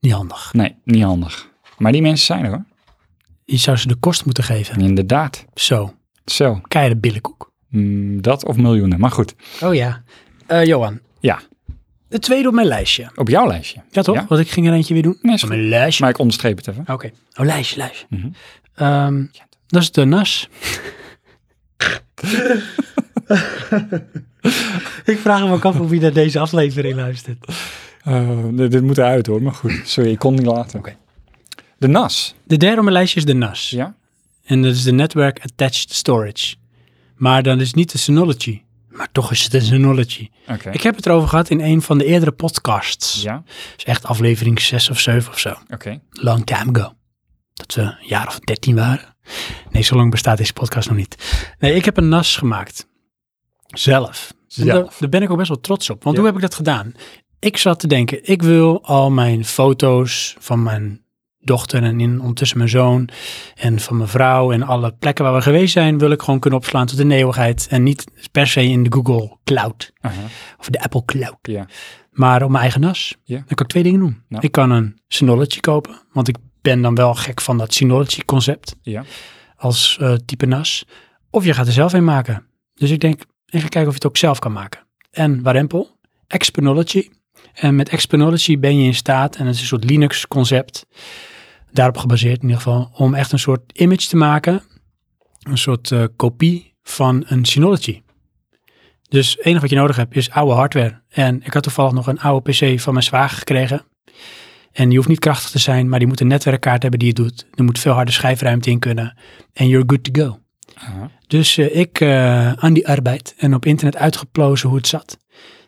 Speaker 2: Niet handig.
Speaker 1: Nee, niet handig. Maar die mensen zijn er hoor.
Speaker 2: Je zou ze de kost moeten geven.
Speaker 1: Inderdaad.
Speaker 2: Zo.
Speaker 1: Zo,
Speaker 2: Keiharde billenkoek.
Speaker 1: mm, dat of miljoenen. Maar goed,
Speaker 2: Oh ja. Eh, Johan,
Speaker 1: ja,
Speaker 2: de tweede op mijn lijstje.
Speaker 1: op jouw lijstje.
Speaker 2: Ja, toch?
Speaker 1: Ja.
Speaker 2: Want ik ging er eentje weer doen.
Speaker 1: Nee, is
Speaker 2: Op
Speaker 1: goed.
Speaker 2: mijn lijstje.
Speaker 1: Maar ik onderstreep het even.
Speaker 2: Oké. Oh, lijstje, lijstje.
Speaker 1: Mhm.
Speaker 2: Ehm, dat is de nas. ik vraag me ook af of je naar deze aflevering luistert.
Speaker 1: Eh, nee, dit moet eruit hoor, maar goed. Sorry, ik kon niet laten. De NAS.
Speaker 2: De derde op mijn lijstje is de nas.
Speaker 1: Ja?
Speaker 2: En dat is de Network Attached Storage. Maar dan is niet de Synology. Maar toch is het een Synology.
Speaker 1: Oké.
Speaker 2: Ik heb het erover gehad in een van de eerdere podcasts.
Speaker 1: Ja?
Speaker 2: Dus echt aflevering 6 of 7 of zo.
Speaker 1: Oké.
Speaker 2: long time ago. Dat we een jaar of dertien waren. Nee, zo lang bestaat deze podcast nog niet. Nee, ik heb een NAS gemaakt. Zelf. En
Speaker 1: Zelf.
Speaker 2: Daar, daar ben ik ook best wel trots op. Want
Speaker 1: Ja.
Speaker 2: hoe heb ik dat gedaan? Ik zat te denken, ik wil al mijn foto's van mijn dochter en in, ondertussen mijn zoon en van mijn vrouw en alle plekken waar we geweest zijn, wil ik gewoon kunnen opslaan tot in de eeuwigheid en niet per se in de Google Cloud
Speaker 1: Aha.
Speaker 2: of de Apple Cloud
Speaker 1: Ja.
Speaker 2: maar op mijn eigen nas.
Speaker 1: Ja.
Speaker 2: Dan kan ik twee dingen doen.
Speaker 1: Nou.
Speaker 2: Ik kan een Synology kopen, want ik ben dan wel gek van dat Synology concept
Speaker 1: Ja.
Speaker 2: als eh, type nas. Of je gaat er zelf een maken. Dus ik denk, ik ga kijken of je het ook zelf kan maken. En waarempel, Exponology. En met Exponology ben je in staat, en het is een soort Linux concept, daarop gebaseerd in ieder geval, om echt een soort image te maken, een soort eh, kopie van een Synology. Dus het enige wat je nodig hebt is oude hardware. En ik had toevallig nog een oude PC van mijn zwager gekregen. En die hoeft niet krachtig te zijn, maar die moet een netwerkkaart hebben die het doet. Er moet veel harde schijfruimte in kunnen. En you're good to go.
Speaker 1: Aha.
Speaker 2: Dus eh, ik eh, aan die arbeid en op internet uitgeplozen hoe het zat.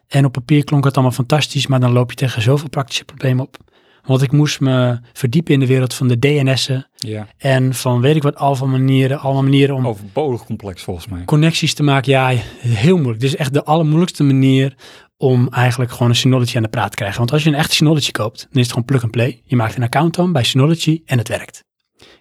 Speaker 2: En op papier klonk het allemaal fantastisch, maar dan loop je tegen zoveel praktische problemen op. Want ik moest me verdiepen in de wereld van de DNS'en
Speaker 1: Ja.
Speaker 2: en van weet ik wat, al van manieren, allemaal manieren om
Speaker 1: Overbodig complex volgens mij.
Speaker 2: connecties te maken. Ja, heel moeilijk. Dit is echt de allermoeilijkste manier om eigenlijk gewoon een Synology aan de praat te krijgen. Want als je een echt Synology koopt, dan is het gewoon plug and play. Je maakt een account aan bij Synology en het werkt.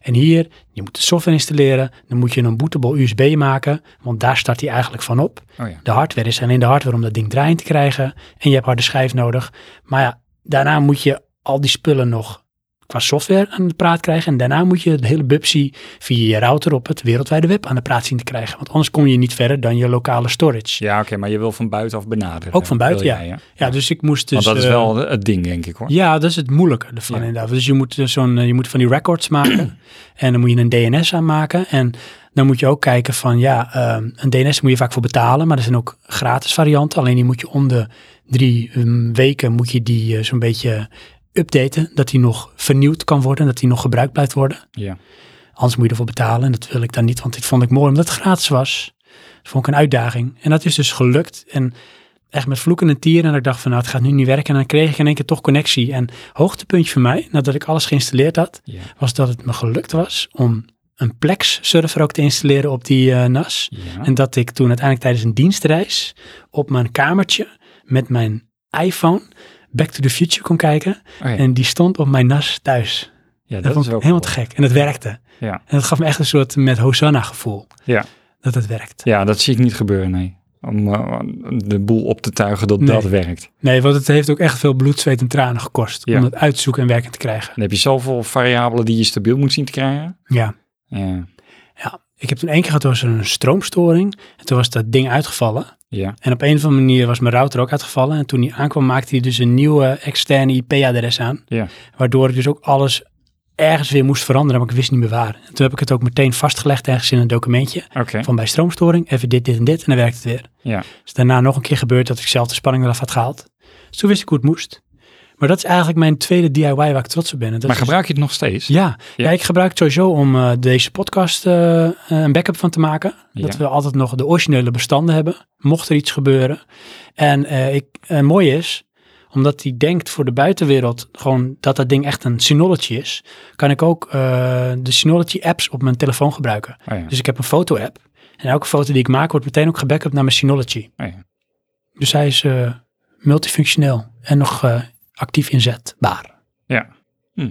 Speaker 2: En hier, je moet de software installeren, dan moet je een bootable USB maken, want daar start hij eigenlijk van op.
Speaker 1: Oh ja.
Speaker 2: De hardware is alleen de hardware om dat ding draaiend te krijgen. En je hebt harde schijf nodig. Maar ja, daarna moet je al die spullen nog qua software aan de praat krijgen. En daarna moet je de hele Bubsy via je router op het wereldwijde web aan de praat zien te krijgen. Want anders kom je niet verder dan je lokale storage.
Speaker 1: Ja, oké, maar je wil van buitenaf benaderen.
Speaker 2: Ook van buiten,
Speaker 1: Wil
Speaker 2: ja.
Speaker 1: jij,
Speaker 2: Ja, dus ik moest dus...
Speaker 1: Want dat is
Speaker 2: eh,
Speaker 1: wel het ding, denk ik hoor.
Speaker 2: ja, dat is het moeilijke ervan
Speaker 1: Ja.
Speaker 2: inderdaad. Dus je moet, dus zo'n, eh, je moet van die records maken en dan moet je een DNS aanmaken. En dan moet je ook kijken van ja, ehm, een DNS moet je vaak voor betalen, maar er zijn ook gratis varianten. Alleen die moet je om de drie mm, weken moet je die eh, zo'n beetje updaten, dat die nog vernieuwd kan worden, dat die nog gebruikt blijft worden.
Speaker 1: Ja.
Speaker 2: Anders moet je ervoor betalen en dat wil ik dan niet, want dit vond ik mooi omdat het gratis was. Dat vond ik een uitdaging en dat is dus gelukt en echt met vloeken en tieren en ik dacht van nou het gaat nu niet werken en dan kreeg ik in één keer toch connectie. En hoogtepuntje voor mij, nadat ik alles geïnstalleerd had,
Speaker 1: Ja.
Speaker 2: was dat het me gelukt was om een Plex server ook te installeren op die eh, NAS.
Speaker 1: Ja.
Speaker 2: En dat ik toen uiteindelijk tijdens een dienstreis op mijn kamertje met mijn iPhone Back to the Future kon kijken.
Speaker 1: Oh ja.
Speaker 2: En die stond op mijn NAS thuis.
Speaker 1: Ja,
Speaker 2: Dat, vond ik
Speaker 1: ook
Speaker 2: helemaal te
Speaker 1: cool.
Speaker 2: gek. En dat werkte.
Speaker 1: Ja.
Speaker 2: En dat gaf me echt een soort met Hosanna gevoel.
Speaker 1: Ja.
Speaker 2: Dat het werkt.
Speaker 1: ja, dat zie ik niet gebeuren, nee. Om eh, de boel op te tuigen dat
Speaker 2: Nee.
Speaker 1: dat werkt.
Speaker 2: Nee, want het heeft ook echt veel bloed, zweet en tranen gekost.
Speaker 1: Ja.
Speaker 2: Om dat uit te zoeken en werken te krijgen.
Speaker 1: Dan heb je zoveel variabelen die je stabiel moet zien te krijgen.
Speaker 2: Ja.
Speaker 1: Ja.
Speaker 2: ja. Ik heb toen één keer gehad door zo'n stroomstoring. En toen was dat ding uitgevallen.
Speaker 1: Ja.
Speaker 2: En op een of andere manier was mijn router ook uitgevallen. En toen die aankwam maakte hij dus een nieuwe externe IP-adres aan.
Speaker 1: Ja.
Speaker 2: Waardoor ik dus ook alles ergens weer moest veranderen. Maar ik wist niet meer waar. En toen heb ik het ook meteen vastgelegd ergens in een documentje.
Speaker 1: Oké.
Speaker 2: Van bij stroomstoring even dit, dit en dit. En dan werkt het weer.
Speaker 1: Ja.
Speaker 2: is daarna nog een keer gebeurd dat ik zelf de spanning eraf had gehaald. Dus toen wist ik hoe het moest. Maar dat is eigenlijk mijn tweede DIY waar ik trots op ben. En Dat
Speaker 1: Maar
Speaker 2: is-
Speaker 1: gebruik je het nog steeds?
Speaker 2: ja.
Speaker 1: Ja.
Speaker 2: Ja. ik gebruik het sowieso om eh, deze podcast eh, een backup van te maken. Dat
Speaker 1: Ja.
Speaker 2: we altijd nog de originele bestanden hebben, mocht er iets gebeuren. En eh, ik, eh, mooi is, omdat hij denkt voor de buitenwereld gewoon dat dat ding echt een Synology is, kan ik ook eh, de Synology apps op mijn telefoon gebruiken.
Speaker 1: Oh ja.
Speaker 2: Dus ik heb een foto-app. En elke foto die ik maak wordt meteen ook gebackup naar mijn Synology.
Speaker 1: Oh ja.
Speaker 2: Dus hij is eh, multifunctioneel en nog eh, actief inzetbaar.
Speaker 1: ja. Hm.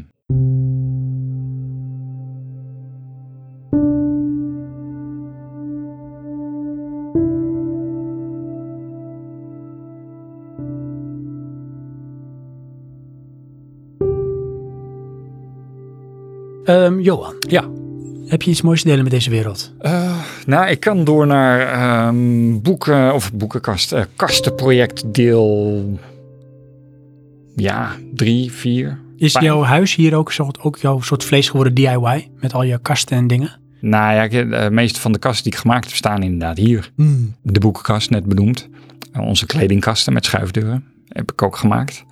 Speaker 2: Ehm, Johan,
Speaker 1: Ja.
Speaker 2: heb je iets moois te delen met deze wereld?
Speaker 1: Eh, nou, ik kan door naar ehm, boeken of boekenkast, eh, kastenproject deel. Ja, drie, vier.
Speaker 2: Is
Speaker 1: Fijn.
Speaker 2: jouw huis hier ook, soort, ook jouw soort vlees geworden DIY? Met al je kasten en dingen?
Speaker 1: Nou ja, ik- de meeste van de kasten die ik gemaakt heb staan inderdaad hier.
Speaker 2: Hmm.
Speaker 1: De boekenkast, net benoemd. Eh, Onze kledingkasten met schuifdeuren heb ik ook gemaakt.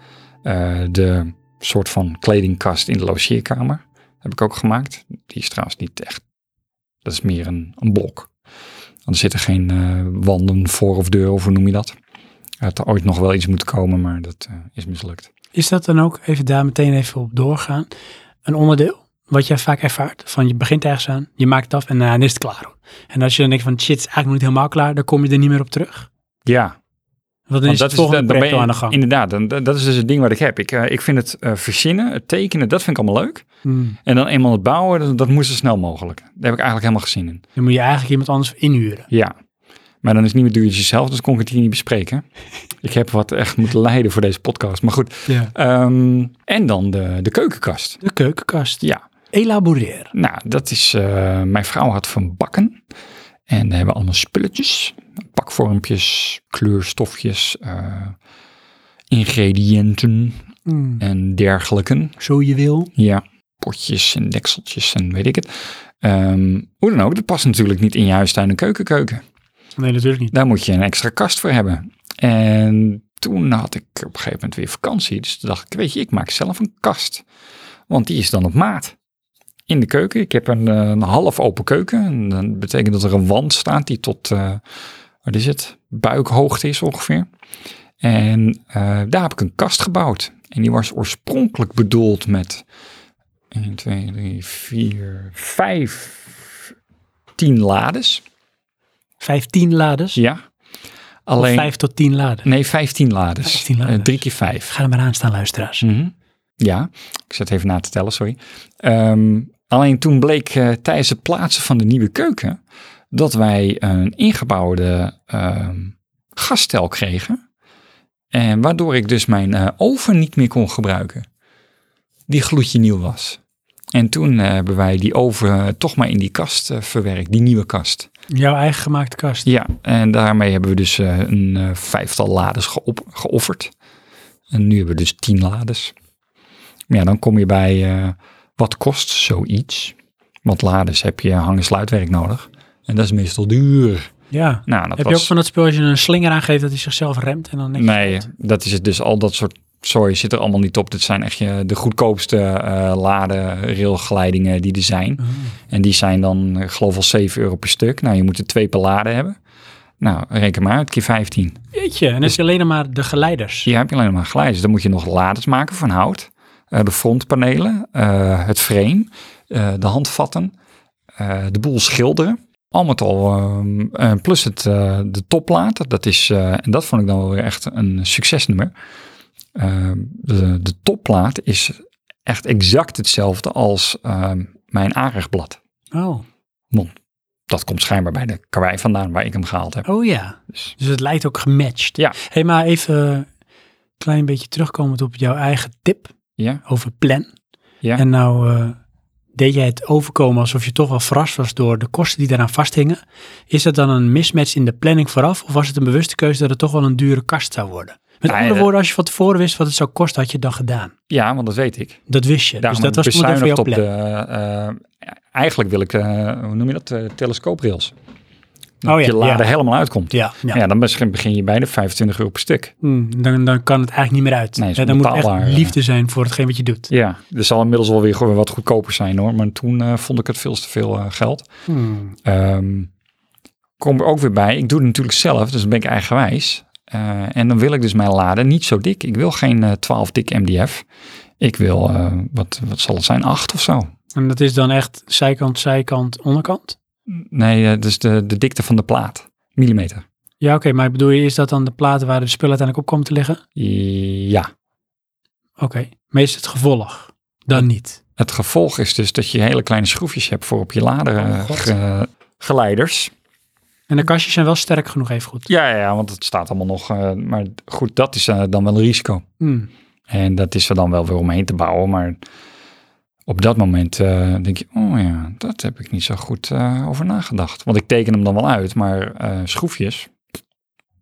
Speaker 1: Eh, de soort van kledingkast in de logeerkamer heb ik ook gemaakt. Die is trouwens niet echt, dat is meer een, een blok. Want er zitten geen eh, wanden voor of deur of hoe noem je dat. Er had er ooit nog wel iets moeten komen, maar dat eh, is mislukt.
Speaker 2: Is dat dan ook, even daar meteen even op doorgaan, een onderdeel wat jij vaak ervaart? Van je begint ergens aan, je maakt het af en daarna is het klaar. hoor. En als je dan denkt van shit, het is eigenlijk nog niet helemaal klaar, dan kom je er niet meer op terug.
Speaker 1: Ja,
Speaker 2: Want dan is het
Speaker 1: Want
Speaker 2: volgende
Speaker 1: dan ben
Speaker 2: project al
Speaker 1: je-
Speaker 2: aan de gang.
Speaker 1: Inderdaad, dan, dat dat is dus het ding wat ik heb. Ik, eh, ik vind het eh, verzinnen, het tekenen, dat vind ik allemaal leuk.
Speaker 2: Hmm.
Speaker 1: En dan eenmaal het bouwen, dat, dat moest zo snel mogelijk. Daar heb ik eigenlijk helemaal gezin in.
Speaker 2: Dan moet je eigenlijk iemand anders inhuren.
Speaker 1: Ja. Maar dan is het niet meer duur jezelf, dus kon ik het hier niet bespreken. ik heb wat echt moeten lijden voor deze podcast. Maar goed.
Speaker 2: Ja.
Speaker 1: Ehm, en dan de, de keukenkast.
Speaker 2: De keukenkast.
Speaker 1: Ja.
Speaker 2: Elaboreer.
Speaker 1: Nou, dat is. eh, mijn vrouw had van bakken. En daar hebben we allemaal spulletjes: pakvormpjes, kleurstofjes, eh, ingrediënten
Speaker 2: Hmm.
Speaker 1: en dergelijke.
Speaker 2: Zo je wil.
Speaker 1: Ja, potjes en dekseltjes en weet ik het. Ehm, hoe dan ook, dat past natuurlijk niet in je huistuin en keukenkeuken.
Speaker 2: Nee, natuurlijk niet.
Speaker 1: Daar moet je een extra kast voor hebben. En toen had ik op een gegeven moment weer vakantie. Dus toen dacht ik, weet je, ik maak zelf een kast. Want die is dan op maat. In de keuken. Ik heb een, eh, een half open keuken. En dat betekent dat er een wand staat die tot, eh, wat is het, buikhoogte is ongeveer. En eh, daar heb ik een kast gebouwd. En die was oorspronkelijk bedoeld met 1, 2, 3, 4, 5, 10 lades.
Speaker 2: Vijftien lades.
Speaker 1: Ja. Alleen,
Speaker 2: Vijf tot tien laden.
Speaker 1: nee, 15 lades.
Speaker 2: 15
Speaker 1: Eh,
Speaker 2: lades.
Speaker 1: drie keer vijf.
Speaker 2: Ga er maar aan staan, luisteraars.
Speaker 1: Mhm. Ja, ik zet even na te tellen, sorry. Ehm, alleen toen bleek eh, tijdens het plaatsen van de nieuwe keuken dat wij een ingebouwde ehm gastel kregen. En waardoor ik dus mijn eh, oven niet meer kon gebruiken. Die gloedje nieuw was. En toen eh, hebben wij die oven toch maar in die kast eh, verwerkt, die nieuwe kast.
Speaker 2: Jouw eigen gemaakte kast.
Speaker 1: Ja, en daarmee hebben we dus eh, een eh, vijftal lades geop- geofferd. En nu hebben we dus tien lades. Maar ja, dan kom je bij eh, wat kost zoiets? Want lades heb je hang- en sluitwerk nodig. En dat is meestal duur.
Speaker 2: Ja.
Speaker 1: Nou, dat
Speaker 2: Heb je
Speaker 1: was...
Speaker 2: ook van dat spul als je een slinger aangeeft dat hij zichzelf remt en dan niks
Speaker 1: Nee, dat is het dus. Al dat soort zooi zit er allemaal niet op. Dit zijn echt je, de goedkoopste eh laden, railglijdingen die er zijn.
Speaker 2: Ah.
Speaker 1: En die zijn dan, eh, geloof ik, al 7 euro per stuk. Nou, je moet er twee per lade hebben. Nou, reken maar uit, keer 15.
Speaker 2: Jeetje, en dan
Speaker 1: Dus-
Speaker 2: heb je alleen maar de geleiders.
Speaker 1: Hier heb je alleen maar glijzers. Dan moet je nog laders maken van hout. Eh, de frontpanelen, eh, het frame, eh, de handvatten, eh, de boel schilderen. Al met al, ehm, eh, plus het, eh, de toplaten. Dat is, eh, en dat vond ik dan wel weer echt een succesnummer. Ehm, de, de topplaat is echt exact hetzelfde als ehm, mijn aanrechtblad.
Speaker 2: Oh.
Speaker 1: Dat komt schijnbaar bij de karwei vandaan waar ik hem gehaald heb.
Speaker 2: oh ja,
Speaker 1: Dus-
Speaker 2: dus het lijkt ook gematcht.
Speaker 1: Ja.
Speaker 2: Hé, hey, maar even een klein beetje terugkomend op jouw eigen tip
Speaker 1: Ja,
Speaker 2: over plan.
Speaker 1: Ja.
Speaker 2: En nou eh, deed jij het overkomen alsof je toch wel verrast was door de kosten die daaraan vasthingen. Is dat dan een mismatch in de planning vooraf of was het een bewuste keuze dat het toch wel een dure kast zou worden? Met
Speaker 1: Nee,
Speaker 2: andere
Speaker 1: eh,
Speaker 2: woorden, als je van tevoren wist wat het zou kosten, had je het dan gedaan.
Speaker 1: ja want dat weet ik.
Speaker 2: Dat wist je.
Speaker 1: Daarom
Speaker 2: dus dat was toen
Speaker 1: bezuinigd
Speaker 2: voor jouw
Speaker 1: op
Speaker 2: plan.
Speaker 1: de. eh, eigenlijk wil ik, eh, hoe noem je dat? eh, telescooprails. Dat
Speaker 2: Oh ja,
Speaker 1: je lader
Speaker 2: ja.
Speaker 1: helemaal uitkomt.
Speaker 2: Ja, ja.
Speaker 1: Ja. dan begin- begin je bij de 25 euro per stuk.
Speaker 2: Hmm, dan, dan kan het eigenlijk niet meer uit.
Speaker 1: Nee, het is
Speaker 2: Hè, dan moet het echt
Speaker 1: onbetaalbaar, eh.
Speaker 2: liefde zijn voor hetgeen wat je doet.
Speaker 1: Ja, dat zal inmiddels wel weer gewoon wat goedkoper zijn hoor. Maar toen eh, vond ik het veel te veel eh, geld.
Speaker 2: Hmm.
Speaker 1: Ehm, kom er ook weer bij. Ik doe het natuurlijk zelf, dus dan ben ik eigenwijs. Eh, en dan wil ik dus mijn laden niet zo dik. Ik wil geen eh, 12 dik MDF. Ik wil, eh, wat, wat zal het zijn, 8 of zo.
Speaker 2: En dat is dan echt zijkant, zijkant, onderkant?
Speaker 1: Nee, eh, dus de, de dikte van de plaat. Millimeter.
Speaker 2: Ja, oké, maar bedoel je, is dat dan de platen waar de spullen uiteindelijk op komen te liggen?
Speaker 1: Ja.
Speaker 2: Oké, maar is het gevolg?
Speaker 1: Hmm.
Speaker 2: Dan niet.
Speaker 1: Het gevolg is dus dat je hele kleine schroefjes hebt voor op je lader
Speaker 2: Oh,
Speaker 1: eh,
Speaker 2: God.
Speaker 1: ge- geleiders.
Speaker 2: En de kastjes zijn wel sterk genoeg, even goed.
Speaker 1: Ja, ja, ja, want het staat allemaal nog. eh, maar goed, dat is eh, dan wel een risico.
Speaker 2: Hmm.
Speaker 1: En dat is er dan wel weer omheen te bouwen. Maar op dat moment eh, denk je, oh ja, dat heb ik niet zo goed eh, over nagedacht. Want ik teken hem dan wel uit, maar eh, schroefjes,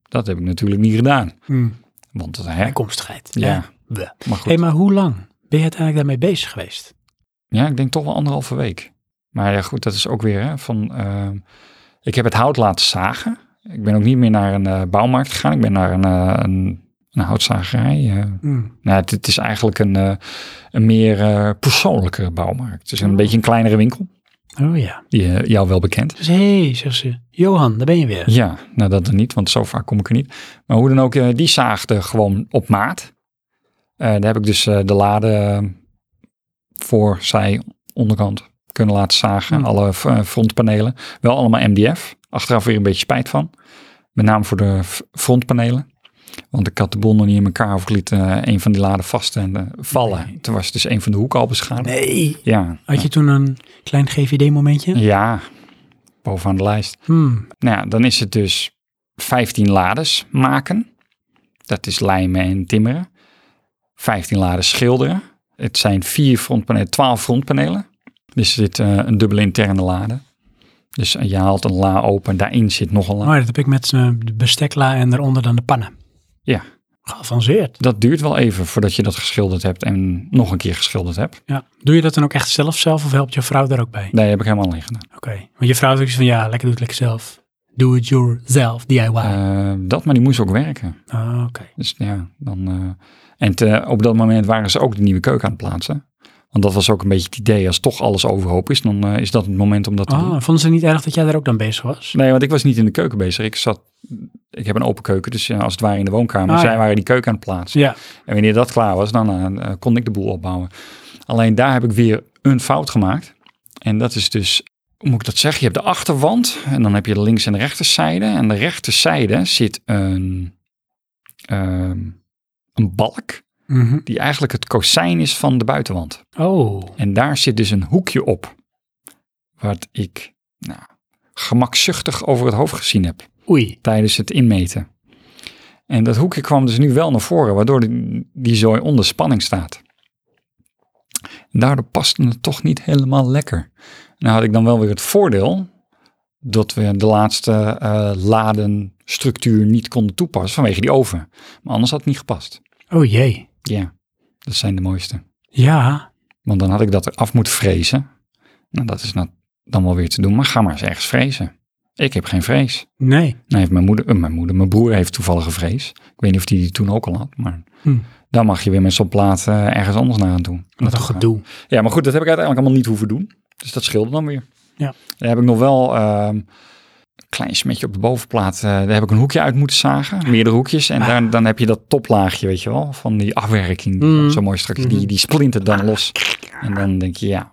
Speaker 1: dat heb ik natuurlijk niet gedaan.
Speaker 2: Hmm.
Speaker 1: Want dat, hè,
Speaker 2: Bijkomstigheid.
Speaker 1: ja,
Speaker 2: Hé,
Speaker 1: maar goed.
Speaker 2: hey, maar hoe lang ben je uiteindelijk daarmee bezig geweest?
Speaker 1: Ja, ik denk toch wel anderhalve week. Maar ja, goed, dat is ook weer hè, van... ehm, ik heb het hout laten zagen. Ik ben ook niet meer naar een eh, bouwmarkt gegaan. Ik ben naar een, eh, een, een houtzagerij. eh.
Speaker 2: Hmm.
Speaker 1: nou, het, het is eigenlijk een, eh, een meer eh persoonlijke bouwmarkt. Het is een
Speaker 2: Oh.
Speaker 1: beetje een kleinere winkel,
Speaker 2: Oh ja.
Speaker 1: die eh, jou wel bekend.
Speaker 2: Dus hé, hey, zegt ze, Johan, daar ben je weer.
Speaker 1: Ja, nou dat dan niet, want zo vaak kom ik er niet. Maar hoe dan ook, eh, die zaagde gewoon op maat. Eh, daar heb ik dus eh, de laden eh, voor zij onderkant kunnen laten zagen.
Speaker 2: Hmm.
Speaker 1: Alle v- eh, frontpanelen. Wel allemaal MDF. Achteraf weer een beetje spijt van. Met name voor de f- frontpanelen. Want ik had de bol nog niet in elkaar of ik liet eh, een van die laden vast en eh, vallen.
Speaker 2: Nee.
Speaker 1: Toen was dus een van de hoeken al beschadigd.
Speaker 2: Nee.
Speaker 1: Ja,
Speaker 2: Had je toen een klein GVD-momentje?
Speaker 1: ja, bovenaan de lijst.
Speaker 2: Hmm.
Speaker 1: Nou ja, dan is het dus 15 lades maken. Dat is lijmen en timmeren. 15 lades schilderen. Het zijn vier frontpanelen, 12 frontpanelen. Dus er zit eh, een dubbele interne lade. Dus eh, je haalt een la open, daarin zit nog een la.
Speaker 2: Maar dat heb ik met eh, de bestekla en daaronder dan de pannen.
Speaker 1: Ja.
Speaker 2: Geavanceerd.
Speaker 1: Dat duurt wel even voordat je dat geschilderd hebt en nog een keer geschilderd hebt.
Speaker 2: Ja. Doe je dat dan ook echt zelf zelf of helpt je vrouw daar ook bij?
Speaker 1: Daar heb ik helemaal alleen gedaan.
Speaker 2: Oké. Want je vrouw is ook zo van ja, lekker doe het lekker zelf. Do it yourself, DIY.
Speaker 1: Eh, dat, maar die moest ook werken.
Speaker 2: Ah, Oké.
Speaker 1: Dus ja, dan. eh, en te- op dat moment waren ze ook de nieuwe keuken aan het plaatsen. Want dat was ook een beetje het idee. Als toch alles overhoop is, dan eh, is dat het moment om dat te
Speaker 2: Ah,
Speaker 1: doen.
Speaker 2: vonden ze niet erg dat jij daar ook dan bezig was?
Speaker 1: Nee, want ik was niet in de keuken bezig. Ik zat. Ik heb een open keuken, dus ja, als het ware in de woonkamer.
Speaker 2: Ah,
Speaker 1: Zij
Speaker 2: ja.
Speaker 1: waren die keuken aan het plaatsen.
Speaker 2: Ja.
Speaker 1: En wanneer dat klaar was, dan eh, eh, kon ik de boel opbouwen. Alleen daar heb ik weer een fout gemaakt. En dat is dus hoe moet ik dat zeggen? Je hebt de achterwand en dan heb je de links- en de rechterzijde. En de rechterzijde zit een, ehm, een balk die eigenlijk het cosijn is van de buitenwand.
Speaker 2: Mhm. Oh,
Speaker 1: En daar zit dus een hoekje op, wat ik nou, gemakzuchtig over het hoofd gezien heb
Speaker 2: oei.
Speaker 1: tijdens het inmeten. En dat hoekje kwam dus nu wel naar voren, waardoor die, die zooi onder spanning staat. En daardoor paste het toch niet helemaal lekker. Nou had ik dan wel weer het voordeel dat we de laatste eh, ladenstructuur niet konden toepassen vanwege die oven. Maar anders had het niet gepast.
Speaker 2: Oh jee.
Speaker 1: Ja, dat zijn de mooiste.
Speaker 2: Ja.
Speaker 1: Want dan had ik dat eraf moeten vrezen. Nou, dat is nou dan wel weer te doen, maar ga maar eens ergens vrezen. Ik heb geen vrees.
Speaker 2: Nee.
Speaker 1: Nou, heeft mijn moeder, eh, mijn moeder, mijn broer heeft toevallig een vrees. Ik weet niet of die die toen ook al had, maar
Speaker 2: Hm.
Speaker 1: dan mag je weer met zo'n plaat eh, ergens anders naar aan toe.
Speaker 2: Wat een
Speaker 1: Naartoe gaan.
Speaker 2: gedoe.
Speaker 1: Ja, maar goed, dat heb ik uiteindelijk allemaal niet hoeven doen. Dus dat scheelde dan weer.
Speaker 2: Ja.
Speaker 1: Daar heb ik nog wel ehm, een klein smetje op de bovenplaat. eh, daar heb ik een hoekje uit moeten zagen, meerdere hoekjes.
Speaker 2: Ah.
Speaker 1: En daar, dan heb je dat toplaagje, weet je wel, van die afwerking. die
Speaker 2: Mm.
Speaker 1: Zo mooi straks, die, die splintert dan los. En dan denk je, ja,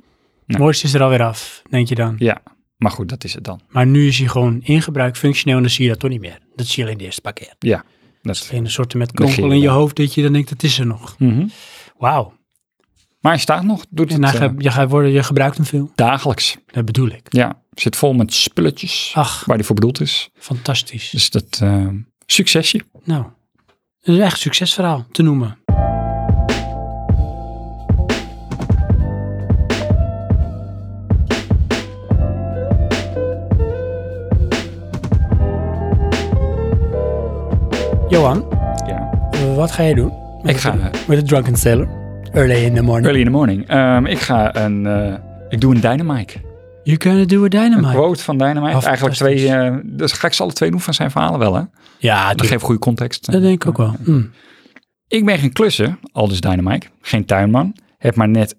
Speaker 2: Het mooiste is er alweer af, denk je dan.
Speaker 1: ja. Maar goed, dat is het dan.
Speaker 2: Maar nu is hij gewoon in gebruik, functioneel, en dan zie je dat toch niet meer. Dat zie je alleen de eerste paar keer.
Speaker 1: Ja, dat is
Speaker 2: Alleen een soort met
Speaker 1: Negeer
Speaker 2: kronkel in je
Speaker 1: dan.
Speaker 2: hoofd dat je dan denkt, dat is er nog.
Speaker 1: Mhm.
Speaker 2: Wauw.
Speaker 1: Maar hij staat nog, doet
Speaker 2: En
Speaker 1: het
Speaker 2: dan
Speaker 1: eh,
Speaker 2: ga, je, gaat worden, je gebruikt hem veel.
Speaker 1: dagelijks.
Speaker 2: Dat bedoel ik.
Speaker 1: Ja, zit vol met spulletjes
Speaker 2: Ach,
Speaker 1: waar die voor bedoeld is.
Speaker 2: fantastisch.
Speaker 1: Dus dat eh, succesje.
Speaker 2: Nou, dat is echt een succesverhaal te noemen. Johan,
Speaker 1: Ja.
Speaker 2: wat ga jij doen?
Speaker 1: Ik ga eh,
Speaker 2: Met de Drunken Sailor. Early in the morning.
Speaker 1: early in the morning. Ehm, ik ga een, eh, ik doe een Dynamite.
Speaker 2: You gonna do a
Speaker 1: Een
Speaker 2: dynamite.
Speaker 1: quote van Dynamite.
Speaker 2: Oh,
Speaker 1: Eigenlijk twee,
Speaker 2: fantastisch.
Speaker 1: eh, dus ga ik ze alle twee doen van zijn verhalen wel hè.
Speaker 2: Ja,
Speaker 1: Dat
Speaker 2: tuurlijk.
Speaker 1: geeft goede context.
Speaker 2: dat denk ik ook wel. Hm.
Speaker 1: Ik ben geen klusser, al dus Dynamite. Geen tuinman. Heb maar net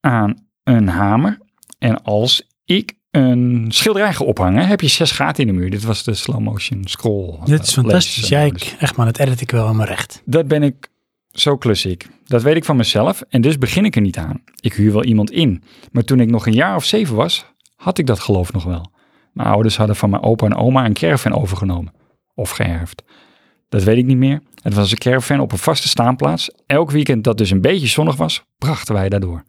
Speaker 1: aan een hamer. En als ik een schilderij ga ophangen, heb je zes gaten in de muur. Dit was de slow motion scroll.
Speaker 2: Dit is
Speaker 1: eh,
Speaker 2: fantastisch.
Speaker 1: lees, eh,
Speaker 2: Ja,
Speaker 1: modus.
Speaker 2: ik, echt man, het edit ik wel aan mijn recht.
Speaker 1: Dat ben ik, zo klus ik. Dat weet ik van mezelf en dus begin ik er niet aan. Ik huur wel iemand in. Maar toen ik nog een jaar of zeven was, had ik dat geloof nog wel. Mijn ouders hadden van mijn opa en oma een caravan overgenomen. Of geërfd. Dat weet ik niet meer. Het was een caravan op een vaste staanplaats. Elk weekend dat dus een beetje zonnig was, brachten wij daardoor.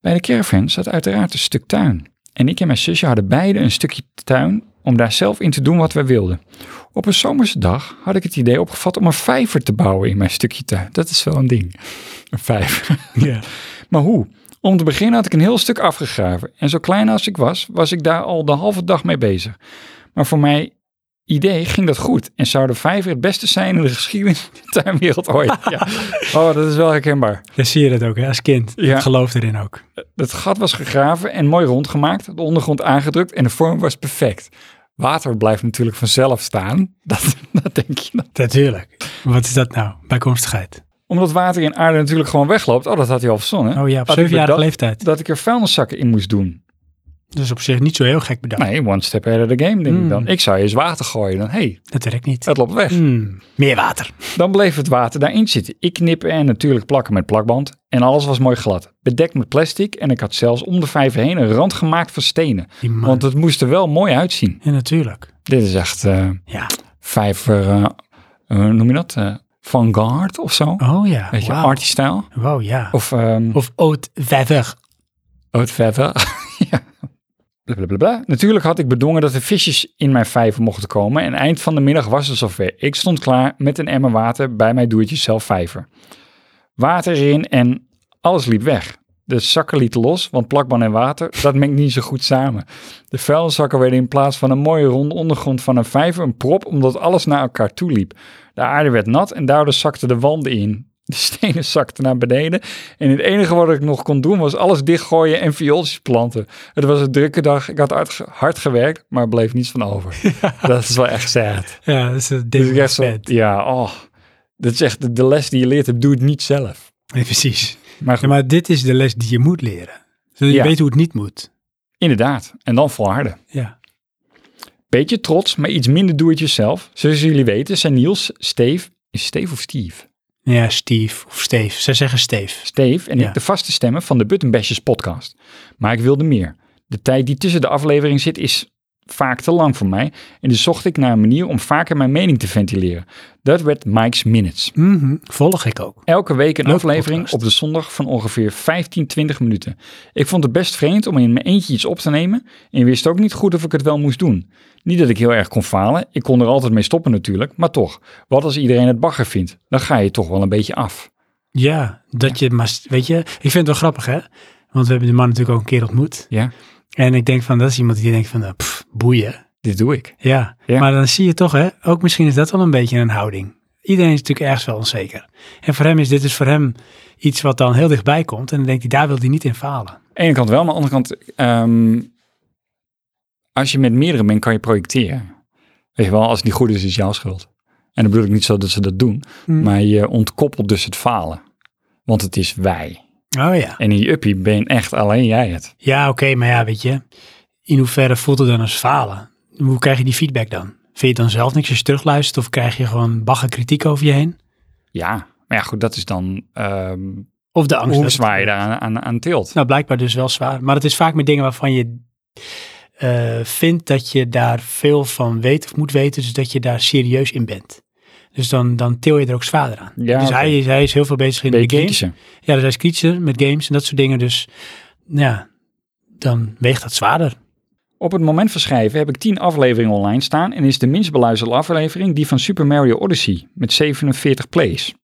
Speaker 1: Bij de caravan zat uiteraard een stuk tuin. En ik en mijn zusje hadden beide een stukje tuin om daar zelf in te doen wat wij wilden. Op een zomerse dag had ik het idee opgevat om een vijver te bouwen in mijn stukje tuin. Dat is wel een ding. Een vijver.
Speaker 2: Ja.
Speaker 1: Maar hoe? Om te beginnen had ik een heel stuk afgegraven. En zo klein als ik was, was ik daar al de halve dag mee bezig. Maar voor mijn idee ging dat goed. En zou de vijver het beste zijn in de geschiedenis van de tuinwereld ooit. Ja. Oh, dat is wel herkenbaar.
Speaker 2: Dan zie je dat ook hè, als kind.
Speaker 1: Ja.
Speaker 2: Ik geloof erin ook.
Speaker 1: Het gat was gegraven en mooi rondgemaakt, de ondergrond aangedrukt en de vorm was perfect. Water blijft natuurlijk vanzelf staan. Dat, dat denk je dan.
Speaker 2: Natuurlijk. Wat is dat nou? Bijkomstigheid.
Speaker 1: Omdat water in aarde natuurlijk gewoon wegloopt. Oh, dat had hij al verzonnen.
Speaker 2: Oh ja, op
Speaker 1: Had ik
Speaker 2: zevenjarige
Speaker 1: bedacht
Speaker 2: leeftijd.
Speaker 1: Dat ik er vuilniszakken in moest doen.
Speaker 2: Dus op zich niet zo heel gek bedacht.
Speaker 1: Nee, one step ahead of the game, denk
Speaker 2: Mm.
Speaker 1: ik dan. Ik zou eens water gooien. Dan, hé, hey,
Speaker 2: Dat werkt niet.
Speaker 1: het loopt weg.
Speaker 2: Hmm, Meer water.
Speaker 1: Dan bleef het water daarin zitten. Ik knippen en natuurlijk plakken met plakband. En alles was mooi glad. Bedekt met plastic. En ik had zelfs om de vijver heen een rand gemaakt van stenen.
Speaker 2: Die man.
Speaker 1: Want het moest er wel mooi uitzien.
Speaker 2: Ja, natuurlijk.
Speaker 1: Dit is echt eh,
Speaker 2: Ja.
Speaker 1: vijver, eh, eh, hoe noem je dat? Eh, vanguard of zo.
Speaker 2: Oh ja.
Speaker 1: Weet je,
Speaker 2: Wauw.
Speaker 1: arty style.
Speaker 2: Wauw, ja. Of,
Speaker 1: Of ehm,
Speaker 2: oud verder.
Speaker 1: Oud verder. ja. Blablabla. Natuurlijk had ik bedongen dat er visjes in mijn vijver mochten komen en eind van de middag was het zover. Ik stond klaar met een emmer water bij mijn doertje zelf vijver. Water erin en alles liep weg. De zakken lieten los, want plakband en water, dat mengt niet zo goed samen. De vuilniszakken werden in plaats van een mooie ronde ondergrond van een vijver een prop, omdat alles naar elkaar toe liep. De aarde werd nat en daardoor zakten de wanden in. De stenen zakten naar beneden en het enige wat ik nog kon doen was alles dichtgooien en viooltjes planten. Het was een drukke dag, ik had hard, ge- hard gewerkt, maar er bleef niets van over. Dat is wel echt sad.
Speaker 2: Ja, dat is het
Speaker 1: Dus ik echt
Speaker 2: dus
Speaker 1: zo, ja, oh, dat is echt de- de les die je leert hebt, doe het niet zelf.
Speaker 2: Precies.
Speaker 1: Maar
Speaker 2: Ja,
Speaker 1: goed,
Speaker 2: maar dit is de les die je moet leren. Zodat je
Speaker 1: Ja.
Speaker 2: weet hoe het niet moet.
Speaker 1: inderdaad, en dan volharden.
Speaker 2: Ja.
Speaker 1: Beetje trots, maar iets minder doe het jezelf. Zoals jullie weten zijn Niels, Steve, is Steve of Steve?
Speaker 2: Ja, Steve of Steve. Zij zeggen Steve.
Speaker 1: Steve en
Speaker 2: Ja.
Speaker 1: ik de vaste stemmen van de Buttonbashers podcast. Maar ik wilde meer. De tijd die tussen de aflevering zit is vaak te lang voor mij. En dus zocht ik naar een manier om vaker mijn mening te ventileren. Dat werd Mike's Minutes.
Speaker 2: Mhm. Volg ik ook.
Speaker 1: Elke week een
Speaker 2: Leuke
Speaker 1: aflevering
Speaker 2: podcast.
Speaker 1: op de zondag van ongeveer 15, 20 minuten. Ik vond het best vreemd om in mijn eentje iets op te nemen en wist ook niet goed of ik het wel moest doen. Niet dat ik heel erg kon falen, ik kon er altijd mee stoppen natuurlijk, maar toch. Wat als iedereen het bagger vindt? Dan ga je toch wel een beetje af.
Speaker 2: Ja, dat je, maar weet je, ik vind het wel grappig hè. Want we hebben de man natuurlijk ook een keer ontmoet.
Speaker 1: Ja,
Speaker 2: En ik denk van, dat is iemand die denkt van, eh, pff, boeien.
Speaker 1: dit doe ik.
Speaker 2: Ja.
Speaker 1: Ja.
Speaker 2: maar dan zie je toch, hè, ook misschien is dat wel een beetje een houding. Iedereen is natuurlijk ergens wel onzeker. En voor hem is dit dus voor hem iets wat dan heel dichtbij komt. En dan denkt hij, daar wil hij niet in falen.
Speaker 1: Aan de ene kant wel, maar aan de andere kant, ehm, als je met meerdere bent, kan je projecteren. Weet je wel, als het niet goed is, is het jouw schuld. En dan bedoel ik niet zo dat ze dat doen,
Speaker 2: Hmm.
Speaker 1: maar je ontkoppelt dus het falen. Want het is wij.
Speaker 2: Oh ja.
Speaker 1: En in je uppie ben echt alleen jij het.
Speaker 2: Ja, oké, maar ja, weet je, in hoeverre voelt het dan als falen? Hoe krijg je die feedback dan? Vind je het dan zelf niks als je terugluistert of krijg je gewoon bagger kritiek over je heen?
Speaker 1: Ja, maar ja, goed, dat is dan ehm
Speaker 2: Of de angst.
Speaker 1: hoe
Speaker 2: dat-
Speaker 1: zwaar je daar aan, aan, aan tilt.
Speaker 2: Nou, blijkbaar dus wel zwaar. Maar het is vaak met dingen waarvan je eh, vindt dat je daar veel van weet of moet weten, dus dat je daar serieus in bent. Dus dan, dan til je er ook zwaarder aan.
Speaker 1: Ja,
Speaker 2: dus
Speaker 1: oké.
Speaker 2: hij, is, hij is heel veel bezig in
Speaker 1: Ben je
Speaker 2: de game.
Speaker 1: kritischer?
Speaker 2: Ja, dus hij is kritischer met games en dat soort dingen. Dus nou ja, dan weegt dat zwaarder.
Speaker 1: Op het moment van schrijven heb ik 10 afleveringen online staan en is de minst beluisterde aflevering die van Super Mario Odyssey met 47 plays.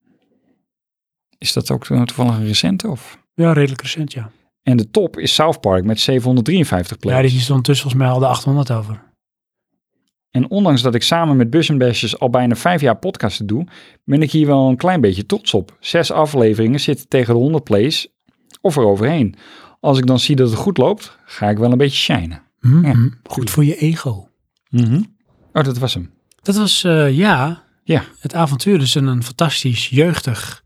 Speaker 1: Is dat ook to- toevallig een recente of?
Speaker 2: Ja, redelijk recent, ja.
Speaker 1: En de top is South Park met 753 plays.
Speaker 2: Ja, die is ondertussen volgens mij al de 800 over.
Speaker 1: En ondanks dat ik samen met Bus en Besjes al bijna vijf jaar podcasten doe, ben ik hier wel een klein beetje trots op. Zes afleveringen zitten tegen de 100 plays of eroverheen. Als ik dan zie dat het goed loopt, ga ik wel een beetje shinen.
Speaker 2: Mhm.
Speaker 1: Ja,
Speaker 2: Goed voor je ego.
Speaker 1: Oh, dat was hem.
Speaker 2: Dat was, eh, ja,
Speaker 1: Ja.
Speaker 2: het avontuur. Dus een, een fantastisch jeugdig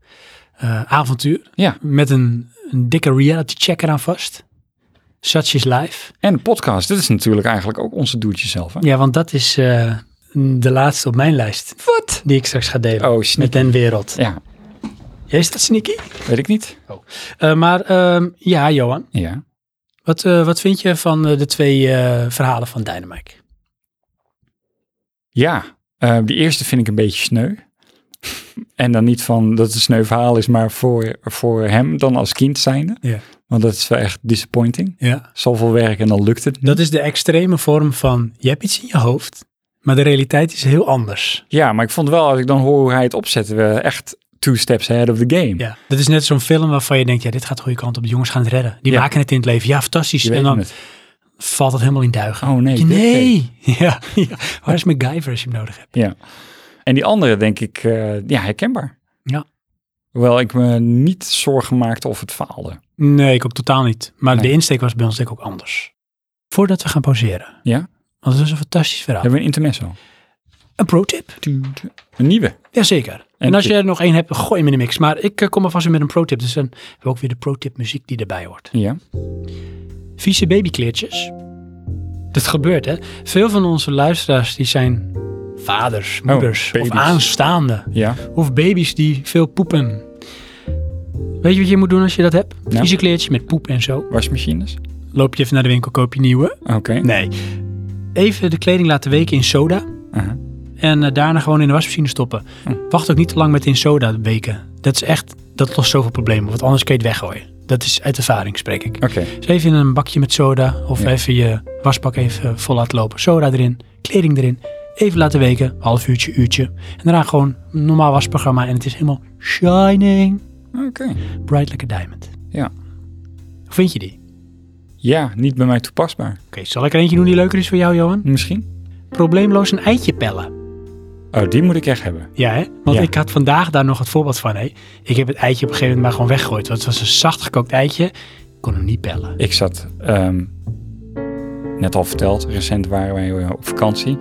Speaker 2: eh, avontuur.
Speaker 1: Ja.
Speaker 2: Met een, een dikke reality check eraan vast. Such is life.
Speaker 1: En de podcast, dit is natuurlijk eigenlijk ook onze doetje zelf. Hè?
Speaker 2: Ja, want dat is eh, de laatste op mijn lijst. Wat? Die ik straks ga delen.
Speaker 1: Oh, sneak.
Speaker 2: Met den wereld.
Speaker 1: Ja,
Speaker 2: Ja, is dat sneaky?
Speaker 1: weet ik niet.
Speaker 2: Eh, maar ehm, ja, Johan.
Speaker 1: Ja.
Speaker 2: Wat, eh, wat vind je van eh, de twee eh, verhalen van Dynamite?
Speaker 1: Ja, eh, die eerste vind ik een beetje sneu. en dan niet van dat het een sneu verhaal is, maar voor, voor hem dan als kind zijnde.
Speaker 2: Ja.
Speaker 1: Want dat is wel echt disappointing.
Speaker 2: Ja.
Speaker 1: Zoveel werk en dan lukt het niet.
Speaker 2: Dat is de extreme vorm van, je hebt iets in je hoofd, maar de realiteit is heel anders.
Speaker 1: Ja, maar ik vond wel, als ik dan hoor hoe hij het opzet, we echt two steps ahead of the game.
Speaker 2: Ja, dat is net zo'n film waarvan je denkt, ja, dit gaat de goede kant op. De jongens gaan het redden. Die
Speaker 1: Ja.
Speaker 2: maken het in het leven. Ja, fantastisch.
Speaker 1: Je weet
Speaker 2: en dan
Speaker 1: het.
Speaker 2: valt het helemaal in duigen.
Speaker 1: Oh nee,
Speaker 2: nee. Ja, ja. Waar is MacGyver als je hem nodig hebt?
Speaker 1: Ja. En die andere, denk ik, eh, ja, herkenbaar.
Speaker 2: Ja.
Speaker 1: Hoewel ik me niet zorgen maakte of het faalde.
Speaker 2: Nee, ik ook totaal niet. Maar
Speaker 1: Nee.
Speaker 2: de insteek was bij ons denk ik ook anders. Voordat we gaan pauzeren.
Speaker 1: Ja?
Speaker 2: Want het is een fantastisch verhaal.
Speaker 1: Hebben we een intermezzo?
Speaker 2: Een pro-tip.
Speaker 1: Een nieuwe.
Speaker 2: Jazeker. En,
Speaker 1: En
Speaker 2: als
Speaker 1: tip.
Speaker 2: je er nog één hebt, gooi hem in de mix. Maar ik eh, kom alvast weer met een pro-tip. Dus dan hebben we ook weer de pro-tip muziek die erbij hoort.
Speaker 1: Ja.
Speaker 2: vieze babykleertjes. Dat gebeurt, hè? Veel van onze luisteraars die zijn vaders, moeders of
Speaker 1: baby's.
Speaker 2: aanstaande.
Speaker 1: Ja.
Speaker 2: Of baby's die veel poepen. Weet je wat je moet doen als je dat hebt?
Speaker 1: Nou?
Speaker 2: Vieze kleertje met poep en zo.
Speaker 1: Wasmachines.
Speaker 2: Loop je even naar de winkel, koop je nieuwe.
Speaker 1: Oké.
Speaker 2: Nee. Even de kleding laten weken in soda.
Speaker 1: Aha.
Speaker 2: En eh, daarna gewoon in de wasmachine stoppen. Wacht ook niet te lang met in soda weken. Dat is echt, dat lost zoveel problemen. Want anders kun je het weggooien. Dat is uit ervaring, spreek ik.
Speaker 1: Oké.
Speaker 2: Dus even in een bakje met soda of
Speaker 1: Ja.
Speaker 2: even je wasbak even vol laten lopen. Soda erin, kleding erin. Even laten weken, half uurtje, uurtje. En daarna gewoon een normaal wasprogramma en het is helemaal shining,
Speaker 1: Oké.
Speaker 2: bright like a diamond.
Speaker 1: Ja.
Speaker 2: Hoe vind je die? Oké,
Speaker 1: Ja, niet bij mij toepasbaar.
Speaker 2: zal ik er eentje doen die leuker is voor jou, Johan?
Speaker 1: Misschien.
Speaker 2: Probleemloos een eitje pellen.
Speaker 1: Oh, die moet ik echt hebben.
Speaker 2: Ja, hè? Want
Speaker 1: Ja.
Speaker 2: ik had vandaag daar nog het voorbeeld van. Hè? Ik heb het eitje op een gegeven moment maar gewoon weggegooid. Want het was een zacht gekookt eitje. Ik kon hem niet pellen.
Speaker 1: Ik zat, ehm, net al verteld, recent waren wij eh, op vakantie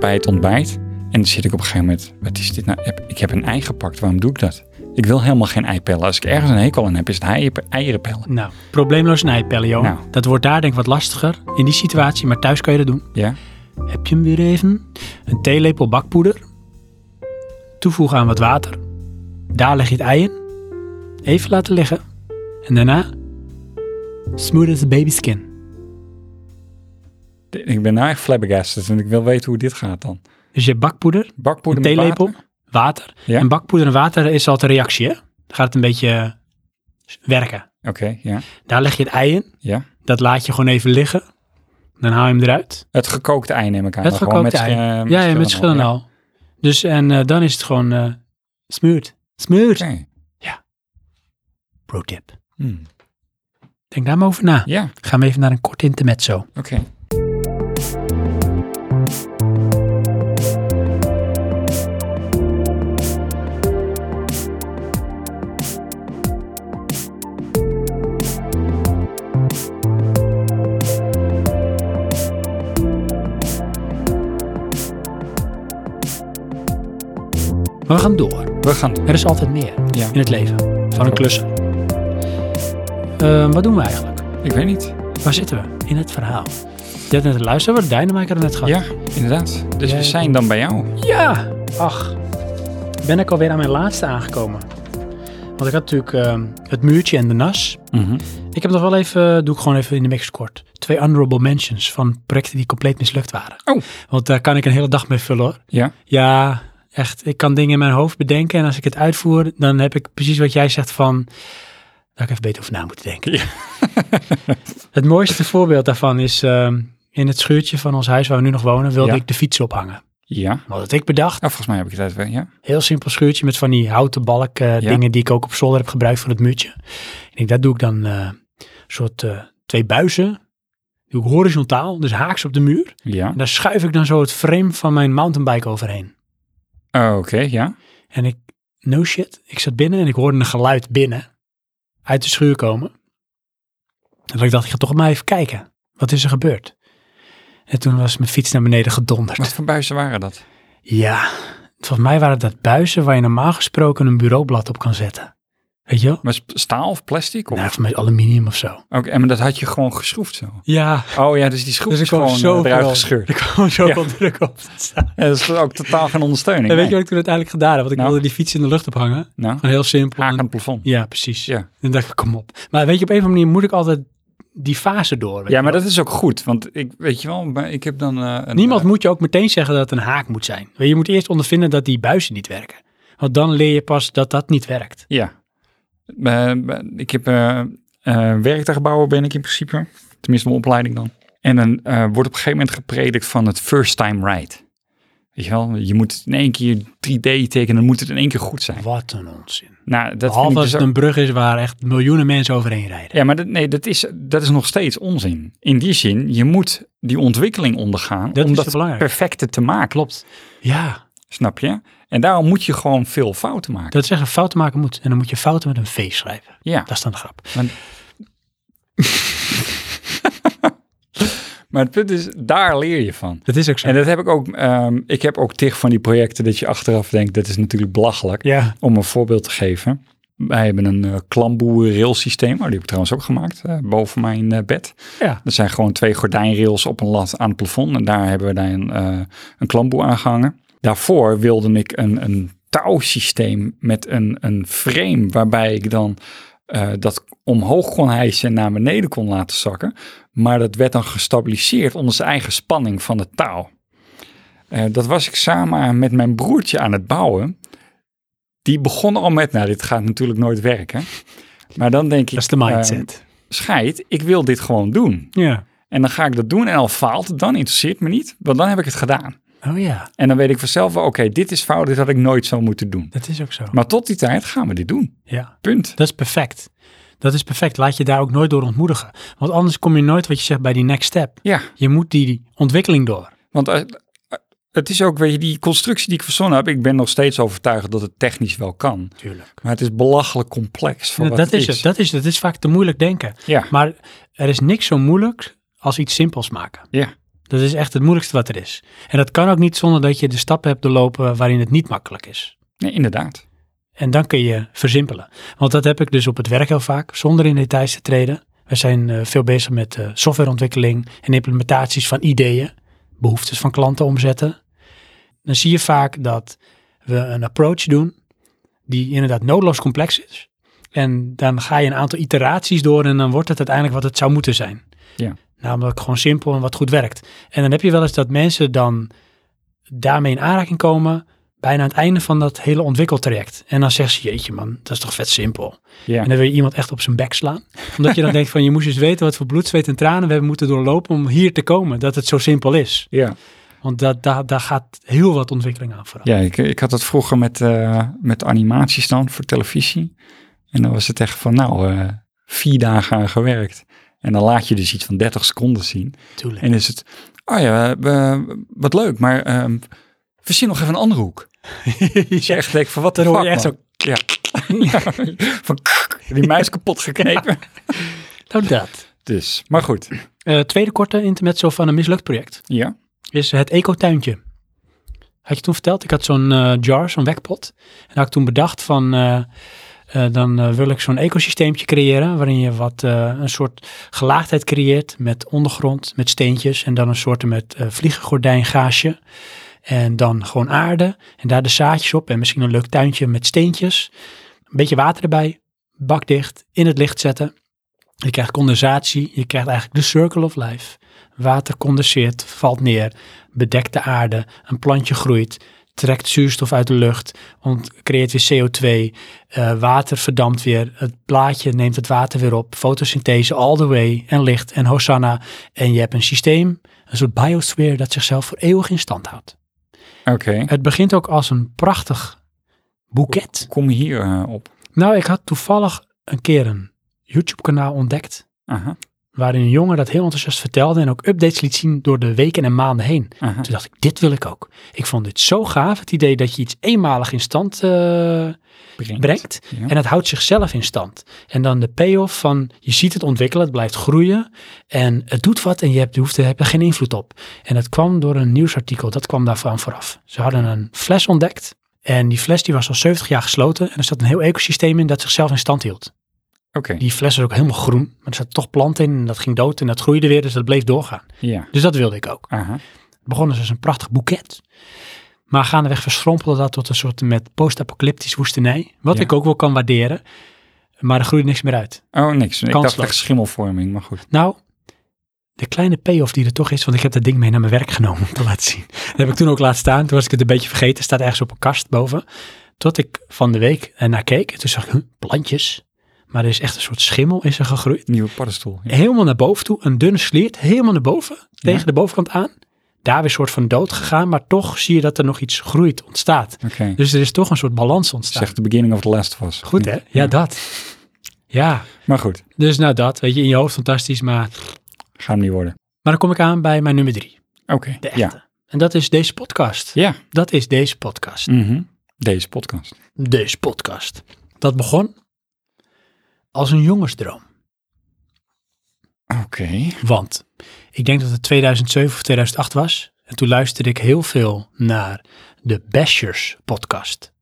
Speaker 1: bij het ontbijt. En dan zit ik op een gegeven moment, wat is dit nou? Ik heb een ei gepakt, waarom doe ik dat? Ik wil helemaal geen ei pellen. Als ik ergens een hekel aan heb, is het ei- eieren pellen.
Speaker 2: Nou, probleemloos een ei pellen, Johan.
Speaker 1: Nou.
Speaker 2: Dat wordt daar denk ik wat lastiger in die situatie. Maar thuis kan je dat doen.
Speaker 1: Ja?
Speaker 2: Heb je hem weer even? Een theelepel bakpoeder. Toevoegen aan wat water. Daar leg je het ei in. Even laten liggen. En daarna. Smooth as a baby skin.
Speaker 1: Ik ben eigenlijk flabbergasted en ik wil weten hoe dit gaat dan.
Speaker 2: Dus je hebt bakpoeder,
Speaker 1: Bakpoeder
Speaker 2: een
Speaker 1: met
Speaker 2: theelepel,
Speaker 1: water?
Speaker 2: water.
Speaker 1: Ja.
Speaker 2: En bakpoeder en water is altijd een reactie, hè? Dan gaat het een beetje eh, werken.
Speaker 1: Oké, ja.
Speaker 2: Daar leg je het ei in.
Speaker 1: ja.
Speaker 2: Dat laat je gewoon even liggen. Dan haal je hem eruit.
Speaker 1: Het gekookte ei neem ik aan.
Speaker 2: het
Speaker 1: maar gewoon
Speaker 2: gekookte ei.
Speaker 1: met, schi- eh,
Speaker 2: ja, ja, met schillen
Speaker 1: ja.
Speaker 2: al. Dus en eh, dan is het gewoon eh smeurt. Smeurt.
Speaker 1: Oké.
Speaker 2: Pro tip.
Speaker 1: Hmm.
Speaker 2: Denk daar maar over na.
Speaker 1: Ja,
Speaker 2: Gaan we even naar een kort intermezzo.
Speaker 1: oké.
Speaker 2: Maar we gaan door.
Speaker 1: We gaan door.
Speaker 2: Er is altijd meer
Speaker 1: Ja.
Speaker 2: in het leven van een klusser. Eh, wat doen we eigenlijk?
Speaker 1: Ik weet niet.
Speaker 2: Waar zitten we in het verhaal? Je hebt net een luisteren, wat Dynamite er net gehad.
Speaker 1: Ja, inderdaad. Dus
Speaker 2: Ja,
Speaker 1: we
Speaker 2: ik-
Speaker 1: zijn dan bij jou.
Speaker 2: Ja, ach. Ben ik alweer aan mijn laatste aangekomen. Want ik had natuurlijk ehm, het muurtje en de nas.
Speaker 1: Mhm.
Speaker 2: Ik heb nog wel even, eh, doe ik gewoon even in de mix kort. Twee honorable mentions van projecten die compleet mislukt waren.
Speaker 1: Oh.
Speaker 2: Want daar kan ik een hele dag mee vullen hoor.
Speaker 1: Ja,
Speaker 2: Ja, echt. Ik kan dingen in mijn hoofd bedenken en als ik het uitvoer, dan heb ik precies wat jij zegt van, dat ik even beter over na moet denken.
Speaker 1: Ja.
Speaker 2: het mooiste voorbeeld daarvan is ehm, in het schuurtje van ons huis waar we nu nog wonen, wilde
Speaker 1: Ja.
Speaker 2: ik de fiets ophangen.
Speaker 1: ja.
Speaker 2: Maar dat ik bedacht,
Speaker 1: Oh, volgens mij heb ik het uit. Ja,
Speaker 2: Heel simpel schuurtje met van die houten balk eh,
Speaker 1: Ja.
Speaker 2: dingen die ik ook op zolder heb gebruikt voor het muurtje. Ik denk, dat doe ik dan eh, een soort eh, twee buizen. Doe ik horizontaal, dus haaks op de muur.
Speaker 1: ja.
Speaker 2: En daar schuif ik dan zo het frame van mijn mountainbike overheen.
Speaker 1: Oh, Oké, ja.
Speaker 2: En ik, no shit, ik zat binnen en ik hoorde een geluid binnen. Uit de schuur komen. En dat ik dacht, ik ga toch maar even kijken. Wat is er gebeurd? En toen was mijn fiets naar beneden gedonderd.
Speaker 1: Wat voor buizen waren dat?
Speaker 2: Ja, volgens mij waren dat buizen waar je normaal gesproken een bureaublad op kan zetten. Weet je wel?
Speaker 1: Maar sp- staal of plastic? Of?
Speaker 2: Nou, voor mij aluminium of zo.
Speaker 1: Oké, en maar dat had je gewoon geschroefd zo.
Speaker 2: Ja,
Speaker 1: Oh ja, dus die schroef
Speaker 2: dus ik
Speaker 1: is
Speaker 2: kwam
Speaker 1: gewoon
Speaker 2: zo
Speaker 1: eh, eruit gescheurd.
Speaker 2: Ik kwam zo
Speaker 1: Ja.
Speaker 2: veel druk op te staan.
Speaker 1: Ja, dat is ook totaal geen ondersteuning.
Speaker 2: En weet je
Speaker 1: nee.
Speaker 2: wat ik toen uiteindelijk gedaan heb? Want ik
Speaker 1: Nou.
Speaker 2: wilde die fiets in de lucht ophangen.
Speaker 1: Nou,
Speaker 2: Gewoon heel simpel.
Speaker 1: haak aan
Speaker 2: En-
Speaker 1: het plafond.
Speaker 2: Ja, precies.
Speaker 1: Ja.
Speaker 2: En dan dacht ik, kom op. Maar weet je, op een of andere manier moet ik altijd die fase door. weet
Speaker 1: Ja,
Speaker 2: je
Speaker 1: maar
Speaker 2: wel.
Speaker 1: dat is ook goed. Want ik weet je wel, maar ik heb dan. eh, een,
Speaker 2: Niemand
Speaker 1: eh,
Speaker 2: moet je ook meteen zeggen dat het een haak moet zijn. Weet Je je moet eerst ondervinden dat die buizen niet werken. Want dan leer je pas dat dat niet werkt.
Speaker 1: ja. Eh, eh, ik heb eh eh, werktuigbouwer ben ik in principe. Tenminste, mijn opleiding dan. En dan eh, wordt op een gegeven moment gepredikt van het first time right. Weet je wel, je moet in één keer 3D tekenen, dan moet het in één keer goed zijn.
Speaker 2: Wat een onzin.
Speaker 1: Nou, dat vind ik
Speaker 2: Behalve als
Speaker 1: dus
Speaker 2: het
Speaker 1: ook-
Speaker 2: een brug is waar echt miljoenen mensen overheen rijden.
Speaker 1: Ja, maar dat, nee, dat is, dat is nog steeds onzin. In die zin, je moet die ontwikkeling ondergaan
Speaker 2: Dat
Speaker 1: om
Speaker 2: is
Speaker 1: dat
Speaker 2: het belangrijkste.
Speaker 1: perfecte te maken. Klopt.
Speaker 2: Ja,
Speaker 1: Snap je? En daarom moet je gewoon veel fouten maken.
Speaker 2: dat is echt een fouten maken moet. En dan moet je fouten met een V schrijven.
Speaker 1: ja.
Speaker 2: Dat is dan de grap.
Speaker 1: Maar het punt is, daar leer je van.
Speaker 2: Dat is ook zo.
Speaker 1: En dat heb ik ook, ehm, ik heb ook tig van die projecten dat je achteraf denkt, dat is natuurlijk belachelijk.
Speaker 2: ja.
Speaker 1: Om een voorbeeld te geven. Wij hebben een eh klamboe railsysteem, oh, die heb ik trouwens ook gemaakt, eh, boven mijn eh, bed.
Speaker 2: ja.
Speaker 1: Dat zijn gewoon twee gordijnrails op een lat aan het plafond. En daar hebben we daar een, eh een klamboe aan gehangen. Daarvoor wilde ik een, een touwsysteem met een, een frame waarbij ik dan eh, dat omhoog kon hijsen en naar beneden kon laten zakken. Maar dat werd dan gestabiliseerd onder zijn eigen spanning van het touw. Eh, dat was ik samen met mijn broertje aan het bouwen. Die begon al met, nou dit gaat natuurlijk nooit werken. Maar dan denk ik,
Speaker 2: Dat is de mindset.
Speaker 1: eh, scheid, ik wil dit gewoon doen.
Speaker 2: ja.
Speaker 1: En dan ga ik dat doen en al faalt het, dan interesseert het me niet, want dan heb ik het gedaan.
Speaker 2: Oh ja,
Speaker 1: En dan weet ik vanzelf wel, oké, dit is fout, dit had ik nooit zo moeten doen.
Speaker 2: dat is ook zo.
Speaker 1: Maar tot die tijd gaan we dit doen.
Speaker 2: ja.
Speaker 1: Punt.
Speaker 2: Dat is perfect. Dat is perfect. Laat je daar ook nooit door ontmoedigen. Want anders kom je nooit wat je zegt bij die next step.
Speaker 1: Ja,
Speaker 2: Je moet die, die ontwikkeling door.
Speaker 1: want eh, eh, het is ook, weet je, die constructie die ik verzonnen heb, ik ben nog steeds overtuigd dat het technisch wel kan.
Speaker 2: Tuurlijk.
Speaker 1: Maar het is belachelijk complex voor
Speaker 2: Dat,
Speaker 1: wat
Speaker 2: dat
Speaker 1: het
Speaker 2: is het. Dat is het. Het is vaak te moeilijk denken.
Speaker 1: Ja,
Speaker 2: Maar er is niks zo moeilijk als iets simpels maken.
Speaker 1: ja,
Speaker 2: Dat is echt het moeilijkste wat er is. En dat kan ook niet zonder dat je de stappen hebt doorlopen waarin het niet makkelijk is.
Speaker 1: nee, inderdaad.
Speaker 2: En dan kun je versimpelen. Want dat heb ik dus op het werk heel vaak, zonder in details te treden. We zijn eh, veel bezig met eh, softwareontwikkeling en implementaties van ideeën, behoeftes van klanten omzetten. Dan zie je vaak dat we een approach doen die inderdaad noodloos complex is. En dan ga je een aantal iteraties door en dan wordt het uiteindelijk wat het zou moeten zijn.
Speaker 1: Ja.
Speaker 2: Namelijk gewoon simpel en wat goed werkt. En dan heb je wel eens dat mensen dan daarmee in aanraking komen bijna aan het einde van dat hele ontwikkeltraject. En dan zeggen ze, jeetje man, dat is toch vet simpel.
Speaker 1: Ja.
Speaker 2: En dan wil je iemand echt op zijn bek slaan. Omdat je dan denkt van, je moest eens weten wat voor bloed, zweet en tranen we hebben moeten doorlopen om hier te komen. Dat het zo simpel is.
Speaker 1: Ja,
Speaker 2: Want dat, daar daar gaat heel wat ontwikkeling aan vooraf.
Speaker 1: ja ik, ik had dat vroeger met, eh, met animaties dan voor televisie. En dan was het echt van, nou, eh, vier dagen aan gewerkt. En dan laat je dus iets van 30 seconden zien.
Speaker 2: Natuurlijk.
Speaker 1: En is het, oh ja, eh, wat leuk, maar ehm verzin nog even een andere hoek. Dus je echt denkt van, wat de
Speaker 2: Dan
Speaker 1: fuck,
Speaker 2: hoor je echt
Speaker 1: man? Ja. Ja, van die muis kapot geknepen.
Speaker 2: Nou dat.
Speaker 1: Dus, maar goed.
Speaker 2: Eh, tweede korte intermezzo van een mislukt project
Speaker 1: Ja,
Speaker 2: is het ecotuintje. Had je toen verteld? Ik had zo'n eh, jar, zo'n wekpot. En had ik toen bedacht van, eh, eh, dan eh, wil ik zo'n ecosysteemtje creëren waarin je wat, eh, een soort gelaagdheid creëert met ondergrond, met steentjes en dan een soort met eh vliegengordijngaasje. En dan gewoon aarde en daar de zaadjes op en misschien een leuk tuintje met steentjes. Een beetje water erbij, bak dicht, in het licht zetten. Je krijgt condensatie, je krijgt eigenlijk de circle of life. Water condenseert, valt neer, bedekt de aarde, een plantje groeit, trekt zuurstof uit de lucht, ont- creëert weer CO2, eh, water verdampt weer, het blaadje neemt het water weer op, fotosynthese all the way en licht en hosanna. En je hebt een systeem, een soort biosphere dat zichzelf voor eeuwig in stand houdt.
Speaker 1: oké.
Speaker 2: Het begint ook als een prachtig boeket.
Speaker 1: Kom hier eh, op.
Speaker 2: Nou, ik had toevallig een keer een YouTube-kanaal ontdekt
Speaker 1: Aha,
Speaker 2: waarin een jongen dat heel enthousiast vertelde en ook updates liet zien door de weken en maanden heen.
Speaker 1: aha.
Speaker 2: Toen dacht ik, dit wil ik ook. Ik vond dit zo gaaf, het idee dat je iets eenmalig in stand eh,
Speaker 1: Brengt.
Speaker 2: brengt
Speaker 1: Ja.
Speaker 2: en het houdt zichzelf in stand. En dan de payoff van, je ziet het ontwikkelen, het blijft groeien en het doet wat en je hebt, je hoeft, je hebt er geen invloed op. En dat kwam door een nieuwsartikel, dat kwam daarvan vooraf. Ze hadden een fles ontdekt en die fles die was al 70 jaar gesloten en er zat een heel ecosysteem in dat zichzelf in stand hield.
Speaker 1: Oké,
Speaker 2: Die fles was ook helemaal groen, maar er zat toch plant in en dat ging dood en dat groeide weer, dus dat bleef doorgaan.
Speaker 1: ja.
Speaker 2: Dus dat wilde ik ook.
Speaker 1: Aha.
Speaker 2: Het begon dus als een prachtig boeket. Maar gaandeweg verschrompelde dat tot een soort met post-apocalyptisch woestenij, wat
Speaker 1: Ja.
Speaker 2: ik ook wel kan waarderen. Maar er groeide niks meer uit.
Speaker 1: Oh, niks. Ik dacht
Speaker 2: Kansloos.
Speaker 1: echt schimmelvorming, maar goed.
Speaker 2: Nou, de kleine payoff die er toch is, want ik heb dat ding mee naar mijn werk genomen om te laten zien. Dat heb ik toen ook laten staan. Toen was ik het een beetje vergeten. Het staat ergens op een kast boven. Tot ik van de week eh, naar keek. En toen zag ik, huh, plantjes. Maar er is echt een soort schimmel is er gegroeid.
Speaker 1: Nieuwe paddenstoel. Ja.
Speaker 2: helemaal naar boven toe, een dunne sliert, helemaal naar boven, tegen de bovenkant aan. Daar weer soort van dood gegaan, maar toch zie je dat er nog iets groeit, ontstaat.
Speaker 1: Oké.
Speaker 2: Dus er is toch een soort balans ontstaan.
Speaker 1: Zegt de beginning of the last was.
Speaker 2: Goed hè? Ja, dat. Ja,
Speaker 1: Maar goed,
Speaker 2: dus nou dat, weet je, in je hoofd fantastisch, maar...
Speaker 1: gaat hem niet worden.
Speaker 2: Maar dan kom ik aan bij mijn nummer drie,
Speaker 1: Oké.
Speaker 2: de echte.
Speaker 1: Ja.
Speaker 2: En dat is deze podcast.
Speaker 1: Ja.
Speaker 2: Dat is deze podcast.
Speaker 1: Mhm. Deze podcast.
Speaker 2: Deze podcast. Dat begon als een jongensdroom.
Speaker 1: Oké.
Speaker 2: Want ik denk dat het 2007 of 2008 was. En toen luisterde ik heel veel naar de Bashers podcast.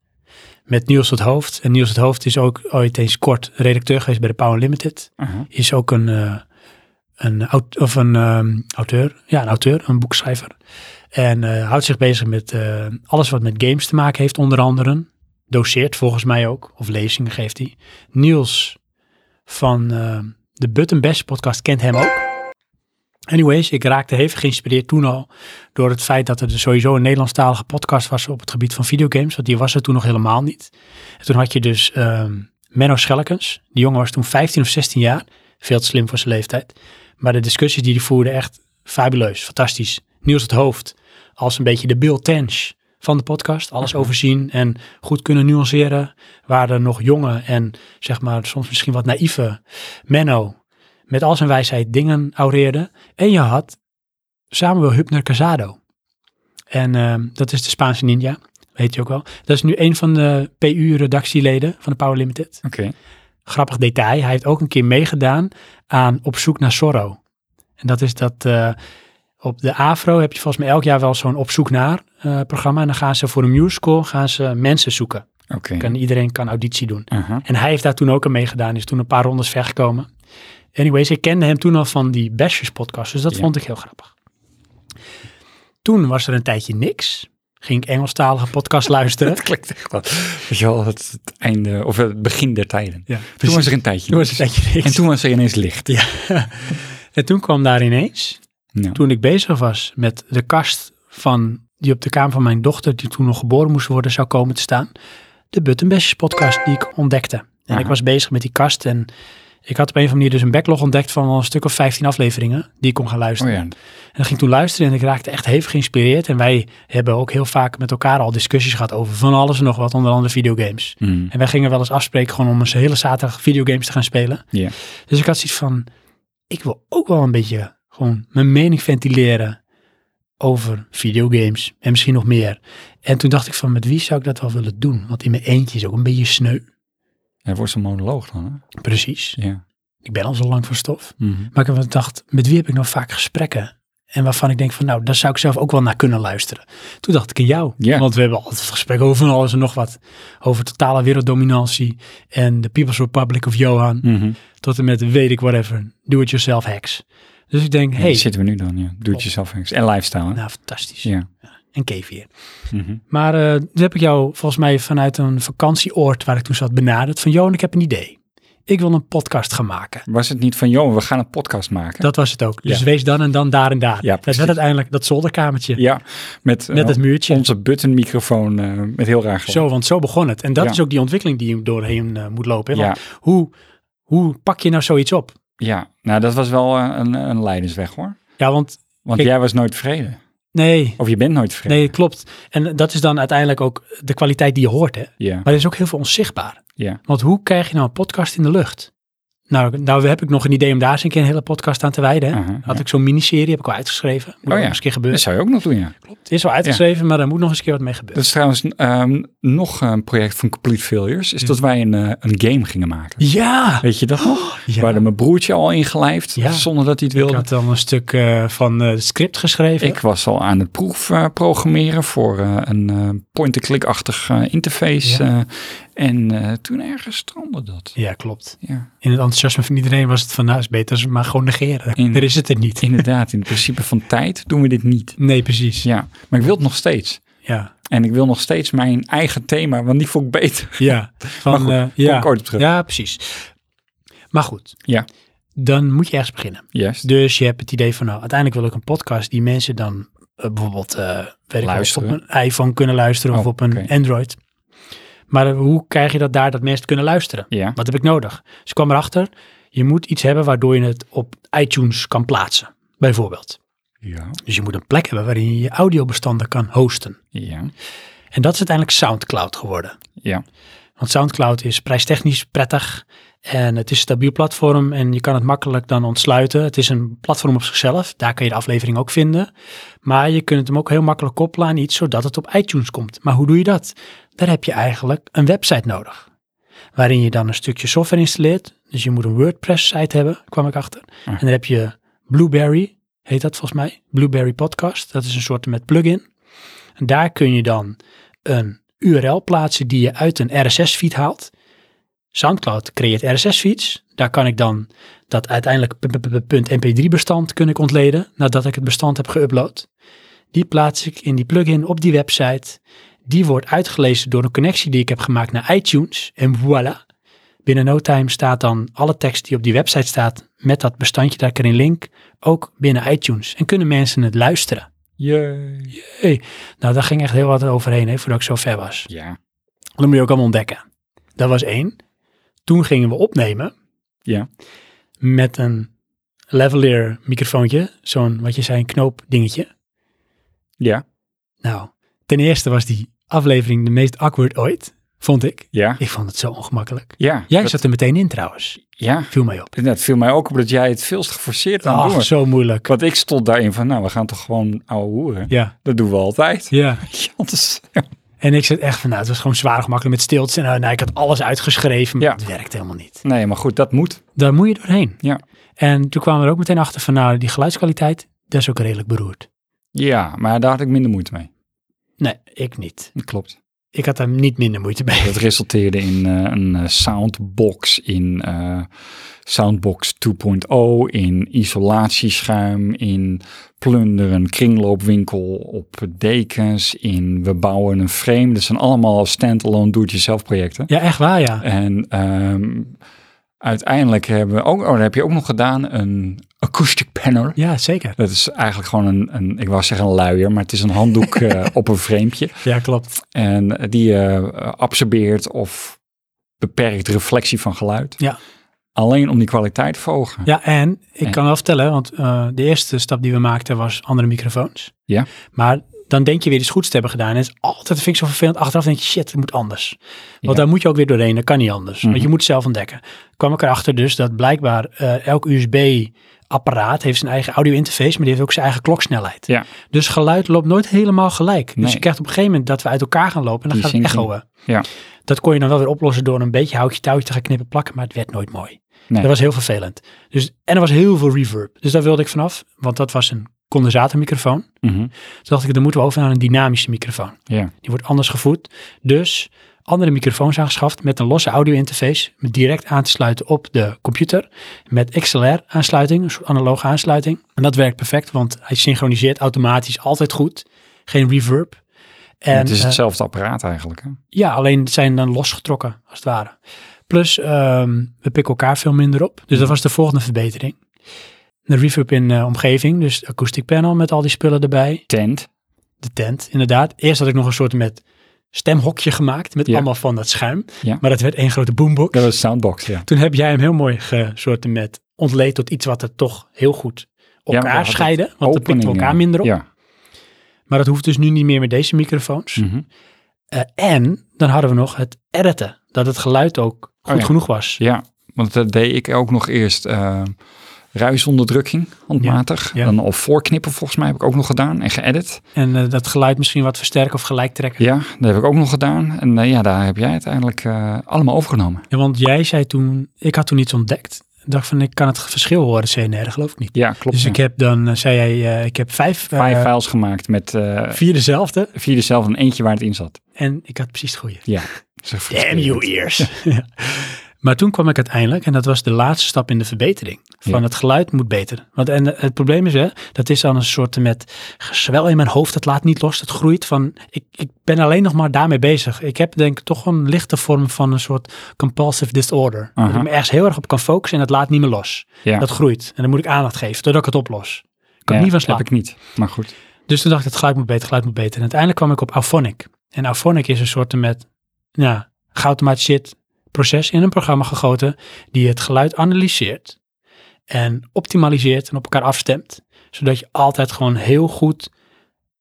Speaker 2: Met Niels het Hoofd. En Niels het Hoofd is ook ooit eens kort redacteur geweest bij de Power Limited.
Speaker 1: Aha.
Speaker 2: Is ook een, eh, een, aut- of een ehm, auteur. Ja, een auteur, een boekschrijver. En eh, houdt zich bezig met eh, alles wat met games te maken heeft, onder andere. Doseert volgens mij ook, of lezingen geeft hij. Niels van eh, de Button Bash podcast kent hem ook. Anyways, ik raakte hevig geïnspireerd toen al door het feit dat er dus sowieso een Nederlandstalige podcast was op het gebied van videogames, want die was er toen nog helemaal niet. En toen had je dus ehm, Menno Schellekens, die jongen was toen 15 of 16 jaar, veel te slim voor zijn leeftijd, maar de discussies die hij voerde echt fabuleus, fantastisch. Niels het hoofd, als een beetje de Bill Tench van de podcast, alles overzien en goed kunnen nuanceren, waar er nog jonge en zeg maar soms misschien wat naïeve Menno met al zijn wijsheid dingen aureerde. En je had Samuel Hübner Casado. En ehm, dat is de Spaanse ninja, weet je ook wel. Dat is nu een van de PU-redactieleden van de Power Limited.
Speaker 1: Oké.
Speaker 2: Grappig detail, hij heeft ook een keer meegedaan aan Op zoek naar Sorrow. En dat is dat eh, op de AFRO heb je volgens mij elk jaar wel zo'n Op zoek naar eh, programma. En dan gaan ze voor een musical gaan ze mensen zoeken.
Speaker 1: Oké.
Speaker 2: Kan, iedereen kan auditie doen.
Speaker 1: Aha.
Speaker 2: En hij heeft daar toen ook aan meegedaan. Is toen een paar rondes vergekomen. Anyways, ik kende hem toen al van die Bashers podcast. Dus dat
Speaker 1: Ja.
Speaker 2: vond ik heel grappig. Toen was er een tijdje niks. Ging ik Engelstalige podcast luisteren.
Speaker 1: Het klinkt echt wel. Weet je wel, het, het einde, of het begin der tijden. Dus
Speaker 2: Ja,
Speaker 1: Toen
Speaker 2: precies.
Speaker 1: was er een tijdje.
Speaker 2: Toen was er een
Speaker 1: niks.
Speaker 2: tijdje niks.
Speaker 1: En toen was er ineens licht.
Speaker 2: Ja. En toen kwam daar ineens,
Speaker 1: Ja.
Speaker 2: toen ik bezig was met de kast van, die op de kamer van mijn dochter, die toen nog geboren moest worden, zou komen te staan, de Buttonbashers podcast die ik ontdekte. En
Speaker 1: Aha.
Speaker 2: ik was bezig met die kast en ik had op een of andere manier dus een backlog ontdekt van wel een stuk of 15 afleveringen die ik kon gaan luisteren.
Speaker 1: Oh ja,
Speaker 2: En dat ging ik toen luisteren en ik raakte echt hevig geïnspireerd. En wij hebben ook heel vaak met elkaar al discussies gehad over van alles en nog wat, onder andere videogames.
Speaker 1: Mm.
Speaker 2: En wij gingen wel eens afspreken gewoon om eens een hele zaterdag videogames te gaan spelen.
Speaker 1: Ja.
Speaker 2: Dus ik had zoiets van, ik wil ook wel een beetje gewoon mijn mening ventileren over videogames en misschien nog meer. En toen dacht ik van, met wie zou ik dat wel willen doen? Want in mijn eentje is ook een beetje sneu.
Speaker 1: Hij wordt zo'n monoloog dan, hè? Dus
Speaker 2: Precies.
Speaker 1: Ja.
Speaker 2: Ik ben al zo lang van stof.
Speaker 1: Mhm.
Speaker 2: Maar ik heb wel gedacht, met wie heb ik nou vaak gesprekken? En waarvan ik denk van, nou, daar zou ik zelf ook wel naar kunnen luisteren. Toen dacht ik aan jou.
Speaker 1: Ja.
Speaker 2: Want we hebben altijd gesprekken over van alles en nog wat. Over totale werelddominantie en de People's Republic of Johan.
Speaker 1: Mhm.
Speaker 2: Tot en met weet ik whatever, do-it-yourself hacks. Dus ik denk,
Speaker 1: Ja,
Speaker 2: hey,
Speaker 1: Daar zitten we nu dan, ja. Doe het jezelf eens. En lifestyle, hè?
Speaker 2: nou fantastisch.
Speaker 1: Ja.
Speaker 2: En kevier.
Speaker 1: Mhm.
Speaker 2: Maar eh toen heb ik jou volgens mij vanuit een vakantieoord waar ik toen zat benaderd. Van, Johan, ik heb een idee. Ik wil een podcast gaan maken.
Speaker 1: Was het niet van, joh, we gaan een podcast maken?
Speaker 2: Dat was het ook. Dus
Speaker 1: Ja.
Speaker 2: wees dan en dan daar en daar.
Speaker 1: Ja,
Speaker 2: dat
Speaker 1: precies.
Speaker 2: werd uiteindelijk dat zolderkamertje.
Speaker 1: Ja, met, eh,
Speaker 2: Met het muurtje.
Speaker 1: onze buttonmicrofoon eh, met heel raar geluid.
Speaker 2: Zo, want zo begon het. En dat
Speaker 1: Ja.
Speaker 2: is ook die ontwikkeling die je doorheen eh, moet lopen. hè?
Speaker 1: Ja,
Speaker 2: Want hoe, hoe pak je nou zoiets op?
Speaker 1: ja, nou dat was wel eh, een, een leidersweg hoor.
Speaker 2: Ja, want
Speaker 1: Want
Speaker 2: Kijk.
Speaker 1: jij was nooit tevreden.
Speaker 2: nee,
Speaker 1: Of je bent nooit tevreden.
Speaker 2: nee, klopt. En dat is dan uiteindelijk ook de kwaliteit die je hoort. Hè?
Speaker 1: Ja,
Speaker 2: Maar er is ook heel veel onzichtbaar.
Speaker 1: ja.
Speaker 2: Want hoe krijg je nou een podcast in de lucht? Nou, nou heb ik nog een idee om daar eens een keer een hele podcast aan te wijden. Hè?
Speaker 1: Aha,
Speaker 2: Had
Speaker 1: Ah, ja.
Speaker 2: ik zo'n miniserie, heb ik al uitgeschreven. Moet
Speaker 1: Oh
Speaker 2: ook
Speaker 1: ja.
Speaker 2: eens een keer
Speaker 1: Dat
Speaker 2: gebeuren.
Speaker 1: zou je ook nog doen, ja.
Speaker 2: Klopt. Is wel uitgeschreven, maar daar moet nog eens een keer wat mee gebeuren.
Speaker 1: Dat is trouwens ehm, nog een project van Complete Failures. Is dat wij een, eh, een game gingen maken.
Speaker 2: Ja!
Speaker 1: Weet je dat nog?
Speaker 2: ja.
Speaker 1: Waar mijn broertje al ingelijfd,
Speaker 2: Ja.
Speaker 1: zonder dat hij het
Speaker 2: Ik
Speaker 1: wilde.
Speaker 2: had dan een stuk eh, van eh, het script geschreven.
Speaker 1: Ik was al aan het proef eh, programmeren voor eh, een eh, point-and-click-achtig eh, interface. eh, en eh, toen ergens strandde dat.
Speaker 2: Ja, klopt.
Speaker 1: Ja,
Speaker 2: In het enthousiasme van iedereen was het van, nou is beter als we maar gewoon negeren.
Speaker 1: In-
Speaker 2: Er is het er niet.
Speaker 1: inderdaad. In het principe van tijd doen we dit niet.
Speaker 2: Nee, precies. Ja.
Speaker 1: Ja, maar ik wil het nog steeds.
Speaker 2: Ja.
Speaker 1: En ik wil nog steeds mijn eigen thema, want die vond ik beter.
Speaker 2: Van,
Speaker 1: goed,
Speaker 2: eh,
Speaker 1: kom
Speaker 2: ja.
Speaker 1: ik ooit op terug.
Speaker 2: Ja, precies. Maar goed,
Speaker 1: Ja,
Speaker 2: dan moet je ergens beginnen.
Speaker 1: juist.
Speaker 2: Dus je hebt het idee van, nou, uiteindelijk wil ik een podcast die mensen dan eh, bijvoorbeeld, eh, weet ik wel,
Speaker 1: Luisteren.
Speaker 2: op een iPhone kunnen luisteren of
Speaker 1: Oh,
Speaker 2: op een
Speaker 1: oké.
Speaker 2: Android. Maar eh, hoe krijg je dat daar dat mensen het kunnen luisteren?
Speaker 1: Ja,
Speaker 2: Wat heb ik nodig? Dus ik kwam erachter, je moet iets hebben waardoor je het op iTunes kan plaatsen, bijvoorbeeld.
Speaker 1: ja,
Speaker 2: Dus je moet een plek hebben waarin je je audiobestanden kan hosten.
Speaker 1: ja,
Speaker 2: En dat is uiteindelijk SoundCloud geworden.
Speaker 1: ja.
Speaker 2: Want SoundCloud is prijstechnisch prettig en het is een stabiel platform en je kan het makkelijk dan ontsluiten. Het is een platform op zichzelf, daar kun je de aflevering ook vinden. Maar je kunt hem ook heel makkelijk koppelen aan iets zodat het op iTunes komt. Maar hoe doe je dat? Daar heb je eigenlijk een website nodig. Waarin je dan een stukje software installeert. Dus je moet een WordPress-site hebben, kwam ik achter. En dan heb je Blueberry, heet dat volgens mij. Blueberry Podcast, dat is een soort met plugin. En daar kun je dan een URL plaatsen die je uit een RSS-feed haalt. SoundCloud creëert RSS-feeds. Daar kan ik dan dat uiteindelijk .mp3-bestand kunnen ontleden nadat ik het bestand heb geüpload. Die plaats ik in die plugin op die website. Die wordt uitgelezen door een connectie die ik heb gemaakt naar iTunes. En voilà. Binnen no time staat dan alle tekst die op die website staat met dat bestandje daar ik erin link ook binnen iTunes. En kunnen mensen het luisteren.
Speaker 1: Jee.
Speaker 2: Hey, nou, daar ging echt heel wat overheen hè, voordat ik zo ver was.
Speaker 1: Ja,
Speaker 2: Dat moet je ook allemaal ontdekken. Dat was één. Toen gingen we opnemen.
Speaker 1: Ja.
Speaker 2: Met een lavalier microfoontje. Zo'n, wat je zei, een knoopdingetje.
Speaker 1: ja,
Speaker 2: Nou, ten eerste was die aflevering de meest awkward ooit, vond ik.
Speaker 1: ja,
Speaker 2: Ik vond het zo ongemakkelijk.
Speaker 1: ja.
Speaker 2: Jij
Speaker 1: Dat-
Speaker 2: zat er meteen in trouwens.
Speaker 1: Ja,
Speaker 2: Viel mij op.
Speaker 1: dat viel mij ook op dat jij het veelst geforceerd aan het doen
Speaker 2: Ach,
Speaker 1: was.
Speaker 2: zo moeilijk.
Speaker 1: Want ik stond daarin van, nou, we gaan toch gewoon ouwe hoeren.
Speaker 2: Ja,
Speaker 1: Dat doen we altijd.
Speaker 2: ja.
Speaker 1: Ja, anders-
Speaker 2: En ik zat echt van, nou, het was gewoon zwaar gemakkelijk met stiltes. En nou, nou, ik had alles uitgeschreven, maar
Speaker 1: Ja.
Speaker 2: het werkt helemaal niet.
Speaker 1: Nee, maar goed, dat moet.
Speaker 2: Daar moet je doorheen.
Speaker 1: Ja.
Speaker 2: En toen kwamen we er ook meteen achter van, nou, die geluidskwaliteit, dat is ook redelijk beroerd.
Speaker 1: Ja, maar daar had ik minder moeite mee.
Speaker 2: Nee, ik niet.
Speaker 1: Dat klopt.
Speaker 2: Ik had daar niet minder moeite mee.
Speaker 1: Dat resulteerde in eh, een eh, soundbox, in eh, soundbox 2.0, in isolatieschuim, in plunder een kringloopwinkel op dekens, in we bouwen een frame. Dat zijn allemaal standalone do-it-yourself projecten.
Speaker 2: Ja, echt waar, ja.
Speaker 1: En ehm, uiteindelijk hebben we ook, oh, dat heb je ook nog gedaan, een acoustic panel.
Speaker 2: Ja, zeker.
Speaker 1: Dat is eigenlijk gewoon een, een ik wou zeggen een luier, maar het is een handdoek eh, op een frame.
Speaker 2: Ja, klopt.
Speaker 1: En die eh, absorbeert of beperkt reflectie van geluid.
Speaker 2: Ja.
Speaker 1: Alleen om die kwaliteit te verhogen.
Speaker 2: Ja, en ik
Speaker 1: En-
Speaker 2: kan wel vertellen, want eh, de eerste stap die we maakten was andere microfoons.
Speaker 1: Ja.
Speaker 2: Maar dan denk je weer iets goeds te hebben gedaan. En het is altijd, dat vind ik zo vervelend, achteraf denk je, shit, het moet anders. Want
Speaker 1: Ja.
Speaker 2: daar moet je ook weer doorheen, dat kan niet anders.
Speaker 1: Mhm.
Speaker 2: Want je moet het zelf ontdekken. Kwam ik erachter dus dat blijkbaar eh, elk USB-apparaat heeft zijn eigen audio-interface, maar die heeft ook zijn eigen kloksnelheid.
Speaker 1: Ja.
Speaker 2: Dus geluid loopt nooit helemaal gelijk. Dus
Speaker 1: Nee.
Speaker 2: je krijgt op een gegeven moment dat we uit elkaar gaan lopen en dan
Speaker 1: Die
Speaker 2: gaat het
Speaker 1: zinking.
Speaker 2: echoen.
Speaker 1: Ja.
Speaker 2: Dat kon je dan wel weer oplossen door een beetje houtje touwtje te gaan knippen plakken, maar het werd nooit mooi.
Speaker 1: Nee.
Speaker 2: Dat was heel vervelend. Dus, en er was heel veel reverb. Dus daar wilde ik vanaf, want dat was een condensatormicrofoon.
Speaker 1: Mhm.
Speaker 2: Toen dacht ik, dan moeten we over naar een dynamische microfoon.
Speaker 1: ja.
Speaker 2: Die wordt anders gevoed. Dus andere microfoons aangeschaft met een losse audio interface. Met direct aan te sluiten op de computer. Met XLR aansluiting, een soort analoge aansluiting. En dat werkt perfect, want hij synchroniseert automatisch altijd goed. Geen reverb. En,
Speaker 1: het is
Speaker 2: eh,
Speaker 1: hetzelfde apparaat eigenlijk. Hè?
Speaker 2: ja, alleen het zijn dan losgetrokken, als het ware. Plus, ehm, we pikken elkaar veel minder op. Dus dat was de volgende verbetering. De reverb in eh, omgeving, dus acoustic panel met al die spullen erbij.
Speaker 1: Tent.
Speaker 2: De tent, inderdaad. Eerst had ik nog een soort met stemhokje gemaakt, met
Speaker 1: Ja.
Speaker 2: allemaal van dat schuim.
Speaker 1: Ja.
Speaker 2: Maar dat werd één grote boombox.
Speaker 1: Dat is soundbox, ja.
Speaker 2: Toen heb jij hem heel mooi gesoorten met ontleed tot iets wat er toch heel goed
Speaker 1: maar we
Speaker 2: elkaar
Speaker 1: hadden
Speaker 2: scheiden. Want dan pikten we
Speaker 1: Openingen.
Speaker 2: elkaar minder op.
Speaker 1: eh, Ja.
Speaker 2: Maar dat hoeft dus nu niet meer met deze microfoons.
Speaker 1: Mhm.
Speaker 2: Eh, en dan hadden we nog het editen. Dat het geluid ook goed
Speaker 1: Oh ja.
Speaker 2: genoeg was.
Speaker 1: Ja, want dat deed ik ook nog eerst eh, ruisonderdrukking, handmatig.
Speaker 2: Ja, ja.
Speaker 1: Dan, of voorknippen volgens mij heb ik ook nog gedaan en geëdit.
Speaker 2: En eh, dat geluid misschien wat versterken of gelijk trekken.
Speaker 1: Ja, dat heb ik ook nog gedaan. En eh, ja, daar heb jij uiteindelijk eh, allemaal overgenomen.
Speaker 2: Ja, want jij zei toen, ik had toen iets ontdekt. Ik dacht van, ik kan het verschil horen, CNR, geloof ik niet.
Speaker 1: Ja, klopt.
Speaker 2: Dus
Speaker 1: ja.
Speaker 2: ik heb dan, eh, zei jij, eh, ik heb vijf, eh,
Speaker 1: Vijf files gemaakt met eh,
Speaker 2: vier dezelfde.
Speaker 1: vier dezelfde en eentje waar het in zat.
Speaker 2: En ik had precies het goede.
Speaker 1: Ja. Dat is echt
Speaker 2: Damn
Speaker 1: frustrerend.
Speaker 2: you ears. Ja. Maar toen kwam ik uiteindelijk, en dat was de laatste stap in de verbetering. Van
Speaker 1: Ja.
Speaker 2: het geluid moet beter. Want en eh, het probleem is, hè, dat is dan een soort met gezwel in mijn hoofd. Dat laat niet los. Dat groeit van. Ik, ik ben alleen nog maar daarmee bezig. Ik heb denk ik toch een lichte vorm van een soort compulsive disorder. Dat
Speaker 1: Aha.
Speaker 2: ik me ergens heel erg op kan focussen en dat laat niet meer los.
Speaker 1: Ja.
Speaker 2: Dat groeit. En dan moet ik aandacht geven, doordat ik het oplos. Ik
Speaker 1: Ja,
Speaker 2: kan er niet van slapen.
Speaker 1: heb ik niet. Maar goed.
Speaker 2: Dus toen dacht ik, het geluid moet beter, het geluid moet beter. En uiteindelijk kwam ik op Auphonic. En Auphonic is een soort met, ja, geautomatiseerd proces in een programma gegoten die het geluid analyseert en optimaliseert en op elkaar afstemt, zodat je altijd gewoon heel goed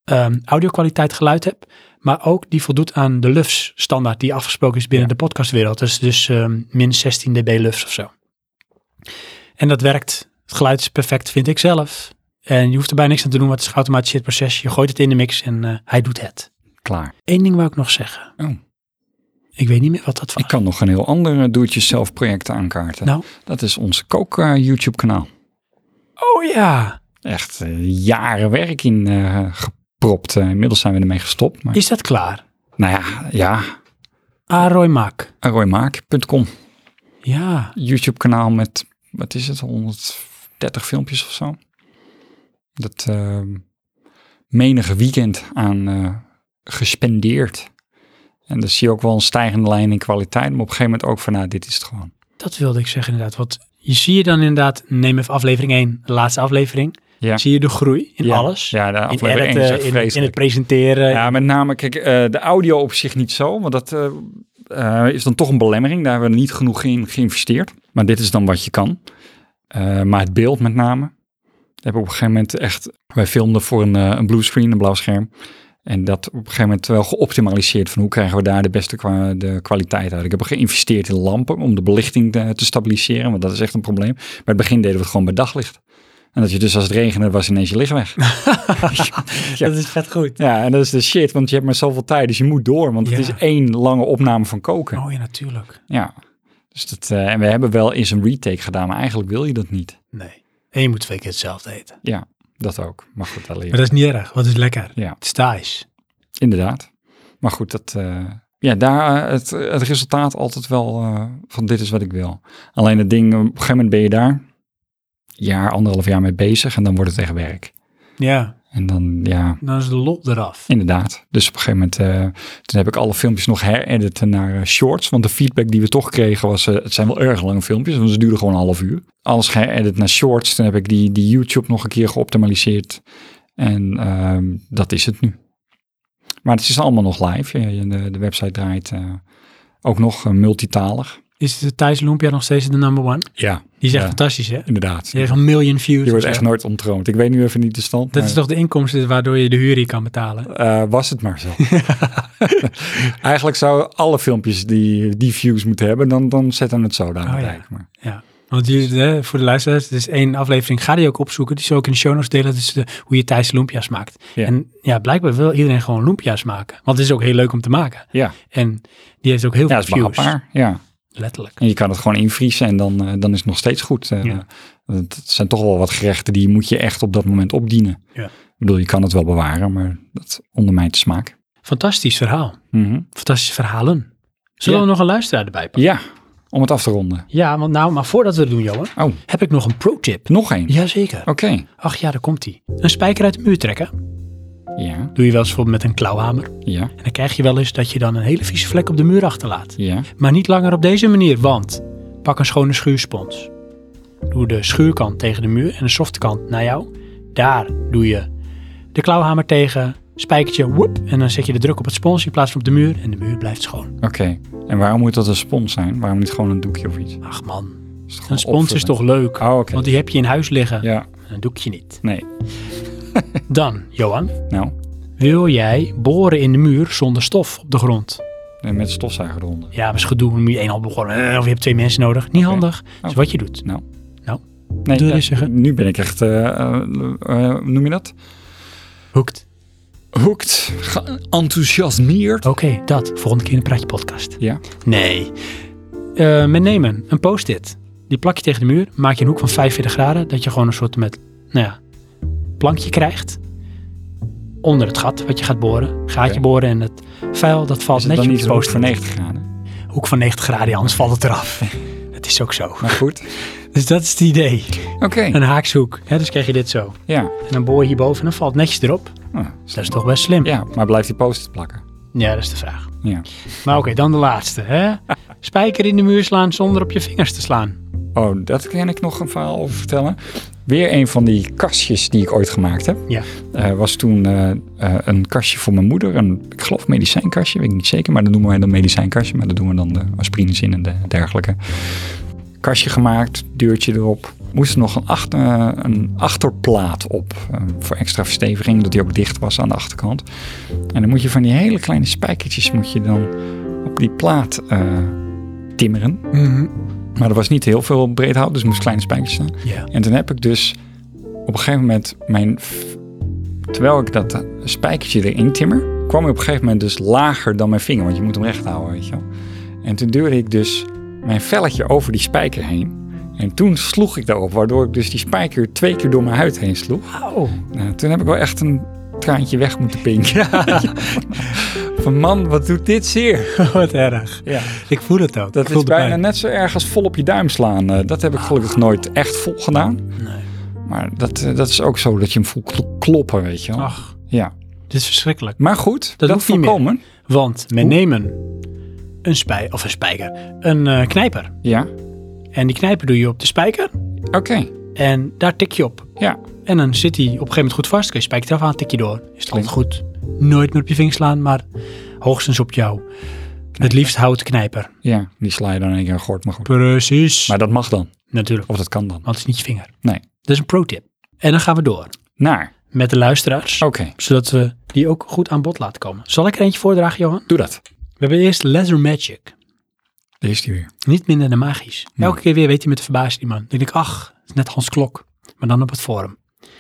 Speaker 2: ehm audio-kwaliteit geluid hebt, maar ook die voldoet aan de LUFS-standaard die afgesproken is binnen de podcastwereld. Dus, dus ehm, min 16 dB LUFS of zo. En dat werkt. Het geluid is perfect, vind ik zelf. En je hoeft er bijna niks aan te doen, want het is een geautomatiseerd proces. Je gooit het in de mix en eh, hij doet het.
Speaker 1: Klaar.
Speaker 2: Eén ding wou ik nog zeggen.
Speaker 1: Oh.
Speaker 2: Ik weet niet meer wat dat was.
Speaker 1: Ik kan nog een heel ander do-it-yourself project aankaarten.
Speaker 2: Ah. Nou.
Speaker 1: Dat is ons kook eh, YouTube kanaal.
Speaker 2: Oh ja.
Speaker 1: Echt eh, jaren werk in eh, gepropt. Eh, inmiddels zijn we ermee gestopt. Maar
Speaker 2: Is dat klaar?
Speaker 1: nou ja, ja.
Speaker 2: Aroy Maak.
Speaker 1: roymaak.com.
Speaker 2: Ja.
Speaker 1: YouTube kanaal met, wat is het, 130 filmpjes of zo. Dat eh, menige weekend aan eh, gespendeerd. En dan zie je ook wel een stijgende lijn in kwaliteit. Maar op een gegeven moment ook van, nou, dit is het gewoon.
Speaker 2: Dat wilde ik zeggen inderdaad. Want je zie je dan inderdaad, neem even aflevering 1, de laatste aflevering.
Speaker 1: Ja.
Speaker 2: Zie je de groei in
Speaker 1: Ja.
Speaker 2: alles.
Speaker 1: Ja, de
Speaker 2: in
Speaker 1: aflevering één is
Speaker 2: editen,
Speaker 1: echt
Speaker 2: in, in
Speaker 1: vreselijk.
Speaker 2: het presenteren.
Speaker 1: Ja, met name, kijk, eh, de audio op zich niet zo, want dat eh, eh, is dan toch een belemmering. Daar hebben we niet genoeg in geïnvesteerd. Maar dit is dan wat je kan. Eh, maar het beeld met name. Heb ik op een gegeven moment echt, wij filmden voor een, eh, een bluescreen, een blauw scherm. En dat op een gegeven moment wel geoptimaliseerd van hoe krijgen we daar de beste kwa- de kwaliteit uit. Ik heb geïnvesteerd in lampen om de belichting eh, te, te stabiliseren, want dat is echt een probleem. Bij het begin deden we het gewoon bij daglicht. En dat je dus als het regende was ineens je licht weg. ja.
Speaker 2: Dat is vet goed.
Speaker 1: Ja, en dat is de shit, want je hebt maar zoveel tijd, dus je moet door. Want het
Speaker 2: Ja.
Speaker 1: is één lange opname van koken.
Speaker 2: Oh ja, natuurlijk.
Speaker 1: Ja. Dus dat, eh, en we hebben wel eens een retake gedaan, maar eigenlijk wil je dat niet.
Speaker 2: Nee. En je moet twee keer hetzelfde eten.
Speaker 1: Ja, dat ook. Maar goed, dat leer
Speaker 2: Maar
Speaker 1: je.
Speaker 2: dat is niet erg, want het is lekker.
Speaker 1: Ja.
Speaker 2: Het is Thais.
Speaker 1: Inderdaad. Maar goed, dat, eh, ja, daar eh, het, het resultaat altijd wel eh, van dit is wat ik wil. Alleen het ding, op een gegeven moment ben je daar een jaar, anderhalf jaar mee bezig en dan wordt het echt werk.
Speaker 2: Ja.
Speaker 1: En dan, ja,
Speaker 2: Dan is de lol eraf.
Speaker 1: inderdaad. Dus op een gegeven moment, eh, toen heb ik alle filmpjes nog herediten naar eh, shorts. Want de feedback die we toch kregen was, eh, het zijn wel erg lange filmpjes, want ze duurden gewoon een half uur. Alles geëdit naar shorts. Toen heb ik die, die YouTube nog een keer geoptimaliseerd. En ehm, dat is het nu. Maar het is allemaal nog live. Je- je- De, de website draait eh, ook nog eh, multitalig.
Speaker 2: Is de Thijs Lumpia nog steeds de number one?
Speaker 1: Ja,
Speaker 2: Die is echt
Speaker 1: Ja.
Speaker 2: fantastisch, hè?
Speaker 1: inderdaad.
Speaker 2: Die heeft een million views.
Speaker 1: Je wordt
Speaker 2: of
Speaker 1: echt
Speaker 2: zo.
Speaker 1: nooit ontroond. Ik weet nu even niet de stand.
Speaker 2: Dat
Speaker 1: maar-
Speaker 2: is toch de inkomsten waardoor je de huur hier kan betalen?
Speaker 1: Eh, was het maar zo. Eigenlijk zouden alle filmpjes die, die views moeten hebben, dan, dan zetten we het zo daar
Speaker 2: Oh, ja.
Speaker 1: bereik. Maar
Speaker 2: Ja. Want jullie, hè, voor de luisteraars, het is één aflevering. Ga die ook opzoeken. Die zal ook in de show notes delen. Dat is de, hoe je Thijs Lumpia's maakt.
Speaker 1: Ja.
Speaker 2: En ja, blijkbaar wil iedereen gewoon Lumpia's maken. Want het is ook heel leuk om te maken.
Speaker 1: ja,
Speaker 2: En die heeft ook heel
Speaker 1: ja dat is
Speaker 2: veel views.
Speaker 1: behapbaar. Ja.
Speaker 2: Letterlijk.
Speaker 1: En je kan het gewoon invriezen en dan, eh, dan is het nog steeds goed. Eh,
Speaker 2: Ja.
Speaker 1: Het het zijn toch wel wat gerechten die moet je echt op dat moment opdienen.
Speaker 2: Ja.
Speaker 1: Ik bedoel, je kan het wel bewaren, maar dat ondermijnt de smaak.
Speaker 2: Fantastisch verhaal.
Speaker 1: Mhm.
Speaker 2: Fantastische verhalen. Zullen
Speaker 1: Ja.
Speaker 2: we nog een luisteraar erbij pakken?
Speaker 1: Ja, om het af te ronden.
Speaker 2: Ja, want nou, maar voordat we dat doen, Johan,
Speaker 1: Oh,
Speaker 2: heb ik nog een pro-tip.
Speaker 1: nog één.
Speaker 2: Jazeker.
Speaker 1: Oké.
Speaker 2: Ach ja, daar komt hij. Een spijker uit de muur trekken.
Speaker 1: Ja,
Speaker 2: Doe je wel eens bijvoorbeeld met een klauwhamer.
Speaker 1: ja,
Speaker 2: En dan krijg je wel eens dat je dan een hele vieze vlek op de muur achterlaat.
Speaker 1: ja.
Speaker 2: Maar niet langer op deze manier, want pak een schone schuurspons. Doe de schuurkant tegen de muur en de softe kant naar jou. Daar doe je de klauwhamer tegen, spijkertje, woep. En dan zet je de druk op het spons in plaats van op de muur en de muur blijft schoon.
Speaker 1: Oké. En waarom moet dat een spons zijn? Waarom niet gewoon een doekje of iets? Is
Speaker 2: Ach man,
Speaker 1: het gewoon
Speaker 2: een spons is
Speaker 1: opvulling?
Speaker 2: toch leuk?
Speaker 1: Oh, oké.
Speaker 2: Want die heb je in huis liggen.
Speaker 1: Ja,
Speaker 2: Een doekje niet.
Speaker 1: nee.
Speaker 2: Dan, Johan,
Speaker 1: Nou,
Speaker 2: wil jij boren in de muur zonder stof op de grond?
Speaker 1: En eh, met stofzuiger eronder.
Speaker 2: Ja, maar is gedoe. Dan moet je één hand begonnen. eh, Of je hebt twee mensen nodig. Niet handig. Dus
Speaker 1: Oh.
Speaker 2: wat je doet.
Speaker 1: Nou.
Speaker 2: Nou,
Speaker 1: Nee,
Speaker 2: Doe
Speaker 1: ja,
Speaker 2: eens zeggen.
Speaker 1: nu ben ik echt, eh, eh, eh, noem je dat?
Speaker 2: hoekt.
Speaker 1: Hoekt, geenthousiasmeerd.
Speaker 2: Oké, dat. Volgende keer in de Praatje Podcast.
Speaker 1: Ja,
Speaker 2: Nee. Eh, met nemen. Een post-it. Die plak je tegen de muur. Maak je een hoek van 45 graden. Dat je gewoon een soort met, nou ja, plankje krijgt. Onder het gat wat je gaat boren. Gaatje
Speaker 1: Oké.
Speaker 2: boren en het vuil dat
Speaker 1: is
Speaker 2: valt
Speaker 1: het dan
Speaker 2: netjes op
Speaker 1: niet
Speaker 2: de
Speaker 1: rood voor
Speaker 2: post-it.
Speaker 1: 90 graden?
Speaker 2: Hoek van 90 graden, anders valt het eraf. Het is ook zo.
Speaker 1: Maar goed,
Speaker 2: Dus dat is het idee.
Speaker 1: oké,
Speaker 2: Een haakshoek. Hè, dus krijg je dit zo.
Speaker 1: ja.
Speaker 2: En dan boor je hierboven en dan valt het netjes erop.
Speaker 1: Nou,
Speaker 2: Dus dat is toch best slim.
Speaker 1: ja, maar blijft die post plakken?
Speaker 2: Ja, dat is de vraag.
Speaker 1: Ja.
Speaker 2: Maar oké, dan de laatste. Hè? Spijker in de muur slaan zonder op je vingers te slaan.
Speaker 1: Oh, dat kan ik nog een verhaal over vertellen. Weer een van die kastjes die ik ooit gemaakt heb.
Speaker 2: Ja.
Speaker 1: Eh, was toen eh, eh, een kastje voor mijn moeder. Een, ik geloof medicijnkastje, weet ik niet zeker. Maar dat noemen wij dan medicijnkastje. Maar dat doen we dan de aspirines in en de, dergelijke. Kastje gemaakt, deurtje erop. Moest er nog een, acht- eh, een achterplaat op. eh, voor extra versteviging, dat die ook dicht was aan de achterkant. En dan moet je van die hele kleine spijkertjes moet je dan op die plaat eh, timmeren. Maar er was niet heel veel breed hout, dus er moest kleine spijkertjes staan.
Speaker 2: Ja.
Speaker 1: En toen heb ik dus op een gegeven moment mijn. f- Terwijl ik dat spijkertje erin timmer, kwam hij op een gegeven moment dus lager dan mijn vinger. Want je moet hem recht houden, weet je wel. En toen duwde ik dus mijn velletje over die spijker heen. En toen sloeg ik daarop, waardoor ik dus die spijker twee keer door mijn huid heen sloeg.
Speaker 2: Au.
Speaker 1: Nou, toen heb ik wel echt een traantje weg moeten pinken. Van man, wat doet dit zeer?
Speaker 2: Wat erg.
Speaker 1: Ja.
Speaker 2: Ik voel het ook.
Speaker 1: Dat
Speaker 2: ik voel
Speaker 1: is
Speaker 2: de
Speaker 1: bijna
Speaker 2: pijn.
Speaker 1: net zo erg als vol op je duim slaan. Eh, dat heb ik gelukkig nooit echt vol gedaan.
Speaker 2: Nee.
Speaker 1: Maar dat, eh, dat is ook zo dat je hem voelt kl- kloppen, weet je wel.
Speaker 2: Ach,
Speaker 1: Ja.
Speaker 2: dit is verschrikkelijk.
Speaker 1: Maar goed, dat,
Speaker 2: Dat hoeft niet meer.
Speaker 1: voorkomen.
Speaker 2: Want men
Speaker 1: Hoe?
Speaker 2: nemen een spij of een spijker, een eh, knijper.
Speaker 1: Ja,
Speaker 2: En die knijper doe je op de spijker
Speaker 1: oké.
Speaker 2: en daar tik je op.
Speaker 1: Ja,
Speaker 2: En dan zit hij op een gegeven moment goed vast. Kun je spijker eraf aan, tik je door. Is het altijd goed. Nooit meer op je vingers slaan, maar hoogstens op jou. Het liefst houten knijper.
Speaker 1: ja. Die sla je dan in één keer aan gort, maar goed.
Speaker 2: Precies.
Speaker 1: Maar dat mag dan.
Speaker 2: Natuurlijk,
Speaker 1: Of dat kan dan.
Speaker 2: want het is niet je vinger.
Speaker 1: Nee.
Speaker 2: Dat is een pro-tip. En dan gaan we door
Speaker 1: Naar.
Speaker 2: met de luisteraars,
Speaker 1: Oké,
Speaker 2: zodat we die ook goed aan bod laten komen. Zal ik er eentje voordragen, Johan?
Speaker 1: doe dat.
Speaker 2: We hebben eerst Leather Magic.
Speaker 1: Daar is die weer.
Speaker 2: Niet minder dan magisch. Elke keer weer weet hij met de verbazing, die man. Dan denk ik, ach, het is net Hans Klok, maar dan op het forum.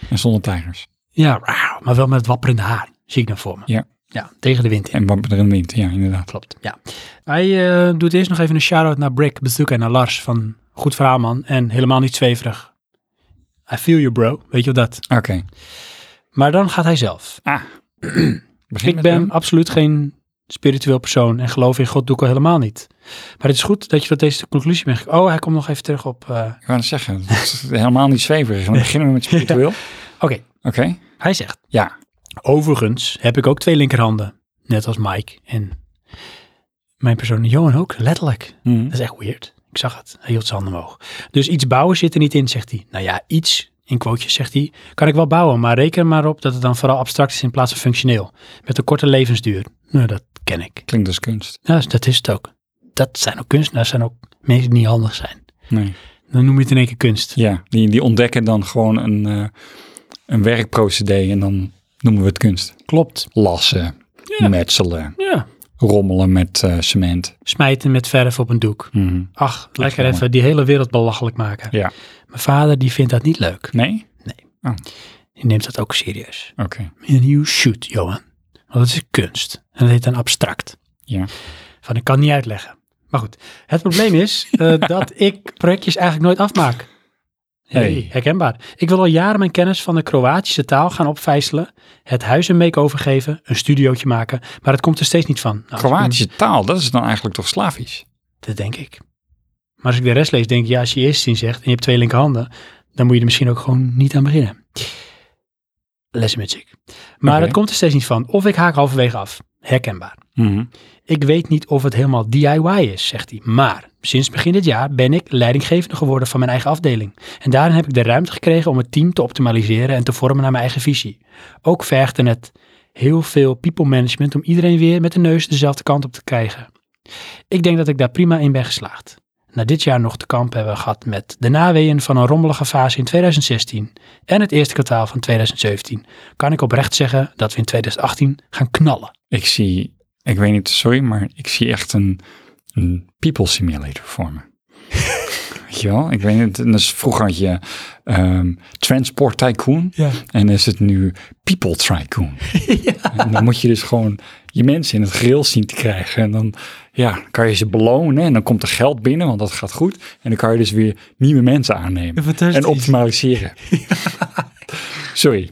Speaker 1: En zonder tijgers.
Speaker 2: Ja, rauw, maar wel met het wapperende haar, zie ik dan voor me.
Speaker 1: Ja.
Speaker 2: Ja, tegen de wind in.
Speaker 1: En bampen er een wind. Ja, inderdaad.
Speaker 2: Klopt, ja. Hij eh, doet eerst nog even een shout-out naar Brick, Bezoek en naar Lars van Goed Verhaal, man. En helemaal niet zweverig. I feel you, bro. Weet je wat dat?
Speaker 1: Oké.
Speaker 2: Maar dan gaat hij zelf.
Speaker 1: Begin
Speaker 2: Ik
Speaker 1: met
Speaker 2: ben
Speaker 1: hem.
Speaker 2: absoluut geen spiritueel persoon en geloof in God doe ik al helemaal niet. Maar het is goed dat je tot deze conclusie bent gekomen. Oh, hij komt nog even terug op. eh,
Speaker 1: Ik wou het zeggen, het is helemaal niet zweverig. En Dan beginnen we met spiritueel.
Speaker 2: Oké,
Speaker 1: Oké?
Speaker 2: hij zegt.
Speaker 1: Ja.
Speaker 2: Overigens heb ik ook twee linkerhanden. Net als Mike en mijn persoon Johan ook, letterlijk.
Speaker 1: Hm.
Speaker 2: Dat is echt weird. Ik zag het. Hij hield zijn handen omhoog. Dus iets bouwen zit er niet in, zegt hij. Nou ja, iets, in quotejes zegt hij, kan ik wel bouwen. Maar reken er maar op dat het dan vooral abstract is in plaats van functioneel. Met een korte levensduur. Nou, dat ken ik.
Speaker 1: Klinkt dus kunst.
Speaker 2: Ja, dat is het ook. Dat zijn ook kunstenaars, zijn ook mensen die niet handig zijn.
Speaker 1: Nee.
Speaker 2: Dan noem je het in één keer kunst.
Speaker 1: Ja, die, die ontdekken dan gewoon een, eh, een werkprocedé en dan noemen we het kunst.
Speaker 2: Klopt.
Speaker 1: Lassen, metselen,
Speaker 2: Ja.
Speaker 1: rommelen met eh, cement.
Speaker 2: Smijten met verf op een doek.
Speaker 1: Mhm.
Speaker 2: Ach, lekker
Speaker 1: jammer.
Speaker 2: even die hele wereld belachelijk maken.
Speaker 1: Ja.
Speaker 2: Mijn vader die vindt dat niet leuk.
Speaker 1: Nee?
Speaker 2: Die neemt dat ook serieus.
Speaker 1: Oké.
Speaker 2: En you shoot, Johan. Want dat is kunst. En dat heet dan abstract.
Speaker 1: Ja.
Speaker 2: Van, ik kan niet uitleggen. Maar goed, het probleem is eh, dat ik projectjes eigenlijk nooit afmaak. Hey,
Speaker 1: Hey.
Speaker 2: herkenbaar. Ik wil al jaren mijn kennis van de Kroatische taal gaan opvijzelen, het huis een make-over geven, een studiootje maken, maar het komt er steeds niet van. Nou,
Speaker 1: Kroatische taal, dat is dan eigenlijk toch Slavisch?
Speaker 2: Dat denk ik. Maar als ik de rest lees, denk ik, ja, als je eerst zin zegt en je hebt twee linkerhanden, dan moet je er misschien ook gewoon niet aan beginnen. Les magic. Maar
Speaker 1: Oké.
Speaker 2: het komt er steeds niet van. Of ik haak halverwege af. Herkenbaar.
Speaker 1: Mhm.
Speaker 2: Ik weet niet of het helemaal DIY is, zegt hij. Maar sinds begin dit jaar ben ik leidinggevende geworden van mijn eigen afdeling. En daarin heb ik de ruimte gekregen om het team te optimaliseren en te vormen naar mijn eigen visie. Ook vergde het heel veel people management om iedereen weer met de neus dezelfde kant op te krijgen. Ik denk dat ik daar prima in ben geslaagd. Na dit jaar nog te kamp hebben we gehad met de naweeën van een rommelige fase in 2016 en het eerste kwartaal van 2017, kan ik oprecht zeggen dat we in 2018 gaan knallen.
Speaker 1: Ik zie, ik weet niet, sorry, maar ik zie echt een, een people simulator voor me. weet je wel? Ik weet niet, en dus vroeger had je ehm, Transport Tycoon
Speaker 2: Ja.
Speaker 1: en is het nu People Tycoon. En dan moet je dus gewoon je mensen in het grill zien te krijgen en dan ja, kan je ze belonen en dan komt er geld binnen, want dat gaat goed. En dan kan je dus weer nieuwe mensen aannemen
Speaker 2: Fantastisch.
Speaker 1: en optimaliseren. Sorry,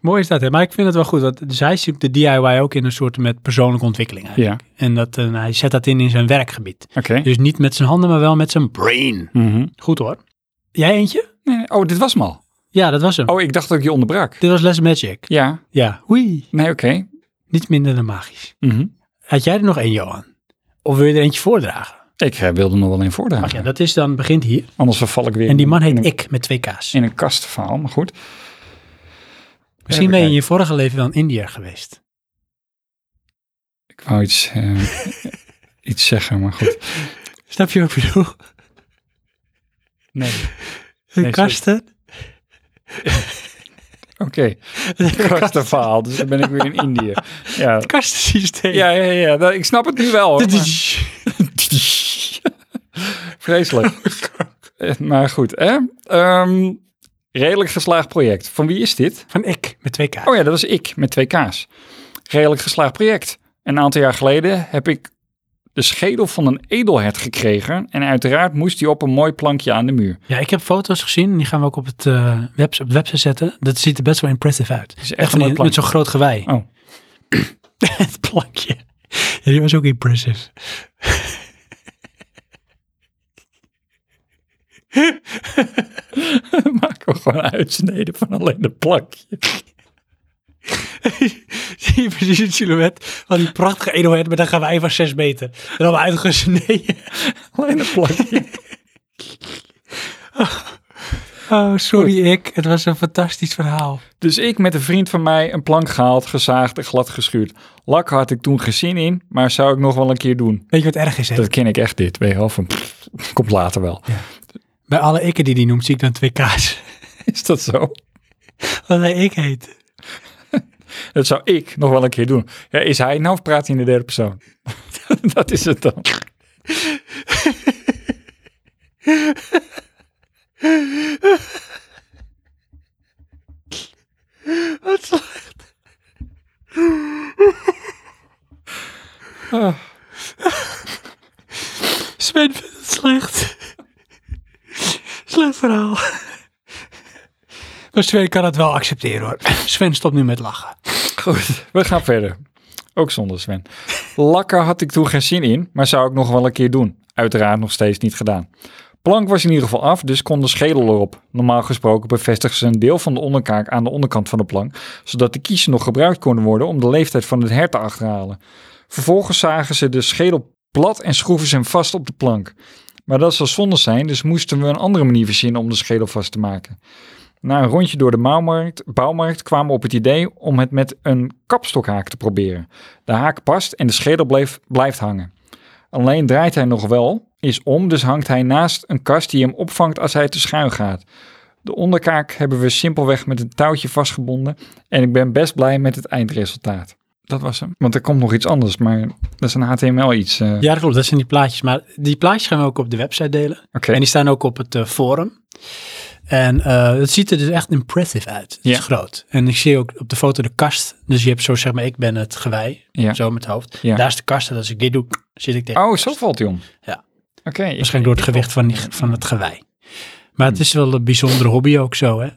Speaker 2: Mooi is dat, hè? maar ik vind het wel goed. Want dus hij zoekt de DIY ook in een soort met persoonlijke ontwikkeling. eigenlijk.
Speaker 1: ja,
Speaker 2: En dat, eh, hij zet dat in in zijn werkgebied.
Speaker 1: oké.
Speaker 2: Dus niet met zijn handen, maar wel met zijn brain.
Speaker 1: Mhm.
Speaker 2: Goed hoor. Jij eentje?
Speaker 1: Nee, oh, dit was hem al.
Speaker 2: Ja, dat was hem.
Speaker 1: Oh, ik dacht dat ik je onderbrak.
Speaker 2: Dit was Les Magic.
Speaker 1: Ja,
Speaker 2: Ja, oei.
Speaker 1: nee, oké.
Speaker 2: Niet minder dan magisch.
Speaker 1: Mhm.
Speaker 2: Had jij er nog één, Johan? Of wil je er eentje voordragen?
Speaker 1: Ik eh, wilde nog wel een voordragen.
Speaker 2: Ach ja, dat is dan, begint hier.
Speaker 1: Anders verval ik weer
Speaker 2: En die
Speaker 1: in-
Speaker 2: man
Speaker 1: in
Speaker 2: heet
Speaker 1: een,
Speaker 2: Ik met twee K's.
Speaker 1: in een kastverhaal, maar goed.
Speaker 2: Misschien
Speaker 1: Even
Speaker 2: ben je in
Speaker 1: kijken.
Speaker 2: je vorige leven wel een Indiër geweest.
Speaker 1: Ik wou iets, eh, iets zeggen, maar goed.
Speaker 2: Snap je wat ik bedoel?
Speaker 1: Nee.
Speaker 2: Een
Speaker 1: Nee,
Speaker 2: kasten?
Speaker 1: Oké, Een kastverhaal. Dus dan ben ik weer in Indië. Ja,
Speaker 2: Kastensysteem.
Speaker 1: ja, ja. ja nou, ik snap het nu wel. Hoor,
Speaker 2: Dit
Speaker 1: maar...
Speaker 2: is- Oh,
Speaker 1: Vreselijk. Eh, maar goed, hè? Ehm, redelijk geslaagd project. Van wie is dit?
Speaker 2: Van ik met twee K's.
Speaker 1: Oh ja, dat was ik met twee K's. Redelijk geslaagd project. Een aantal jaar geleden heb ik de schedel van een edelhert gekregen. En uiteraard moest die op een mooi plankje aan de muur.
Speaker 2: Ja, ik heb foto's gezien. en Die gaan we ook op, het, eh, webs op de website zetten. Dat ziet er best wel impressive uit.
Speaker 1: is echt
Speaker 2: echt
Speaker 1: een
Speaker 2: van
Speaker 1: mooi
Speaker 2: die- met zo'n groot gewei. Oh.
Speaker 1: Oh.
Speaker 2: het plankje. Ja, die was ook impressive.
Speaker 1: Dan maken we gewoon uitsneden van alleen het plankje.
Speaker 2: Zie je precies het silhouet van die prachtige edelheid met een gewei van 6 meter. En dan uitgesneden.
Speaker 1: Alleen het plankje.
Speaker 2: Oh, sorry ik. Het was een fantastisch verhaal.
Speaker 1: Dus ik met een vriend van mij een plank gehaald, gezaagd en glad geschuurd. Lak had ik toen geen zin in, maar zou ik nog wel een keer doen.
Speaker 2: Weet je wat erg is? Hè?
Speaker 1: Dat ken ik echt dit. Weet je wel, van pff, komt later wel.
Speaker 2: Bij alle ikken die die noemt, zie ik dan twee K's.
Speaker 1: Is dat zo?
Speaker 2: Wat hij ik heet.
Speaker 1: Dat zou ik nog wel een keer doen. Ja, is hij nou of praat hij in de derde persoon? dat is het dan.
Speaker 2: Wat
Speaker 1: Ah,
Speaker 2: Sven vindt het slecht. Slecht verhaal. Maar Sven kan het wel accepteren hoor. Sven stopt nu met lachen.
Speaker 1: goed, we gaan verder. Ook zonder Sven. Lakken had ik toen geen zin in, maar zou ik nog wel een keer doen. Uiteraard nog steeds niet gedaan. Plank was in ieder geval af, dus kon de schedel erop. Normaal gesproken bevestigen ze een deel van de onderkaak aan de onderkant van de plank, zodat de kiezen nog gebruikt konden worden om de leeftijd van het her te achterhalen. Vervolgens zagen ze de schedel plat en schroeven ze hem vast op de plank. Maar dat zou zonde zijn, dus moesten we een andere manier verzinnen om de schedel vast te maken. Na een rondje door de mouwmarkt, bouwmarkt kwamen we op het idee om het met een kapstokhaak te proberen. De haak past en de schedel bleef, blijft hangen. Alleen draait hij nog wel, is om, dus hangt hij naast een kast die hem opvangt als hij te schuin gaat. De onderkaak hebben we simpelweg met een touwtje vastgebonden en ik ben best blij met het eindresultaat. Dat was hem. Want er komt nog iets anders, maar dat is een HTML iets. eh.
Speaker 2: Ja, dat klopt. Dat zijn die plaatjes. Maar die plaatjes gaan we ook op de website delen.
Speaker 1: Oké.
Speaker 2: En die staan ook op het eh, forum. En eh, het ziet er dus echt impressive uit. Het
Speaker 1: Ja.
Speaker 2: is groot. En ik zie ook op de foto de kast. Dus je hebt zo zeg maar, ik ben het gewei.
Speaker 1: Ja.
Speaker 2: Zo met het hoofd.
Speaker 1: Ja.
Speaker 2: Daar is de kast. En als ik dit doe, zit ik tegen.
Speaker 1: Oh, zo valt hij om.
Speaker 2: Ja.
Speaker 1: Oké. ik-
Speaker 2: Waarschijnlijk door het gewicht van, die, van het gewei.
Speaker 1: Hmm.
Speaker 2: Maar het is wel een bijzondere hobby ook zo, hè.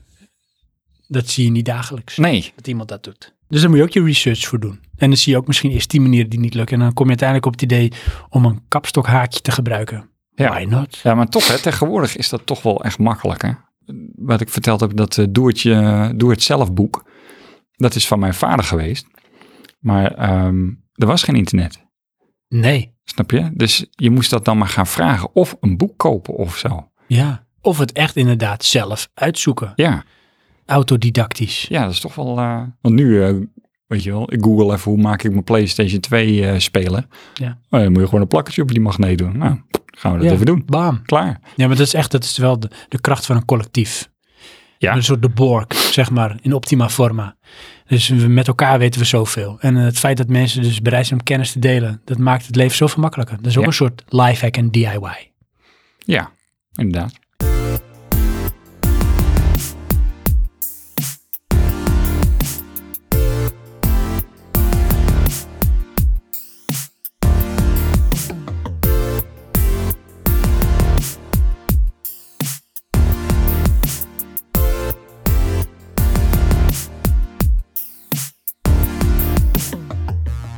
Speaker 2: Dat zie je niet dagelijks.
Speaker 1: Nee.
Speaker 2: Dat iemand dat doet. Dus daar moet je ook je research voor doen. En dan zie je ook misschien eerst die manieren die niet lukken. En dan kom je uiteindelijk op het idee om een kapstokhaakje te gebruiken.
Speaker 1: Ja.
Speaker 2: Why not?
Speaker 1: ja, maar toch, hè, tegenwoordig is dat toch wel echt makkelijk. Hè? Wat ik verteld heb, dat eh, doe, het je, doe het zelf boek. Dat is van mijn vader geweest. Maar ehm, er was geen internet.
Speaker 2: Nee.
Speaker 1: Snap je? Dus je moest dat dan maar gaan vragen. Of een boek kopen of zo.
Speaker 2: Ja. Of het echt inderdaad zelf uitzoeken.
Speaker 1: Ja,
Speaker 2: Autodidactisch.
Speaker 1: ja dat is toch wel... eh, want nu, eh, weet je wel, ik google even hoe maak ik mijn PlayStation 2 eh, spelen.
Speaker 2: Ja.
Speaker 1: Oh, dan moet je gewoon een plakketje op die magneet doen. Nou, gaan we dat
Speaker 2: Ja.
Speaker 1: even doen.
Speaker 2: Bam.
Speaker 1: Klaar.
Speaker 2: Ja, maar dat is echt, dat is wel de, de kracht van een collectief.
Speaker 1: Ja.
Speaker 2: Een soort de Borg, zeg maar, in optima forma. Dus we, met elkaar weten we zoveel. En eh, het feit dat mensen dus bereid zijn om kennis te delen, dat maakt het leven zoveel makkelijker. Dat is ook
Speaker 1: Ja.
Speaker 2: een soort lifehack en DIY.
Speaker 1: Ja, inderdaad.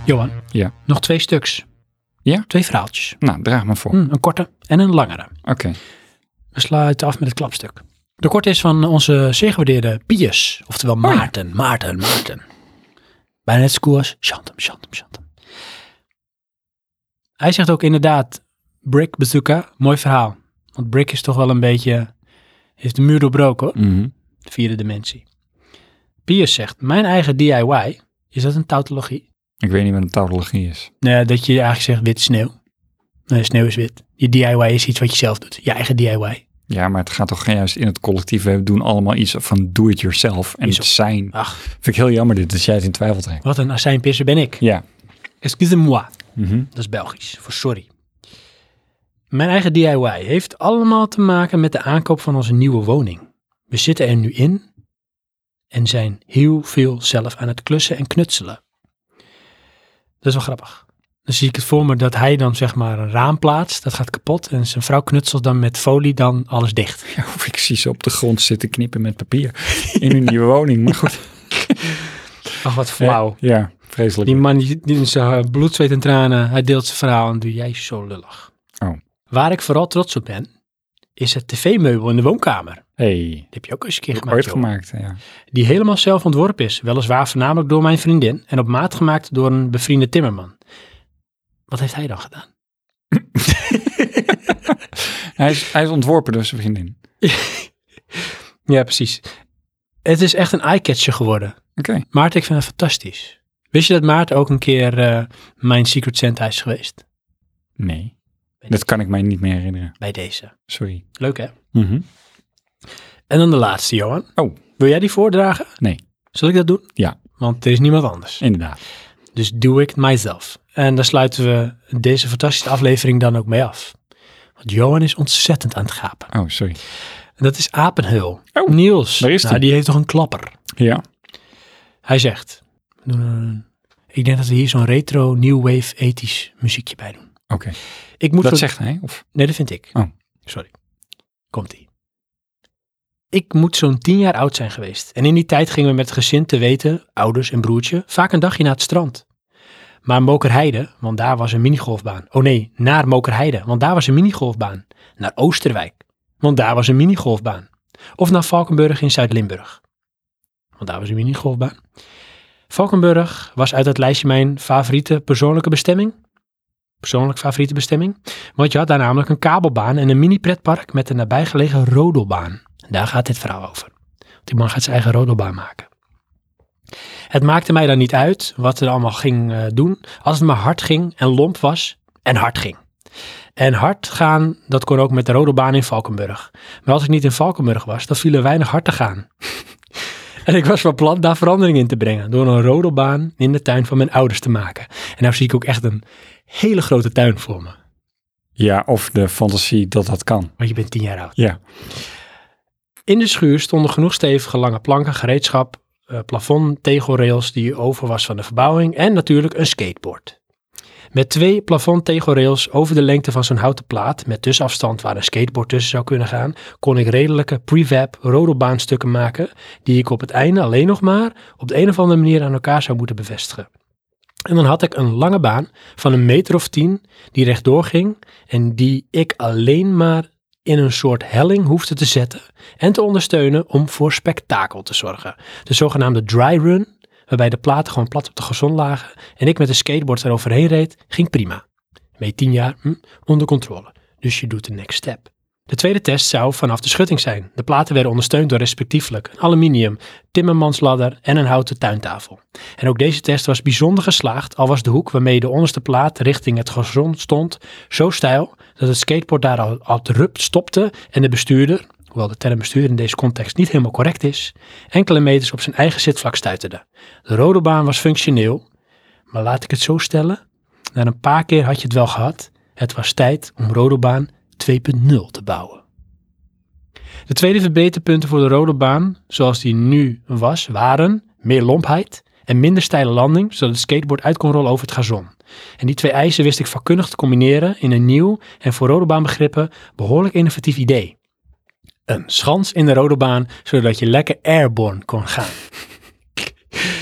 Speaker 2: Johan,
Speaker 1: Ja.
Speaker 2: nog twee stuks.
Speaker 1: Ja?
Speaker 2: Twee verhaaltjes.
Speaker 1: Nou, draag maar voor.
Speaker 2: Hm, een korte en een langere.
Speaker 1: Oké.
Speaker 2: We sluiten af met het klapstuk. De kort is van onze zeer gewaardeerde Pius, oftewel Maarten, Maarten, Maarten. Bijna net zo cool als Chantem, Chantem, Chantem. Hij zegt ook inderdaad, Brick bezoeken, mooi verhaal. Want Brick is toch wel een beetje, heeft de muur doorbroken hoor,
Speaker 1: Mhm.
Speaker 2: de vierde dimensie. Pius zegt, mijn eigen DIY, is dat een tautologie?
Speaker 1: Ik weet niet wat een tautologie is.
Speaker 2: Nee, dat je eigenlijk zegt wit sneeuw. Nee, sneeuw is wit. Je DIY is iets wat je zelf doet, je eigen DIY.
Speaker 1: Ja, maar het gaat toch juist in het collectief. We doen allemaal iets van do-it-yourself. En
Speaker 2: Is
Speaker 1: het
Speaker 2: ook-
Speaker 1: zijn.
Speaker 2: Ach,
Speaker 1: Vind ik heel jammer dit, dat jij het in twijfel trekt.
Speaker 2: wat een azijnpisser ben ik.
Speaker 1: Ja.
Speaker 2: Excusez-moi.
Speaker 1: Mhm.
Speaker 2: Dat is Belgisch, voor sorry. Mijn eigen DIY heeft allemaal te maken met de aankoop van onze nieuwe woning. We zitten er nu in en zijn heel veel zelf aan het klussen en knutselen. Dat is wel grappig. Dan zie ik het voor me dat hij dan zeg maar een raam plaatst, dat gaat kapot en zijn vrouw knutselt dan met folie dan alles dicht.
Speaker 1: Ja, of ik zie ze op de grond zitten knippen met papier. In hun nieuwe woning. Maar goed.
Speaker 2: Ach, wat
Speaker 1: Ja, vreselijk.
Speaker 2: Die man die, die in zijn eh, bloed, zweet en tranen, hij deelt zijn verhaal en doe jij zo lullig.
Speaker 1: Oh.
Speaker 2: Waar ik vooral trots op ben, is het tv-meubel in de woonkamer.
Speaker 1: Hey,
Speaker 2: Die heb je ook eens een keer
Speaker 1: heb ik
Speaker 2: gemaakt.
Speaker 1: ooit
Speaker 2: joh.
Speaker 1: gemaakt. Ja.
Speaker 2: Die helemaal zelf ontworpen is. Weliswaar voornamelijk door mijn vriendin. En op maat gemaakt door een bevriende timmerman. Wat heeft hij dan gedaan?
Speaker 1: Hij, is, hij is ontworpen door zijn vriendin.
Speaker 2: Ja, precies. Het is echt een eyecatcher geworden.
Speaker 1: Oké.
Speaker 2: Maarten, ik vind het fantastisch. Wist je dat Maarten ook een keer eh, mijn Secret Santa is geweest?
Speaker 1: Nee. Dat kan ik mij niet meer herinneren.
Speaker 2: Bij deze.
Speaker 1: Sorry.
Speaker 2: Leuk hè?
Speaker 1: Mhm.
Speaker 2: En dan de laatste, Johan.
Speaker 1: Oh.
Speaker 2: Wil jij die voordragen?
Speaker 1: Nee.
Speaker 2: Zal ik dat doen?
Speaker 1: Ja.
Speaker 2: Want er is niemand anders.
Speaker 1: Inderdaad.
Speaker 2: Dus do it myself. En daar sluiten we deze fantastische aflevering dan ook mee af. Want Johan is ontzettend aan het gapen.
Speaker 1: Oh, sorry.
Speaker 2: En dat is Apenhul.
Speaker 1: Oh,
Speaker 2: Niels.
Speaker 1: daar is
Speaker 2: nou,
Speaker 1: die.
Speaker 2: die heeft toch een klapper.
Speaker 1: Ja.
Speaker 2: Hij zegt, we doen een- ik denk dat we hier zo'n retro new wave ethisch muziekje bij doen.
Speaker 1: Oké.
Speaker 2: Ik moet
Speaker 1: Dat
Speaker 2: zo-
Speaker 1: zegt hij? Of?
Speaker 2: Nee, dat vind ik.
Speaker 1: Oh.
Speaker 2: Sorry. Komt ie. Ik moet zo'n tien jaar oud zijn geweest. En in die tijd gingen we met het gezin te weten, ouders en broertje, vaak een dagje naar het strand. Maar Mokerheide, want daar was een minigolfbaan. Oh nee, naar Mokerheide, want daar was een minigolfbaan. Naar Oosterwijk, want daar was een minigolfbaan. Of naar Valkenburg in Zuid-Limburg, want daar was een minigolfbaan. Valkenburg was uit dat lijstje mijn favoriete persoonlijke bestemming. Persoonlijk favoriete bestemming. Want je had daar namelijk een kabelbaan en een mini-pretpark met een nabijgelegen rodelbaan. Daar gaat dit verhaal over. Want die man gaat zijn eigen rodelbaan maken. Het maakte mij dan niet uit wat er allemaal ging eh, doen. Als het maar hard ging en lomp was en hard ging. En hard gaan, dat kon ook met de rodelbaan in Valkenburg. Maar als ik niet in Valkenburg was, dan viel er weinig hard te gaan. En ik was van plan daar verandering in te brengen. Door een rodelbaan in de tuin van mijn ouders te maken. En daar zie ik ook echt een hele grote tuin voor me.
Speaker 1: Ja, of de fantasie dat dat kan.
Speaker 2: Want je bent tien jaar oud.
Speaker 1: Ja.
Speaker 2: In de schuur stonden genoeg stevige lange planken, gereedschap, eh, plafond, tegelrails die over was van de verbouwing. En natuurlijk een skateboard. Met twee plafondtegelrails over de lengte van zo'n houten plaat, met tussenafstand waar een skateboard tussen zou kunnen gaan, kon ik redelijke prefab rodelbaanstukken maken, die ik op het einde alleen nog maar op de een of andere manier aan elkaar zou moeten bevestigen. En dan had ik een lange baan van een meter of tien die rechtdoor ging en die ik alleen maar in een soort helling hoefde te zetten en te ondersteunen om voor spektakel te zorgen. De zogenaamde dry run, waarbij de platen gewoon plat op de grond lagen en ik met een skateboard eroverheen reed, ging prima. Mee tien jaar, hm, onder controle. Dus je doet de next step. De tweede test zou vanaf de schutting zijn. De platen werden ondersteund door respectievelijk een aluminium, timmermansladder en een houten tuintafel. En ook deze test was bijzonder geslaagd, al was de hoek waarmee de onderste plaat richting het grond stond zo steil dat het skateboard daar al abrupt stopte en de bestuurder, hoewel de term bestuurder in deze context niet helemaal correct is, enkele meters op zijn eigen zitvlak stuiterde. De rode baan was functioneel, maar laat ik het zo stellen, na een paar keer had je het wel gehad. Het was tijd om Rodobaan 2.0 te bouwen. De tweede verbeterpunten voor de Rodobaan, zoals die nu was, waren meer lompheid en minder steile landing, zodat het skateboard uit kon rollen over het gazon. En die twee eisen wist ik vakkundig te combineren in een nieuw en voor Rodobaanbegrippen behoorlijk innovatief idee. Een schans in de Rodobaan, zodat je lekker airborne kon gaan.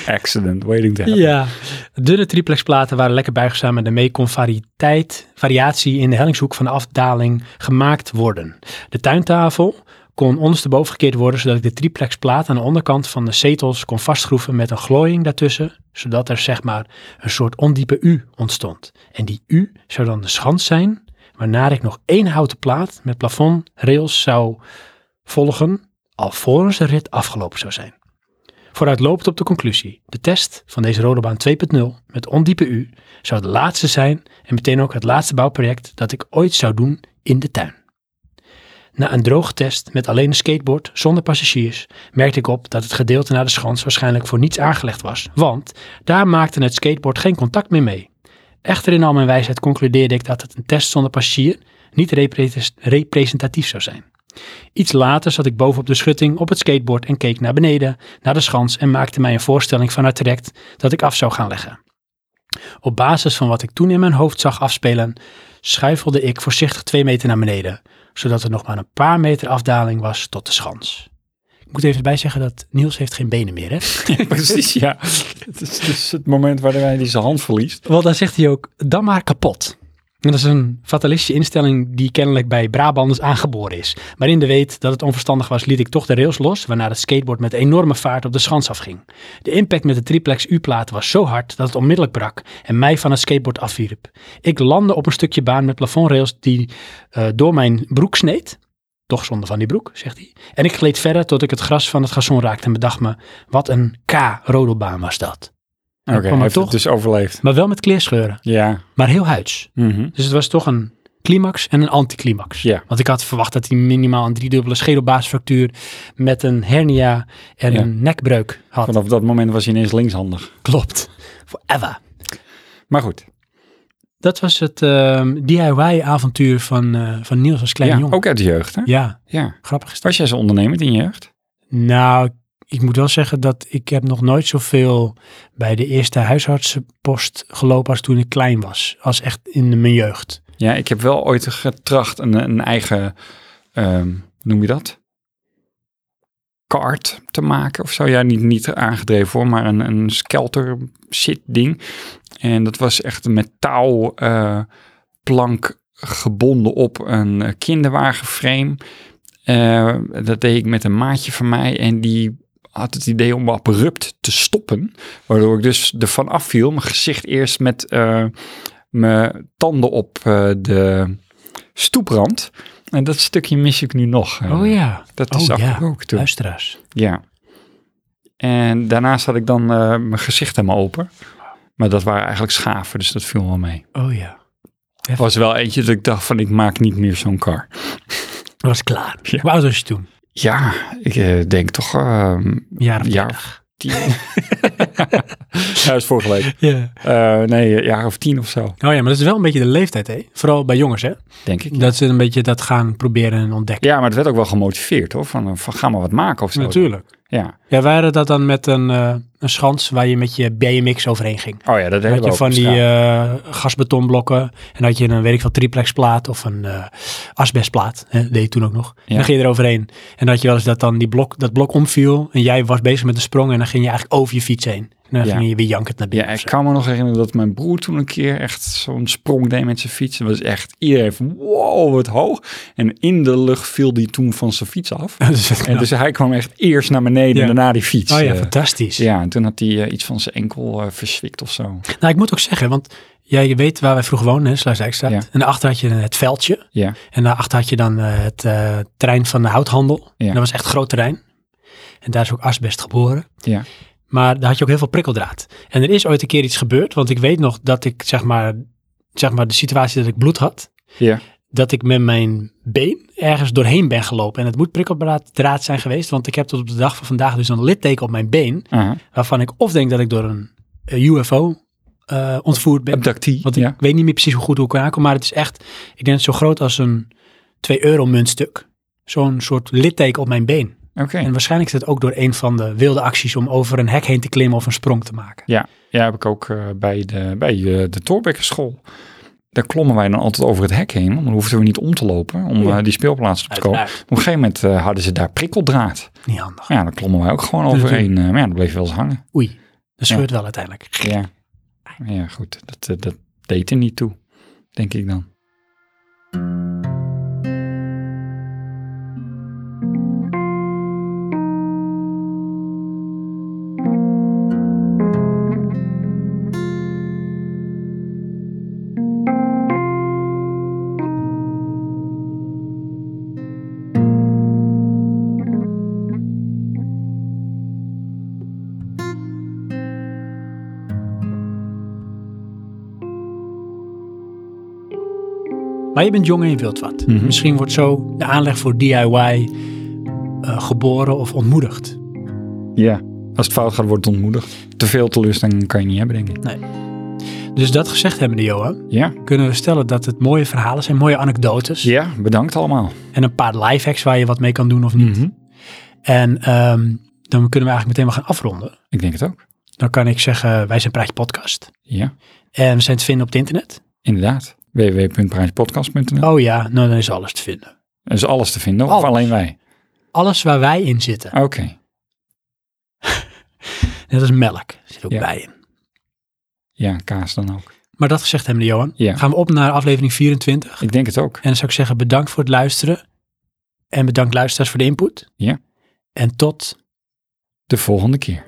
Speaker 1: Accident waiting to happen.
Speaker 2: Ja, dunne triplexplaten waren lekker buigzaam en daarmee kon variëteit, variatie in de hellingshoek van de afdaling gemaakt worden. De tuintafel kon ondersteboven gekeerd worden zodat ik de triplexplaat aan de onderkant van de zetels kon vastschroeven met een glooiing daartussen, zodat er zeg maar een soort ondiepe U ontstond. En die U zou dan de schans zijn, waarna ik nog één houten plaat met plafond, rails zou volgen, alvorens de rit afgelopen zou zijn. Vooruitlopend op de conclusie, de test van deze rodelbaan 2.0 met ondiepe U zou het laatste zijn en meteen ook het laatste bouwproject dat ik ooit zou doen in de tuin. Na een droge test met alleen een skateboard zonder passagiers merkte ik op dat het gedeelte naar de schans waarschijnlijk voor niets aangelegd was, want daar maakte het skateboard geen contact meer mee. Echter in al mijn wijsheid concludeerde ik dat het een test zonder passagier niet repres- representatief zou zijn. Iets later zat ik bovenop de schutting op het skateboard en keek naar beneden, naar de schans en maakte mij een voorstelling van het traject dat ik af zou gaan leggen. Op basis van wat ik toen in mijn hoofd zag afspelen, schuifelde ik voorzichtig twee meter naar beneden, zodat er nog maar een paar meter afdaling was tot de schans. Ik moet even bij zeggen dat Niels heeft geen benen meer, hè?
Speaker 1: Precies, ja. Het is, het is het moment waarin hij die zijn hand verliest.
Speaker 2: Want dan zegt hij ook, dan maar kapot. En dat is een fatalistische instelling die kennelijk bij Brabanders aangeboren is. Maar in de weet dat het onverstandig was, liet ik toch de rails los, waarna het skateboard met enorme vaart op de schans afging. De impact met de triplex U-plaat was zo hard dat het onmiddellijk brak en mij van het skateboard afwierp. Ik landde op een stukje baan met plafondrails die eh, door mijn broek sneed. Toch zonder van die broek, zegt hij. En ik gleed verder tot ik het gras van het gazon raakte en bedacht me, wat een K-rodelbaan was dat.
Speaker 1: Oké,
Speaker 2: kwam
Speaker 1: hij
Speaker 2: er
Speaker 1: heeft
Speaker 2: toch-
Speaker 1: het dus overleefd.
Speaker 2: Maar wel met kleerscheuren,
Speaker 1: Ja.
Speaker 2: maar heel huids.
Speaker 1: Mhm.
Speaker 2: Dus het was toch een climax en een anticlimax.
Speaker 1: Ja.
Speaker 2: Want ik had verwacht dat hij minimaal een driedubbele schedelbaasfractuur met een hernia en
Speaker 1: Ja.
Speaker 2: een nekbreuk had.
Speaker 1: Vanaf dat moment was hij ineens linkshandig.
Speaker 2: Klopt. Forever.
Speaker 1: Maar goed.
Speaker 2: Dat was het ehm, DIY-avontuur van, eh, van Niels als kleine
Speaker 1: Ja,
Speaker 2: jongen.
Speaker 1: ook uit de jeugd, hè?
Speaker 2: Ja,
Speaker 1: Ja.
Speaker 2: grappig is dat.
Speaker 1: Was jij zo ondernemend in je jeugd?
Speaker 2: Nou, ik moet wel zeggen dat ik heb nog nooit zoveel bij de eerste huisartsenpost gelopen als toen ik klein was. Als echt in mijn jeugd.
Speaker 1: Ja, ik heb wel ooit getracht een, een eigen, ehm, hoe noem je dat? kart te maken of zo. Ja, niet, niet aangedreven voor, maar een, een skelter shit ding. En dat was echt met touw eh, plank gebonden op een eh, kinderwagenframe. Eh, dat deed ik met een maatje van mij en die had het idee om abrupt te stoppen. Waardoor ik dus ervan afviel. Mijn gezicht eerst met eh, mijn tanden op eh, de stoeprand. En dat stukje mis ik nu nog. eh.
Speaker 2: Oh ja,
Speaker 1: Dat is
Speaker 2: Oh, ja.
Speaker 1: afgebroken toen.
Speaker 2: luisteraars.
Speaker 1: Ja. En daarnaast had ik dan eh, mijn gezicht helemaal open. Maar dat waren eigenlijk schaven, dus dat viel wel mee.
Speaker 2: Oh ja.
Speaker 1: Er was wel eentje dat ik dacht van, ik maak niet meer zo'n kar.
Speaker 2: Dat was klaar.
Speaker 1: Ja.
Speaker 2: Hoe oud was je toen?
Speaker 1: Ja, ik eh, denk toch eh,
Speaker 2: Een jaar of
Speaker 1: Ja.
Speaker 2: dertig.
Speaker 1: tien. ja, is vorige week.
Speaker 2: Ja.
Speaker 1: Eh, nee, een jaar of tien of zo,
Speaker 2: Oh ja, maar dat is wel een beetje de leeftijd, hè? Vooral bij jongens, hè?
Speaker 1: denk ik.
Speaker 2: Dat ze een beetje dat gaan proberen en ontdekken.
Speaker 1: Ja, maar het werd ook wel gemotiveerd hoor. Van, eh, van ga maar wat maken of zo.
Speaker 2: Natuurlijk.
Speaker 1: Ja.
Speaker 2: Ja, waren dat dan met een, eh, een schans waar je met je BMX overheen ging?
Speaker 1: Oh ja, dat hebben
Speaker 2: Dan had
Speaker 1: we
Speaker 2: je
Speaker 1: ook
Speaker 2: van die
Speaker 1: beschaafd.
Speaker 2: eh, gasbetonblokken en had je een, weet ik veel, triplexplaat of een eh, asbestplaat. Hè, deed je toen ook nog. En
Speaker 1: Ja.
Speaker 2: dan ging je eroverheen. En dan had je wel eens dat dan die blok, dat blok omviel en jij was bezig met een sprong en dan ging je eigenlijk over je fiets heen. En dan
Speaker 1: Ja.
Speaker 2: ging je weer jankend naar binnen.
Speaker 1: Ja,
Speaker 2: of
Speaker 1: ik
Speaker 2: zo.
Speaker 1: kan me nog herinneren dat mijn broer toen een keer echt zo'n sprong deed met zijn fiets. Dat was echt iedereen van wow, wat hoog. En in de lucht viel die toen van zijn fiets af.
Speaker 2: Dat is echt
Speaker 1: En
Speaker 2: knap.
Speaker 1: dus hij kwam echt eerst naar beneden
Speaker 2: Ja.
Speaker 1: en daarna die fiets.
Speaker 2: oh ja,
Speaker 1: Eh,
Speaker 2: fantastisch.
Speaker 1: ja, en toen had hij eh, iets van zijn enkel eh verzwikt of zo.
Speaker 2: Nou, ik moet ook zeggen, want jij weet waar wij vroeger woonden, hè, Sluisdijkstraat.
Speaker 1: Ja.
Speaker 2: En daarachter had je het veldje.
Speaker 1: Ja,
Speaker 2: En daarachter had je dan eh, het eh, terrein van de houthandel.
Speaker 1: Ja.
Speaker 2: En dat was echt groot terrein. En daar is ook asbest geboren.
Speaker 1: ja.
Speaker 2: Maar daar had je ook heel veel prikkeldraad. En er is ooit een keer iets gebeurd, want ik weet nog dat ik zeg maar, zeg maar de situatie dat ik bloed had,
Speaker 1: Ja,
Speaker 2: dat ik met mijn been ergens doorheen ben gelopen. En het moet prikkeldraad draad zijn geweest, want ik heb tot op de dag van vandaag dus een litteken op mijn been,
Speaker 1: aha.
Speaker 2: waarvan ik of denk dat ik door een, eh, UFO eh, ontvoerd ben.
Speaker 1: Abductie,
Speaker 2: Want ik
Speaker 1: ja.
Speaker 2: weet niet meer precies hoe goed hoe ik aankom, maar het is echt, ik denk het zo groot als een 2 euro muntstuk. Zo'n soort litteken op mijn been.
Speaker 1: Oké.
Speaker 2: En waarschijnlijk is dat ook door een van de wilde acties om over een hek heen te klimmen of een sprong te maken.
Speaker 1: Ja, ja heb ik ook eh, bij de, bij eh, de Torbekkerschool. Daar klommen wij dan altijd over het hek heen, want dan hoefden we niet om te lopen om
Speaker 2: Oh Ja.
Speaker 1: eh, die speelplaats op te komen. Op
Speaker 2: Uiteraard.
Speaker 1: een gegeven moment eh, hadden ze daar prikkeldraad.
Speaker 2: Niet handig.
Speaker 1: Ja, daar klommen wij ook gewoon
Speaker 2: Dus
Speaker 1: overheen. eh, maar ja, dat bleef wel eens hangen.
Speaker 2: Oei, dat scheurt wel uiteindelijk.
Speaker 1: Ja,
Speaker 2: Ah.
Speaker 1: ja goed. Dat, eh, dat deed er niet toe, denk ik dan.
Speaker 2: Maar je bent jong en je wilt wat.
Speaker 1: Mhm.
Speaker 2: Misschien wordt zo de aanleg voor DIY eh, geboren of ontmoedigd.
Speaker 1: Ja. Als het fout gaat, wordt het ontmoedigd. Te veel teleurstelling kan je niet hebben, denk ik.
Speaker 2: Dus dat gezegd hebbende, Johan,
Speaker 1: Ja,
Speaker 2: kunnen we stellen dat het mooie verhalen zijn, mooie anekdotes.
Speaker 1: ja bedankt allemaal.
Speaker 2: En een paar lifehacks waar je wat mee kan doen of niet.
Speaker 1: Mhm.
Speaker 2: En ehm, dan kunnen we eigenlijk meteen wel gaan afronden.
Speaker 1: Ik denk het ook.
Speaker 2: Dan kan ik zeggen, wij zijn Praatje Podcast.
Speaker 1: Ja,
Speaker 2: En we zijn te vinden op het internet.
Speaker 1: inderdaad. www.prijspodcast.nl
Speaker 2: Oh ja, nou dan is alles te vinden.
Speaker 1: Er is alles te vinden, of
Speaker 2: Alles.
Speaker 1: alleen wij?
Speaker 2: Alles waar wij in zitten.
Speaker 1: Oké.
Speaker 2: Net als melk zit ook
Speaker 1: Ja.
Speaker 2: bij in.
Speaker 1: Ja, kaas dan ook.
Speaker 2: Maar dat gezegd hebben, Johan.
Speaker 1: Ja.
Speaker 2: Gaan we op naar aflevering 24. En
Speaker 1: Ik denk het ook.
Speaker 2: dan zou ik zeggen bedankt voor het luisteren. En bedankt luisteraars voor de input.
Speaker 1: Ja.
Speaker 2: En tot
Speaker 1: De volgende keer.